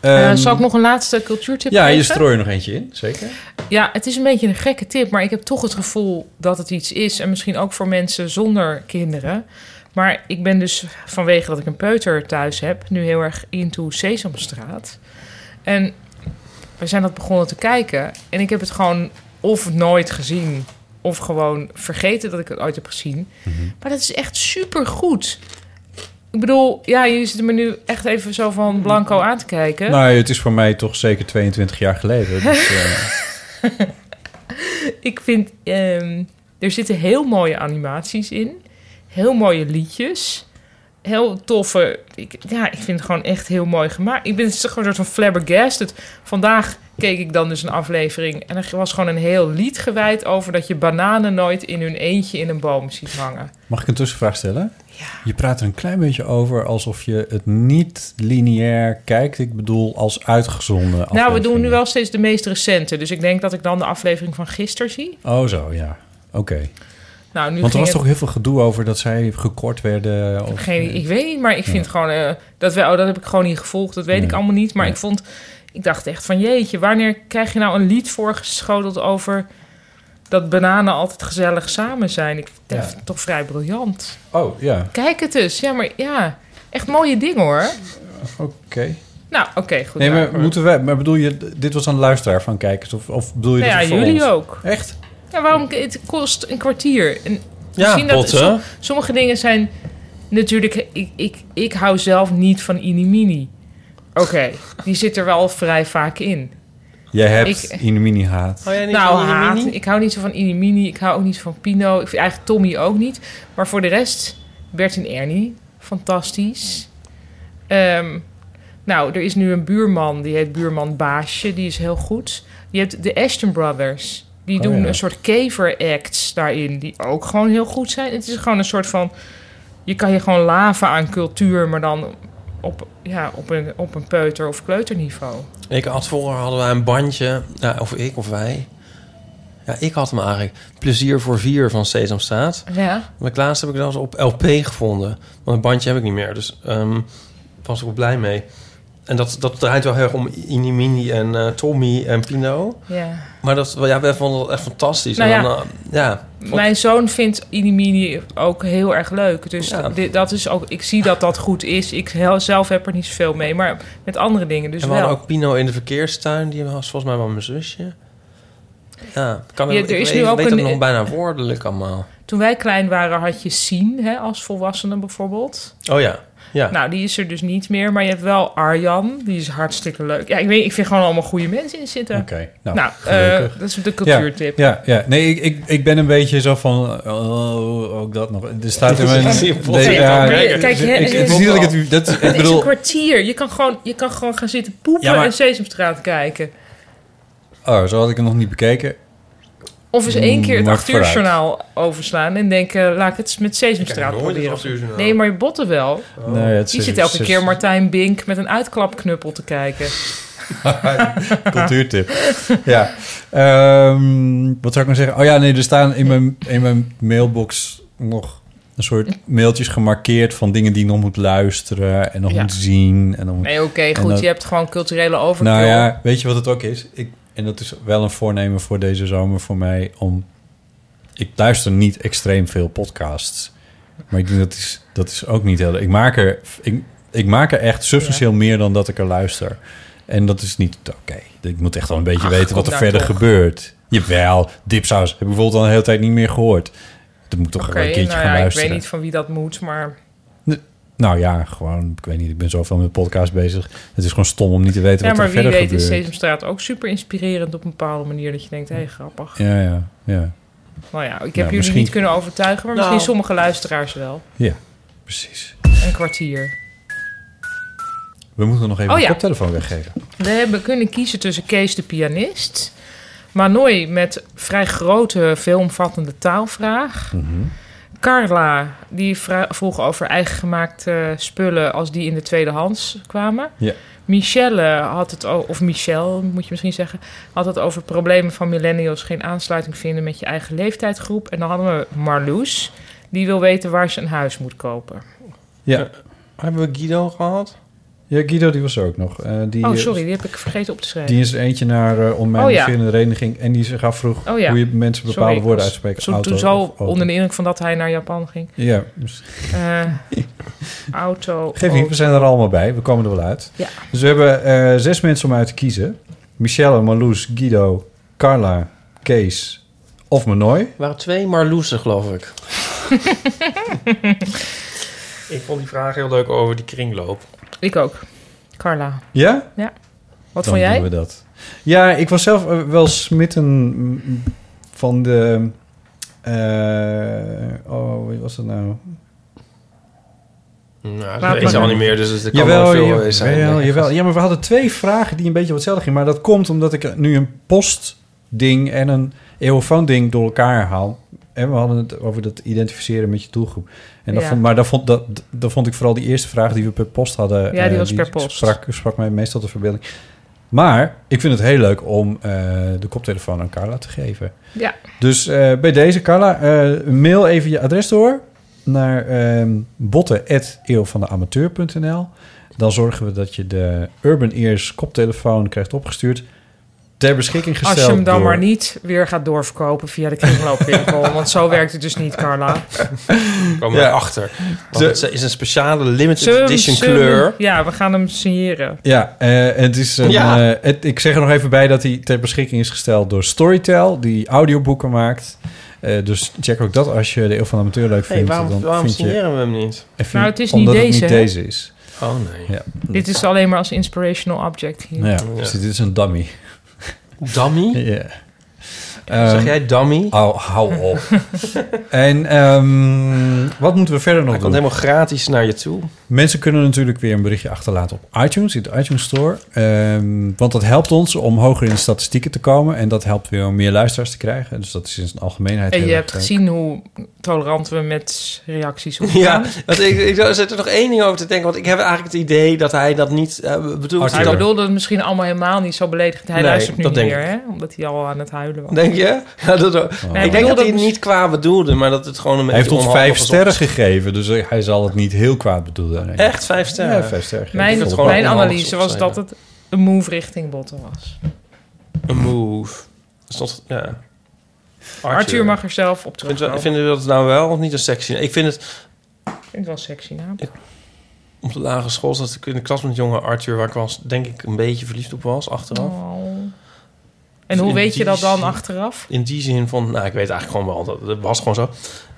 S6: Eh,
S7: Ehm,
S6: zal ik nog een laatste cultuurtip
S7: Ja,
S6: geven?
S7: je strooit er nog eentje in, zeker.
S6: Ja, het is een beetje een gekke tip, maar ik heb toch het gevoel dat het iets is. En misschien ook voor mensen zonder kinderen. Maar ik ben dus vanwege dat ik een peuter thuis heb, nu heel erg into Sesamstraat. En we zijn dat begonnen te kijken. En ik heb het gewoon of nooit gezien, of gewoon vergeten dat ik het ooit heb gezien. Maar dat is echt supergoed. Ik bedoel, ja, jullie zitten me nu echt even zo van blanco aan te kijken.
S7: Nou, het is voor mij toch zeker 22 jaar
S6: [LAUGHS]
S7: geleden. Dus, eh,
S6: ik vind, ehm, er zitten heel mooie animaties in. Heel mooie liedjes. Heel toffe. Ik, ja, ik vind het gewoon echt heel mooi gemaakt. Ik ben het is gewoon een soort van flabbergasted. Vandaag keek ik dan dus een aflevering. En er was gewoon een heel lied gewijd over dat je bananen nooit in hun eentje in een boom ziet hangen.
S7: mag ik een tussenvraag stellen? Je praat er een klein beetje over alsof je het niet lineair kijkt. Ik bedoel, als uitgezonden.
S6: Nou, we
S7: aflevering.
S6: doen nu wel steeds de meest recente. Dus ik denk dat ik dan de aflevering van gisteren zie.
S7: Oh, zo, ja. Oké.
S6: Nou, nu
S7: Want
S6: ging
S7: er was
S6: het-
S7: toch heel veel gedoe over dat zij gekort werden. Of...
S6: Geen, ik weet niet, maar ik vind gewoon eh, dat we, oh, dat heb ik gewoon niet gevolgd. Dat weet ik allemaal niet. Maar ik vond, ik dacht echt van jeetje, wanneer krijg je nou een lied voorgeschoteld over dat bananen altijd gezellig samen zijn? Ik dat
S7: Ja.
S6: vind het toch vrij briljant.
S7: Oh, ja.
S6: Kijk het dus, ja, maar ja, echt mooie dingen hoor.
S7: Oké.
S6: Nou, oké, goed.
S7: Nee, maar
S6: daarvoor.
S7: moeten wij... Maar bedoel je... Dit was een luisteraar van kijkers? Of, of bedoel je
S6: Nou
S7: dat
S6: ja,
S7: voor
S6: jullie
S7: ons?
S6: ook.
S7: Echt?
S6: Ja, waarom? Het kost een kwartier. En
S7: Ja,
S6: misschien dat
S7: botten.
S6: som- sommige dingen zijn natuurlijk. Ik, ik, ik hou zelf niet van inimini. Oké, die zit er wel vrij vaak in.
S7: Jij hebt
S6: Ik-
S7: in de mini-haat.
S6: nou, haat. Ik hou niet zo van inimini. Ik hou ook niet van Pino. Ik vind eigenlijk Tommy ook niet. Maar voor de rest, Bert en Ernie, fantastisch. Ehm, nou, er is nu een buurman. Die heet buurman Baasje. Die is heel goed. Je hebt de Ashton Brothers. Die
S1: Oh,
S6: doen
S1: ja.
S6: een soort kever-acts daarin. Die ook gewoon heel goed zijn. Het is gewoon een soort van... Je kan je gewoon laven aan cultuur, maar dan op, ja, op, een, op een peuter- of kleuterniveau.
S8: Ik had vroeger hadden wij een bandje, ja, of ik of wij. Ja, ik had hem eigenlijk. Plezier voor vier van Sesamstraat.
S6: Ja.
S8: Maar laatst heb ik dat eens op LP gevonden. Want een bandje heb ik niet meer, dus ehm was ik wel blij mee. En dat, dat draait wel heel erg om Inimini en eh, Tommy en Pino.
S6: Ja.
S8: Maar dat, ja, wij vonden dat echt fantastisch.
S6: Nou
S8: en
S6: ja.
S8: dan, eh, ja,
S6: Mijn zoon vindt Inimini ook heel erg leuk. Dus dit, dat is ook, ik zie dat dat goed is. Ik heel- zelf heb er niet zoveel mee, maar met andere dingen dus
S8: en we
S6: wel.
S8: hadden ook Pino in de verkeerstuin. Die was volgens mij wel mijn zusje. Ja, kan
S6: Ja,
S8: ik,
S6: er is
S8: weet-
S6: nu ook
S8: weet dat
S6: een-
S8: nog bijna woordelijk allemaal.
S6: Toen wij klein waren had je Sien hè, als volwassene bijvoorbeeld.
S8: Oh ja, ja.
S6: Nou, die is er dus niet meer. Maar je hebt wel Arjan. Die is hartstikke leuk. Ja, ik, weet, ik vind gewoon allemaal goede mensen in zitten. Oké,
S7: nou,
S6: eh,
S7: gelukkig.
S6: dat is de cultuurtip.
S7: Ja, ja, ja. nee, ik, ik, ik ben een beetje zo van, oh, ook dat nog. Er
S6: [LAUGHS]
S7: staat in mijn...
S8: Ik zie een potje.
S7: ja,
S8: Kijk,
S7: ik-
S8: kijk, hè,
S7: ik-
S8: het
S7: het
S8: is-
S7: is niet dat ik het... Dat,
S6: Het
S7: ik
S6: is een
S7: bedoel,
S6: kwartier. Je kan gewoon, je kan gewoon gaan zitten poepen
S7: Ja, maar-
S6: en Sesamstraat kijken.
S7: oh, zo had ik hem nog niet bekeken.
S6: Of eens één keer het
S7: Maar
S6: acht uur
S7: vooruit.
S6: journaal overslaan en denken, eh, laat ik het met Sesamstraat
S8: nooit het acht uur
S6: proberen.
S8: journaal.
S6: Nee, maar je botten wel.
S7: Oh. Nee, het
S6: Die
S7: is-
S6: zit elke
S7: het is-
S6: keer Martijn Bink met een uitklapknuppel te kijken.
S7: [LAUGHS]
S6: [LAUGHS]
S7: Cultuurtip. Ja. Ehm, wat zou ik nou zeggen? Oh ja, nee, er staan in mijn, in mijn mailbox nog een soort mailtjes gemarkeerd van dingen die ik nog moet luisteren en nog
S6: Ja.
S7: moet zien. En dan moet,
S6: Nee, oké,
S7: en
S6: goed.
S7: dan-
S6: Je hebt gewoon culturele overkill.
S7: nou ja, weet je wat het ook is? Ik, en dat is wel een voornemen voor deze zomer voor mij om. Ik luister niet extreem veel podcasts. Maar ik denk dat is, dat is ook niet heel. Ik maak er, ik, ik maak er echt substantieel meer dan dat ik er luister. En dat is niet oké. Ik moet echt wel een beetje
S13: Ach,
S7: weten wat
S13: kom
S7: er
S13: nou
S7: verder
S13: toch.
S7: gebeurt. Jawel, dipsaus heb ik bijvoorbeeld al een hele tijd niet meer gehoord. Dat moet toch
S6: Oké,
S7: wel een keertje
S6: nou
S7: gaan
S6: ja, ik
S7: luisteren.
S6: weet niet van wie dat moet, maar...
S7: Nou ja, gewoon, ik weet niet. Ik ben zoveel met podcasts bezig. Het is gewoon stom om niet te
S6: Ja,
S7: weten wat er
S6: maar wie
S7: verder
S6: weet
S7: gebeurt.
S6: is Sesamstraat ook super inspirerend op een bepaalde manier. Dat je denkt, hé, hey, grappig.
S7: Ja, ja, ja.
S6: Nou ja, ik heb
S7: Ja,
S6: jullie
S7: misschien-
S6: niet kunnen overtuigen, maar misschien
S2: Nou.
S6: sommige luisteraars wel.
S7: Ja, precies.
S6: Een kwartier.
S7: We moeten nog even
S6: Oh
S7: de
S6: ja.
S7: koptelefoon weggeven.
S6: We hebben kunnen kiezen tussen Kees de pianist, Manoy met vrij grote, veelomvattende taalvraag. Carla, die vra- vroeg over eigengemaakte spullen als die in de tweedehands kwamen.
S7: Ja.
S6: Michelle had het, o- of Michelle moet je misschien zeggen, had het over problemen van millennials geen aansluiting vinden met je eigen leeftijdsgroep. En dan hadden we Marloes, die wil weten waar ze een huis moet kopen.
S7: Ja.
S8: Hebben we Guido gehad?
S7: ja, Guido die was er ook nog. Eh, die,
S6: oh, sorry, die heb ik vergeten op te schrijven.
S7: Die is er eentje naar eh, om mijn
S6: Oh ja.
S7: bevinderende vereniging. En die zich afvroeg
S6: Oh ja.
S7: hoe je mensen bepaalde
S6: Sorry, ik
S7: woorden
S6: was
S7: uitspreekt.
S6: zo-
S7: Auto
S6: Toen zo
S7: of auto.
S6: onder de indruk van dat hij naar Japan ging.
S7: Ja.
S6: Eh,
S7: [LAUGHS]
S6: auto.
S7: Geef niet, we zijn er allemaal bij. We komen er wel uit.
S6: Ja.
S7: Dus we hebben eh, zes mensen om uit te kiezen. Michelle, Marloes, Guido, Carla, Kees of Manoy.
S8: waren twee Marloesen, geloof ik. ik vond die vraag heel leuk over die kringloop.
S6: Ik ook. Carla.
S7: Ja?
S6: Ja. Wat
S7: Dan
S6: vond jij?
S7: doen we dat. Ja, ik was zelf eh, wel smitten mm, van de... eh, oh, wie was dat nou?
S8: Nou,
S7: Laat
S8: dat weet
S7: maar
S8: je al
S7: doen.
S8: niet meer, dus het kan
S7: Jawel,
S8: wel veel
S7: jawel,
S8: geweest zijn.
S7: jawel,
S8: Nee.
S7: jawel. Ja, maar we hadden twee vragen die een beetje op hetzelfde gingen. Maar dat komt omdat ik nu een postding en een eeuwfoon-ding door elkaar haal. En we hadden het over dat identificeren met je doelgroep. En dat
S6: Ja.
S7: vond, maar dat vond, dat, dat vond ik vooral die eerste vraag die we per post hadden.
S6: Ja, die
S7: eh,
S6: was per post.
S7: Sprak, sprak mij meestal de verbeelding. Maar ik vind het heel leuk om eh, de koptelefoon aan Carla te geven.
S6: Ja.
S7: Dus eh, bij deze, Carla, eh, mail even je adres door naar ehm botten.eeuwvandeamateur.nl. Dan zorgen we dat je de Urban Ears koptelefoon krijgt opgestuurd. Ter beschikking gesteld
S6: Als je hem dan
S7: door-
S6: maar niet weer gaat doorverkopen via de
S7: [LAUGHS]
S6: kringloopwinkel. want zo werkt het dus niet, Carla.
S8: Kom erachter. Want het is een speciale limited
S6: Zullen we hem-
S8: edition
S6: zullen we hem-
S8: kleur.
S6: Ja, we gaan hem signeren.
S7: Ja, eh, het is een,
S6: Ja.
S7: eh, het- ik zeg er nog even bij dat hij ter beschikking is gesteld door Storytel, die audioboeken maakt. Eh, dus check ook dat als je de Eeuw van de Amateur leuk
S8: Hey,
S7: vindt.
S8: waarom-
S7: dan
S8: waarom
S7: vind je-
S8: signeren we hem niet?
S7: En vind-
S6: Nou, het is niet
S7: omdat
S6: deze,
S7: het
S6: hè?
S7: niet deze is.
S8: Oh nee.
S7: Ja,
S6: Dit is alleen maar als inspirational object hier.
S7: Hm. ja, Dus dit is een dummy.
S8: Dummy?
S7: [LAUGHS] Ja. Ehm,
S8: Zeg jij dummy?
S7: Hou, hou
S8: [LAUGHS]
S7: op. en ehm, wat moeten we verder nog
S8: Hij
S7: doen?
S8: komt helemaal gratis naar je toe.
S7: Mensen kunnen natuurlijk weer een berichtje achterlaten op iTunes, in de iTunes Store. Ehm, want dat helpt ons om hoger in de statistieken te komen. En dat helpt weer om meer luisteraars te krijgen. Dus dat is in zijn algemeenheid.
S6: En
S7: heel
S6: je
S7: erg
S6: hebt
S7: leuk.
S6: gezien hoe tolerant we met reacties omgaan.
S8: [LAUGHS] Ja, want ik, ik zit er nog één ding over te denken. Want ik heb eigenlijk het idee dat hij dat niet eh, bedoelt.
S6: Hij
S8: Dat-
S6: bedoelde het misschien allemaal helemaal niet zo beledigend. Hij
S8: Nee,
S6: luistert nu
S8: dat
S6: niet
S8: denk
S6: meer, hè? Omdat hij al aan het huilen was.
S8: Denk je? Ja, dat,
S6: hij
S8: ik denk
S6: bedoelde
S8: dat hij het niet qua bedoelde, maar dat het gewoon een
S7: Oh. Hij
S8: beetje
S7: heeft ons
S8: onhandig
S7: vijf
S8: was
S7: sterren gegeven, dus hij zal het niet heel kwaad bedoelen. Nee.
S8: Echt vijf sterren?
S7: Ja, vijf sterren.
S6: Mijn,
S7: gegeven.
S6: mijn analyse was dat het een move richting botten was.
S8: Een move. Stond, ja. Arthur.
S6: Arthur mag er zelf op
S8: Vindt wel-
S6: terugkomen.
S8: Vinden jullie dat nou wel of niet een sexy? Ik vind het
S6: Ik vind het wel een sexy naam.
S8: op de lagere school zat ik in de klas met jonge Arthur, waar ik was, denk ik, een beetje verliefd op was achteraf.
S6: En hoe
S8: Oh. Dus In
S6: weet je
S8: die
S6: dat dan
S8: zin-
S6: achteraf?
S8: In die zin van, nou, ik weet eigenlijk gewoon wel dat het was gewoon zo.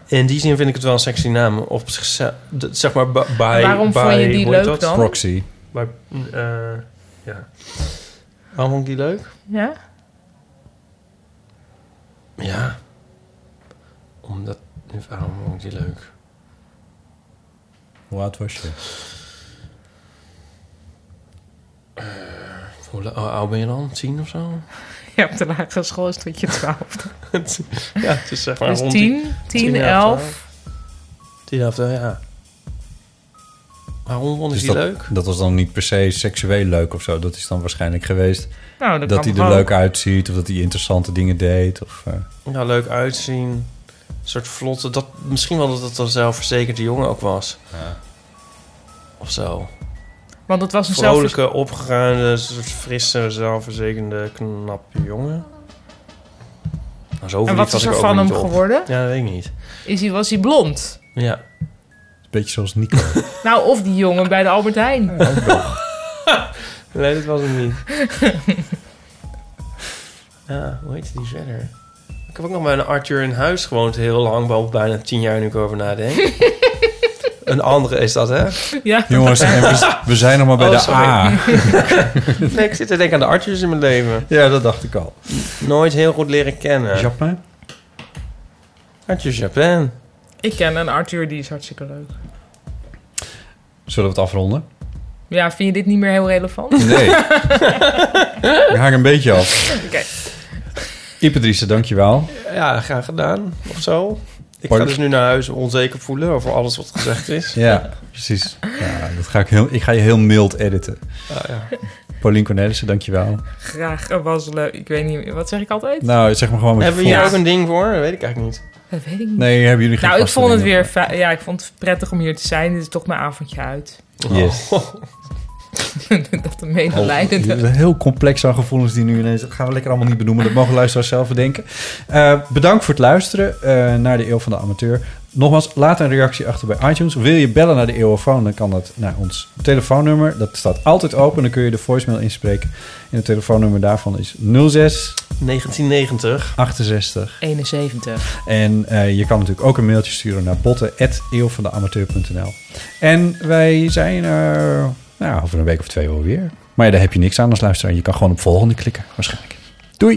S8: In die zin vind ik het wel een sexy naam op zichzelf, d- zeg maar b- bij.
S6: Waarom
S8: bij,
S6: vond je die
S8: hoe
S6: leuk
S8: heet dat?
S6: dan? Proxy.
S8: Bij, eh, ja. Waarom vond ik die leuk?
S6: Ja?
S8: Ja. Omdat. Waarom vond ik die leuk?
S7: Hoe oud was je?
S8: Eh, Hoe la- hoe oud ben je dan? Tien of
S6: [LAUGHS]
S8: zo?
S6: Ja, op de lagere school is het tot je twaalfde.
S8: [LAUGHS] Ja, het is zeg maar
S6: Dus
S8: rond
S6: tien,
S8: die-
S6: tien,
S8: elf,
S6: elf.
S8: twaalf. Tien, elf, ja. Waarom vonden
S7: Dus
S8: ze die
S7: dat,
S8: leuk?
S7: Dat was dan niet per se seksueel leuk of zo. Dat is dan waarschijnlijk geweest
S6: Nou, dat
S7: dat,
S6: kan
S7: hij
S6: toch
S7: er
S6: ook?
S7: leuk uitziet of dat hij interessante dingen deed. Of, eh,
S8: Ja, leuk uitzien. Een soort vlotte. Dat, misschien wel dat het een zelfverzekerde jongen ook was. Of zo.
S6: Want het was een
S8: Vrolijke, opgeruimde, soort frisse, zelfverzekerde, knappe jongen. Nou, zo
S6: En wat
S8: verliefd was
S6: is
S8: ik
S6: er
S8: ook
S6: van
S8: niet
S6: hem
S8: op.
S6: geworden?
S8: Ja, dat weet ik niet.
S6: Is hij, was hij blond?
S8: Ja.
S7: Een beetje zoals
S8: [LAUGHS]
S7: Nico.
S6: Nou, of die jongen bij de Albert Heijn. [LAUGHS]
S8: nee, dat was hem niet. [LAUGHS] ja, Ah, hoe heet die verder? Ik heb ook nog bij een Arthur in huis gewoond heel lang, wel bijna tien jaar nu ik over
S6: [LAUGHS]
S8: nadenk. een andere is dat, hè? Oh,
S6: Ja. Oh,
S7: Jongens, en
S8: [LAUGHS]
S7: we- we zijn nog maar bij de A.
S8: nee, ik zit te denken aan de Arthurs in mijn leven.
S7: Ja, dat dacht ik al.
S8: Nooit heel goed leren kennen.
S7: Japan?
S8: Arthur Japan.
S6: Ik ken een Arthur, die is hartstikke leuk.
S7: Zullen we het afronden?
S6: Ja, vind je dit niet meer heel relevant? [LAUGHS]
S7: Nee. Ik haak een beetje af.
S6: Oké.
S7: Ipe Driessen, dankjewel.
S8: Ja, graag gedaan. Of zo. Ik
S7: Pardon?
S8: ga dus nu naar huis onzeker voelen over alles wat gezegd is.
S7: Ja, precies. Ja, dat ga ik, heel, ik ga je heel mild editen.
S8: Ah, ja.
S7: Paulien Cornelissen, dankjewel.
S6: Graag, het was leuk. Ik weet niet, wat zeg ik altijd?
S7: Nou, zeg maar gewoon wat je
S8: Hebben we hier
S7: voelt.
S8: ook een ding voor? Dat weet ik eigenlijk niet.
S6: Dat weet ik niet.
S7: Nee, hebben jullie geen
S6: Nou, ik
S7: vaste
S6: vond het
S7: dingen?
S6: weer fi- ja, ik vond het prettig om hier te zijn. Dit is toch mijn avondje uit.
S7: Yes.
S6: [LAUGHS] dat de medelijdende.
S8: [LAUGHS]
S7: Oh, heel complex aan gevoelens die nu ineens... Dat gaan we lekker allemaal niet benoemen. Dat mogen luisteraars zelf bedenken. Eh, bedankt voor het luisteren eh, naar de Eeuw van de Amateur. Nogmaals, laat een reactie achter bij iTunes. Wil je bellen naar de Eeuwofoon, dan kan dat naar ons telefoonnummer. Dat staat altijd open. Dan kun je de voicemail inspreken. En het telefoonnummer daarvan is 06...
S8: 1990.
S7: 68.
S6: 71.
S7: En eh, je kan natuurlijk ook een mailtje sturen naar botten.eeuwvandeamateur.nl En wij zijn er nou, over een week of twee wel weer. Maar ja, daar heb je niks aan als luisteraar. Je kan gewoon op volgende klikken, waarschijnlijk. Doei!